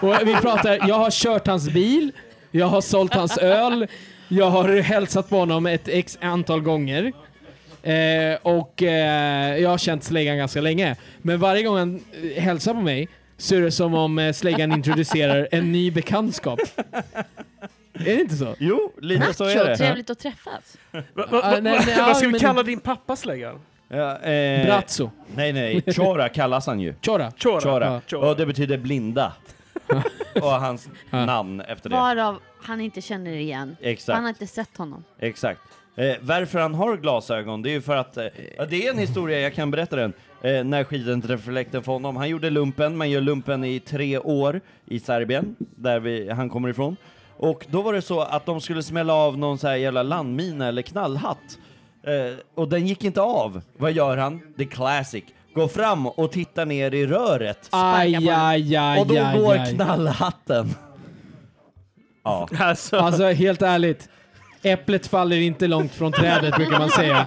[SPEAKER 3] Och vi pratar, jag har kört hans bil, jag har sålt hans öl, jag har hälsat på honom ett x antal gånger. Eh, och eh, jag har känt Slegan ganska länge. Men varje gång han eh, hälsar på mig så är det som om eh, Slegan introducerar en ny bekantskap. Är det inte så?
[SPEAKER 4] Jo,
[SPEAKER 12] Macho, trevligt att träffas.
[SPEAKER 3] va- nej, nej,
[SPEAKER 1] Vad ska
[SPEAKER 3] ja,
[SPEAKER 1] vi
[SPEAKER 3] men-
[SPEAKER 1] kalla din pappa släggan?
[SPEAKER 4] Ja, eh,
[SPEAKER 3] Brazzo.
[SPEAKER 4] Nej, nej. Chora kallas han ju.
[SPEAKER 3] Chora.
[SPEAKER 1] Chora.
[SPEAKER 4] Chora.
[SPEAKER 1] Ja.
[SPEAKER 4] Och det betyder blinda. och hans namn efter det.
[SPEAKER 12] Varav han inte känner igen.
[SPEAKER 4] Exakt.
[SPEAKER 12] Han har inte sett honom.
[SPEAKER 4] Exakt. Eh, varför han har glasögon, det är ju för att... Eh, ja, det är en historia, jag kan berätta den. Eh, när skiden träffade fläkten för honom. Han gjorde lumpen, man gör lumpen i tre år i Serbien, där vi, han kommer ifrån. Och då var det så att de skulle smälla av någon så här jävla landmina eller knallhatt. Eh, och den gick inte av. Vad gör han? The classic. Går fram och tittar ner i röret.
[SPEAKER 3] Aj, aj, aj, aj,
[SPEAKER 4] Och då går
[SPEAKER 3] aj.
[SPEAKER 4] knallhatten. Ja.
[SPEAKER 1] Alltså.
[SPEAKER 3] helt ärligt. Äpplet faller inte långt från trädet brukar man säga.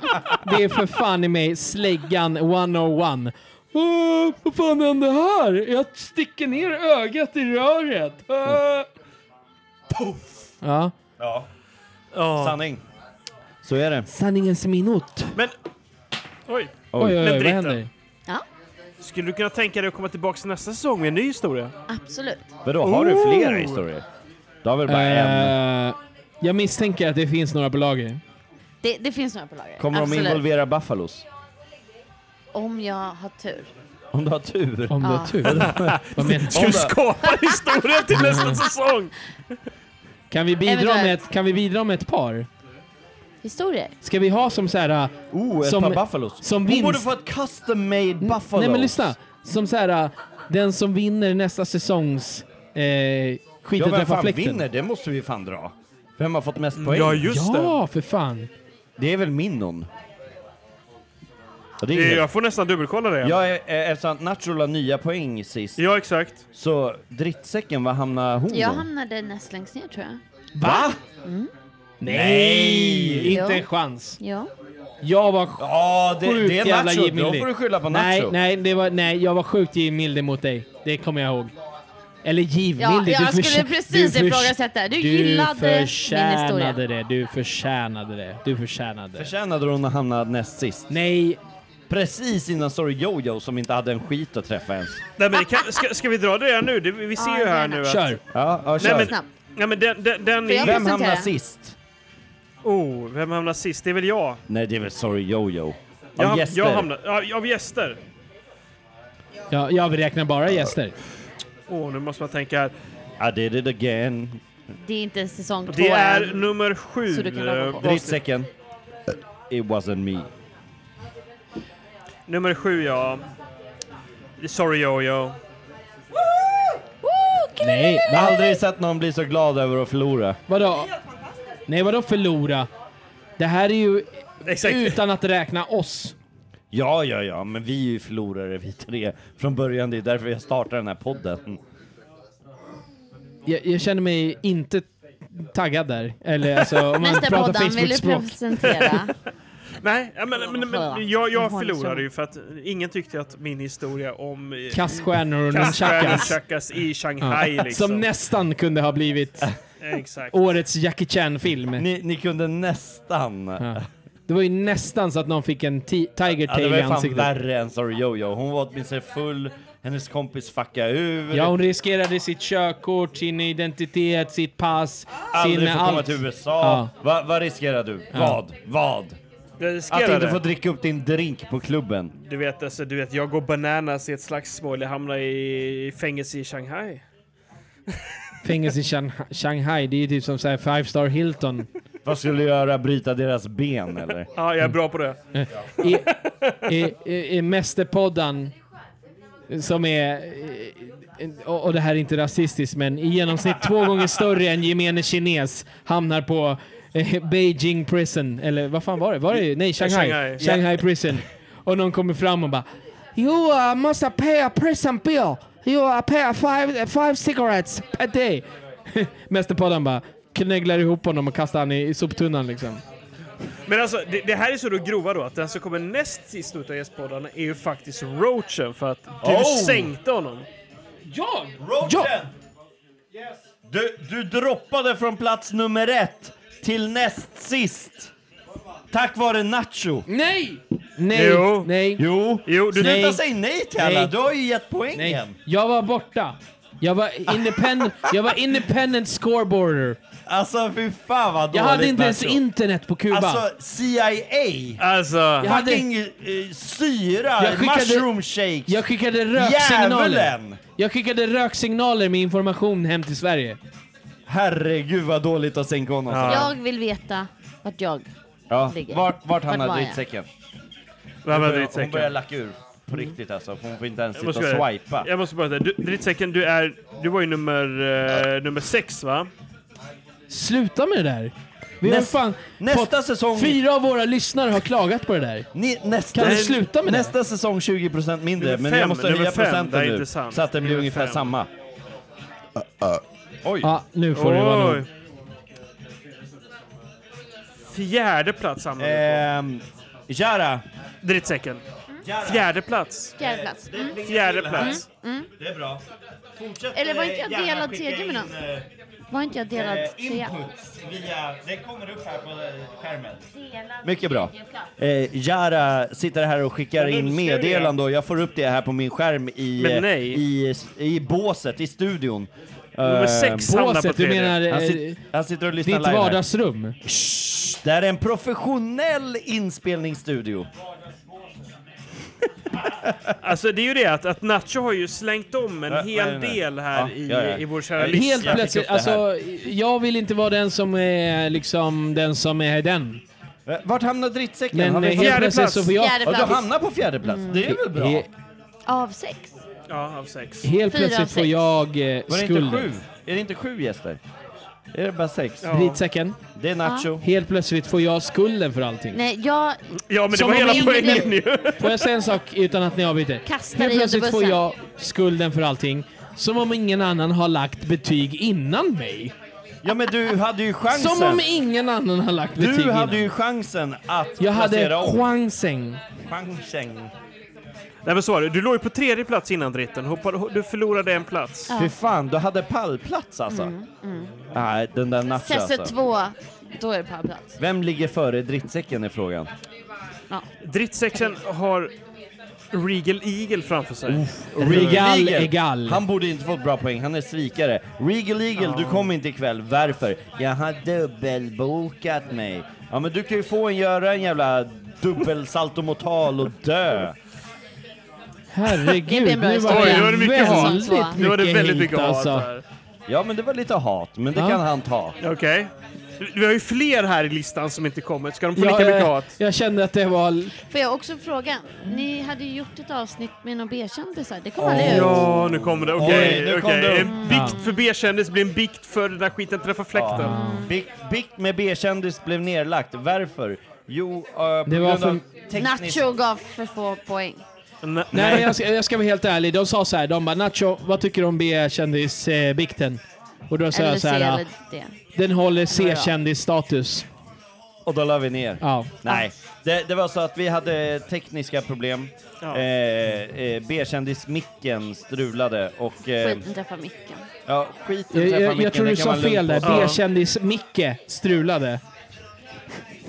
[SPEAKER 3] Det är för fan i mig släggan 101. Åh, vad fan hände här? Jag sticker ner ögat i röret. Äh. Åh. Ja.
[SPEAKER 4] Ja.
[SPEAKER 1] Ja.
[SPEAKER 4] Sanning. Så är det.
[SPEAKER 3] Sanningens minut.
[SPEAKER 1] Men... Oj.
[SPEAKER 4] Oj, oj, oj,
[SPEAKER 1] Men
[SPEAKER 4] vad
[SPEAKER 1] dritten.
[SPEAKER 4] händer?
[SPEAKER 12] Ja.
[SPEAKER 1] Skulle du kunna tänka dig att komma tillbaka till nästa säsong med en ny historia?
[SPEAKER 12] Absolut.
[SPEAKER 4] Vadå, har du flera
[SPEAKER 1] Oh!
[SPEAKER 4] historier? Du har väl bara en?
[SPEAKER 3] Eh, jag misstänker att det finns några på lager.
[SPEAKER 12] Det, det finns några på lager.
[SPEAKER 4] Kommer
[SPEAKER 12] Absolut.
[SPEAKER 4] de involvera Buffalos?
[SPEAKER 12] Om jag har tur.
[SPEAKER 4] Om du har tur?
[SPEAKER 3] Om
[SPEAKER 12] du har tur?
[SPEAKER 3] Vad menar
[SPEAKER 1] du? skapar historia till
[SPEAKER 4] Mm.
[SPEAKER 1] nästa säsong!
[SPEAKER 3] Kan vi bidra
[SPEAKER 12] Eventuellt.
[SPEAKER 3] med ett, kan vi bidra med ett par?
[SPEAKER 12] Historier.
[SPEAKER 3] Ska vi ha som så här...
[SPEAKER 4] Oh, ett
[SPEAKER 3] som,
[SPEAKER 4] par buffalos.
[SPEAKER 3] Som
[SPEAKER 4] Hon
[SPEAKER 3] vinst...
[SPEAKER 4] borde få ett custom made buffalo.
[SPEAKER 3] Nej men lyssna. Som så här, äh, den som vinner nästa säsongs eh,
[SPEAKER 4] Ja,
[SPEAKER 3] skiten
[SPEAKER 4] vem
[SPEAKER 3] träffar
[SPEAKER 4] fan
[SPEAKER 3] fläkten.
[SPEAKER 4] vinner? Det måste vi fan dra. Vem har fått mest poäng?
[SPEAKER 3] Mm, Ja, just det. Ja, för fan.
[SPEAKER 4] Det är väl Minnon? Ja, det är helt-
[SPEAKER 1] Jag får nästan dubbelkolla det.
[SPEAKER 4] Ja, eh, eh, eftersom att Nacho la nya poäng sist.
[SPEAKER 1] Ja, exakt.
[SPEAKER 4] Så drittsäcken, vad hamnar hon
[SPEAKER 12] Jag
[SPEAKER 4] då?
[SPEAKER 12] hamnade näst längst ner tror jag.
[SPEAKER 4] Va?
[SPEAKER 12] Mm.
[SPEAKER 4] Nej!
[SPEAKER 3] Inte
[SPEAKER 12] Jo.
[SPEAKER 3] en chans.
[SPEAKER 12] Ja.
[SPEAKER 3] Jag var
[SPEAKER 4] Ja, det-
[SPEAKER 3] sjukt
[SPEAKER 4] det är
[SPEAKER 3] jävla
[SPEAKER 4] Nacho.
[SPEAKER 3] givmildig.
[SPEAKER 4] Då får du skylla på
[SPEAKER 3] Nej,
[SPEAKER 4] Nacho.
[SPEAKER 3] nej, det var, nej, jag var sjukt givmildig mot dig. Det kommer jag ihåg. Eller givmildig.
[SPEAKER 12] Ja, jag
[SPEAKER 3] du
[SPEAKER 12] skulle
[SPEAKER 3] försä-
[SPEAKER 12] precis
[SPEAKER 3] du förs-
[SPEAKER 12] ifrågasätta. Du gillade min
[SPEAKER 3] förtjänade
[SPEAKER 12] historia.
[SPEAKER 3] det. Du förtjänade det. Du förtjänade det.
[SPEAKER 4] Förtjänade hon att hamna näst sist?
[SPEAKER 3] Nej.
[SPEAKER 4] Precis innan Sorry Jojo som inte hade en skit att träffa ens.
[SPEAKER 1] Nej, men det kan, ska, ska vi dra det här nu? Det, vi ser
[SPEAKER 12] Ja,
[SPEAKER 1] ju här
[SPEAKER 12] gärna.
[SPEAKER 1] nu att...
[SPEAKER 4] Kör. Ja, ja, kör.
[SPEAKER 1] Nej, men, nej, men den, den, den
[SPEAKER 12] Får jag
[SPEAKER 1] är-
[SPEAKER 12] Vem hamnar presentera?
[SPEAKER 4] sist?
[SPEAKER 1] Oh, vem hamnar sist? Det är väl jag.
[SPEAKER 4] Nej, det är väl Sorry Jojo. Av
[SPEAKER 1] Jag, ham-
[SPEAKER 4] gäster.
[SPEAKER 1] jag hamnar... Ja, av gäster.
[SPEAKER 3] Ja, jag räknar bara gäster.
[SPEAKER 1] Åh, nu måste man tänka här.
[SPEAKER 4] I did it again.
[SPEAKER 12] Det är inte säsong två
[SPEAKER 1] Det är
[SPEAKER 12] än.
[SPEAKER 1] nummer sju.
[SPEAKER 12] Så du kan labba på.
[SPEAKER 1] eh,
[SPEAKER 4] Drittsäcken. Eh, It wasn't me.
[SPEAKER 1] Nummer sju, ja. Sorry Jojo.
[SPEAKER 3] Nej,
[SPEAKER 4] Jag har aldrig sett någon bli så glad över att förlora.
[SPEAKER 3] Vadå? Nej, vadå förlora? Det här är ju utan att räkna oss.
[SPEAKER 4] Ja, ja, ja, men vi är ju förlorare vi tre från början. Det är därför jag startar den här podden.
[SPEAKER 3] Jag, jag känner mig inte taggad där. Eller alltså, om man
[SPEAKER 12] Nästa
[SPEAKER 3] pratar
[SPEAKER 12] poddan vill du
[SPEAKER 3] Facebook-språk.
[SPEAKER 12] presentera.
[SPEAKER 1] Nej, ja, men, men, men jag, jag
[SPEAKER 12] liksom-
[SPEAKER 1] förlorade ju för att ingen tyckte att min historia om... eh,
[SPEAKER 3] Kaststjärnor och
[SPEAKER 1] Kaststjärnor och
[SPEAKER 3] nunchakas.
[SPEAKER 1] nunchakas i Shanghai
[SPEAKER 3] Ja.
[SPEAKER 1] liksom.
[SPEAKER 3] Som nästan kunde ha blivit
[SPEAKER 1] Exakt.
[SPEAKER 3] årets Jackie Chan-film.
[SPEAKER 4] Ni, ni kunde nästan...
[SPEAKER 3] Det var ju nästan så att någon fick en ti- tiger
[SPEAKER 4] Ja, det
[SPEAKER 3] tail
[SPEAKER 4] var
[SPEAKER 3] i
[SPEAKER 4] ju fan
[SPEAKER 3] ansiktet.
[SPEAKER 4] värre än Sorry Jojo. Hon var åtminstone full, hennes kompis fuckade ur.
[SPEAKER 3] Ja, hon riskerade sitt körkort, sin identitet, sitt pass, sin
[SPEAKER 4] Aldrig få komma
[SPEAKER 3] allt.
[SPEAKER 4] till USA.
[SPEAKER 3] Ja.
[SPEAKER 4] Va, vad riskerar du?
[SPEAKER 3] Ja.
[SPEAKER 4] Vad? Vad?
[SPEAKER 1] Jag
[SPEAKER 4] Att
[SPEAKER 1] riskerar
[SPEAKER 4] inte
[SPEAKER 1] det.
[SPEAKER 4] få dricka upp din drink på klubben.
[SPEAKER 1] Du vet, alltså, du vet, jag går bananas i ett slagsmål. Jag hamnar i fängelse i Shanghai.
[SPEAKER 3] Fängelse i Shang- Shanghai, det är ju typ som så här Five Star Hilton.
[SPEAKER 4] Vad skulle du göra? Bryta deras ben eller?
[SPEAKER 1] Ja, jag är bra på det.
[SPEAKER 3] I, i, i, i Mästerpodden, som är, eh, och och det här är inte rasistiskt, men i genomsnitt två gånger större än gemene kines hamnar på eh, Beijing Prison, eller vad fan var det? Var det nej, Shanghai.
[SPEAKER 6] Shanghai.
[SPEAKER 3] Shanghai, Prison. Och någon kommer fram och bara You uh, must have pay a prison bill. You uh, pay a five, five cigarettes a day. Mästerpodden bara knögglar ihop honom och kastar han i, i soptunnan liksom.
[SPEAKER 1] Men alltså, det, det här är så då grova då att den som kommer näst sist ut av gästpoddarna är ju faktiskt Roachen för att du
[SPEAKER 4] Oh!
[SPEAKER 1] sänkte honom.
[SPEAKER 3] Jag?
[SPEAKER 4] Roachen! Du, du droppade från plats nummer ett till näst sist. Tack vare Nacho.
[SPEAKER 3] Nej! Nej,
[SPEAKER 4] Jo.
[SPEAKER 3] nej.
[SPEAKER 4] Jo.
[SPEAKER 1] jo
[SPEAKER 4] du- Sluta säga nej till alla. Du har ju gett poängen.
[SPEAKER 3] Nej. Jag var borta. Jag var, independent, jag var independent scoreboarder.
[SPEAKER 4] Alltså fy fan vad
[SPEAKER 3] Jag hade
[SPEAKER 4] dåligt,
[SPEAKER 3] inte ens
[SPEAKER 4] Nacho.
[SPEAKER 3] internet på Kuba.
[SPEAKER 4] Alltså CIA!
[SPEAKER 1] Alltså...
[SPEAKER 3] Jag hade-
[SPEAKER 4] Fucking eh, syra!
[SPEAKER 3] Jag skickade-
[SPEAKER 4] mushroom shakes!
[SPEAKER 3] jag skickade röksignaler.
[SPEAKER 4] Djävulen!
[SPEAKER 3] Jag skickade röksignaler med information hem till Sverige.
[SPEAKER 4] Herregud vad dåligt att sänka honom.
[SPEAKER 12] Jag vill veta vart jag
[SPEAKER 4] Ja,
[SPEAKER 12] ligger.
[SPEAKER 4] Vart, vart
[SPEAKER 12] var
[SPEAKER 4] hamnar
[SPEAKER 12] jag?
[SPEAKER 4] drittsäcken?
[SPEAKER 1] Vem är
[SPEAKER 4] Hon börjar-
[SPEAKER 1] drittsäcken?
[SPEAKER 4] Hon börjar lacka ur. På riktigt alltså. Hon får inte ens
[SPEAKER 1] Jag
[SPEAKER 4] sitta och
[SPEAKER 1] måste, göra det.
[SPEAKER 4] swipa.
[SPEAKER 1] jag måste bara säga, du, drittsäcken, du, är, du var ju nummer, eh, nummer sex va?
[SPEAKER 3] Sluta med det där. Vi har
[SPEAKER 1] Näst-
[SPEAKER 3] fan
[SPEAKER 4] nästa
[SPEAKER 3] fått-
[SPEAKER 4] säsong-
[SPEAKER 3] Fyra av våra lyssnare har klagat på det där.
[SPEAKER 4] Ni, nästa,
[SPEAKER 3] Kan vi sluta med det?
[SPEAKER 4] Nästa säsong 20% mindre,
[SPEAKER 3] Nummer
[SPEAKER 4] men jag
[SPEAKER 3] fem,
[SPEAKER 4] måste
[SPEAKER 3] nummer
[SPEAKER 4] höja
[SPEAKER 3] fem,
[SPEAKER 4] procenten
[SPEAKER 3] det är
[SPEAKER 4] nu.
[SPEAKER 3] inte sant.
[SPEAKER 4] Så att det blir
[SPEAKER 3] Nummer
[SPEAKER 4] ungefär
[SPEAKER 3] fem.
[SPEAKER 4] samma. Oj.
[SPEAKER 3] Ja, nu får det vara nog.
[SPEAKER 1] Fjärde plats hamnade
[SPEAKER 4] du på. Ehm, Jara.
[SPEAKER 1] Drittsäcken. Fjärde plats.
[SPEAKER 12] Mm. Fjärde plats. Mm.
[SPEAKER 1] Fjärde plats.
[SPEAKER 12] Mm. Mm.
[SPEAKER 4] Det är bra. Fortsätt
[SPEAKER 12] Eller var inte jag
[SPEAKER 4] eh, gärna
[SPEAKER 12] delad
[SPEAKER 4] skicka
[SPEAKER 12] tredje med
[SPEAKER 4] in,
[SPEAKER 12] någon?
[SPEAKER 4] eh,
[SPEAKER 12] Var inte jag
[SPEAKER 4] eh,
[SPEAKER 12] delad trea?
[SPEAKER 4] inputs via- Det kommer upp här på eh, skärmen. Mycket bra. Jara sitter här och skickar
[SPEAKER 1] Men nu
[SPEAKER 4] in
[SPEAKER 1] ser du det.
[SPEAKER 4] meddelande och jag får upp det här på min skärm i,
[SPEAKER 1] Men
[SPEAKER 4] eh,
[SPEAKER 1] nej.
[SPEAKER 4] i, i båset, i studion.
[SPEAKER 1] Nummer
[SPEAKER 4] Eh,
[SPEAKER 1] sex hamnar på Båset, du tredje. menar, eh,
[SPEAKER 4] han, sit, han sitter och lyssnar
[SPEAKER 3] ditt
[SPEAKER 4] live här.
[SPEAKER 3] vardagsrum?
[SPEAKER 4] Shh, det här är en professionell inspelningsstudio.
[SPEAKER 1] Alltså det är ju det att, att Nacho har ju slängt om en
[SPEAKER 4] Ja,
[SPEAKER 1] hel
[SPEAKER 4] nej, nej.
[SPEAKER 1] del här
[SPEAKER 4] Ja,
[SPEAKER 1] i,
[SPEAKER 4] ja, ja.
[SPEAKER 1] i vår kära
[SPEAKER 4] Helt
[SPEAKER 1] lyssnare.
[SPEAKER 3] Helt plötsligt, alltså jag vill inte vara den som är liksom den som är den.
[SPEAKER 4] Vart hamnar drittsäcken?
[SPEAKER 3] Men eh,
[SPEAKER 4] Har vi
[SPEAKER 3] helt
[SPEAKER 4] fått-
[SPEAKER 3] plötsligt så får jag...
[SPEAKER 12] Fjärde
[SPEAKER 4] Ja,
[SPEAKER 12] plats.
[SPEAKER 4] du hamnar på fjärde plats.
[SPEAKER 12] Mm.
[SPEAKER 4] Det är väl bra?
[SPEAKER 3] He-
[SPEAKER 12] Av sex?
[SPEAKER 1] Ja, av sex.
[SPEAKER 3] Helt
[SPEAKER 12] Fyra av
[SPEAKER 3] plötsligt får
[SPEAKER 12] sex.
[SPEAKER 3] jag eh,
[SPEAKER 4] Var det
[SPEAKER 3] skulden.
[SPEAKER 4] inte sju? Är det inte sju gäster? Är det bara sex?
[SPEAKER 3] Ja. Drittsäcken.
[SPEAKER 4] Det är nacho.
[SPEAKER 12] Ja.
[SPEAKER 3] Helt plötsligt får jag skulden för allting.
[SPEAKER 12] Nej, jag...
[SPEAKER 3] Som om ingen-
[SPEAKER 1] ju.
[SPEAKER 3] Får jag säga en sak utan att ni avbryter?
[SPEAKER 12] Kastar
[SPEAKER 3] Helt
[SPEAKER 12] dig under
[SPEAKER 3] plötsligt får
[SPEAKER 12] bussen.
[SPEAKER 3] jag skulden för allting. Som om ingen annan har lagt betyg innan mig.
[SPEAKER 4] Ja men du hade ju chansen.
[SPEAKER 3] Som om ingen annan har lagt betyg
[SPEAKER 4] Du
[SPEAKER 3] innan.
[SPEAKER 4] hade ju chansen att
[SPEAKER 3] Jag hade
[SPEAKER 4] placera om.
[SPEAKER 3] chansen.
[SPEAKER 4] chansen.
[SPEAKER 1] Nej men så var det, du låg ju på tredje plats innan dritten. Hoppade, ho- du förlorade en plats.
[SPEAKER 4] Fy fan, du hade pallplats alltså. Nej, den där nacho
[SPEAKER 12] Sesse
[SPEAKER 4] alltså.
[SPEAKER 12] Mm. två, då är det pallplats.
[SPEAKER 4] Vem ligger före drittsäcken är frågan.
[SPEAKER 12] Ja.
[SPEAKER 1] Drittsäcken har Regal Eagle framför sig.
[SPEAKER 4] Regal Egal. Han borde inte fått bra poäng, han är svikare. Regal Eagle, du kom inte ikväll. Varför? Jag har dubbelbokat mig. Ja men du kan ju få en göra en jävla dubbelsaltomortal och dö.
[SPEAKER 3] Herregud, nu var det, väldigt mycket hit, alltså.
[SPEAKER 4] Ja men det var lite hat, men det
[SPEAKER 3] Ja.
[SPEAKER 4] kan han ta.
[SPEAKER 1] Okej. Du- Vi har ju fler här i listan som inte kommit. Ska de få lika
[SPEAKER 3] jag,
[SPEAKER 1] mycket hat?
[SPEAKER 3] eh, jag kände att det var...
[SPEAKER 12] Får jag också fråga? Ni hade ju gjort ett avsnitt med några B-kändisar. Det kom
[SPEAKER 1] Åh,
[SPEAKER 12] aldrig ut.
[SPEAKER 1] Ja, nu kommer det. Okej,
[SPEAKER 4] Oj, nu kom
[SPEAKER 1] okej.
[SPEAKER 4] det upp.
[SPEAKER 1] En bikt för B-kändis blir en bikt för den där skiten träffar fläkten.
[SPEAKER 4] Bikt, bikt med B-kändis blev nerlagt. Varför? Jo, eh, på
[SPEAKER 3] Det var
[SPEAKER 4] grund av
[SPEAKER 3] för-
[SPEAKER 4] teknisk...
[SPEAKER 12] Nacho gav för få poäng.
[SPEAKER 3] Nej, men jag, ska, jag ska vara helt ärlig. De sa så här, de bara “Nacho, vad tycker du om B-kändisbikten?” Och då sa
[SPEAKER 12] Eller
[SPEAKER 3] jag så
[SPEAKER 12] C
[SPEAKER 3] här,
[SPEAKER 12] eller D.
[SPEAKER 3] “Den håller
[SPEAKER 12] Ja, ja.
[SPEAKER 3] C-kändisstatus”.
[SPEAKER 4] Och då la vi ner.
[SPEAKER 3] Ja.
[SPEAKER 4] Nej, det, det var så att vi hade tekniska problem. Eh, eh, B-kändis-micken strulade och... Eh,
[SPEAKER 12] Skiten träffar micken.
[SPEAKER 4] ja, skiten
[SPEAKER 3] Jag,
[SPEAKER 4] träffade
[SPEAKER 3] jag,
[SPEAKER 4] micken.
[SPEAKER 3] jag tror
[SPEAKER 4] det
[SPEAKER 3] du
[SPEAKER 4] kan
[SPEAKER 3] sa
[SPEAKER 4] man lugnt
[SPEAKER 3] fel där.
[SPEAKER 4] påstå.
[SPEAKER 3] B-kändis-Micke strulade.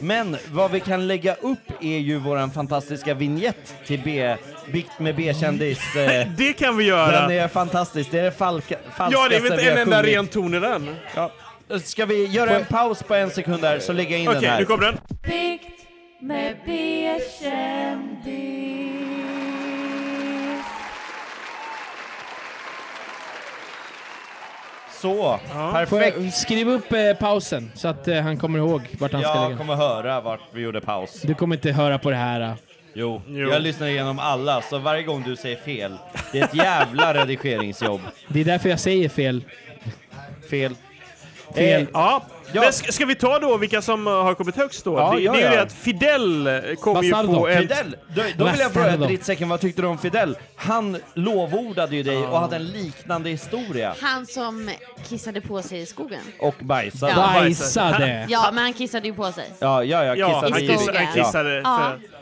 [SPEAKER 4] Men vad vi kan lägga upp är ju våran fantastiska vignett till B, Bikt med B-kändis. eh,
[SPEAKER 1] Det kan vi göra.
[SPEAKER 4] Den är fantastisk. Det är det falka, falskaste
[SPEAKER 1] Ja, det är
[SPEAKER 4] vi
[SPEAKER 1] väl
[SPEAKER 4] har
[SPEAKER 1] en enda
[SPEAKER 4] sjungit.
[SPEAKER 1] ren ton i den?
[SPEAKER 4] Ja. Ska vi göra en paus på en sekund där så lägger jag in
[SPEAKER 1] Okej,
[SPEAKER 4] den här.
[SPEAKER 1] nu kommer den.
[SPEAKER 14] Bikt med B-kändis.
[SPEAKER 4] Så,
[SPEAKER 3] Får jag-
[SPEAKER 4] perfekt.
[SPEAKER 3] Skriv upp eh, pausen så att eh, han kommer ihåg vart han ska lägga
[SPEAKER 4] Jag
[SPEAKER 3] den.
[SPEAKER 4] kommer höra vart vi gjorde paus.
[SPEAKER 3] Du kommer inte höra på det här. eh.
[SPEAKER 4] Jo, jag lyssnar igenom alla, så varje gång du säger fel, det är ett jävla redigeringsjobb.
[SPEAKER 3] Det är därför jag säger fel.
[SPEAKER 4] Fel.
[SPEAKER 3] Fel.
[SPEAKER 1] Eh, ja. Men ska, ska vi ta då vilka som eh, har kommit högst då?
[SPEAKER 4] Ja,
[SPEAKER 1] det,
[SPEAKER 4] ja,
[SPEAKER 1] det är ju
[SPEAKER 4] ja.
[SPEAKER 1] det att Fidel eh, kom ju på en...
[SPEAKER 4] Fidel! Då, då vill jag fråga Drittsäcken, vad tyckte du om Fidel? Han lovordade ju dig och hade en liknande historia.
[SPEAKER 12] Han som kissade på sig i skogen.
[SPEAKER 4] Och bajsade. Eh.
[SPEAKER 12] Ja, men han kissade ju på sig.
[SPEAKER 4] Ja, ja, jag
[SPEAKER 1] Ja,
[SPEAKER 4] kissade
[SPEAKER 1] han
[SPEAKER 4] i
[SPEAKER 1] kissade-
[SPEAKER 4] skogen.
[SPEAKER 1] han kissade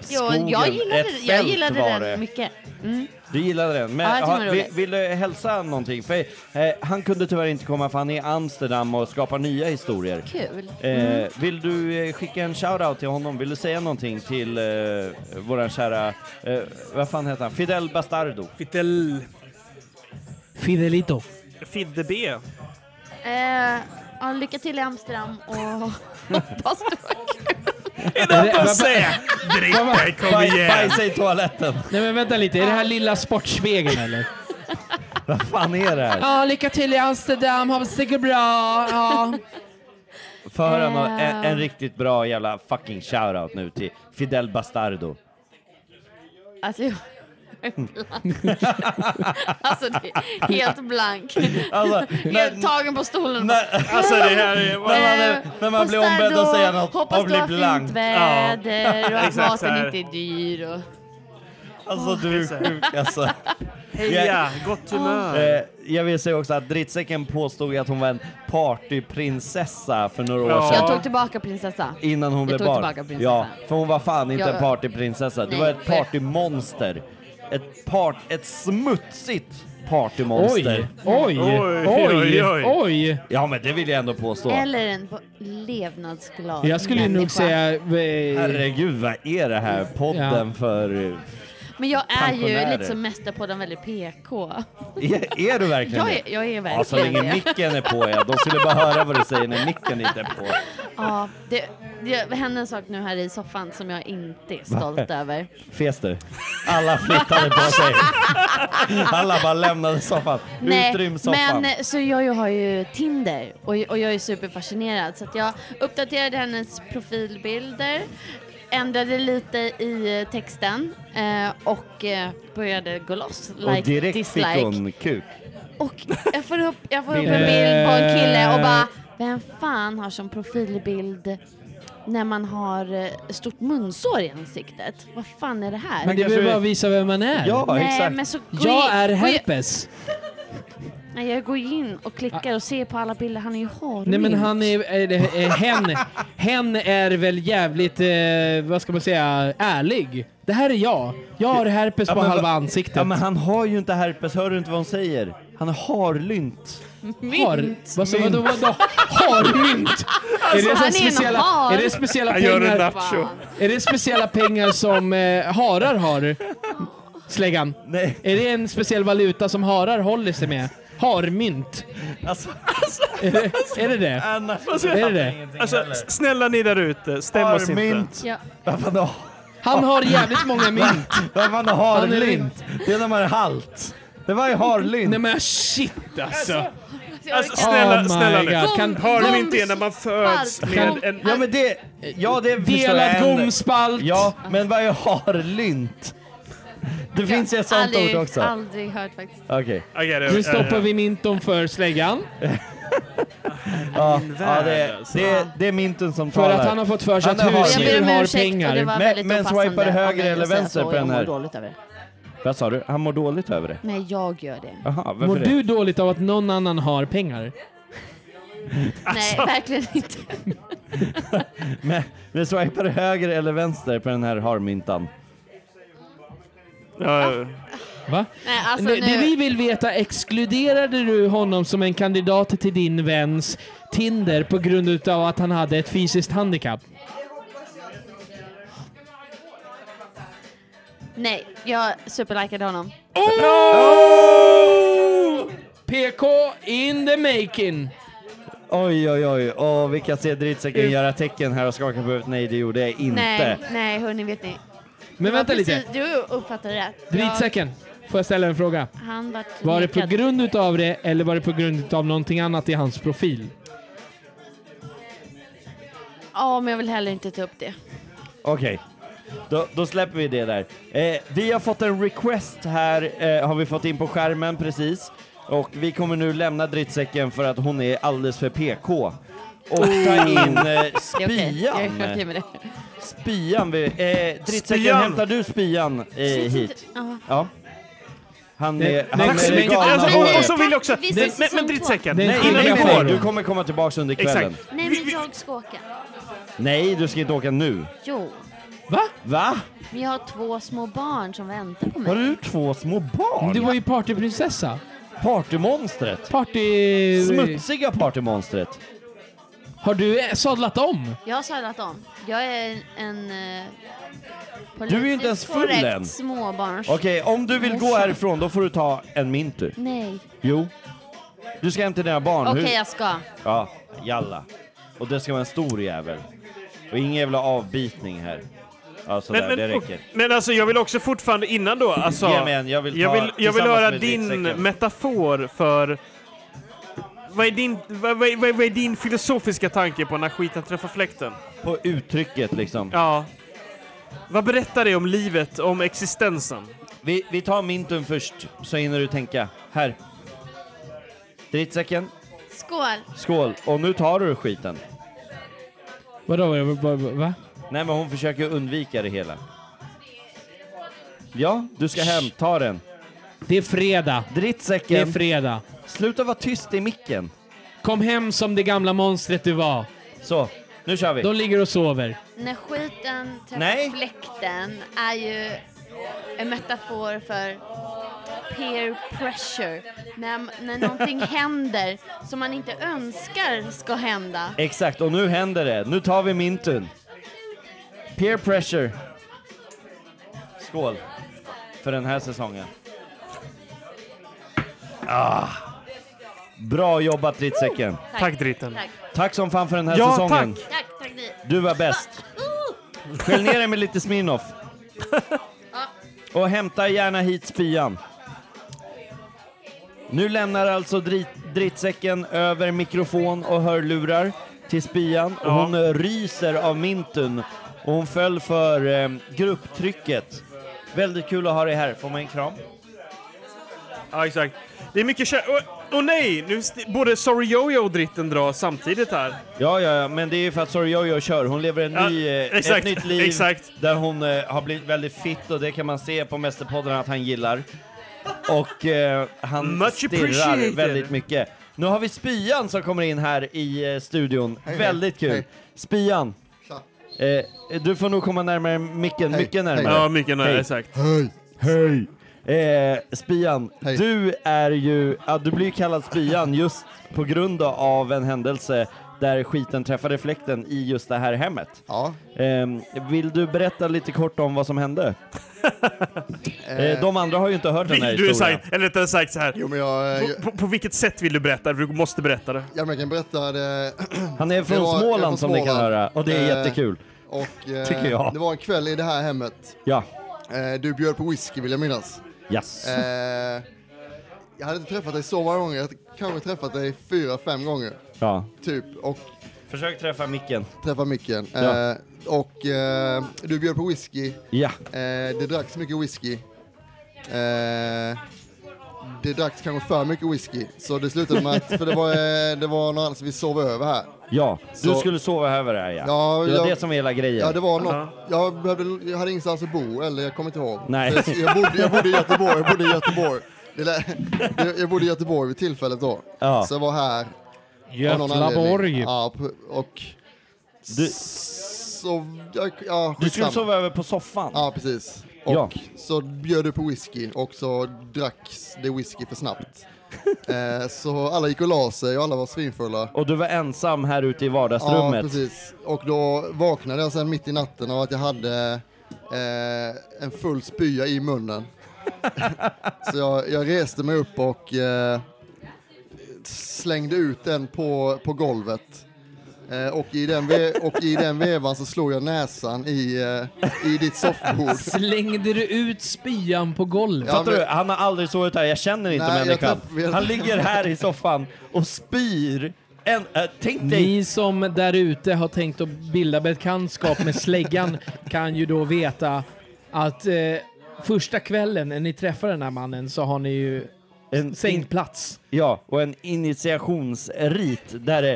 [SPEAKER 12] Ja, jo, jag gillade,
[SPEAKER 4] Ett
[SPEAKER 12] jag
[SPEAKER 4] fält
[SPEAKER 12] gillade
[SPEAKER 4] var
[SPEAKER 12] den
[SPEAKER 4] det.
[SPEAKER 12] mycket. Mm.
[SPEAKER 4] Du gillade den,
[SPEAKER 12] Ja,
[SPEAKER 4] men
[SPEAKER 12] jag tycker
[SPEAKER 4] ha,
[SPEAKER 12] den var
[SPEAKER 4] vi,
[SPEAKER 12] rolig.
[SPEAKER 4] vill du hälsa någonting? För, eh, han kunde tyvärr inte komma för han är i Amsterdam och skapar nya historier.
[SPEAKER 12] Kul.
[SPEAKER 1] Mm.
[SPEAKER 4] Eh, vill du eh, skicka en shout-out till honom? Vill du säga någonting till eh, våran kära, eh, vad fan heter han? Fidel Bastardo.
[SPEAKER 1] Fidel...
[SPEAKER 6] Fidelito.
[SPEAKER 1] Fidde B.
[SPEAKER 12] Eh, ja, lycka till i Amsterdam och hoppas du har kul.
[SPEAKER 4] Baj- Bajsa i toaletten.
[SPEAKER 3] Nej men vänta lite, är det här lilla sportspegeln eller?
[SPEAKER 4] Vad fan är det här?
[SPEAKER 11] Ja, lycka till i Amsterdam. Hoppas det går bra. Ja.
[SPEAKER 4] Får höra nå- en, en
[SPEAKER 12] Eh.
[SPEAKER 11] Ehm.
[SPEAKER 4] riktigt bra jävla fucking shout-out nu till Fidel Bastardo.
[SPEAKER 12] Alltså, jag är blank. alltså, det är helt blank.
[SPEAKER 4] Alltså,
[SPEAKER 12] helt tagen på stolen.
[SPEAKER 4] alltså, det här är- när man-
[SPEAKER 12] Eh,
[SPEAKER 4] när man blir
[SPEAKER 12] hostar
[SPEAKER 4] ombedd att
[SPEAKER 12] då.
[SPEAKER 4] säga något
[SPEAKER 12] Hoppas
[SPEAKER 4] och blir
[SPEAKER 12] du har
[SPEAKER 4] blank.
[SPEAKER 12] fint
[SPEAKER 4] Ja.
[SPEAKER 12] väder och att
[SPEAKER 4] Exakt så
[SPEAKER 12] maten
[SPEAKER 4] här.
[SPEAKER 12] inte är dyr. Och...
[SPEAKER 4] Alltså du är sjuk alltså.
[SPEAKER 1] Heja, gott humör.
[SPEAKER 4] Eh, jag vill säga också att Drittsäcken påstod ju att hon var en partyprinsessa för några år sedan.
[SPEAKER 12] Jag tog tillbaka prinsessa.
[SPEAKER 4] Innan hon
[SPEAKER 12] jag
[SPEAKER 4] blev
[SPEAKER 12] tog
[SPEAKER 4] barn.
[SPEAKER 12] tillbaka prinsessan.
[SPEAKER 4] Ja, för hon var fan inte
[SPEAKER 12] Jag-
[SPEAKER 4] en partyprinsessa. Det
[SPEAKER 12] Nej.
[SPEAKER 4] var ett partymonster. Ett, part, ett smutsigt partymonster.
[SPEAKER 3] Oj, oj, Oj, oj, oj, oj. oj.
[SPEAKER 4] Ja, men det vill jag ändå påstå.
[SPEAKER 12] Eller en på- levnadsglad
[SPEAKER 4] Jag skulle nog
[SPEAKER 12] människa.
[SPEAKER 4] säga- Herregud, vad är det här? Podden för... eh,
[SPEAKER 12] Men jag är ju
[SPEAKER 4] pensionärer.
[SPEAKER 12] lite som mästerpodden väldigt PK.
[SPEAKER 4] Är, är du verkligen
[SPEAKER 12] Jag är-
[SPEAKER 4] det?
[SPEAKER 12] jag är
[SPEAKER 4] ja, Så
[SPEAKER 12] verkligen det.
[SPEAKER 4] länge micken är på, ja. De skulle bara höra vad du säger när micken inte är på.
[SPEAKER 12] Ja, det, det hände en sak nu här i soffan som jag inte är stolt
[SPEAKER 4] Va?
[SPEAKER 12] över.
[SPEAKER 4] Fes du? Alla flyttade på sig. Alla bara lämnade soffan. Utrym soffan.
[SPEAKER 12] men så jag ju har ju Tinder och, och jag är superfascinerad så att jag uppdaterade hennes profilbilder, ändrade lite i eh, texten eh, och eh, började gå loss. Like,
[SPEAKER 4] och direkt
[SPEAKER 12] dislike.
[SPEAKER 4] fick hon kuk.
[SPEAKER 12] Jag får upp, jag får upp en
[SPEAKER 4] Bilder.
[SPEAKER 12] bild på en kille och bara, vem fan har som profilbild när man har eh, stort munsår i ansiktet? Vad fan är det här?
[SPEAKER 3] Men det behöver bara visa vem man är.
[SPEAKER 12] Ja, Nej, exakt. men så gå
[SPEAKER 3] jag
[SPEAKER 12] in-
[SPEAKER 3] är
[SPEAKER 12] gå in-
[SPEAKER 3] herpes.
[SPEAKER 12] Nej, jag går in och klickar och ser på alla bilder, han är ju harmynt.
[SPEAKER 3] Ah. Nej men han är... är, det- är hen, hen är väl jävligt, eh, vad ska man säga, ärlig. Det här är jag. Jag har herpes
[SPEAKER 4] Ja,
[SPEAKER 3] på
[SPEAKER 4] men
[SPEAKER 3] halva
[SPEAKER 4] va-
[SPEAKER 3] ansiktet.
[SPEAKER 4] Ja, men han har ju inte herpes. Hör du inte vad hon säger? Han har harlynt.
[SPEAKER 3] Har, vad sa vadå, vadå? Harmynt?
[SPEAKER 4] Alltså,
[SPEAKER 3] är det, så
[SPEAKER 4] han är en
[SPEAKER 3] här speciella,
[SPEAKER 4] har.
[SPEAKER 3] är det speciella
[SPEAKER 4] Han gör en
[SPEAKER 3] pengar?
[SPEAKER 4] nacho.
[SPEAKER 3] Är det speciella pengar som eh, harar har? Släggan.
[SPEAKER 4] Nej.
[SPEAKER 3] Är det en speciell valuta som harar håller sig med? Harmynt.
[SPEAKER 4] Alltså,
[SPEAKER 3] är, det, är det det?
[SPEAKER 4] Äh,
[SPEAKER 1] Alltså,
[SPEAKER 3] är det det?
[SPEAKER 1] Alltså, snälla ni där ute, stäm oss inte.
[SPEAKER 4] Harmynt.
[SPEAKER 12] Ja.
[SPEAKER 4] Varför då?
[SPEAKER 3] Han har jävligt många mynt.
[SPEAKER 4] Varför han har
[SPEAKER 3] Han är
[SPEAKER 4] harlynt? Det är när man är halt. Det var ju harlynt.
[SPEAKER 3] Nej men shit alltså.
[SPEAKER 1] Alltså, snälla,
[SPEAKER 3] Oh my
[SPEAKER 1] snälla
[SPEAKER 3] God.
[SPEAKER 1] nu.
[SPEAKER 3] Kan-
[SPEAKER 1] Hör
[SPEAKER 3] Gom-
[SPEAKER 1] vi inte det när man föds med en...
[SPEAKER 4] Ja men det... Ja det
[SPEAKER 1] Delad
[SPEAKER 4] förstår jag. En-
[SPEAKER 1] gomspalt.
[SPEAKER 4] Ja, men vad är harlynt? Det finns ju ett sånt
[SPEAKER 12] aldrig,
[SPEAKER 4] ord också.
[SPEAKER 12] aldrig hört faktiskt.
[SPEAKER 4] Okej.
[SPEAKER 3] Nu stoppar vi minton för släggan.
[SPEAKER 4] Ja,
[SPEAKER 3] Min
[SPEAKER 4] ja, det,
[SPEAKER 3] värld,
[SPEAKER 4] är-
[SPEAKER 3] alltså.
[SPEAKER 4] det, är- det är Minton som
[SPEAKER 3] För
[SPEAKER 4] talar.
[SPEAKER 3] att han har fått för sig
[SPEAKER 4] Han
[SPEAKER 3] att
[SPEAKER 4] har-
[SPEAKER 3] husdjur Jag ber om har ursäkt, pengar. och det var
[SPEAKER 4] Men,
[SPEAKER 12] väldigt
[SPEAKER 4] men
[SPEAKER 12] opassande
[SPEAKER 4] swipar du
[SPEAKER 12] av
[SPEAKER 4] höger
[SPEAKER 12] mig
[SPEAKER 4] eller
[SPEAKER 12] att säga
[SPEAKER 4] vänster
[SPEAKER 12] så,
[SPEAKER 4] på
[SPEAKER 12] jag
[SPEAKER 4] den
[SPEAKER 12] mår
[SPEAKER 4] här?
[SPEAKER 12] dåligt över det.
[SPEAKER 4] Vad sa du? Han mår dåligt över det?
[SPEAKER 12] Nej, jag gör det.
[SPEAKER 4] Jaha, varför
[SPEAKER 3] Mår
[SPEAKER 4] det?
[SPEAKER 3] du dåligt av att någon annan har pengar?
[SPEAKER 4] Alltså.
[SPEAKER 12] Nej, verkligen inte.
[SPEAKER 4] Men, men swipar du höger eller vänster på den här harmyntan?
[SPEAKER 3] Va?
[SPEAKER 12] Nej, alltså
[SPEAKER 3] det,
[SPEAKER 12] nu...
[SPEAKER 3] det vi vill veta, exkluderade du honom som en kandidat till din väns Tinder på grund utav att han hade ett fysiskt handikapp?
[SPEAKER 12] Nej, jag superlikade honom.
[SPEAKER 11] PK in the making.
[SPEAKER 4] Oj, oj, oj. Åh, vi kan se drittsäcken göra tecken här och skaka på huvudet. Nej, det gjorde jag inte.
[SPEAKER 12] Nej, nej hörni, vet ni.
[SPEAKER 4] Men
[SPEAKER 12] Det var precis- Du uppfattade rätt.
[SPEAKER 11] Dritsäcken, får jag ställa en fråga?
[SPEAKER 12] Jag- Han vart
[SPEAKER 11] Var det på
[SPEAKER 12] nekad.
[SPEAKER 11] grund utav det eller var det på grund utav någonting annat i hans profil?
[SPEAKER 12] Ja, men jag vill heller inte ta upp det.
[SPEAKER 4] Okej, då, då släpper vi det där. Eh, vi har fått en request här, eh, har vi fått in på skärmen precis. Och vi kommer nu lämna drittsäcken för att hon är alldeles för PK. Och ta in eh,
[SPEAKER 12] Det är okej.
[SPEAKER 4] spyan.
[SPEAKER 12] Jag är okej med det.
[SPEAKER 4] Spyan, vi, eh, drittsäcken
[SPEAKER 12] Spyan.
[SPEAKER 4] hämtar du spyan eh, hit?
[SPEAKER 12] Ja.
[SPEAKER 4] Ja. Han
[SPEAKER 1] Nej,
[SPEAKER 4] är, han
[SPEAKER 1] nej,
[SPEAKER 4] är
[SPEAKER 1] nej,
[SPEAKER 4] galna
[SPEAKER 1] nej, nej,
[SPEAKER 4] håret.
[SPEAKER 1] Alltså, och så vill jag också- Vi ses nej, i men- men säsong två. drittsäcken, innan vi går.
[SPEAKER 4] du kommer komma tillbaka under
[SPEAKER 1] Exakt.
[SPEAKER 4] kvällen.
[SPEAKER 12] Nej, men jag ska åka.
[SPEAKER 4] Nej, du ska inte åka nu.
[SPEAKER 12] Jo,
[SPEAKER 11] Va?
[SPEAKER 4] Va?
[SPEAKER 12] men jag har två små barn som väntar på mig.
[SPEAKER 4] Har du två små barn?
[SPEAKER 11] Du var ju partyprinsessa.
[SPEAKER 4] Partymonstret.
[SPEAKER 11] Party...
[SPEAKER 4] Smutsiga partymonstret.
[SPEAKER 11] Har du eh, sadlat om?
[SPEAKER 12] Jag har sadlat om. Jag är en... eh,
[SPEAKER 4] Du är ju inte
[SPEAKER 12] politiskt
[SPEAKER 4] ens full
[SPEAKER 12] korrekt
[SPEAKER 4] än.
[SPEAKER 12] småbarns...
[SPEAKER 4] Okej, om du vill gå
[SPEAKER 12] morsa.
[SPEAKER 4] härifrån då får du ta en mintu.
[SPEAKER 12] Nej.
[SPEAKER 4] Jo. Du ska hem till dina barn.
[SPEAKER 12] Okej,
[SPEAKER 4] Hur-
[SPEAKER 12] jag ska.
[SPEAKER 4] Ja, jalla. Och det ska vara en stor jävel. Och ingen jävla avbitning här. Ja, sådär,
[SPEAKER 1] men,
[SPEAKER 4] det
[SPEAKER 1] och-
[SPEAKER 4] räcker.
[SPEAKER 1] men alltså jag vill också fortfarande innan då, alltså,
[SPEAKER 4] Ge mig en, jag vill ta
[SPEAKER 1] jag vill, jag vill
[SPEAKER 4] tillsammans
[SPEAKER 1] höra
[SPEAKER 4] med
[SPEAKER 1] din
[SPEAKER 4] drittsäcken.
[SPEAKER 1] metafor för... Vad är, din, vad, vad, vad, vad är din filosofiska tanke på när skiten träffar fläkten?
[SPEAKER 4] På uttrycket liksom.
[SPEAKER 1] Ja. Vad berättar det om livet, om existensen?
[SPEAKER 4] Vi, vi tar mintun först, så hinner du tänka. Här. Drittsäcken,
[SPEAKER 12] Skål!
[SPEAKER 4] skål. Och nu tar du skiten.
[SPEAKER 11] Vadå? vad- vad- vad- Va?
[SPEAKER 4] Nej, men hon försöker undvika det hela. Ja, du ska hem. Ta den.
[SPEAKER 11] Det är fredag.
[SPEAKER 4] Drittsäcken.
[SPEAKER 11] Det är fredag.
[SPEAKER 4] Sluta vara tyst i micken.
[SPEAKER 11] Kom hem som det gamla monstret du var.
[SPEAKER 4] Så, nu kör vi.
[SPEAKER 11] De ligger och sover.
[SPEAKER 12] När skiten träffar
[SPEAKER 11] Nej.
[SPEAKER 12] fläkten är ju en metafor för peer pressure. När, när någonting händer som man inte önskar ska hända.
[SPEAKER 4] Exakt, och nu händer det. Nu tar vi mintun. Peer pressure. Skål. För den här säsongen. Ah. Bra jobbat Drittsäcken.
[SPEAKER 12] Tack. Tack, Dritten. Tack.
[SPEAKER 4] Tack som fan för den här säsongen.
[SPEAKER 12] Tack, tack ni.
[SPEAKER 4] Du var bäst. Skölj ner dig med lite Smirnoff. Och hämta gärna hit spyan. Nu lämnar alltså drit, drittsäcken över mikrofon och hörlurar till spyan. Och hon eh, ryser av mintun. Och hon föll för eh, grupptrycket. Väldigt kul att ha dig här. Får man en kram?
[SPEAKER 1] Ja, exakt. Det är mycket kär... Åh oh, nej! Nu st- både Sorry Jojo och Dritten drar samtidigt här.
[SPEAKER 4] Ja, ja, ja, men det är ju för att Sorry Jojo kör. Hon lever en
[SPEAKER 1] Ja,
[SPEAKER 4] ny, eh, ett
[SPEAKER 1] exakt,
[SPEAKER 4] nytt liv
[SPEAKER 1] exakt.
[SPEAKER 4] där hon eh, har blivit väldigt fit och det kan man se på Mästerpodden att han gillar. Och eh, han
[SPEAKER 1] Much appreciated.
[SPEAKER 4] stirrar väldigt mycket. Nu har vi Spyan som kommer in här i eh, studion.
[SPEAKER 13] Hej, hej.
[SPEAKER 4] väldigt kul.
[SPEAKER 13] Hej.
[SPEAKER 4] Spyan. Eh, du får nog komma närmare micken,
[SPEAKER 13] Hej,
[SPEAKER 4] mycket
[SPEAKER 13] hej.
[SPEAKER 4] närmare.
[SPEAKER 13] Ja, mycket närmare,
[SPEAKER 4] Hej.
[SPEAKER 13] exakt.
[SPEAKER 4] Hej, hej. Eh, Spian, du är ju, ja, du blir ju kallad Spian just på grund av en händelse där skiten träffade fläkten i just det här hemmet. Ehm,
[SPEAKER 13] Ja.
[SPEAKER 4] vill du berätta lite kort om vad som hände? eh, de andra har ju inte hört den här
[SPEAKER 1] Vill du
[SPEAKER 4] historien.
[SPEAKER 1] sagt, eller rättare sagt så här.
[SPEAKER 13] jag,
[SPEAKER 1] på, på, på vilket sätt vill du berätta? Du måste berätta det.
[SPEAKER 13] Ja, men jag kan berätta det.
[SPEAKER 4] Han är från
[SPEAKER 13] Det var-
[SPEAKER 4] Småland
[SPEAKER 13] jag är från
[SPEAKER 4] som ni kan
[SPEAKER 13] Småland.
[SPEAKER 4] höra och det är
[SPEAKER 13] Eh,
[SPEAKER 4] jättekul.
[SPEAKER 13] Och, eh,
[SPEAKER 4] Tycker jag.
[SPEAKER 13] Det var en kväll i det här hemmet.
[SPEAKER 4] Ja.
[SPEAKER 13] Eh, du bjöd på whisky vill jag minnas.
[SPEAKER 4] Yes.
[SPEAKER 13] Eh, jag hade inte träffat dig så många gånger. Jag hade kanske träffat dig fyra, fem gånger.
[SPEAKER 4] Ja.
[SPEAKER 13] Typ. Och
[SPEAKER 4] Försök träffa micken.
[SPEAKER 13] träffa micken.
[SPEAKER 4] Ja.
[SPEAKER 13] Eh, och eh, du bjöd på whisky.
[SPEAKER 4] Ja.
[SPEAKER 13] Eh, det dracks mycket whisky. Eh, det dracks kanske för mycket whisky. Så det slutade med att, för det var, eh, det var några andra som vi sov över här.
[SPEAKER 4] Ja, du
[SPEAKER 13] Så-
[SPEAKER 4] skulle sova över här ja.
[SPEAKER 13] Ja,
[SPEAKER 4] det var
[SPEAKER 13] jag-
[SPEAKER 4] det som var hela grejen.
[SPEAKER 13] Ja, det var något. Jag, behövde, jag hade ingenstans att bo, eller jag kommer inte ihåg.
[SPEAKER 4] Nej.
[SPEAKER 13] Så Jag, jag, bodde, jag bodde i Göteborg, jag bodde i Göteborg. Det lä- jag- jag bodde i Göteborg vid tillfället då.
[SPEAKER 4] Ja.
[SPEAKER 13] Så jag var här. av någon
[SPEAKER 4] Götlaborg.
[SPEAKER 13] anledning. Ja, p- och...
[SPEAKER 4] Du-
[SPEAKER 13] Så, jag, ja,
[SPEAKER 4] Du skulle
[SPEAKER 13] skitsamma.
[SPEAKER 4] sova över på soffan.
[SPEAKER 13] Ja, precis. Och
[SPEAKER 4] Ja.
[SPEAKER 13] så bjöd du på whisky och så dracks det whisky för snabbt. eh, så alla gick och la sig och alla var svinfulla.
[SPEAKER 4] Och du var ensam här ute i vardagsrummet.
[SPEAKER 13] Ja, precis. Och då vaknade jag sen mitt i natten av att jag hade eh, en full spya i munnen. så jag, jag reste mig upp och eh, slängde ut den på, på golvet. Eh, och, i den ve- och i den vevan så slog jag näsan i, eh, i ditt soffbord.
[SPEAKER 3] Slängde du ut spyan på golvet?
[SPEAKER 4] Fattar du? Han har aldrig sovit här, jag känner inte
[SPEAKER 3] Nej, jag
[SPEAKER 4] människan.
[SPEAKER 3] träff- jag-
[SPEAKER 4] Han ligger här i soffan och spyr. En, äh, tänk dig
[SPEAKER 3] Ni som där ute har tänkt att bilda bekantskap med släggan kan ju då veta att eh, första kvällen när ni träffar den här mannen så har ni ju
[SPEAKER 4] en
[SPEAKER 3] sänkt plats.
[SPEAKER 4] Ja, och en initiationsrit där det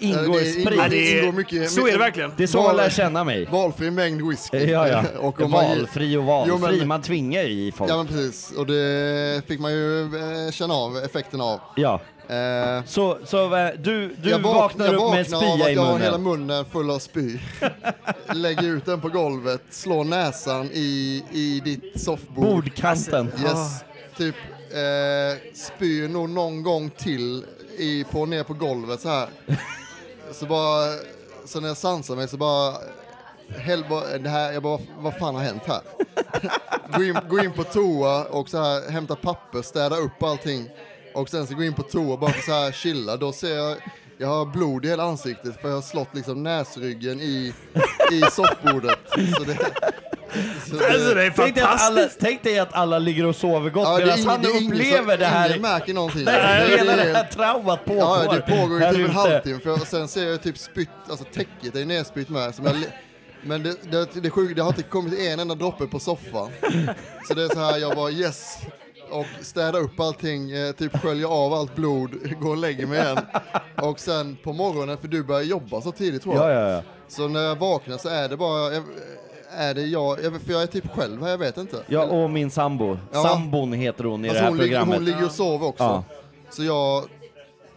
[SPEAKER 13] Eh,
[SPEAKER 4] ingår
[SPEAKER 13] det
[SPEAKER 4] sprit.
[SPEAKER 13] ingår- det ingår mycket- Så är det verkligen.
[SPEAKER 4] Det är så man
[SPEAKER 13] Val-
[SPEAKER 4] lär känna mig.
[SPEAKER 13] Valfri mängd whisky.
[SPEAKER 4] Ja, ja.
[SPEAKER 13] Och om man-
[SPEAKER 4] valfri och
[SPEAKER 13] Jo,
[SPEAKER 4] valfri.
[SPEAKER 13] men-
[SPEAKER 4] Man tvingar ju i folk.
[SPEAKER 13] Ja men precis, och det fick man ju eh, känna av effekten av.
[SPEAKER 4] Ja.
[SPEAKER 13] Eh,
[SPEAKER 4] så så eh, du, du
[SPEAKER 13] jag vak-
[SPEAKER 4] vaknar
[SPEAKER 13] jag
[SPEAKER 4] upp med en
[SPEAKER 13] vaknar av
[SPEAKER 4] spya
[SPEAKER 13] att
[SPEAKER 4] i
[SPEAKER 13] jag har
[SPEAKER 4] munnen.
[SPEAKER 13] hela munnen full av spy. Lägger ut den på golvet, slår näsan i, i ditt soffbord.
[SPEAKER 4] Bordkanten. Ah.
[SPEAKER 13] Yes. Typ eh, spyr nog någon gång till i, på, ner på golvet så här. Så bara, så när jag sansar mig så bara, hell, bara- det här, jag bara, vad fan har hänt här? gå, in, gå in på toa och så här, hämta papper, städa upp allting. Och sen så gå in på toa bara för så här chilla. Då ser jag, jag har blod i hela ansiktet för jag har slått liksom näsryggen i, i soffbordet. Så det, så
[SPEAKER 4] Alltså, Tänk dig att alla- Tänk dig att alla ligger och sover gott
[SPEAKER 13] Ja, det är
[SPEAKER 4] medan
[SPEAKER 13] ingen-
[SPEAKER 4] han
[SPEAKER 13] det är ingen som-
[SPEAKER 4] upplever det här.
[SPEAKER 13] ingen märker någonting.
[SPEAKER 4] Nej,
[SPEAKER 13] Det är-
[SPEAKER 4] hela det här traumat pågår.
[SPEAKER 13] Ja, ja, det pågår ju
[SPEAKER 4] här
[SPEAKER 13] typ en
[SPEAKER 4] ute.
[SPEAKER 13] halvtimme. För jag, sen ser jag typ spytt, alltså täcket är ju nerspytt med. Som jag, le- men det, det, det, är sjukt, det har inte kommit en enda droppe på soffan. Så det är så här, jag bara yes. Och städar upp allting, eh, typ sköljer av allt blod, går och lägger mig igen. Och sen på morgonen, för du börjar jobba så tidigt tror jag.
[SPEAKER 4] Ja, ja, ja.
[SPEAKER 13] Så när jag vaknar så är det bara, jag- är det jag, jag- för jag är typ själv här, jag vet inte.
[SPEAKER 4] Ja, och min sambo.
[SPEAKER 13] Ja.
[SPEAKER 4] Sambon heter hon i
[SPEAKER 13] Alltså
[SPEAKER 4] det här
[SPEAKER 13] hon, ligger,
[SPEAKER 4] programmet.
[SPEAKER 13] hon ligger och sover också.
[SPEAKER 4] Ja.
[SPEAKER 13] Så jag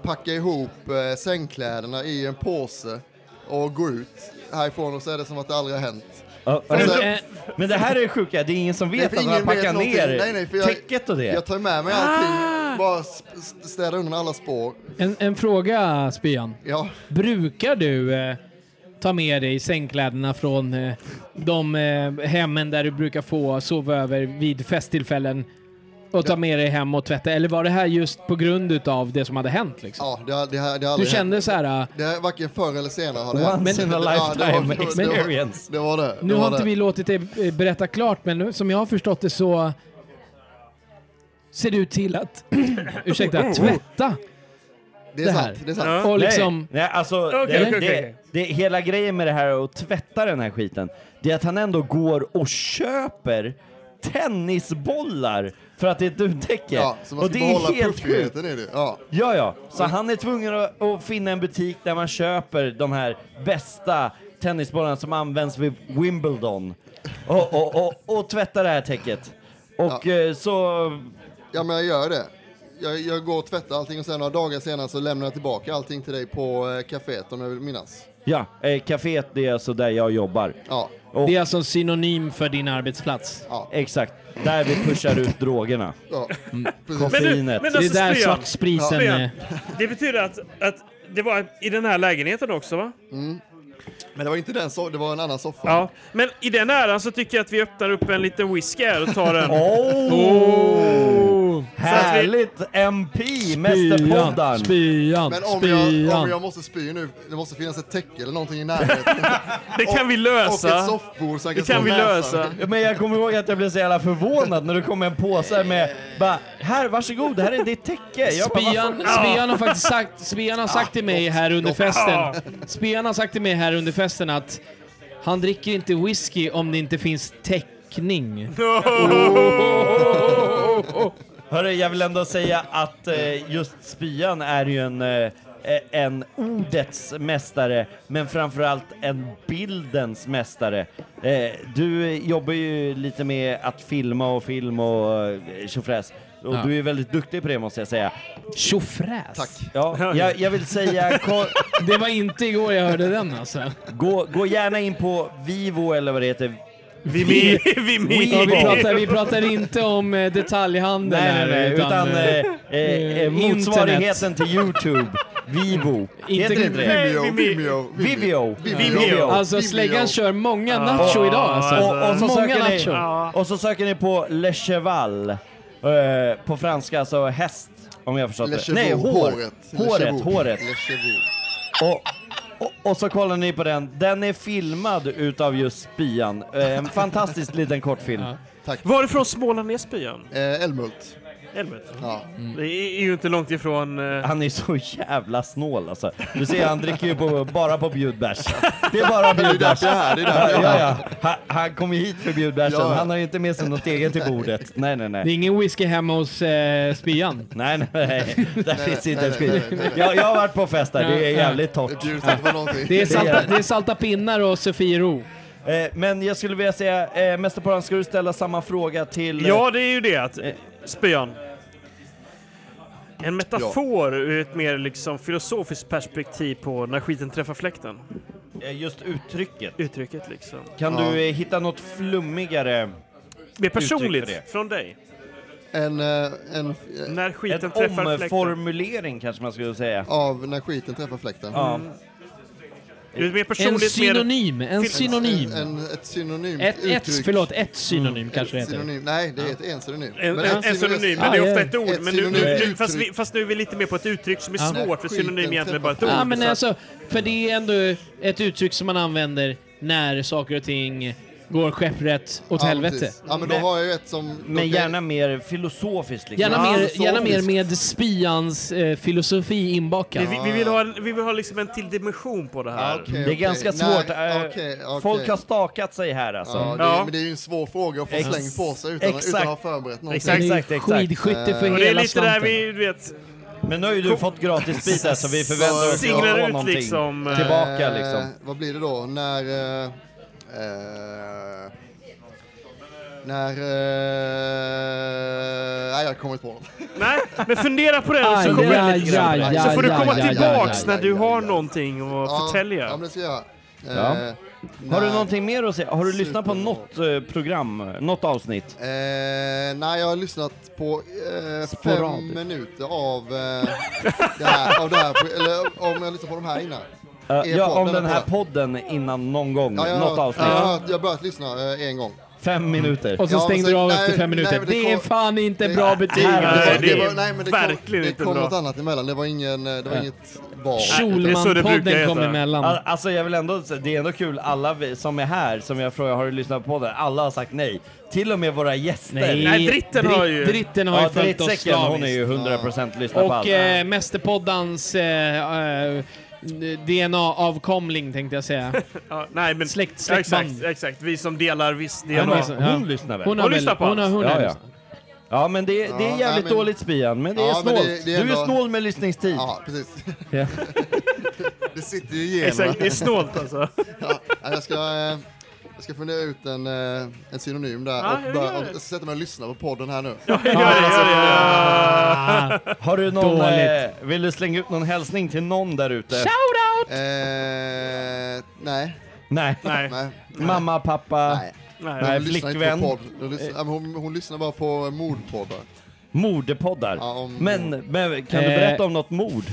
[SPEAKER 13] packar ihop eh, sängkläderna i en påse och går ut härifrån och så är det som att det aldrig har hänt.
[SPEAKER 4] Ja,
[SPEAKER 13] Och
[SPEAKER 4] men-
[SPEAKER 13] sen-
[SPEAKER 4] eh, men det här är det sjuka, det är ingen som
[SPEAKER 13] Nej,
[SPEAKER 4] vet
[SPEAKER 13] för
[SPEAKER 4] att man
[SPEAKER 13] ingen vet
[SPEAKER 4] packar
[SPEAKER 13] någonting.
[SPEAKER 4] ner
[SPEAKER 13] Nej, nej, för jag-
[SPEAKER 4] täcket och det. Ah!
[SPEAKER 13] Jag tar med mig allting, bara sp- st- städar undan alla spår.
[SPEAKER 3] En, en fråga Spyan.
[SPEAKER 13] Ja.
[SPEAKER 3] Brukar du eh, ta med dig sängkläderna från eh, de eh, hemmen där du brukar få sova över vid festtillfällen och ta med dig hem och tvätta? Eller var det här just på grund utav det som hade hänt? Liksom?
[SPEAKER 13] Ja, det, har- det, har- det har
[SPEAKER 3] Du
[SPEAKER 13] aldrig
[SPEAKER 3] kände så här... eh,
[SPEAKER 13] hänt. Det är varken förr eller senare har det
[SPEAKER 3] Once
[SPEAKER 13] hänt.
[SPEAKER 3] in
[SPEAKER 13] Ja, det
[SPEAKER 3] a
[SPEAKER 13] var-
[SPEAKER 3] lifetime
[SPEAKER 13] det var- det var-
[SPEAKER 3] experience.
[SPEAKER 13] Det var det.
[SPEAKER 3] Nu
[SPEAKER 13] det var
[SPEAKER 3] har inte
[SPEAKER 13] det.
[SPEAKER 3] vi låtit dig eh, berätta klart, men nu- som jag har förstått det så ser du till att, ursäkta, tvätta
[SPEAKER 13] det,
[SPEAKER 3] här. Och liksom,
[SPEAKER 4] Nej, nej alltså,
[SPEAKER 3] Okej,
[SPEAKER 4] det,
[SPEAKER 3] okej,
[SPEAKER 4] det,
[SPEAKER 3] okej.
[SPEAKER 4] det, hela grejen med det här och tvätta den här skiten, det är att han ändå går och köper tennisbollar för att det är ett duntäcke.
[SPEAKER 13] Ja, så man
[SPEAKER 4] och
[SPEAKER 13] ska
[SPEAKER 4] det är
[SPEAKER 13] behålla
[SPEAKER 4] helt sjukt.
[SPEAKER 13] puffigheten i Mm. det. Ja.
[SPEAKER 4] Ja, ja. Så han är tvungen att, att finna en butik där man köper de här bästa tennisbollarna som används vid Wimbledon och, och, och, och tvätta det här täcket. Och eh, så...
[SPEAKER 13] Ja, men jag gör det. Jag, jag går och tvättar allting och sen några dagar senare så lämnar jag tillbaka allting till dig på eh, kaféet om jag vill minnas.
[SPEAKER 4] Ja, eh, kaféet det är alltså där jag jobbar.
[SPEAKER 13] Ja.
[SPEAKER 3] det är alltså en synonym för din arbetsplats.
[SPEAKER 4] Exakt, där vi pushar ut drogerna. Mm.
[SPEAKER 13] Ja.
[SPEAKER 4] Koffeinet.
[SPEAKER 13] alltså
[SPEAKER 3] det är där
[SPEAKER 1] Spion,
[SPEAKER 3] svartspriten...
[SPEAKER 1] Spion,
[SPEAKER 3] eh,
[SPEAKER 1] alltså Det betyder att, att det var i den här lägenheten också va?
[SPEAKER 4] Mm.
[SPEAKER 13] Men det var inte den soffan, det var en annan soffa.
[SPEAKER 1] Ja, men i den äran så tycker jag att vi öppnar upp en liten whisky här och tar en.
[SPEAKER 4] oh! Härligt MP, Mästerpoddaren!
[SPEAKER 3] Spyan,
[SPEAKER 13] Men om jag, om jag måste spy nu, det måste finnas ett täcke eller någonting i närheten.
[SPEAKER 1] Det kan
[SPEAKER 13] och,
[SPEAKER 1] vi lösa.
[SPEAKER 13] Och ett soffbord så jag kan slå näsan.
[SPEAKER 4] Ja, Men jag kommer ihåg att jag blev så jävla förvånad när du kom med en påse här med bara, här varsågod, det här är ditt täcke. Jag bara, "Vad
[SPEAKER 3] Spian,
[SPEAKER 4] fan?"
[SPEAKER 3] Spian har faktiskt sagt, Spian har sagt till mig här under
[SPEAKER 4] gott.
[SPEAKER 3] festen,
[SPEAKER 4] Ah.
[SPEAKER 3] Spian har sagt till mig här under festen att han dricker inte whisky om det inte finns täckning.
[SPEAKER 4] Oh. Hörru, jag vill ändå säga att eh, just spyan är ju en, eh, en ordets mästare, men framförallt en bildens mästare. Eh, du jobbar ju lite med att filma och film och eh, tjofräs. Och
[SPEAKER 3] Ja.
[SPEAKER 4] du är väldigt duktig på det måste jag säga.
[SPEAKER 3] Tjofräs? Tack.
[SPEAKER 4] Ja, jag, jag vill säga...
[SPEAKER 3] det var inte igår jag hörde den alltså.
[SPEAKER 4] Gå, gå gärna in på Vivo eller vad det heter.
[SPEAKER 3] Vimi-
[SPEAKER 4] Vimi.
[SPEAKER 3] Ja, vi, pratar, vi pratar inte om eh, detaljhandeln
[SPEAKER 4] Nej, nej,
[SPEAKER 3] här,
[SPEAKER 4] nej, utan,
[SPEAKER 3] eh,
[SPEAKER 4] eh, eh,
[SPEAKER 3] eh,
[SPEAKER 4] motsvarigheten
[SPEAKER 3] internet.
[SPEAKER 4] till Youtube. Vivo. Heter det inte det?
[SPEAKER 13] Vimeo, Vimeo,
[SPEAKER 4] Vivio.
[SPEAKER 3] Alltså släggan kör många nacho idag alltså.
[SPEAKER 4] Och, och, så
[SPEAKER 3] många
[SPEAKER 4] söker
[SPEAKER 3] nacho.
[SPEAKER 4] ni, och så söker ni på Le Cheval. Eh, på franska alltså häst, om jag förstått
[SPEAKER 13] Le
[SPEAKER 4] det.
[SPEAKER 13] Chevaux,
[SPEAKER 4] Nej, hår.
[SPEAKER 13] håret. Le
[SPEAKER 4] Håret,
[SPEAKER 13] Chevaux.
[SPEAKER 4] håret.
[SPEAKER 13] Le Chevaux.
[SPEAKER 4] Och, och, och så kollar ni på den. Den är filmad utav just spyan. Eh, en fantastisk liten kortfilm.
[SPEAKER 13] Tack.
[SPEAKER 1] Varifrån Småland är spyan?
[SPEAKER 13] Eh, Älmhult.
[SPEAKER 1] Älmhult?
[SPEAKER 13] Ja.
[SPEAKER 1] Det är ju inte långt ifrån...
[SPEAKER 4] Mm.
[SPEAKER 1] eh,
[SPEAKER 4] Han är så jävla snål alltså. Du ser, han dricker ju på, bara på bjudbärs. Det är bara
[SPEAKER 13] Det är ju
[SPEAKER 4] bjudbärs.
[SPEAKER 13] därför jag är här, det är därför jag är
[SPEAKER 4] ja, ja.
[SPEAKER 13] här.
[SPEAKER 4] Han, han kom ju hit för bjudbärsen.
[SPEAKER 3] Ja, ja.
[SPEAKER 4] Han har ju inte med sig något eget till bordet. Nej, nej,
[SPEAKER 3] Det är
[SPEAKER 4] nej.
[SPEAKER 3] ingen whisky hemma hos eh, spyan.
[SPEAKER 4] Nej, nej, nej. Där finns inte ett skit.
[SPEAKER 3] nej, nej.
[SPEAKER 4] Jag, jag har varit på fest där. Det är
[SPEAKER 3] Ja,
[SPEAKER 4] jävligt torrt.
[SPEAKER 3] Det är, salta, det är salta pinnar och Sofiero.
[SPEAKER 4] Eh, men jag skulle vilja säga, eh, Mästerpodden, ska du ställa samma fråga till... eh,
[SPEAKER 1] Ja, det är ju det. Att, spyan. En metafor ur ett mer liksom filosofiskt perspektiv på när skiten träffar fläkten.
[SPEAKER 4] eh, Just uttrycket.
[SPEAKER 1] Uttrycket liksom.
[SPEAKER 4] Kan du eh, hitta något flummigare
[SPEAKER 1] Mer
[SPEAKER 4] uttryck för det?
[SPEAKER 1] personligt från dig?
[SPEAKER 13] En, eh, en,
[SPEAKER 1] När skiten
[SPEAKER 4] En
[SPEAKER 1] träffar fläkten.
[SPEAKER 4] omformulering kanske man skulle säga. Mm.
[SPEAKER 13] Av när skiten träffar fläkten.
[SPEAKER 4] Ja.
[SPEAKER 1] Ur ett mer personligt,
[SPEAKER 3] En synonym. En
[SPEAKER 13] Fil-
[SPEAKER 3] synonym.
[SPEAKER 13] En, en, ett synonymt
[SPEAKER 3] Ett, ett,
[SPEAKER 13] uttryck. Mm.
[SPEAKER 3] förlåt, ett synonym kanske det
[SPEAKER 13] Ett
[SPEAKER 3] heter.
[SPEAKER 13] synonym. Nej, det är ett en synonym.
[SPEAKER 1] En,
[SPEAKER 13] Men
[SPEAKER 1] en,
[SPEAKER 13] ett
[SPEAKER 1] en synonym, men
[SPEAKER 3] Ah,
[SPEAKER 1] det är
[SPEAKER 3] ja.
[SPEAKER 1] ofta ett ord.
[SPEAKER 13] Ett
[SPEAKER 1] men nu, nu,
[SPEAKER 13] synonym.
[SPEAKER 1] nu, fast, vi, fast nu är vi lite mer på ett uttryck som är
[SPEAKER 3] Ja.
[SPEAKER 1] svårt, för synonym är egentligen bara ett ord.
[SPEAKER 3] Ja, men
[SPEAKER 1] Så-
[SPEAKER 3] alltså, för det är ändå ett uttryck som man använder när saker och ting går skepprätt åt
[SPEAKER 13] Ja,
[SPEAKER 3] helvete.
[SPEAKER 13] precis. Ja, men då har jag ju ett som... då kan
[SPEAKER 4] Men gärna mer filosofiskt. Liksom.
[SPEAKER 3] Gärna, mer,
[SPEAKER 4] Filosofiskt.
[SPEAKER 3] gärna mer med spyans eh, filosofi inbakad.
[SPEAKER 1] Vi, vi, vi vill ha, vi vill ha liksom en till dimension på det här.
[SPEAKER 4] Det är ganska svårt. eh, Folk har stakat sig här alltså.
[SPEAKER 13] Ja, det, är- Men det är ju en svår fråga att få
[SPEAKER 4] Ex-
[SPEAKER 13] slängd på sig utan, utan att ha förberett någonting.
[SPEAKER 4] Exakt, exakt, exakt.
[SPEAKER 1] Och det är lite där vi, du vet...
[SPEAKER 4] Men nu har ju du fått gratis bitar så vi förväntar oss att
[SPEAKER 1] Singlar
[SPEAKER 4] få
[SPEAKER 1] ut
[SPEAKER 4] någonting
[SPEAKER 1] liksom, eh,
[SPEAKER 4] tillbaka liksom.
[SPEAKER 13] Eh, vad blir det då? När... Eh, eh, när... Eh, nej, jag kommer inte på något.
[SPEAKER 1] Nej, men fundera på det och
[SPEAKER 13] Aj,
[SPEAKER 1] så, kommer
[SPEAKER 13] ja,
[SPEAKER 1] jag lite grann.
[SPEAKER 13] ja, ja,
[SPEAKER 1] så får du
[SPEAKER 13] ja,
[SPEAKER 1] komma
[SPEAKER 13] ja, ja,
[SPEAKER 1] tillbaks
[SPEAKER 13] ja,
[SPEAKER 1] när du
[SPEAKER 13] ja,
[SPEAKER 1] har någonting att
[SPEAKER 13] Ja,
[SPEAKER 1] förtälja.
[SPEAKER 13] Ja, men det ska jag göra.
[SPEAKER 4] Ja.
[SPEAKER 13] Eh,
[SPEAKER 4] Har du
[SPEAKER 13] när-
[SPEAKER 4] någonting mer att säga? Har du lyssnat på något eh, program, något avsnitt?
[SPEAKER 13] Eh, nej, jag har lyssnat på eh, fem
[SPEAKER 4] Sporadiskt.
[SPEAKER 13] minuter av, eh, det här, av det här, pro- eller om jag lyssnar på de här innan.
[SPEAKER 4] Eh,
[SPEAKER 13] Er
[SPEAKER 4] ja, om
[SPEAKER 13] podd,
[SPEAKER 4] den här
[SPEAKER 13] podd.
[SPEAKER 4] podden innan någon gång,
[SPEAKER 13] Mm, Ja, jag,
[SPEAKER 4] något
[SPEAKER 13] har-
[SPEAKER 4] avsnitt.
[SPEAKER 13] Jag, har- jag har börjat lyssna eh, en gång.
[SPEAKER 4] Fem minuter.
[SPEAKER 3] Och så stängde du av efter fem minuter. det, är fan inte bra betyg.
[SPEAKER 13] Nej,
[SPEAKER 3] alltså.
[SPEAKER 13] det var, nej, men det kom, det kom något annat emellan. Det var, ingen, eh, det var
[SPEAKER 4] Ja.
[SPEAKER 13] inget val.
[SPEAKER 4] Al- Alltså jag vill ändå, säga, det är ändå kul, alla vi som är här, som jag frågar har du lyssnat på podden? Alla har sagt nej. Till och med våra gäster.
[SPEAKER 3] Nej, Nej, dritten har ju- dritten har ju
[SPEAKER 4] ja,
[SPEAKER 3] följt oss
[SPEAKER 4] drittsäcken, Hon är ju
[SPEAKER 3] slaviskt.
[SPEAKER 4] 100% lyssnat på allt.
[SPEAKER 3] Och eh, Mästerpoddans eh, eh, DNA-avkomling tänkte jag säga.
[SPEAKER 1] Ja, nej, men,
[SPEAKER 3] Släkt-
[SPEAKER 1] ja, exakt,
[SPEAKER 3] släktband.
[SPEAKER 1] exakt, vi som delar viss del
[SPEAKER 3] Ja, men
[SPEAKER 1] av-
[SPEAKER 3] liksom, ja. Hon lyssnar väl? Hon har väl-
[SPEAKER 1] lyssnar på
[SPEAKER 3] hon har-
[SPEAKER 1] oss.
[SPEAKER 3] hon har
[SPEAKER 4] ja, ja.
[SPEAKER 3] lyssnat.
[SPEAKER 4] ja men det, det är
[SPEAKER 13] Ja,
[SPEAKER 4] jävligt
[SPEAKER 13] nej, men-
[SPEAKER 4] dåligt Spian, men det är
[SPEAKER 13] Ja, men det-
[SPEAKER 4] snålt.
[SPEAKER 13] det är
[SPEAKER 4] du är
[SPEAKER 13] ändå-
[SPEAKER 4] snål med lyssningstid.
[SPEAKER 13] Ja, precis.
[SPEAKER 4] Ja.
[SPEAKER 13] det sitter ju igenom.
[SPEAKER 1] Exakt, det är snålt alltså.
[SPEAKER 13] ja, jag, ska, eh, jag ska fundera ut en, eh, en synonym där
[SPEAKER 1] Ja,
[SPEAKER 13] och,
[SPEAKER 1] jag
[SPEAKER 13] börja,
[SPEAKER 1] gör
[SPEAKER 13] och
[SPEAKER 1] det.
[SPEAKER 13] jag ska sätta mig och lyssna på podden här nu.
[SPEAKER 4] Ah, Har du någon, eh,
[SPEAKER 13] Dåligt.
[SPEAKER 4] vill du slänga ut någon hälsning till någon där ute?
[SPEAKER 3] Shoutout!
[SPEAKER 13] Eh, nej.
[SPEAKER 4] Nej.
[SPEAKER 13] Nej. Nej.
[SPEAKER 4] Mamma, pappa,
[SPEAKER 13] Nej.
[SPEAKER 4] nej.
[SPEAKER 13] Hon lyssnar inte
[SPEAKER 4] flickvän.
[SPEAKER 13] på podd. Hon lyssnar, ja, men hon, hon lyssnar bara på mordpoddar.
[SPEAKER 4] Mordepoddar.
[SPEAKER 13] Ja, om-
[SPEAKER 4] men, men kan du
[SPEAKER 13] Eh.
[SPEAKER 4] berätta om något mord?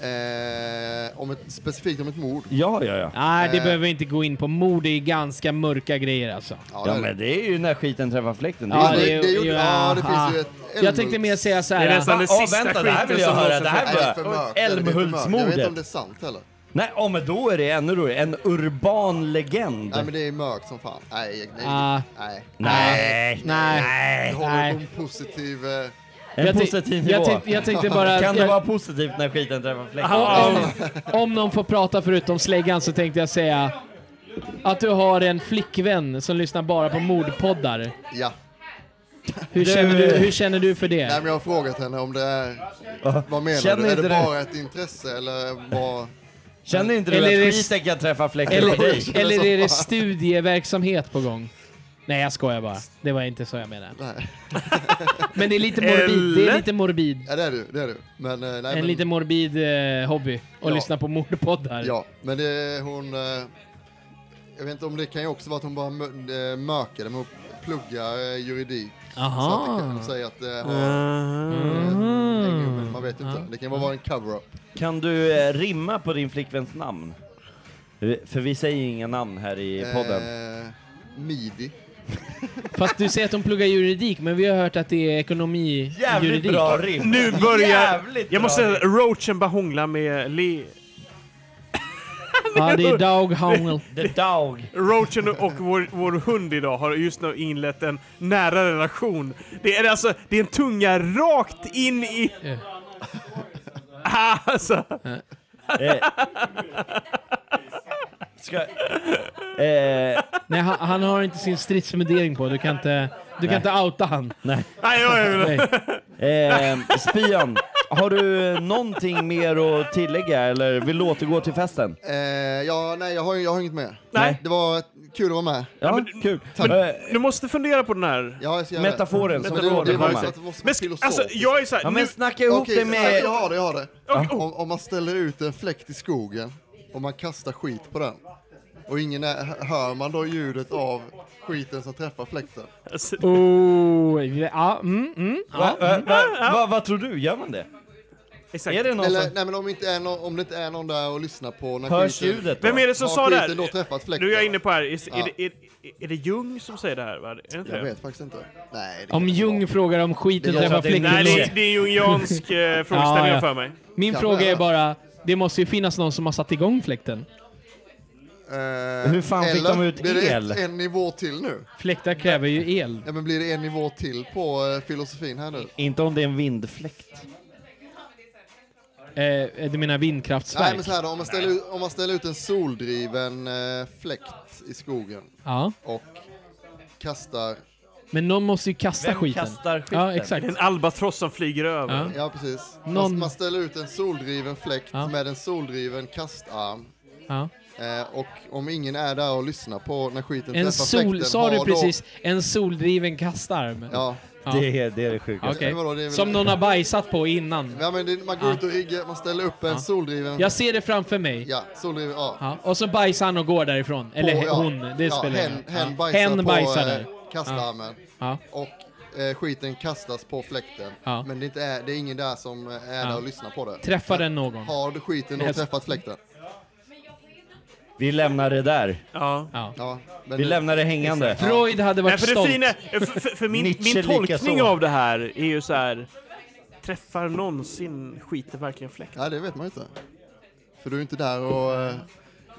[SPEAKER 13] Eh, om ett, specifikt om ett mord.
[SPEAKER 4] Ja, ja, ja.
[SPEAKER 3] Nej, det
[SPEAKER 13] Eh.
[SPEAKER 3] behöver vi inte gå in på. Mord det är ganska mörka grejer alltså.
[SPEAKER 4] Ja, men det är ju när skiten träffar fläkten.
[SPEAKER 3] Ja, det- det
[SPEAKER 13] gjorde- ja, det finns ju ett
[SPEAKER 3] Ah. Jag tänkte mer säga så här.
[SPEAKER 4] Det är nästan det
[SPEAKER 3] Ah,
[SPEAKER 4] sista
[SPEAKER 3] vänta,
[SPEAKER 4] skiten
[SPEAKER 3] här vill
[SPEAKER 4] som
[SPEAKER 3] jag höra.
[SPEAKER 4] någonsin
[SPEAKER 3] Det här
[SPEAKER 4] släpptes.
[SPEAKER 3] vill jag-
[SPEAKER 13] För mörkt, eller det är för mörkt. Jag vet inte om det är sant heller.
[SPEAKER 4] Nej, oh, men då är det ännu roligare. En urban legend.
[SPEAKER 13] Nej men det är mörkt som fan. Nej, nej.
[SPEAKER 4] Ah.
[SPEAKER 13] nej.
[SPEAKER 4] Nej. Nej.
[SPEAKER 13] Det håller
[SPEAKER 4] Nej.
[SPEAKER 13] på en positiv... eh,
[SPEAKER 4] En
[SPEAKER 3] Jag tänk-
[SPEAKER 4] positiv nivå.
[SPEAKER 3] jag tänkte- jag tänkte bara- Ah,
[SPEAKER 4] kan det
[SPEAKER 3] jag-
[SPEAKER 4] vara positivt när skiten träffar fläkten?
[SPEAKER 3] Om, om någon får prata förutom släggan så tänkte jag säga att du har en flickvän som lyssnar bara på mordpoddar.
[SPEAKER 13] Ja.
[SPEAKER 3] Hur
[SPEAKER 13] Det-
[SPEAKER 3] känner du, hur känner du för det?
[SPEAKER 13] Nej men jag har frågat henne om det är... Vad menar
[SPEAKER 4] Känner
[SPEAKER 13] du? Är
[SPEAKER 4] inte
[SPEAKER 13] det
[SPEAKER 4] du-
[SPEAKER 13] bara ett intresse eller vad...
[SPEAKER 4] Känner inte du
[SPEAKER 3] Eller är det
[SPEAKER 4] att skiten kan träffa fläkten för dig?
[SPEAKER 3] Eller, eller är det studieverksamhet på gång? Nej, jag skojar bara. Det var inte så jag menade. Men det är lite morbid. Det är lite morbid.
[SPEAKER 13] Ja det är du, det är du. Men, eh, nej,
[SPEAKER 3] en
[SPEAKER 13] men,
[SPEAKER 3] lite morbid eh, hobby. Att
[SPEAKER 13] Ja.
[SPEAKER 3] lyssna på mordpoddar.
[SPEAKER 13] Ja, men det hon... eh, Jag vet inte om det kan ju också vara att hon bara mö- eh, mörkade med att pluggar eh, juridik.
[SPEAKER 11] Aha.
[SPEAKER 13] Så att det kan säga att det har
[SPEAKER 4] Mhm.
[SPEAKER 13] en gubbe, man vet inte.
[SPEAKER 4] Ja.
[SPEAKER 13] Det kan bara vara en cover-up.
[SPEAKER 4] Kan du eh, rimma på din flickväns namn? Eh, För vi säger inga namn här i podden.
[SPEAKER 13] Eh, midi.
[SPEAKER 3] Fast du säger att de pluggar juridik, men vi har hört att det är ekonomi
[SPEAKER 4] Jävligt
[SPEAKER 3] juridik.
[SPEAKER 1] Nu börjar... jag måste säga, roachen bara hånglar med Le...
[SPEAKER 3] Ja, det är Dag Howell.
[SPEAKER 4] The Dog.
[SPEAKER 1] Roachen och vår, vår hund idag har just nu inlett en nära relation. Det är alltså, det är en tunga rakt in i... alltså...
[SPEAKER 4] Eh,
[SPEAKER 1] Eh,
[SPEAKER 4] eh,
[SPEAKER 3] Nej, han, han har inte sin stridsmundering på. Du kan inte, du kan
[SPEAKER 4] Nej.
[SPEAKER 3] inte outa han.
[SPEAKER 4] Nej.
[SPEAKER 1] Nej, jag
[SPEAKER 4] Eh, Spion, har du någonting mer att tillägga eller vill du återgå till festen?
[SPEAKER 13] Eh, ja, nej, jag har, jag har inget mer.
[SPEAKER 4] Nej. Eh,
[SPEAKER 13] Det var kul att vara med.
[SPEAKER 4] Ja, kul.
[SPEAKER 13] Tack.
[SPEAKER 4] Men
[SPEAKER 1] Du måste fundera på den här...
[SPEAKER 13] Ja, jag ska göra det.
[SPEAKER 4] Metaforen
[SPEAKER 13] Men
[SPEAKER 4] som
[SPEAKER 13] det- det
[SPEAKER 4] du
[SPEAKER 13] var ju
[SPEAKER 4] kommer.
[SPEAKER 13] så att det var så
[SPEAKER 1] Men
[SPEAKER 13] filosofiskt.
[SPEAKER 1] alltså, jag är så här, Ja, men nu- snacka ihop
[SPEAKER 13] Okej,
[SPEAKER 1] det med-
[SPEAKER 13] Jag har det, jag har det. Om, om man ställer ut en fläkt i skogen och man kastar skit på den och ingen är, hör man då ljudet av skiten som träffar fläkten?
[SPEAKER 1] Alltså,
[SPEAKER 3] Oh, ja, mm, mm,
[SPEAKER 4] Va,
[SPEAKER 3] ja,
[SPEAKER 4] va,
[SPEAKER 3] mm.
[SPEAKER 4] va, va, vad tror du? Gör man det? Är det någon
[SPEAKER 13] Eller,
[SPEAKER 4] som...
[SPEAKER 13] nej, men om, inte är någon, om det inte är någon där och lyssnar på när
[SPEAKER 4] Hörs
[SPEAKER 13] skiten...
[SPEAKER 4] ljudet
[SPEAKER 1] Vem är det som
[SPEAKER 13] har
[SPEAKER 1] sa det här?
[SPEAKER 13] skiten då träffat fläkten?
[SPEAKER 1] Nu är jag inne på här. Är,
[SPEAKER 13] Ja.
[SPEAKER 1] är, det- är, är det Jung som säger det här? Va? Är det inte
[SPEAKER 13] Jag
[SPEAKER 1] det?
[SPEAKER 13] vet faktiskt inte. Nej, det
[SPEAKER 3] Om Jung frågar om skiten
[SPEAKER 1] Det låter
[SPEAKER 3] träffar
[SPEAKER 1] att det är
[SPEAKER 3] fläkten...
[SPEAKER 1] Mm. Nej, det är- det är jungiansk, eh, frågeställning för mig.
[SPEAKER 3] Min
[SPEAKER 1] Kan
[SPEAKER 3] fråga
[SPEAKER 1] vara.
[SPEAKER 3] är bara, det måste ju finnas någon som har satt igång fläkten.
[SPEAKER 13] Eh,
[SPEAKER 3] Hur fan fick
[SPEAKER 13] eller
[SPEAKER 3] de ut
[SPEAKER 13] blir det
[SPEAKER 3] el?
[SPEAKER 13] Ett, en nivå till nu?
[SPEAKER 3] Fläktar kräver ju el.
[SPEAKER 13] Ja, men blir det en nivå till på eh, filosofin här nu?
[SPEAKER 4] Inte om det är en vindfläkt.
[SPEAKER 3] Eh, du menar vindkraftsverk?
[SPEAKER 13] Nej, men så här då, om man ställer, ut- om man ställer ut en soldriven eh, fläkt i skogen
[SPEAKER 3] Ja.
[SPEAKER 13] och kastar...
[SPEAKER 3] Men någon måste ju kasta skiten. Ja, exakt.
[SPEAKER 1] En albatross som flyger över.
[SPEAKER 13] Ja, precis.
[SPEAKER 3] Någon-
[SPEAKER 13] Man, man ställer ut en soldriven fläkt med en soldriven kastarm.
[SPEAKER 3] Ja.
[SPEAKER 13] Eh, och om ingen är där och lyssnar på när skiten
[SPEAKER 3] En
[SPEAKER 13] träffar
[SPEAKER 3] sol,
[SPEAKER 13] fläkten...
[SPEAKER 3] sa du
[SPEAKER 13] har
[SPEAKER 3] precis, en soldriven kastarm?
[SPEAKER 13] Ja.
[SPEAKER 4] Det är- det är det sjukaste.
[SPEAKER 3] Okej.
[SPEAKER 13] Men vadå, det är väl-
[SPEAKER 3] Som någon har bajsat på innan.
[SPEAKER 13] Då, ja, men det, man går
[SPEAKER 3] Ja.
[SPEAKER 13] ut och riggar, man ställer upp en
[SPEAKER 3] Ja.
[SPEAKER 13] soldriven...
[SPEAKER 3] Jag ser det framför mig.
[SPEAKER 13] Ja, soldriven, ja.
[SPEAKER 3] Ja, och så bajsar han och går därifrån. Eller
[SPEAKER 13] På-
[SPEAKER 3] he-
[SPEAKER 13] ja,
[SPEAKER 3] hon, det
[SPEAKER 13] ja,
[SPEAKER 3] spelar
[SPEAKER 13] hen,
[SPEAKER 3] ingen roll.
[SPEAKER 13] hen
[SPEAKER 3] Ja.
[SPEAKER 13] bajsar
[SPEAKER 3] Hen
[SPEAKER 13] på
[SPEAKER 3] bajsar
[SPEAKER 13] eh,
[SPEAKER 3] där.
[SPEAKER 13] kastarmen.
[SPEAKER 3] Ja.
[SPEAKER 13] Och eh, skiten kastas på fläkten.
[SPEAKER 3] Ja.
[SPEAKER 13] Men det är, inte är, det är ingen där som eh, är där och lyssnar på det.
[SPEAKER 3] Träffar den någon?
[SPEAKER 13] Har du skiten då
[SPEAKER 4] Helst-
[SPEAKER 13] träffat fläkten?
[SPEAKER 4] Vi lämnar det där.
[SPEAKER 1] Ja.
[SPEAKER 13] Ja, men
[SPEAKER 4] Vi
[SPEAKER 13] nu-
[SPEAKER 4] lämnar det hängande.
[SPEAKER 13] Exakt.
[SPEAKER 1] Nej, för Det fina, eh, för, för, för min,
[SPEAKER 4] Nietzsche
[SPEAKER 1] min tolkning
[SPEAKER 4] likaså.
[SPEAKER 1] av det här är ju så här. Träffar någonsin skiter verkligen fläkten?
[SPEAKER 13] Ja, det vet man inte. För du är inte där och... eh,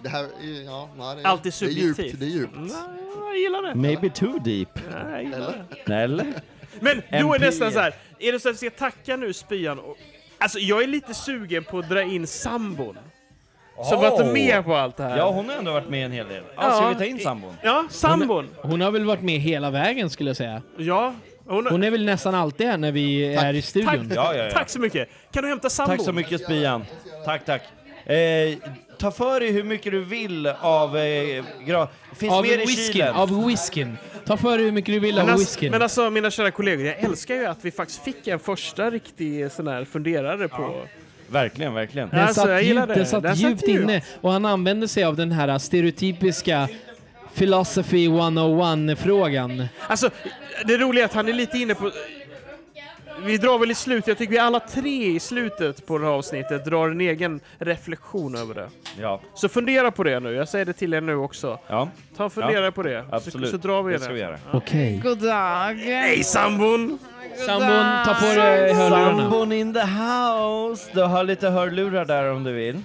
[SPEAKER 13] Det här är- ja, nej, det är,
[SPEAKER 1] Allt är subjektivt.
[SPEAKER 13] Det är djupt. Det är djupt.
[SPEAKER 1] jag gillar det.
[SPEAKER 4] Maybe too deep.
[SPEAKER 1] Nej, jag gillar det.
[SPEAKER 4] Nej, eller?
[SPEAKER 1] Men då är
[SPEAKER 4] MP.
[SPEAKER 1] det nästan så här. Är det så att vi ska tacka nu spyan? Och, alltså jag är lite sugen på att dra in sambon. Som var inte med på allt det här.
[SPEAKER 4] Ja, hon har ändå varit med en hel del. Ja, ska
[SPEAKER 1] Ja.
[SPEAKER 4] vi ta in sambon?
[SPEAKER 1] Ja, sambon.
[SPEAKER 3] Hon, hon har väl varit med hela vägen skulle jag säga.
[SPEAKER 1] Ja. Hon,
[SPEAKER 3] är väl nästan alltid här när vi är i
[SPEAKER 1] Tack,
[SPEAKER 3] studion.
[SPEAKER 1] tack så mycket. Kan du hämta sambon?
[SPEAKER 4] Tack så mycket Spian. Tack, tack. Eh, ta för dig hur mycket du vill av... Eh, gra- finns
[SPEAKER 3] Av
[SPEAKER 4] mer i
[SPEAKER 3] whiskyn,
[SPEAKER 4] kylen.
[SPEAKER 3] av whiskyn. Ta för dig hur mycket du vill
[SPEAKER 1] Men
[SPEAKER 3] av
[SPEAKER 1] alltså,
[SPEAKER 3] whiskyn.
[SPEAKER 1] men alltså mina kära kollegor, jag älskar ju att vi faktiskt fick en första riktig sån här funderare på...
[SPEAKER 4] Verkligen, verkligen.
[SPEAKER 3] Den
[SPEAKER 1] Alltså, jag
[SPEAKER 3] satt,
[SPEAKER 1] gillar
[SPEAKER 3] djupt,
[SPEAKER 1] det.
[SPEAKER 3] den satt
[SPEAKER 1] Den satt
[SPEAKER 3] djupt
[SPEAKER 1] djupt.
[SPEAKER 3] inne och han använde sig av den här stereotypiska Philosophy 101-frågan.
[SPEAKER 1] Alltså, det roliga är att han är lite inne på... Vi drar väl i slutet, jag tycker vi alla tre i slutet på det här avsnittet drar en egen reflektion över det.
[SPEAKER 4] Ja.
[SPEAKER 1] Så fundera på det nu, jag säger det till er nu också.
[SPEAKER 4] Ja.
[SPEAKER 1] Ta och fundera
[SPEAKER 4] Ja.
[SPEAKER 1] på det,
[SPEAKER 4] Absolut.
[SPEAKER 1] Så, så drar vi
[SPEAKER 4] Det
[SPEAKER 1] det.
[SPEAKER 4] ska vi göra.
[SPEAKER 3] Okej.
[SPEAKER 12] God dag.
[SPEAKER 1] Hej sambon!
[SPEAKER 3] Sambon, ta på dig hörlurarna.
[SPEAKER 4] Sambon in the house. Du har lite hörlurar där om du vill.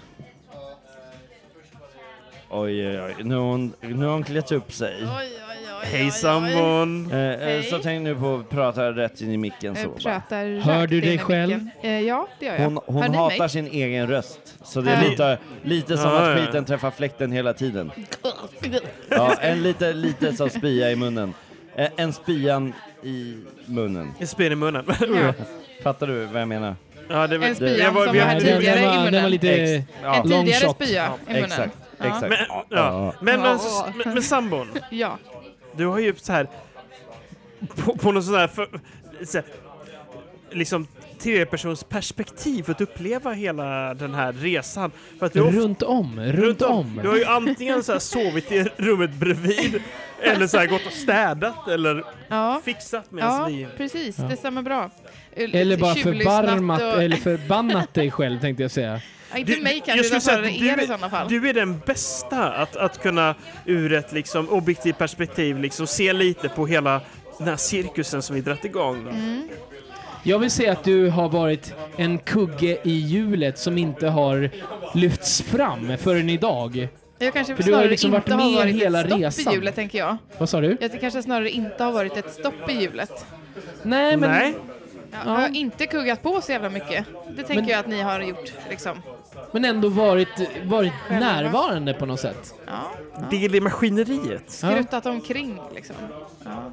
[SPEAKER 4] Oj, oj, oj. Nu har hon, nu har hon klätt upp sig.
[SPEAKER 1] Hej sambon!
[SPEAKER 4] Eh, eh, så
[SPEAKER 15] Hej.
[SPEAKER 4] tänk nu på att prata rätt in i micken så.
[SPEAKER 15] Jag pratar rakt
[SPEAKER 4] Hör du
[SPEAKER 15] in
[SPEAKER 4] dig
[SPEAKER 15] i
[SPEAKER 4] själv?
[SPEAKER 15] micken. Eh, ja, det gör jag.
[SPEAKER 4] Hon, hon
[SPEAKER 15] Hör ni
[SPEAKER 4] hatar
[SPEAKER 15] mig?
[SPEAKER 4] sin egen röst. Så det är
[SPEAKER 15] Äh.
[SPEAKER 4] lite, lite som
[SPEAKER 15] Ja,
[SPEAKER 4] att
[SPEAKER 15] ja.
[SPEAKER 4] skiten träffar fläkten hela tiden. Ja, en lite, lite som spya i munnen. Eh, En spian i munnen.
[SPEAKER 1] En spyan i munnen.
[SPEAKER 4] Ja. Fattar du vad jag menar?
[SPEAKER 1] Ja, det,
[SPEAKER 15] En spya jag var- som vi- hade tidigare i munnen.
[SPEAKER 1] Ex- ja.
[SPEAKER 15] En tidigare spya i munnen.
[SPEAKER 4] Exakt,
[SPEAKER 15] Ja.
[SPEAKER 4] exakt.
[SPEAKER 1] Men, ja. Men, men, men, men sambon,
[SPEAKER 15] Ja.
[SPEAKER 1] du har ju så här på, på någon sån här, för, så här liksom tredjepersons perspektiv för att uppleva hela den här resan. För att du har-
[SPEAKER 3] Runt om, runt om.
[SPEAKER 1] Du har ju antingen så här sovit i rummet bredvid eller så här gått och städat eller
[SPEAKER 15] Ja.
[SPEAKER 1] fixat medan
[SPEAKER 15] Ja,
[SPEAKER 1] vi...
[SPEAKER 15] precis.
[SPEAKER 3] Ja.
[SPEAKER 15] Det stämmer bra. Ul-
[SPEAKER 3] Eller bara
[SPEAKER 15] tjuvlyssnat
[SPEAKER 3] förbarmat,
[SPEAKER 15] och-
[SPEAKER 3] eller förbannat dig själv tänkte jag säga.
[SPEAKER 15] Ja, Inte mig kanske,
[SPEAKER 1] jag skulle
[SPEAKER 15] utan
[SPEAKER 1] säga
[SPEAKER 15] snarare
[SPEAKER 1] att
[SPEAKER 15] er
[SPEAKER 1] du,
[SPEAKER 15] i sådana fall.
[SPEAKER 1] du är den bästa att, att kunna ur ett liksom, objektivt perspektiv liksom, se lite på hela den här cirkusen som vi dragit igång.
[SPEAKER 15] Mm.
[SPEAKER 3] Jag vill säga att du har varit en kugge i hjulet som inte har lyfts fram förrän idag.
[SPEAKER 15] Jag kanske
[SPEAKER 3] För du har
[SPEAKER 15] snarare
[SPEAKER 3] liksom varit
[SPEAKER 15] inte har
[SPEAKER 3] med
[SPEAKER 15] varit
[SPEAKER 3] hela
[SPEAKER 15] ett stopp
[SPEAKER 3] resan.
[SPEAKER 15] i hjulet, tänker jag.
[SPEAKER 3] Vad sa du?
[SPEAKER 15] Jag kanske snarare inte har varit ett stopp i hjulet.
[SPEAKER 3] Nej, men...
[SPEAKER 15] Nej. Ja, Jag har inte kuggat på så jävla mycket. Det tänker jag att ni har gjort, liksom.
[SPEAKER 3] Men ändå varit, varit närvarande på något sätt.
[SPEAKER 15] Ja.
[SPEAKER 1] Del i maskineriet.
[SPEAKER 15] Skruttat omkring, liksom. Ja.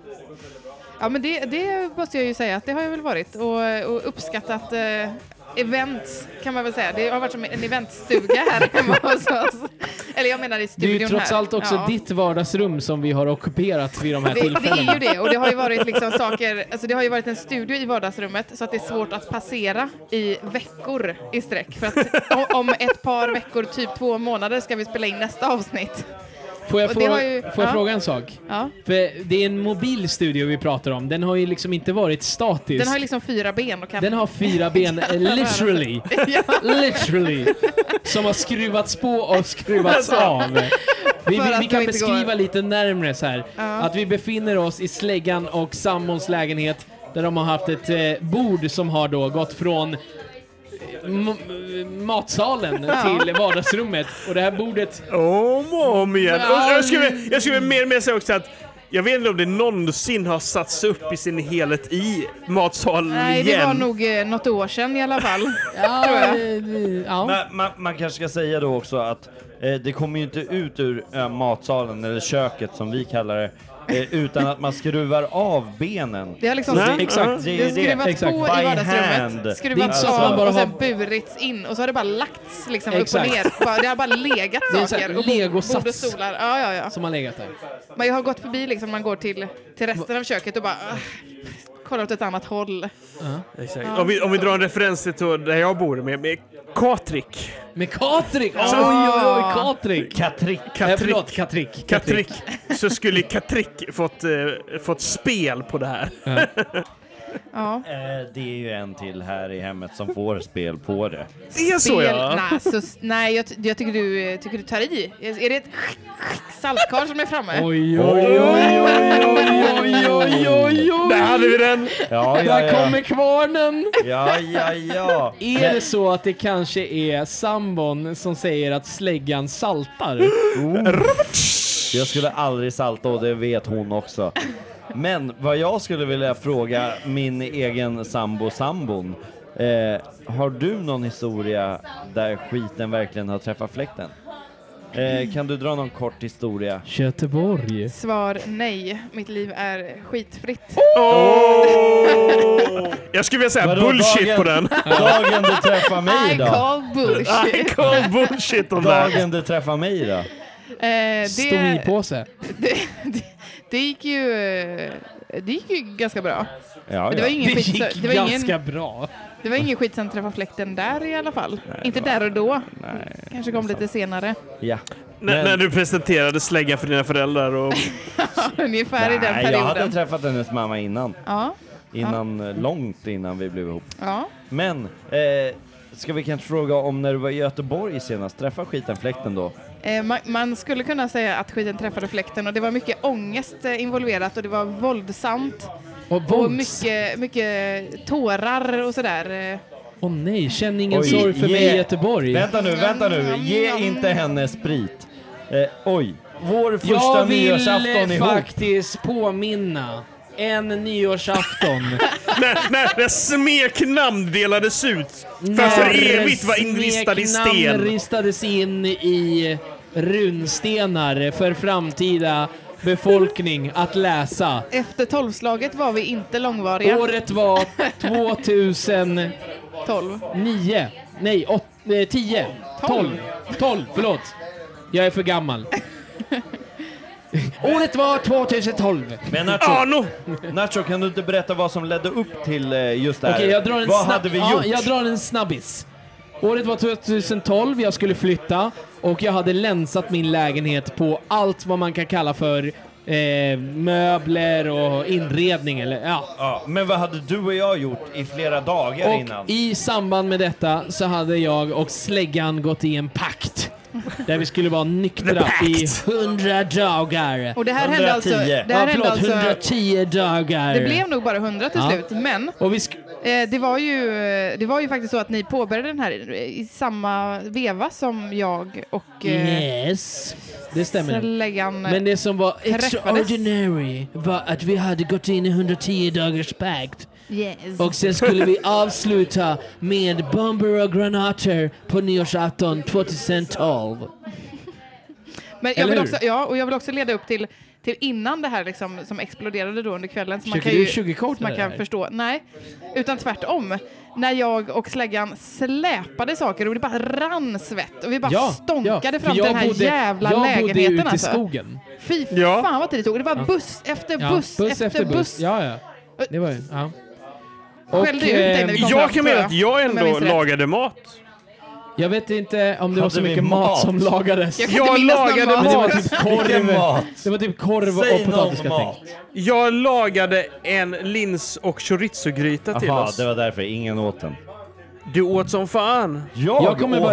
[SPEAKER 15] Ja, men det, det måste jag ju säga att det har jag väl varit och, och uppskattat eh, events kan man väl säga. Det har varit som en eventstuga här hemma hos oss. Eller jag menar i
[SPEAKER 3] Det
[SPEAKER 15] studion
[SPEAKER 3] är ju trots
[SPEAKER 15] här.
[SPEAKER 3] allt också
[SPEAKER 15] Ja.
[SPEAKER 3] ditt vardagsrum som vi har ockuperat vid de här
[SPEAKER 15] Det, det
[SPEAKER 3] tillfällena.
[SPEAKER 15] är ju det och det har ju varit liksom saker, alltså det har ju varit en studio i vardagsrummet så att det är svårt att passera i veckor i sträck för att o- om ett par veckor, typ två månader ska vi spela in nästa avsnitt.
[SPEAKER 3] Får jag,
[SPEAKER 15] Och det
[SPEAKER 3] fråga,
[SPEAKER 15] har ju-
[SPEAKER 3] får jag
[SPEAKER 15] ja.
[SPEAKER 3] fråga en sak?
[SPEAKER 15] Ja.
[SPEAKER 3] För det är en mobil studio vi pratar om. Den har ju liksom inte varit statisk.
[SPEAKER 15] Den har ju liksom fyra ben och kan...
[SPEAKER 3] Den har fyra ben, eh, literally. literally. Som har skruvats på och skruvats
[SPEAKER 15] Alltså.
[SPEAKER 3] av. Vi, vi,
[SPEAKER 15] För att de
[SPEAKER 3] vi kan
[SPEAKER 15] inte
[SPEAKER 3] beskriva
[SPEAKER 15] går.
[SPEAKER 3] lite närmre så här.
[SPEAKER 15] Ja.
[SPEAKER 3] Att vi befinner oss i släggan och sambons lägenhet där de har haft ett eh, bord som har då gått från eh, m- matsalen
[SPEAKER 1] Ja.
[SPEAKER 3] till vardagsrummet. Och det här bordet...
[SPEAKER 1] Om och om igen. Och jag skulle, jag skulle mer med säga också att jag vet inte om det någonsin har satts upp i sin helhet i matsalen
[SPEAKER 15] Nej,
[SPEAKER 1] igen.
[SPEAKER 15] det var nog eh, något år sedan i alla fall. tror jag.
[SPEAKER 4] Man, man, man kanske ska säga då också att eh, det kommer ju inte ut ur eh, matsalen, eller köket som vi kallar det, eh, utan att man skruvar av benen.
[SPEAKER 15] Det har liksom
[SPEAKER 4] Så-
[SPEAKER 15] skruv-
[SPEAKER 4] Exakt, det är ju
[SPEAKER 15] det har skruvats
[SPEAKER 4] det.
[SPEAKER 15] på
[SPEAKER 4] By
[SPEAKER 15] i
[SPEAKER 4] hand.
[SPEAKER 15] vardagsrummet, skruvats
[SPEAKER 4] Alltså-
[SPEAKER 15] av och sen burits in och så har det bara lagts liksom upp och
[SPEAKER 3] Exakt.
[SPEAKER 15] ner. Bara- Det har bara legat
[SPEAKER 3] Det är en sån
[SPEAKER 15] saker.
[SPEAKER 3] här
[SPEAKER 15] och bo-
[SPEAKER 3] legosats.
[SPEAKER 15] Bord och stolar. Ja, ja, ja.
[SPEAKER 3] Som har legat där.
[SPEAKER 15] Men jag har gått förbi liksom, man går till, till resten av köket och bara ah, kollar åt ett annat håll.
[SPEAKER 1] Exakt.
[SPEAKER 15] Ja.
[SPEAKER 1] Om, vi, om vi drar en referens till då där jag bor med, med Katrik.
[SPEAKER 3] Med Katrik?
[SPEAKER 1] Så-
[SPEAKER 3] Oj, oj, oj, Katrik!
[SPEAKER 4] Katrik.
[SPEAKER 3] Eh, förlåt, Katrik.
[SPEAKER 1] Katrik. Så skulle Katrik fått, eh, fått spel på det här.
[SPEAKER 15] Ja.
[SPEAKER 4] Eh, det är ju en till här i hemmet som får spel på det.
[SPEAKER 1] Det är så,
[SPEAKER 15] Spel-
[SPEAKER 4] ja.
[SPEAKER 15] Nej, så, nej jag, ty- jag tycker, du, eh, tycker du tar i. Är det ett saltkar som är framme?
[SPEAKER 3] Oj, oj, oj, oj, oj, oj, oj, oj.
[SPEAKER 15] Där hade vi
[SPEAKER 1] den!
[SPEAKER 4] Ja, ja,
[SPEAKER 3] Där
[SPEAKER 4] ja.
[SPEAKER 3] kommer kvarnen!
[SPEAKER 4] Ja, ja, ja.
[SPEAKER 3] Är det så att det kanske är sambon som säger att släggan saltar?
[SPEAKER 4] Jag skulle aldrig salta och det vet hon också. Men vad jag skulle vilja fråga min egen sambo sambon. Eh, har du någon historia där skiten verkligen har träffat fläkten? Eh, kan du dra någon kort historia?
[SPEAKER 3] Göteborg.
[SPEAKER 15] Svar nej. Mitt liv är skitfritt. Eh,
[SPEAKER 1] Jag skulle vilja säga
[SPEAKER 4] Vadå,
[SPEAKER 1] bullshit
[SPEAKER 4] dagen-
[SPEAKER 1] på den.
[SPEAKER 4] dagen du träffar mig
[SPEAKER 15] I
[SPEAKER 4] då?
[SPEAKER 15] call bullshit.
[SPEAKER 1] I call bullshit om det.
[SPEAKER 4] Dagen du träffar mig då?
[SPEAKER 15] Eh, det,
[SPEAKER 3] Stomipåse.
[SPEAKER 15] det, det, det gick ju... eh, Det gick ju ganska bra.
[SPEAKER 4] Ja,
[SPEAKER 15] Men det var
[SPEAKER 4] ja.
[SPEAKER 15] ingen skit, så- det var ingen-
[SPEAKER 3] bra.
[SPEAKER 15] Det var ingen skit sen träffa fläkten där i alla fall. Inte där och då. Kanske kom lite senare.
[SPEAKER 4] Ja.
[SPEAKER 1] När, när du presenterade släggan för dina föräldrar och...
[SPEAKER 15] Ungefär i den
[SPEAKER 4] Nej, jag hade
[SPEAKER 15] perioden.
[SPEAKER 4] träffat hennes mamma innan.
[SPEAKER 15] Ja.
[SPEAKER 4] Innan, eh, långt innan vi blev ihop.
[SPEAKER 15] Ja.
[SPEAKER 4] Men, eh, ska vi kanske fråga om när du var i Göteborg senast, träffa skiten fläkten då?
[SPEAKER 15] Eh, man, man skulle kunna säga att skiten träffade fläkten och det var mycket ångest eh, involverat och det var våldsamt.
[SPEAKER 3] Och
[SPEAKER 15] Och
[SPEAKER 3] vålds.
[SPEAKER 15] mycket, mycket tårar och sådär. eh.
[SPEAKER 3] Åh nej, känn ingen
[SPEAKER 4] Oj,
[SPEAKER 3] sorg för
[SPEAKER 4] ge-
[SPEAKER 3] mig i Göteborg.
[SPEAKER 4] Vänta nu, vänta nu, ge inte henne sprit. Eh, oj, vår första
[SPEAKER 3] jag vill
[SPEAKER 4] nyårsafton
[SPEAKER 3] eh,
[SPEAKER 4] ihop.
[SPEAKER 3] faktiskt påminna en nyårsafton.
[SPEAKER 1] när, när, när smeknamn delades ut för att för evigt vara inristad i
[SPEAKER 3] Smeknamn
[SPEAKER 1] sten.
[SPEAKER 3] ristades in i runstenar för framtida befolkning att läsa.
[SPEAKER 15] Efter tolvslaget var vi inte långvariga.
[SPEAKER 3] Året var 2009.
[SPEAKER 15] 12.
[SPEAKER 3] Nej, 8, eh, 10. 12. 12, förlåt. Jag är för gammal. Året var 2012.
[SPEAKER 4] Men Nacho,
[SPEAKER 3] Ah,
[SPEAKER 4] Nacho, kan du inte berätta vad som ledde upp till eh, just det här?
[SPEAKER 3] Okej, jag drar en
[SPEAKER 4] vad
[SPEAKER 3] snabb-
[SPEAKER 4] hade vi
[SPEAKER 3] ja,
[SPEAKER 4] gjort?
[SPEAKER 3] jag drar en snabbis. Året var 2012, jag skulle flytta och jag hade länsat min lägenhet på allt vad man kan kalla för eh, möbler och inredning. Eller, ja.
[SPEAKER 4] Ja, men vad hade du och jag gjort i flera dagar
[SPEAKER 3] och
[SPEAKER 4] innan?
[SPEAKER 3] i samband med detta så hade jag och släggan gått i en pakt. Där vi skulle vara nyktra i 100 dagar.
[SPEAKER 15] Och det här hände alltså- 110. det här
[SPEAKER 3] ja, förlåt,
[SPEAKER 15] hände alltså-
[SPEAKER 3] 110 dagar.
[SPEAKER 15] Det blev nog bara 100 till
[SPEAKER 3] Ja.
[SPEAKER 15] slut, men
[SPEAKER 3] Och vi sk-
[SPEAKER 15] eh, det, var ju, eh, det var ju faktiskt så att ni påbörjade den här i samma veva som jag och eh,
[SPEAKER 6] Yes, det stämmer.
[SPEAKER 15] släggan eh,
[SPEAKER 6] Men det som var
[SPEAKER 15] träffades.
[SPEAKER 6] extraordinary var att vi hade gått in i 110 dagars pakt.
[SPEAKER 12] Yes.
[SPEAKER 6] Och sen skulle vi avsluta med bomber och granater på nyårsafton 2012.
[SPEAKER 15] Men jag
[SPEAKER 6] Eller
[SPEAKER 15] vill
[SPEAKER 6] hur?
[SPEAKER 15] också, ja, och jag vill också leda upp till, till innan det här liksom, som exploderade då under kvällen. Så man
[SPEAKER 3] Försöker
[SPEAKER 15] kan ju,
[SPEAKER 3] du sugarcoata
[SPEAKER 15] så man
[SPEAKER 3] det
[SPEAKER 15] kan
[SPEAKER 3] här?
[SPEAKER 15] förstå. Nej, utan tvärtom. När jag och släggan släpade saker och det bara rann svett och vi bara
[SPEAKER 3] Ja,
[SPEAKER 15] stånkade
[SPEAKER 3] ja,
[SPEAKER 15] fram
[SPEAKER 3] för
[SPEAKER 15] till
[SPEAKER 3] jag
[SPEAKER 15] den här
[SPEAKER 3] bodde-
[SPEAKER 15] jävla
[SPEAKER 3] jag bodde
[SPEAKER 15] lägenheten.
[SPEAKER 3] ute i
[SPEAKER 15] alltså.
[SPEAKER 3] skogen.
[SPEAKER 15] Fy
[SPEAKER 3] Ja.
[SPEAKER 15] fan vad tid det tog. Det var
[SPEAKER 3] Ja.
[SPEAKER 15] buss efter
[SPEAKER 3] Ja,
[SPEAKER 15] buss, efter, buss.
[SPEAKER 3] Ja, ja. Det var ju... Ja. eh,
[SPEAKER 15] Skällde ut dig när vi kom
[SPEAKER 1] Jag
[SPEAKER 15] fram,
[SPEAKER 1] kan
[SPEAKER 15] tror
[SPEAKER 1] mena att jag
[SPEAKER 15] om jag
[SPEAKER 1] ändå
[SPEAKER 15] minns rätt.
[SPEAKER 1] lagade mat.
[SPEAKER 3] Jag vet inte om det var
[SPEAKER 1] Hade
[SPEAKER 3] så
[SPEAKER 1] vi
[SPEAKER 3] mycket mat?
[SPEAKER 1] mat?
[SPEAKER 3] som lagades.
[SPEAKER 1] Jag kan inte Jag minnas någon lagade mat.
[SPEAKER 3] Men Det var typ
[SPEAKER 1] Vilken
[SPEAKER 3] korv,
[SPEAKER 1] mat?
[SPEAKER 3] Det var typ korv och potatisgratäng.
[SPEAKER 1] Jag lagade en lins och chorizo-gryta till
[SPEAKER 4] Jaha,
[SPEAKER 1] oss.
[SPEAKER 4] det var därför ingen åt den.
[SPEAKER 1] Du åt som fan.
[SPEAKER 4] Jag,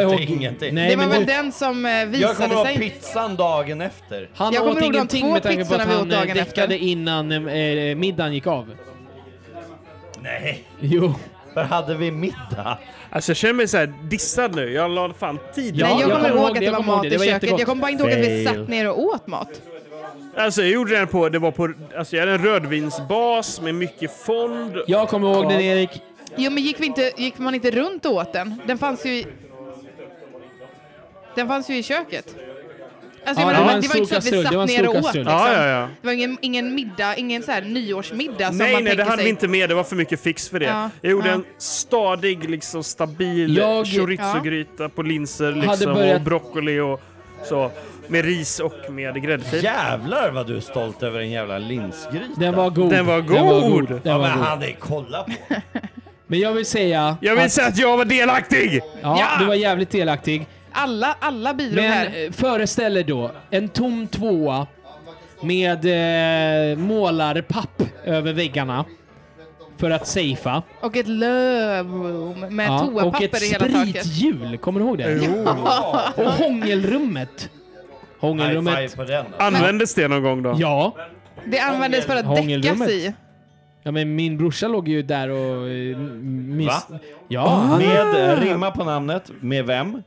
[SPEAKER 4] åt ingenting.
[SPEAKER 15] det var väl den som eh, visade sig.
[SPEAKER 4] jag kommer ihåg pizzan dagen efter.
[SPEAKER 3] Han
[SPEAKER 15] Jag kommer
[SPEAKER 3] åt
[SPEAKER 15] ihåg de två
[SPEAKER 3] ingenting med tanke på att
[SPEAKER 15] pizzorna vi
[SPEAKER 3] han
[SPEAKER 15] åt
[SPEAKER 3] eh,
[SPEAKER 15] dagen
[SPEAKER 3] däckade innan eh, middagen gick av.
[SPEAKER 4] Nej.
[SPEAKER 3] Jo.
[SPEAKER 4] Var hade vi middag?
[SPEAKER 1] Alltså jag känner mig så här dissad nu. Jag la fan tid
[SPEAKER 15] Nej, jag, kommer ihåg att det var mat i köket. Jag kommer bara inte ihåg att vi satt ner och åt mat.
[SPEAKER 1] Alltså jag gjorde den på, det var på, alltså jag hade en rödvinsbas med mycket fond.
[SPEAKER 3] Jag kommer ihåg den Erik.
[SPEAKER 15] Jo, men gick, vi inte, gick man inte runt och åt den? Den fanns ju i... Den fanns ju i köket. Alltså,
[SPEAKER 3] Ja,
[SPEAKER 15] jag
[SPEAKER 3] det
[SPEAKER 15] menar,
[SPEAKER 3] var en
[SPEAKER 15] men det var inte så att vi
[SPEAKER 3] stor kastrull,
[SPEAKER 15] satt
[SPEAKER 3] det var en
[SPEAKER 15] ner
[SPEAKER 3] stor
[SPEAKER 15] och åt.
[SPEAKER 3] kastrull.
[SPEAKER 15] Liksom.
[SPEAKER 1] Ja, ja, ja.
[SPEAKER 15] Det var ingen, ingen middag, ingen så här nyårsmiddag som
[SPEAKER 1] nej,
[SPEAKER 15] man
[SPEAKER 1] nej, det
[SPEAKER 15] tänker
[SPEAKER 1] hann
[SPEAKER 15] sig.
[SPEAKER 1] vi inte med. Det var för mycket fix för det.
[SPEAKER 15] Ja,
[SPEAKER 1] jag gjorde
[SPEAKER 15] ja.
[SPEAKER 1] en stadig, liksom stabil
[SPEAKER 3] Jag-
[SPEAKER 1] chorizo-gryta på linser
[SPEAKER 3] Hade
[SPEAKER 1] liksom,
[SPEAKER 3] börjat-
[SPEAKER 1] och broccoli och så. Med ris och med gräddfil.
[SPEAKER 4] Jävlar vad du är stolt över en jävla linsgryta.
[SPEAKER 3] Den var god.
[SPEAKER 1] Den var
[SPEAKER 3] Den var god.
[SPEAKER 1] god!
[SPEAKER 3] Den
[SPEAKER 4] Ja,
[SPEAKER 3] var
[SPEAKER 4] men
[SPEAKER 3] god.
[SPEAKER 4] han är kolla på.
[SPEAKER 3] Men jag vill säga...
[SPEAKER 1] Jag vill säga att jag var delaktig!
[SPEAKER 3] Ja,
[SPEAKER 15] Ja!
[SPEAKER 3] du var jävligt delaktig.
[SPEAKER 15] Alla, alla bidrog
[SPEAKER 3] Men
[SPEAKER 15] här.
[SPEAKER 3] eh, föreställ er då en tom tvåa med eh, målarpapp över väggarna för att safea.
[SPEAKER 15] Och ett lövrum med
[SPEAKER 3] Ja, och
[SPEAKER 15] toapapper
[SPEAKER 3] ett
[SPEAKER 15] i hela taket.
[SPEAKER 3] sprithjul, kommer du ihåg det?
[SPEAKER 15] Jo. Ja.
[SPEAKER 3] Och hångelrummet. Hångelrummet.
[SPEAKER 1] Användes det någon gång då?
[SPEAKER 3] Ja.
[SPEAKER 15] Det användes för att däckas
[SPEAKER 3] Hångelrummet.
[SPEAKER 15] i.
[SPEAKER 3] Ja men min brorsa låg ju där och... eh, Mis-
[SPEAKER 4] Va?
[SPEAKER 15] Ah.
[SPEAKER 3] Ja.
[SPEAKER 4] Med eh, rimma på namnet. Med vem?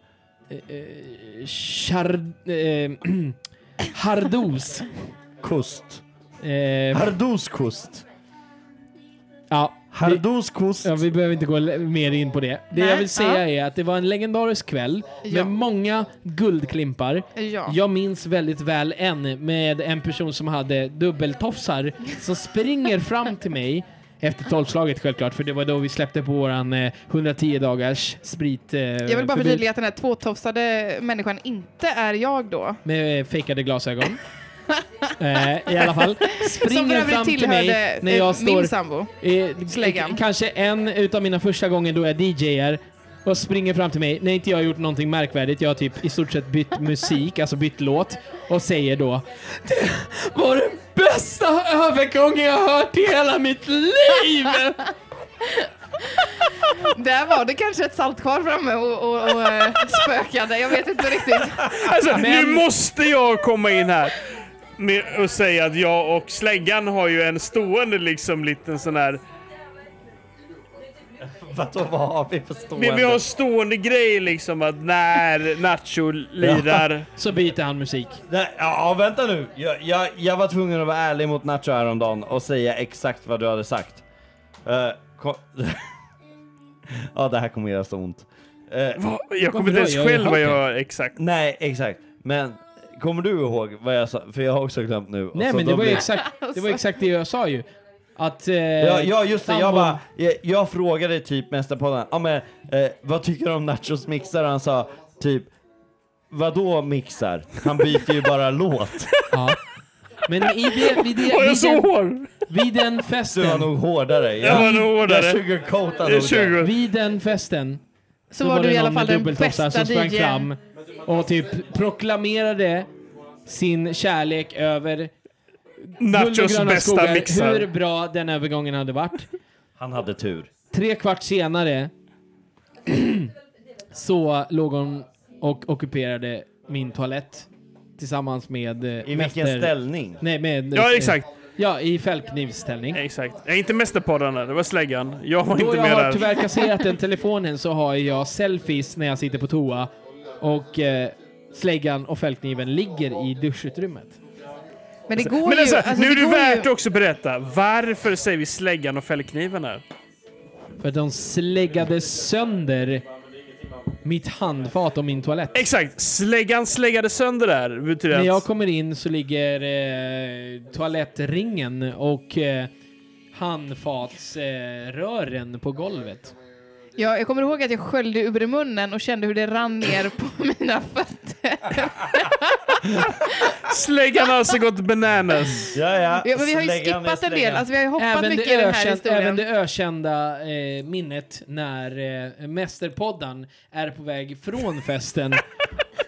[SPEAKER 1] Eh,
[SPEAKER 3] Chard... Eh, Hardos.
[SPEAKER 4] Kust.
[SPEAKER 3] Eh,
[SPEAKER 4] Hardoskus.
[SPEAKER 3] Ja.
[SPEAKER 4] Hardoskus.
[SPEAKER 3] Ja, vi behöver inte gå le- mer in på det. Det
[SPEAKER 15] Nej,
[SPEAKER 3] jag vill säga
[SPEAKER 15] ja.
[SPEAKER 3] är att det var en legendarisk kväll
[SPEAKER 15] Ja.
[SPEAKER 3] med många guldklimpar.
[SPEAKER 15] Ja.
[SPEAKER 3] Jag minns väldigt väl en med en person som hade dubbeltofsar som springer fram till mig efter tolvslaget självklart, för det var då vi släppte på våran eh, 110 dagars sprit. Eh,
[SPEAKER 15] Jag vill bara
[SPEAKER 3] förbud
[SPEAKER 15] förtydliga att den här tvåtofsade människan inte är jag då.
[SPEAKER 3] Med fejkade glasögon. eh, I alla fall.
[SPEAKER 15] Som för
[SPEAKER 3] Springer
[SPEAKER 15] övrigt
[SPEAKER 3] fram till
[SPEAKER 15] tillhörde,
[SPEAKER 3] mig när
[SPEAKER 15] eh,
[SPEAKER 3] jag
[SPEAKER 15] min
[SPEAKER 3] står...
[SPEAKER 15] sambo.
[SPEAKER 3] Eh,
[SPEAKER 15] Släggan.
[SPEAKER 3] k- kanske en utav mina första gånger då jag DJar och springer fram till mig när inte jag har gjort någonting märkvärdigt. Jag har typ i stort sett bytt musik, alltså bytt låt och säger då Det var den bästa övergången jag har hört i hela mitt liv!
[SPEAKER 15] Där var det kanske ett saltkar framme och, och, och eh, spökade. Jag vet inte riktigt.
[SPEAKER 1] Alltså, nu måste jag komma in här med och säga att jag och släggan har ju en stående liksom liten sån här...
[SPEAKER 4] Vadå, vad har vi för stående?
[SPEAKER 1] Vi, vi har en stående grej liksom att när Nacho lirar...
[SPEAKER 3] Så byter han musik.
[SPEAKER 4] Nej, ja, vänta nu. Jag, jag, jag var tvungen att vara ärlig mot Nacho häromdagen och säga exakt vad du hade sagt. Eh, kom... ja, det här kommer göra så ont. Eh,
[SPEAKER 1] Jag kommer inte ens själv vad jag... exakt.
[SPEAKER 4] Nej, exakt. Men kommer du ihåg vad jag sa? För jag har också glömt nu. Och
[SPEAKER 3] Nej
[SPEAKER 4] så
[SPEAKER 3] men
[SPEAKER 4] då
[SPEAKER 3] det var, ju
[SPEAKER 4] blir-
[SPEAKER 3] exakt, det
[SPEAKER 15] Alltså.
[SPEAKER 3] var exakt det jag sa ju. Att... Eh,
[SPEAKER 4] Ja, ja just det, jag
[SPEAKER 3] sambon-
[SPEAKER 4] bara, jag, jag frågade typ Mästerpodden, ja men eh, vad tycker du om Nachos mixar? Och han sa typ, vadå mixar? Han byter ju bara låt.
[SPEAKER 3] Men i det, vid, det,
[SPEAKER 4] Var jag
[SPEAKER 3] vid,
[SPEAKER 4] så
[SPEAKER 3] den, vid den festen...
[SPEAKER 4] Du var nog hårdare.
[SPEAKER 3] Jag var nog hårdare.
[SPEAKER 4] Jag sugarcoatade
[SPEAKER 3] Det är
[SPEAKER 4] nog det.
[SPEAKER 3] Vid den festen
[SPEAKER 15] Så var du i
[SPEAKER 3] någon
[SPEAKER 15] alla fall
[SPEAKER 3] med
[SPEAKER 15] den
[SPEAKER 3] dubbeltoffsar
[SPEAKER 15] bästa
[SPEAKER 3] som sprang
[SPEAKER 15] DJ:n.
[SPEAKER 3] fram och typ proklamerade sin kärlek över
[SPEAKER 1] Nachos
[SPEAKER 3] Guld och gröna
[SPEAKER 1] bästa
[SPEAKER 3] skogar,
[SPEAKER 1] mixar.
[SPEAKER 3] Hur bra den övergången hade varit.
[SPEAKER 4] Han hade tur.
[SPEAKER 3] Tre kvart senare så låg hon och ockuperade min toalett tillsammans med I
[SPEAKER 4] vilken ställning?
[SPEAKER 3] Nej, med...
[SPEAKER 1] Ja, exakt.
[SPEAKER 3] Ja, i fällknivsställning.
[SPEAKER 1] Exakt. Jag är inte mästerpodden där, det var släggan. Jag var
[SPEAKER 3] Då
[SPEAKER 1] inte
[SPEAKER 3] jag
[SPEAKER 1] med
[SPEAKER 3] har
[SPEAKER 1] där.
[SPEAKER 3] tyvärr kasserat den telefonen så har jag selfies när jag sitter på toa och eh, släggan och fällkniven ligger i duschutrymmet.
[SPEAKER 15] Men det går
[SPEAKER 1] Men
[SPEAKER 15] ju...
[SPEAKER 1] alltså,
[SPEAKER 15] alltså,
[SPEAKER 1] nu är
[SPEAKER 15] det
[SPEAKER 1] det
[SPEAKER 15] går
[SPEAKER 1] värt att
[SPEAKER 15] ju,
[SPEAKER 1] också berätta. Varför säger vi släggan och fällkniven här?
[SPEAKER 3] För att de släggade sönder mitt handfat och min toalett.
[SPEAKER 1] Exakt! Släggan släggade sönder där. Betyder
[SPEAKER 3] När
[SPEAKER 1] att-
[SPEAKER 3] jag kommer in så ligger eh, toalettringen och eh, handfatsrören eh, rören på golvet.
[SPEAKER 15] ja, jag kommer ihåg att jag sköljde ur munnen och kände hur det rann ner på mina fötter.
[SPEAKER 1] Släggan har alltså gått bananas.
[SPEAKER 4] Ja, ja.
[SPEAKER 15] Ja, men vi har ju Släggan är skippat en del. släggan. Alltså, vi har ju hoppat mycket i den här historien.
[SPEAKER 3] Även det ökända eh, minnet när eh, Mästerpoddan är på väg från festen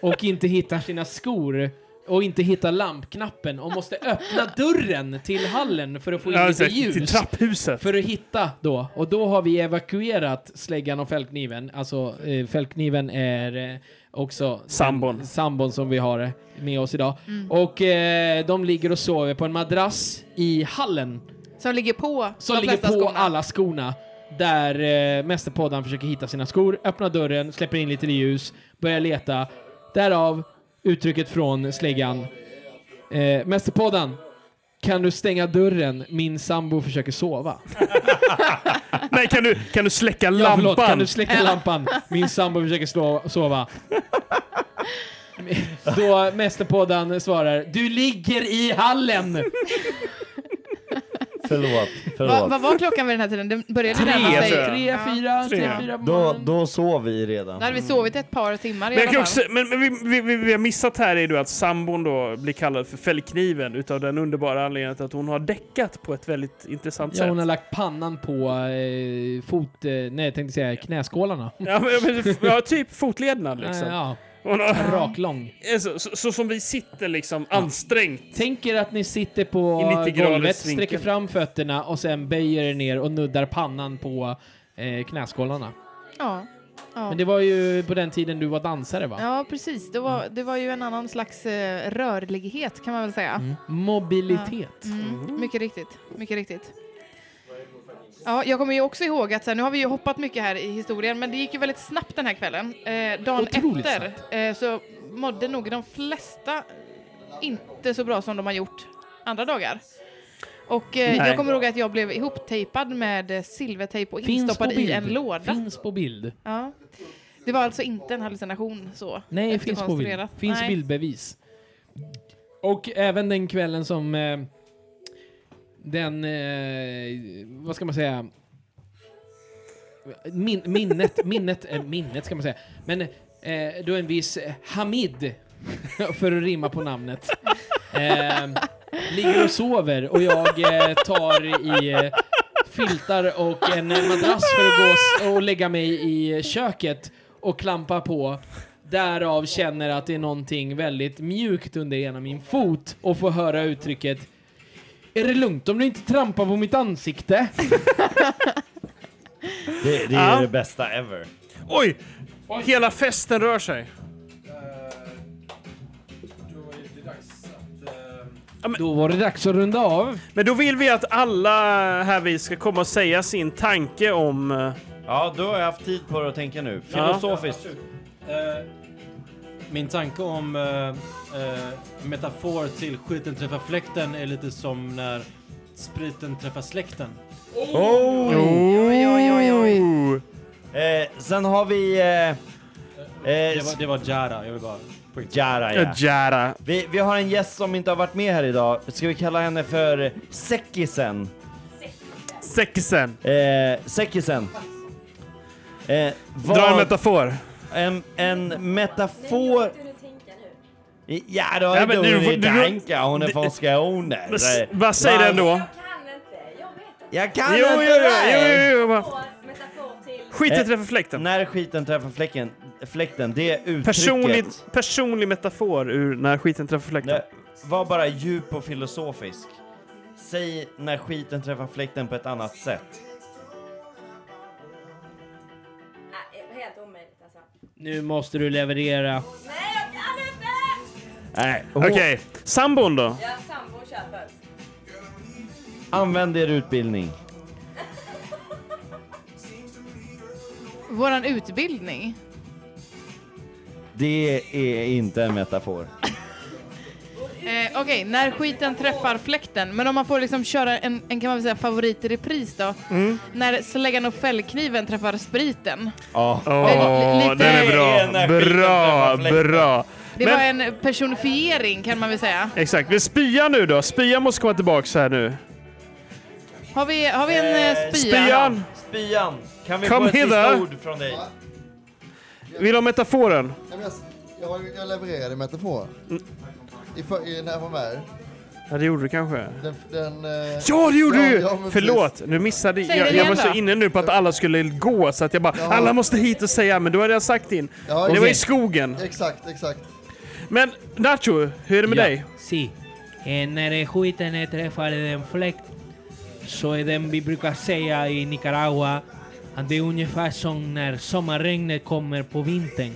[SPEAKER 3] och inte hittar sina skor och inte hittar lampknappen och måste öppna dörren till hallen för att få in
[SPEAKER 1] Ja,
[SPEAKER 3] lite
[SPEAKER 1] exakt.
[SPEAKER 3] ljus.
[SPEAKER 1] Till trapphuset.
[SPEAKER 3] För att hitta då. Och då har vi evakuerat släggan och fällkniven. Alltså eh, fällkniven är eh, också sambon. sambon som vi har eh, med oss idag.
[SPEAKER 15] Mm.
[SPEAKER 3] Och eh, de ligger och sover på en madrass i hallen.
[SPEAKER 15] Som ligger på
[SPEAKER 3] Som
[SPEAKER 15] de
[SPEAKER 3] ligger på
[SPEAKER 15] flesta skorna.
[SPEAKER 3] alla skorna. Där eh, mästerpoddan försöker hitta sina skor, öppnar dörren, släpper in lite ljus, börjar leta. Därav uttrycket från släggan. Eh, mästerpoddan, kan du stänga dörren? Min sambo försöker sova.
[SPEAKER 1] Nej, kan du, kan du släcka
[SPEAKER 3] Ja,
[SPEAKER 1] lampan?
[SPEAKER 3] förlåt, kan du släcka lampan? Min sambo försöker slå, sova. Då mästerpoddan svarar, du ligger i hallen!
[SPEAKER 4] Förlåt. Förlåt.
[SPEAKER 15] Vad vad var klockan vid den här tiden? Den började
[SPEAKER 4] Tre,
[SPEAKER 15] närma sig.
[SPEAKER 4] tror jag. Tre,
[SPEAKER 15] fyra, tre, fyra.
[SPEAKER 4] Då, då sov vi
[SPEAKER 15] Då
[SPEAKER 4] redan.
[SPEAKER 15] hade vi sovit ett par timmar i
[SPEAKER 1] Men, jag
[SPEAKER 15] alla
[SPEAKER 1] kan också,
[SPEAKER 15] fall.
[SPEAKER 1] men, men vi, vi, vi, vi har missat här är då att sambon då blir kallad för fällkniven utav den underbara anledningen att hon har däckat på ett väldigt intressant
[SPEAKER 3] Ja,
[SPEAKER 1] sätt.
[SPEAKER 3] hon har lagt pannan på eh, fot... Eh, nej, jag tänkte säga knäskålarna.
[SPEAKER 1] Ja, men, men, ja, typ fotlederna liksom. Hon
[SPEAKER 3] Ja,
[SPEAKER 1] har- Eh,
[SPEAKER 3] Raklång.
[SPEAKER 1] Så, så, så som vi sitter liksom ansträngt.
[SPEAKER 3] Tänk er att ni sitter på
[SPEAKER 1] I 90 graders
[SPEAKER 3] golvet,
[SPEAKER 1] vinkel.
[SPEAKER 3] sträcker fram fötterna och sen böjer er ner och nuddar pannan på eh, knäskålarna.
[SPEAKER 15] Ja. Ja.
[SPEAKER 3] Men det var ju på den tiden du var dansare va?
[SPEAKER 15] ja, precis. Det var, det var ju en annan slags eh, rörlighet kan man väl säga.
[SPEAKER 3] Mm. Mobilitet.
[SPEAKER 15] Ja. Mm. Mycket riktigt. Mycket riktigt. Ja, jag kommer ju också ihåg att så här, nu har vi ju hoppat mycket här i historien, men det gick ju väldigt snabbt den här kvällen. Eh, dagen
[SPEAKER 3] Otroligt
[SPEAKER 15] efter eh, så mådde nog de flesta inte så bra som de har gjort andra dagar. Och eh,
[SPEAKER 3] Nej.
[SPEAKER 15] jag kommer ihåg att jag blev ihoptejpad med eh, silvertejp och
[SPEAKER 3] Finns på
[SPEAKER 15] instoppad
[SPEAKER 3] bild.
[SPEAKER 15] i en låda.
[SPEAKER 3] Finns på bild.
[SPEAKER 15] Ja. Det var alltså inte en hallucination så?
[SPEAKER 3] Nej, finns på bild.
[SPEAKER 15] efterkonstruerat.
[SPEAKER 3] Finns
[SPEAKER 15] Nej.
[SPEAKER 3] bildbevis. Och även den kvällen som eh, den, eh, vad ska man säga, Min, minnet, minnet, eh, minnet ska man säga. Men eh, då en viss eh, Hamid, för att rimma på namnet, eh, ligger och sover och jag eh, tar i eh, filtar och en eh, madrass för att gå s- och lägga mig i eh, köket och klampa på. Därav känner att det är någonting väldigt mjukt under ena min fot och får höra uttrycket Är det lugnt om du inte trampar på mitt ansikte?
[SPEAKER 4] Det, det är
[SPEAKER 1] Ja.
[SPEAKER 4] det bästa ever.
[SPEAKER 1] Oj! Hela festen rör sig.
[SPEAKER 3] Eh, Då var det dags att runda av.
[SPEAKER 1] Men då vill vi att alla här vi ska komma och säga sin tanke om... eh,
[SPEAKER 4] Ja, då har jag haft tid på det att tänka nu.
[SPEAKER 1] Ja.
[SPEAKER 4] Filosofiskt.
[SPEAKER 7] Eh, Min tanke om eh, eh, metafor till skiten träffar fläkten är lite som när spriten träffar släkten.
[SPEAKER 4] Oh!
[SPEAKER 15] Oj, oj, oj, oj.
[SPEAKER 4] Eh, sen har vi... Eh,
[SPEAKER 7] Det var, det var Jara, jag vill bara...
[SPEAKER 4] Jara, ja.
[SPEAKER 7] Ja, Jara.
[SPEAKER 4] Vi, vi har en gäst som inte har varit med här idag. Ska vi kalla henne för Säckisen?
[SPEAKER 1] Säckisen.
[SPEAKER 4] Eh, Säckisen. Eh,
[SPEAKER 1] Dra en metafor.
[SPEAKER 4] En, en metafor... Ja, då är
[SPEAKER 1] Ja, men
[SPEAKER 4] det
[SPEAKER 1] du-
[SPEAKER 4] Dorothea
[SPEAKER 1] du-
[SPEAKER 4] Danka. Hon är
[SPEAKER 1] det-
[SPEAKER 4] från Skåne.
[SPEAKER 1] Men s- vad säger
[SPEAKER 4] Man-
[SPEAKER 1] den då?
[SPEAKER 4] Jag kan
[SPEAKER 1] Jo,
[SPEAKER 4] inte
[SPEAKER 1] jo, jo,
[SPEAKER 4] det!
[SPEAKER 1] jo, jo, jo, jo. Skiten träffar fläkten.
[SPEAKER 4] Eh, När skiten träffar fläcken, fläkten, det är uttrycket.
[SPEAKER 1] Personlig, personlig metafor ur när skiten träffar fläkten.
[SPEAKER 4] Var bara djup och filosofisk. Säg när skiten träffar fläkten på ett annat sätt.
[SPEAKER 14] Helt omöjligt alltså.
[SPEAKER 3] Nu måste du leverera.
[SPEAKER 14] Nej, jag kan inte!
[SPEAKER 4] Nej.
[SPEAKER 1] Okej, sambon då?
[SPEAKER 14] Ja, sambon kör först.
[SPEAKER 4] Använd er utbildning.
[SPEAKER 15] Våran utbildning.
[SPEAKER 4] Det är inte en metafor.
[SPEAKER 15] Eh, Okej, när skiten träffar fläkten. Men om man får liksom köra en, en kan man väl säga favorit i repris då.
[SPEAKER 1] Mm.
[SPEAKER 15] När släggan och fällkniven träffar spriten.
[SPEAKER 4] Ja,
[SPEAKER 1] Åh,
[SPEAKER 15] lite-
[SPEAKER 1] den är
[SPEAKER 15] Det är
[SPEAKER 1] bra.
[SPEAKER 15] när skiten
[SPEAKER 1] Bra, bra.
[SPEAKER 15] Det
[SPEAKER 1] Men,
[SPEAKER 15] var en personifiering kan man väl säga.
[SPEAKER 1] Exakt, vi spyar nu då. Spyan måste komma tillbaks här nu.
[SPEAKER 15] Har vi, har vi en eh, spya?
[SPEAKER 1] spyan.
[SPEAKER 4] Spyan! Kan vi
[SPEAKER 1] Kom
[SPEAKER 4] få ett
[SPEAKER 1] hither.
[SPEAKER 4] sista ord från dig?
[SPEAKER 1] Vill du ha metaforen? Mm.
[SPEAKER 13] Ja, men Jag, jag, har ju- jag levererade metafor. I, för, i, när jag var med.
[SPEAKER 1] Ja, det gjorde du kanske.
[SPEAKER 13] Den, den, eh,
[SPEAKER 1] Ja, det gjorde du!
[SPEAKER 13] ja, men
[SPEAKER 1] Förlåt,
[SPEAKER 13] precis.
[SPEAKER 1] nu missade
[SPEAKER 13] Säg
[SPEAKER 1] jag. Jag
[SPEAKER 13] den igen
[SPEAKER 1] var så
[SPEAKER 13] då.
[SPEAKER 1] inne nu på att alla skulle gå så att jag bara,
[SPEAKER 13] Ja.
[SPEAKER 1] alla måste hit och säga, men då hade jag sagt in.
[SPEAKER 13] Ja,
[SPEAKER 1] det var i
[SPEAKER 13] okej.
[SPEAKER 1] skogen.
[SPEAKER 13] Exakt, exakt.
[SPEAKER 1] Men Nacho, hur är det med
[SPEAKER 6] Ja.
[SPEAKER 1] dig?
[SPEAKER 6] Sí. Eh, när skiten träffar en fläkt så är den vi brukar säga i Nicaragua att det är ungefär som när sommarregnet kommer på vintern.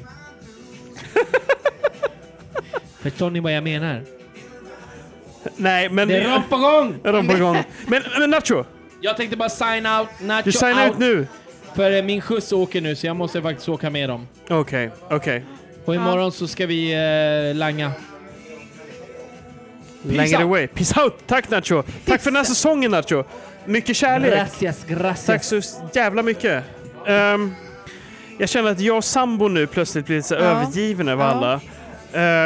[SPEAKER 6] Förstår ni vad jag menar?
[SPEAKER 1] Nej, men...
[SPEAKER 6] Det är rom på gång!
[SPEAKER 1] Rom på gång. Men, men Nacho!
[SPEAKER 11] Jag tänkte bara sign out. Nacho
[SPEAKER 1] Du signar ut nu.
[SPEAKER 11] För eh, min skjuts åker nu så jag måste faktiskt åka med dem.
[SPEAKER 1] Okej, okej.
[SPEAKER 11] Och imorgon så ska vi eh, langa. Peace
[SPEAKER 1] Längre
[SPEAKER 11] out.
[SPEAKER 1] away. Peace out! Tack Nacho! Tack för den här säsongen Nacho! Mycket kärlek!
[SPEAKER 6] Gracias, gracias.
[SPEAKER 1] Tack så jävla mycket! Ehm, jag känner att jag och sambo nu plötsligt blir lite så
[SPEAKER 5] Ja.
[SPEAKER 1] övergiven av
[SPEAKER 5] Ja.
[SPEAKER 1] alla.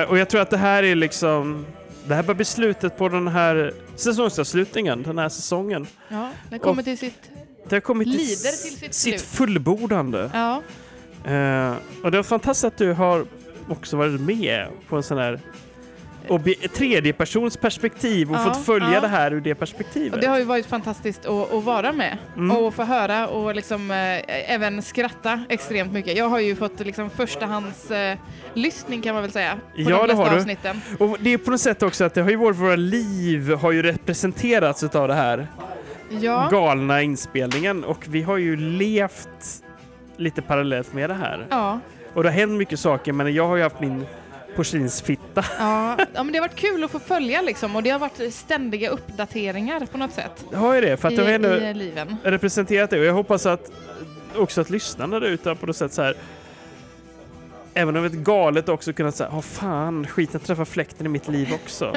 [SPEAKER 1] Eh, och jag tror att det här är liksom... Det här var beslutet på den här säsongsavslutningen, den här säsongen.
[SPEAKER 15] Ja, den kommer
[SPEAKER 1] Och
[SPEAKER 15] till sitt...
[SPEAKER 1] Det har kommit till,
[SPEAKER 15] Lider
[SPEAKER 1] s-
[SPEAKER 15] till sitt slut.
[SPEAKER 1] fullbordande.
[SPEAKER 15] Ja.
[SPEAKER 1] Eh, och det var fantastiskt att du har också varit med på en sån här obje- tredjepersons perspektiv och
[SPEAKER 15] Ja,
[SPEAKER 1] fått följa
[SPEAKER 15] ja.
[SPEAKER 1] det här ur det perspektivet.
[SPEAKER 15] Och det har ju varit fantastiskt att, att vara med
[SPEAKER 1] Mm.
[SPEAKER 15] och få höra och liksom, eh, även skratta extremt mycket. Jag har ju fått liksom, förstahands, eh, lyssning kan man väl säga på de
[SPEAKER 1] Ja, det
[SPEAKER 15] flesta
[SPEAKER 1] har du.
[SPEAKER 15] avsnitten.
[SPEAKER 1] Och det är på något sätt också att det har ju varit våra liv har ju representerats av det här
[SPEAKER 15] Ja.
[SPEAKER 1] galna inspelningen och vi har ju levt lite parallellt med det här.
[SPEAKER 15] Ja.
[SPEAKER 1] Och det har hänt mycket saker men jag har ju haft min porslinsfitta.
[SPEAKER 15] Ja, ja, men det har varit kul att få följa liksom, och det har varit ständiga uppdateringar på något sätt.
[SPEAKER 1] Jag har ju det för att
[SPEAKER 15] I,
[SPEAKER 1] jag har
[SPEAKER 15] I eh,
[SPEAKER 1] ändå
[SPEAKER 15] liven.
[SPEAKER 1] representerat det och jag hoppas att också att lyssnarna där ute har på något sätt så här Även om det är ett galet också kunnat säga, åh fan, skiten träffar fläkten i mitt liv också.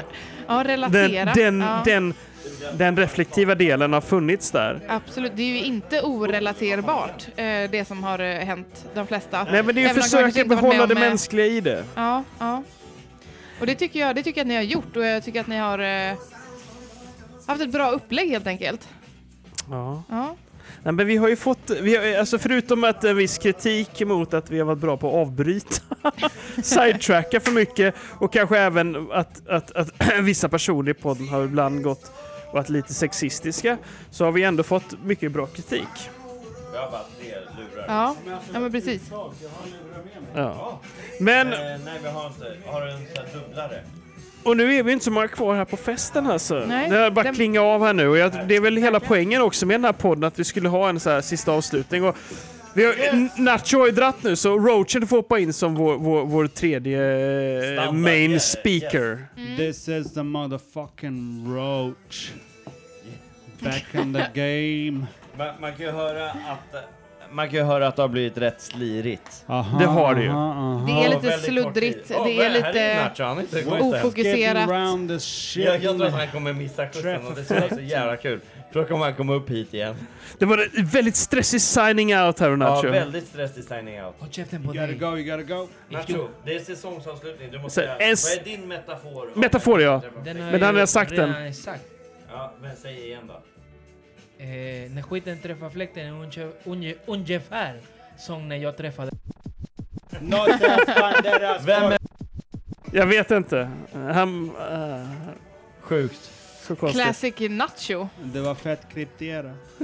[SPEAKER 15] Ja,
[SPEAKER 1] den,
[SPEAKER 15] relatera.
[SPEAKER 1] den,
[SPEAKER 15] ja.
[SPEAKER 1] den, den reflektiva delen har funnits där.
[SPEAKER 15] Absolut, det är ju inte orelaterbart eh, det som har eh, hänt de flesta.
[SPEAKER 1] Nej men det är ju
[SPEAKER 15] Även om de
[SPEAKER 1] försök
[SPEAKER 15] kanske
[SPEAKER 1] att
[SPEAKER 15] inte varit med
[SPEAKER 1] behålla det
[SPEAKER 15] om, eh,
[SPEAKER 1] mänskliga i det.
[SPEAKER 15] Ja, ja. Och det tycker, jag, det tycker jag att ni har gjort och jag tycker att ni har eh, haft ett bra upplägg helt enkelt.
[SPEAKER 1] Ja.
[SPEAKER 15] Ja.
[SPEAKER 1] Nej, men vi har ju fått, vi har, alltså förutom att en viss kritik mot att vi har varit bra på att avbryta, sidetracka för mycket och kanske även att, att, att vissa personer i podden har ibland gått och varit lite sexistiska, så har vi ändå fått mycket bra kritik.
[SPEAKER 4] Jag bara tre lurar.
[SPEAKER 15] Ja, ja men precis.
[SPEAKER 1] Ja. Men,
[SPEAKER 4] Eh, nej, vi har inte. Har du en sån här dubblare?
[SPEAKER 1] och nu är vi inte så många kvar här på festen alltså.
[SPEAKER 4] Nej,
[SPEAKER 1] det har bara
[SPEAKER 4] den-
[SPEAKER 1] klingat av här nu och jag, det är väl hela poängen också med den här podden att vi skulle ha en så här sista avslutning. Och vi har, Nacho har ju dratt nu så Roachen får hoppa in som vår, vår, vår tredje eh, main speaker.
[SPEAKER 9] This is the motherfucking roach. Back in the game.
[SPEAKER 4] Man, man kan ju höra att... eh, Man kan ju höra att det har blivit rätt slirigt.
[SPEAKER 9] Det har
[SPEAKER 4] det
[SPEAKER 9] det ju. aha, aha.
[SPEAKER 15] Det är
[SPEAKER 4] Och
[SPEAKER 15] lite
[SPEAKER 4] väldigt kort tid.
[SPEAKER 15] sluddrigt,
[SPEAKER 4] Åh,
[SPEAKER 15] det
[SPEAKER 4] men
[SPEAKER 15] är
[SPEAKER 4] här ju Nacho, han är inte
[SPEAKER 15] lite
[SPEAKER 4] igång sen.
[SPEAKER 15] ofokuserat.
[SPEAKER 4] Jag, jag tror att han kommer missa skjutsen och det ska bli så jävla kul. För då kommer han komma upp hit igen.
[SPEAKER 1] Det var en väldigt stressig signing out här
[SPEAKER 4] Ja,
[SPEAKER 1] Nacho.
[SPEAKER 4] väldigt stressig signing out. Håll
[SPEAKER 6] käften
[SPEAKER 4] på dig.
[SPEAKER 9] go, you gotta go.
[SPEAKER 4] Nacho, det är säsongsavslutning. Du
[SPEAKER 1] Så,
[SPEAKER 4] måste göra... Vad
[SPEAKER 1] ens-
[SPEAKER 4] är din metafor?
[SPEAKER 1] Metafor ja.
[SPEAKER 6] Den har
[SPEAKER 1] Men han
[SPEAKER 6] ju
[SPEAKER 1] har sagt den.
[SPEAKER 6] redan sagt.
[SPEAKER 4] Ja, men säg igen då.
[SPEAKER 6] Eh, när skiten träffar fläkten är unge- unge- ungefär som när jag träffade...
[SPEAKER 4] Vem är...
[SPEAKER 1] Jag vet inte. Han... eh,
[SPEAKER 7] Sjukt.
[SPEAKER 1] Så konstigt.
[SPEAKER 15] Classic nacho.
[SPEAKER 9] Det var fett kryptera.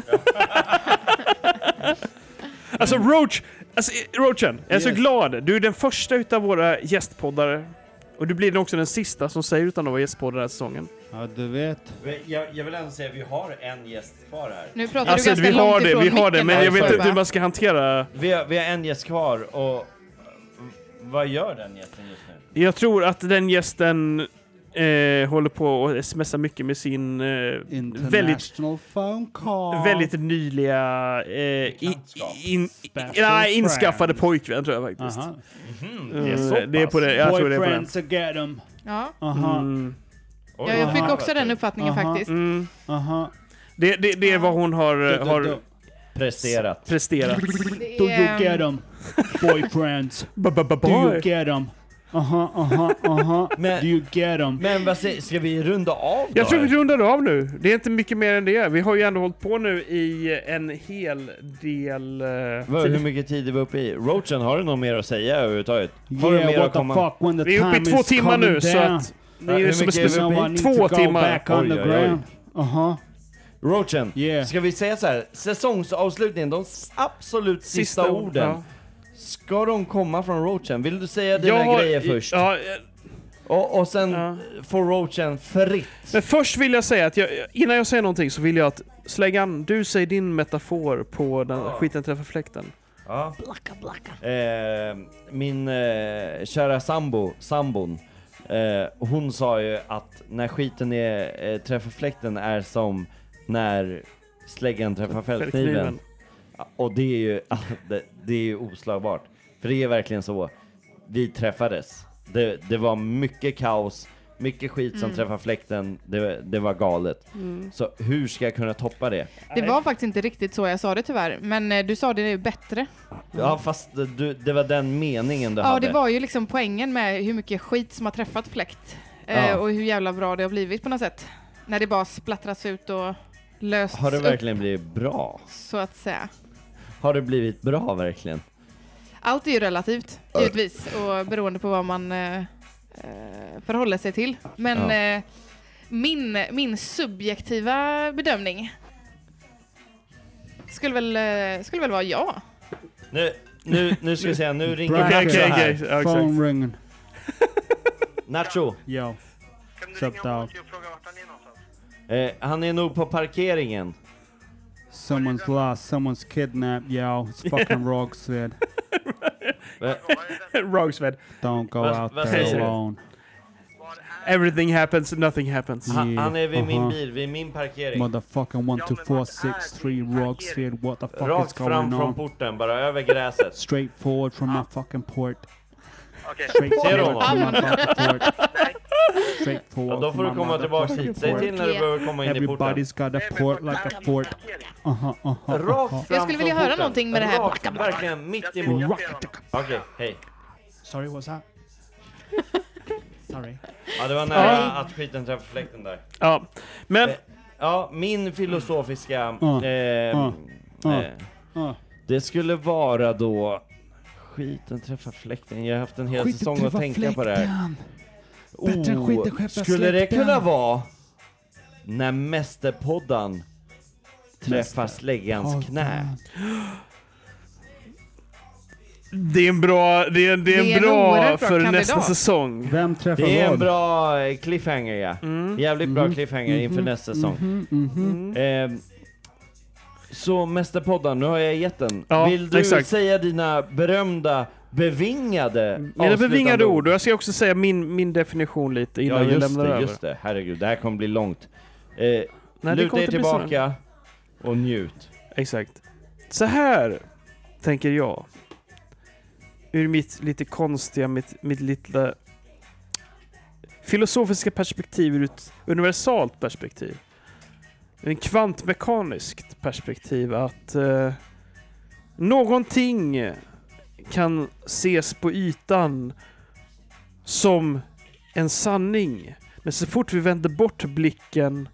[SPEAKER 1] Alltså Roach, alltså, eh, Roachen, jag är så
[SPEAKER 9] Yes.
[SPEAKER 1] glad. Du är den första utav våra gästpoddare. Och du blir nog också den sista som säger utan att vara gästpoddare den här säsongen.
[SPEAKER 9] Ja, du vet.
[SPEAKER 4] Jag, jag vill ändå säga att vi har en gäst kvar här.
[SPEAKER 15] Nu pratar
[SPEAKER 1] Alltså vi har det, vi har det, men
[SPEAKER 15] alltså.
[SPEAKER 1] jag vet inte hur man ska hantera...
[SPEAKER 4] Vi har, vi har en gäst kvar och v- vad gör den gästen just nu?
[SPEAKER 1] Jag tror att den gästen eh, håller på och smsar mycket med sin eh, väldigt,
[SPEAKER 9] International phone call.
[SPEAKER 1] väldigt nyliga... Eh, i, in,
[SPEAKER 9] Special
[SPEAKER 1] nej, inskaffade
[SPEAKER 9] friend.
[SPEAKER 1] pojkvän tror jag faktiskt.
[SPEAKER 9] Aha.
[SPEAKER 1] Eh, det är på det, jag tror det är på den.
[SPEAKER 9] Boyfriends to get 'em.
[SPEAKER 15] Ja.
[SPEAKER 9] Aha.
[SPEAKER 1] Mm.
[SPEAKER 15] Ja, jag fick också den uppfattningen
[SPEAKER 9] Aha.
[SPEAKER 15] faktiskt.
[SPEAKER 1] Mm.
[SPEAKER 9] Aha.
[SPEAKER 1] Det, det, det är vad hon
[SPEAKER 9] Du,
[SPEAKER 1] har,
[SPEAKER 9] du,
[SPEAKER 1] har
[SPEAKER 9] du.
[SPEAKER 4] Presterat.
[SPEAKER 1] presterat.
[SPEAKER 9] Do you get 'em? Boyfriends. Do you get 'em? Aha, aha, aha. Do you get 'em?
[SPEAKER 4] Men vad säger, ska vi runda av då?
[SPEAKER 1] Jag tror vi rundar av nu. Det är inte mycket mer än det. Vi har ju ändå hållit på nu i en hel del... eh,
[SPEAKER 4] Vad-
[SPEAKER 1] tid.
[SPEAKER 4] hur mycket tid är vi uppe i? Roachen, har du något mer att säga överhuvudtaget? Har
[SPEAKER 9] Yeah,
[SPEAKER 4] du mer
[SPEAKER 9] what
[SPEAKER 4] att
[SPEAKER 9] the
[SPEAKER 4] komma?
[SPEAKER 9] fuck, when the
[SPEAKER 1] Vi är uppe i
[SPEAKER 9] time
[SPEAKER 1] två
[SPEAKER 9] is
[SPEAKER 1] timmar
[SPEAKER 9] coming
[SPEAKER 1] nu, så
[SPEAKER 9] down.
[SPEAKER 1] att det är
[SPEAKER 4] Ja,
[SPEAKER 1] ju
[SPEAKER 4] hur
[SPEAKER 1] som en
[SPEAKER 4] mycket är vi
[SPEAKER 1] speciell...
[SPEAKER 4] uppe
[SPEAKER 1] Två
[SPEAKER 4] i?
[SPEAKER 1] timmar!
[SPEAKER 9] Back on the
[SPEAKER 4] Oj, oj, oj.
[SPEAKER 9] ground. Aha.
[SPEAKER 4] Roachen,
[SPEAKER 9] Yeah.
[SPEAKER 4] ska vi säga så här? Säsongsavslutningen, de s- absolut sista,
[SPEAKER 1] Sista ord,
[SPEAKER 4] orden.
[SPEAKER 1] ja.
[SPEAKER 4] Ska de komma från Roachen? Vill du säga
[SPEAKER 1] Jag
[SPEAKER 4] dina
[SPEAKER 1] har-
[SPEAKER 4] grejer först?
[SPEAKER 1] Ja, eh,
[SPEAKER 4] Och, och sen
[SPEAKER 1] Ja.
[SPEAKER 4] får Roachen fritt.
[SPEAKER 1] men först vill jag säga att jag, innan jag säger någonting så vill jag att Släggan, du säger din metafor på den skiten träffar fläkten.
[SPEAKER 4] Ja. Eh, min eh, kära sambo, sambon, eh, hon sa ju att när skiten är, eh, träffar fläkten är som när släggan träffar fältkniven.
[SPEAKER 1] Fällkniven.
[SPEAKER 4] Ja, Och det är ju, alltså, det, det är ju oslagbart. För det är verkligen så. Vi träffades. Det, det var mycket kaos, mycket skit som
[SPEAKER 15] Mm.
[SPEAKER 4] träffar fläkten. Det, det var galet.
[SPEAKER 15] Mm.
[SPEAKER 4] Så hur ska jag kunna toppa det?
[SPEAKER 15] Det var faktiskt inte riktigt så jag sa det tyvärr, men eh, du sa det ju bättre.
[SPEAKER 4] Ja fast du, det var den meningen du
[SPEAKER 15] Ja,
[SPEAKER 4] hade.
[SPEAKER 15] det var ju liksom poängen med hur mycket skit som har träffat fläkt eh,
[SPEAKER 4] Ja.
[SPEAKER 15] och hur jävla bra det har blivit på något sätt. När det bara splattras ut och lösts
[SPEAKER 4] Har det
[SPEAKER 15] upp,
[SPEAKER 4] verkligen blivit bra?
[SPEAKER 15] så att säga.
[SPEAKER 4] Har det blivit bra verkligen?
[SPEAKER 15] Allt är ju relativt, givetvis, och beroende på vad man eh, eh, förhåller sig till. Men
[SPEAKER 4] Ja.
[SPEAKER 15] eh, min, min subjektiva bedömning skulle väl, eh, skulle väl vara ja.
[SPEAKER 4] Nu, nu, nu ska vi se, nu ringer
[SPEAKER 9] Bracket.
[SPEAKER 4] Nacho
[SPEAKER 1] Okej,
[SPEAKER 4] här.
[SPEAKER 1] okej, okej. Ja, exakt.
[SPEAKER 9] Phone ringing.
[SPEAKER 4] Nacho,
[SPEAKER 9] Yo. Sup dog?
[SPEAKER 4] eh, han är nog på parkeringen.
[SPEAKER 9] Someone's lost, someone's kidnapped, yo. It's fucking Rogsved.
[SPEAKER 1] Rogsved.
[SPEAKER 9] Don't go
[SPEAKER 4] Vad-
[SPEAKER 9] out
[SPEAKER 4] vad
[SPEAKER 9] there
[SPEAKER 4] säger du?
[SPEAKER 9] alone.
[SPEAKER 1] Everything happens, nothing happens.
[SPEAKER 4] Han, han är vid min
[SPEAKER 9] Aha.
[SPEAKER 4] bil, vid min parkering.
[SPEAKER 9] uh-huh. Motherfucking 12463 Rogsved, what the fuck is
[SPEAKER 4] Rakt fram
[SPEAKER 9] going
[SPEAKER 4] från
[SPEAKER 9] on?
[SPEAKER 4] porten, bara över gräset.
[SPEAKER 9] Straight forward from my fucking port.
[SPEAKER 16] Okej.
[SPEAKER 9] Straight
[SPEAKER 4] Ser du
[SPEAKER 9] forward from my
[SPEAKER 4] honom?
[SPEAKER 9] fucking port. Straight forward
[SPEAKER 4] Då får
[SPEAKER 9] from
[SPEAKER 4] du
[SPEAKER 9] my
[SPEAKER 4] komma tillbaks
[SPEAKER 9] motherfucking
[SPEAKER 4] hit. Säg till när du
[SPEAKER 9] port.
[SPEAKER 4] behöver komma in i porten.
[SPEAKER 9] Everybody's got a port like a port. Uh-huh, Aha, aha,
[SPEAKER 4] Rakt
[SPEAKER 9] aha.
[SPEAKER 4] fram
[SPEAKER 15] Jag skulle vilja
[SPEAKER 4] från
[SPEAKER 15] höra
[SPEAKER 4] porten.
[SPEAKER 15] någonting med det här.
[SPEAKER 4] Rakt, verkligen mitt emot. Okej, hej.
[SPEAKER 9] Sorry, what's that? Sorry.
[SPEAKER 4] Ja, det var nära
[SPEAKER 1] Ja.
[SPEAKER 4] att skiten träffade fläkten där. Eh,
[SPEAKER 1] Ja, men...
[SPEAKER 4] Ja, min filosofiska...
[SPEAKER 9] Ja,
[SPEAKER 4] ehm,
[SPEAKER 9] ja, ja,
[SPEAKER 4] eh,
[SPEAKER 9] ja.
[SPEAKER 4] Det skulle vara då... Skiten träffar fläkten. Jag har haft en hel
[SPEAKER 10] Skiten
[SPEAKER 4] säsong att
[SPEAKER 10] träffar
[SPEAKER 4] tänka på det här. Oh,
[SPEAKER 10] fläkten. Bättre än skiten träffar
[SPEAKER 4] skulle det
[SPEAKER 10] släkten.
[SPEAKER 4] kunna vara när Mästerpoddan träffar
[SPEAKER 10] Podden.
[SPEAKER 4] släggans knä?
[SPEAKER 1] Det är en bra, det är, det är
[SPEAKER 15] Det är
[SPEAKER 1] en
[SPEAKER 15] en
[SPEAKER 1] bra
[SPEAKER 15] oerhört bra
[SPEAKER 1] för nästa
[SPEAKER 15] kandidat.
[SPEAKER 1] säsong.
[SPEAKER 9] Vem träffar
[SPEAKER 4] Det är en
[SPEAKER 9] vad?
[SPEAKER 4] bra eh, cliffhanger ja.
[SPEAKER 15] Mm.
[SPEAKER 4] Jävligt bra cliffhanger inför nästa säsong.
[SPEAKER 15] Mm.
[SPEAKER 4] Ehm, så Mästerpodden, nu har jag gett den.
[SPEAKER 1] Ja,
[SPEAKER 4] Vill du
[SPEAKER 1] exakt.
[SPEAKER 4] säga dina berömda, bevingade
[SPEAKER 1] Mina
[SPEAKER 4] avslutande
[SPEAKER 1] bevingade ord, och jag ska också säga min, min definition lite innan
[SPEAKER 4] Ja
[SPEAKER 1] vi
[SPEAKER 4] just
[SPEAKER 1] lämnar
[SPEAKER 4] det,
[SPEAKER 1] över.
[SPEAKER 4] just det. Herregud, det här kommer bli långt. Eh,
[SPEAKER 1] kommer
[SPEAKER 4] luta er
[SPEAKER 1] inte bli så här.
[SPEAKER 4] tillbaka och njut.
[SPEAKER 1] Exakt. Så här tänker jag. Ur mitt lite konstiga, mitt, mitt lilla filosofiska perspektiv, ur ett universalt perspektiv. Ur En kvantmekaniskt perspektiv att eh, någonting kan ses på ytan som en sanning. Men så fort vi vänder bort blicken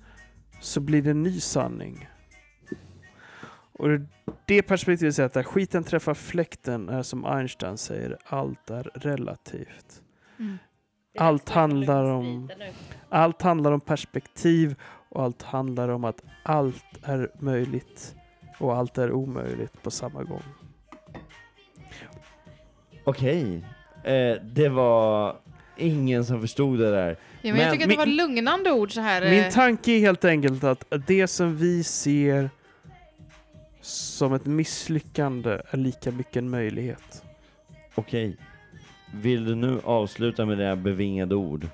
[SPEAKER 1] så blir det en ny sanning. Och ur det perspektivet säger jag att där skiten träffar fläkten är som Einstein säger, allt är relativt.
[SPEAKER 15] Mm.
[SPEAKER 1] Allt handlar om allt handlar om perspektiv och allt handlar om att allt är möjligt och allt är omöjligt på samma gång.
[SPEAKER 4] Okej. Eh, det var ingen som förstod det där.
[SPEAKER 15] Ja, men jag tycker att det var lugnande ord så här. eh,
[SPEAKER 1] Min tanke är helt enkelt att det som vi ser som ett misslyckande är lika mycket en möjlighet.
[SPEAKER 4] Okej. Vill du nu avsluta med dina bevingade ord?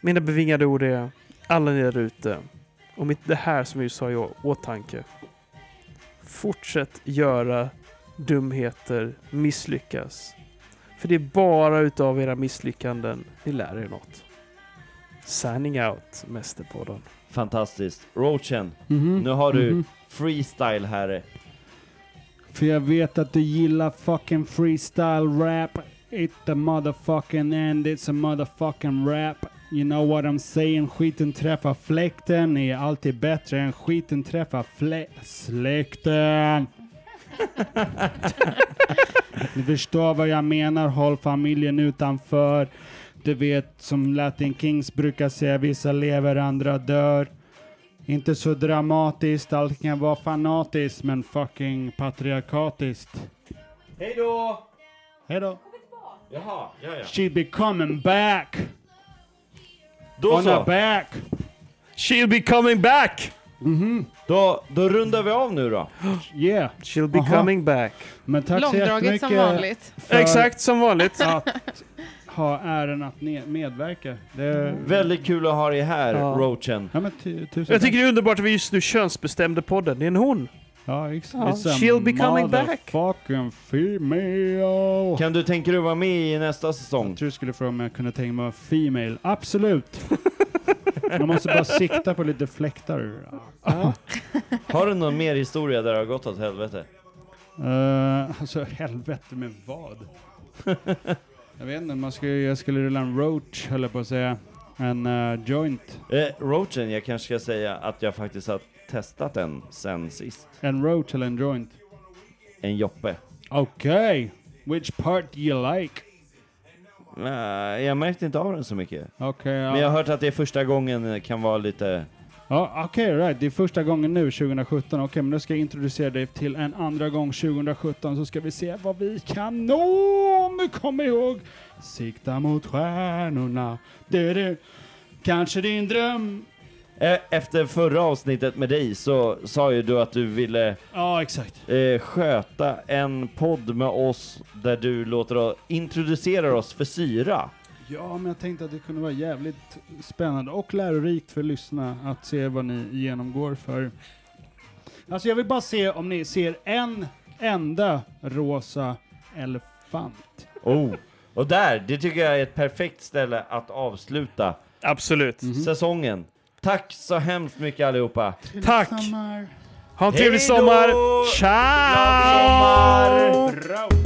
[SPEAKER 1] Mina bevingade ord är alla ni där ute. Om inte det här som vi sa i å- åtanke. Fortsätt göra dumheter, misslyckas. För det är bara utav era misslyckanden ni lär er något. Signing out, Mästerpodden.
[SPEAKER 4] Fantastiskt. Roachen,
[SPEAKER 1] Mhm.
[SPEAKER 4] nu har du
[SPEAKER 1] Mhm.
[SPEAKER 4] freestyle här.
[SPEAKER 9] För jag vet att du gillar fucking freestyle rap. It the motherfucking end, it's a motherfucking rap. You know what I'm saying? Skiten träffar fläkten är alltid bättre än skiten träffar flä- släkten. Ni förstår vad jag menar, håll familjen utanför. Du vet som Latin Kings brukar säga, vissa lever, andra dör. Inte så dramatiskt, allt kan vara fanatiskt men fucking patriarkatiskt.
[SPEAKER 4] Hej då!
[SPEAKER 9] Hej då.
[SPEAKER 4] Jaha, ja, ja.
[SPEAKER 9] She'll be coming back!
[SPEAKER 4] Då
[SPEAKER 9] On
[SPEAKER 4] så.
[SPEAKER 9] her back! Mm-hmm.
[SPEAKER 4] She'll be coming back! Då, då rundar vi av nu då.
[SPEAKER 9] Yeah.
[SPEAKER 1] She'll be
[SPEAKER 9] Aha.
[SPEAKER 1] coming back.
[SPEAKER 9] Men tack så
[SPEAKER 15] Långdraget som
[SPEAKER 9] jättemycket
[SPEAKER 15] vanligt.
[SPEAKER 9] för
[SPEAKER 1] Exakt som vanligt.
[SPEAKER 9] att ha äran att ne- medverka. Det är
[SPEAKER 4] Väldigt kul att ha dig här,
[SPEAKER 1] Ja.
[SPEAKER 4] Roachen.
[SPEAKER 9] Ja, men tu- tusen
[SPEAKER 1] Jag tycker det är underbart att vi just nu könsbestämde podden. Det är en hon.
[SPEAKER 9] Ja, exakt.
[SPEAKER 4] It's a
[SPEAKER 1] She'll be coming back.
[SPEAKER 9] Motherfucking female!
[SPEAKER 4] Kan du tänka dig att vara med i nästa säsong? Jag
[SPEAKER 9] tror du skulle fråga om jag kunde tänka mig att vara female. Absolut! Man måste bara sikta på lite fläktar.
[SPEAKER 4] Har du någon mer historia där det har gått åt helvete?
[SPEAKER 9] Uh, alltså helvete med vad? jag vet inte, man skulle, jag skulle rulla en roach höll jag på att säga. En eh, joint.
[SPEAKER 4] Eh, Roachen, jag kanske ska säga att jag faktiskt har testat den sen sist.
[SPEAKER 9] En roach eller en joint.
[SPEAKER 4] En joppe.
[SPEAKER 9] Okej! Which part do you like?
[SPEAKER 4] Nej, jag märkte inte av den så mycket.
[SPEAKER 9] Okej, ja.
[SPEAKER 4] Men jag har hört att det är första gången eh, kan vara lite...
[SPEAKER 9] Ja, okej, right. Det är första gången nu 2017. Okej, men nu ska jag introducera dig till en andra gång 2017 så ska vi se vad vi kan nå. Om du kommer ihåg. Sikta mot stjärnorna. Det du. Kanske din dröm.
[SPEAKER 4] E- Efter förra avsnittet med dig så sa ju du att du ville
[SPEAKER 9] Ja, exakt.
[SPEAKER 4] eh, sköta en podd med oss där du låter oss introducera oss för syra.
[SPEAKER 9] Ja, men jag tänkte att det kunde vara jävligt spännande och lärorikt för lyssnarna att se vad ni genomgår för. Alltså jag vill bara se om ni ser en enda rosa elefant.
[SPEAKER 4] Oh. Och där, det tycker jag är ett perfekt ställe att avsluta
[SPEAKER 1] Absolut.
[SPEAKER 4] säsongen. Tack så hemskt mycket allihopa.
[SPEAKER 1] Tack!
[SPEAKER 9] Sommar.
[SPEAKER 1] Ha en trevlig
[SPEAKER 4] Hej då!
[SPEAKER 1] sommar! Ciao!
[SPEAKER 4] Glad sommar!
[SPEAKER 9] Bravo!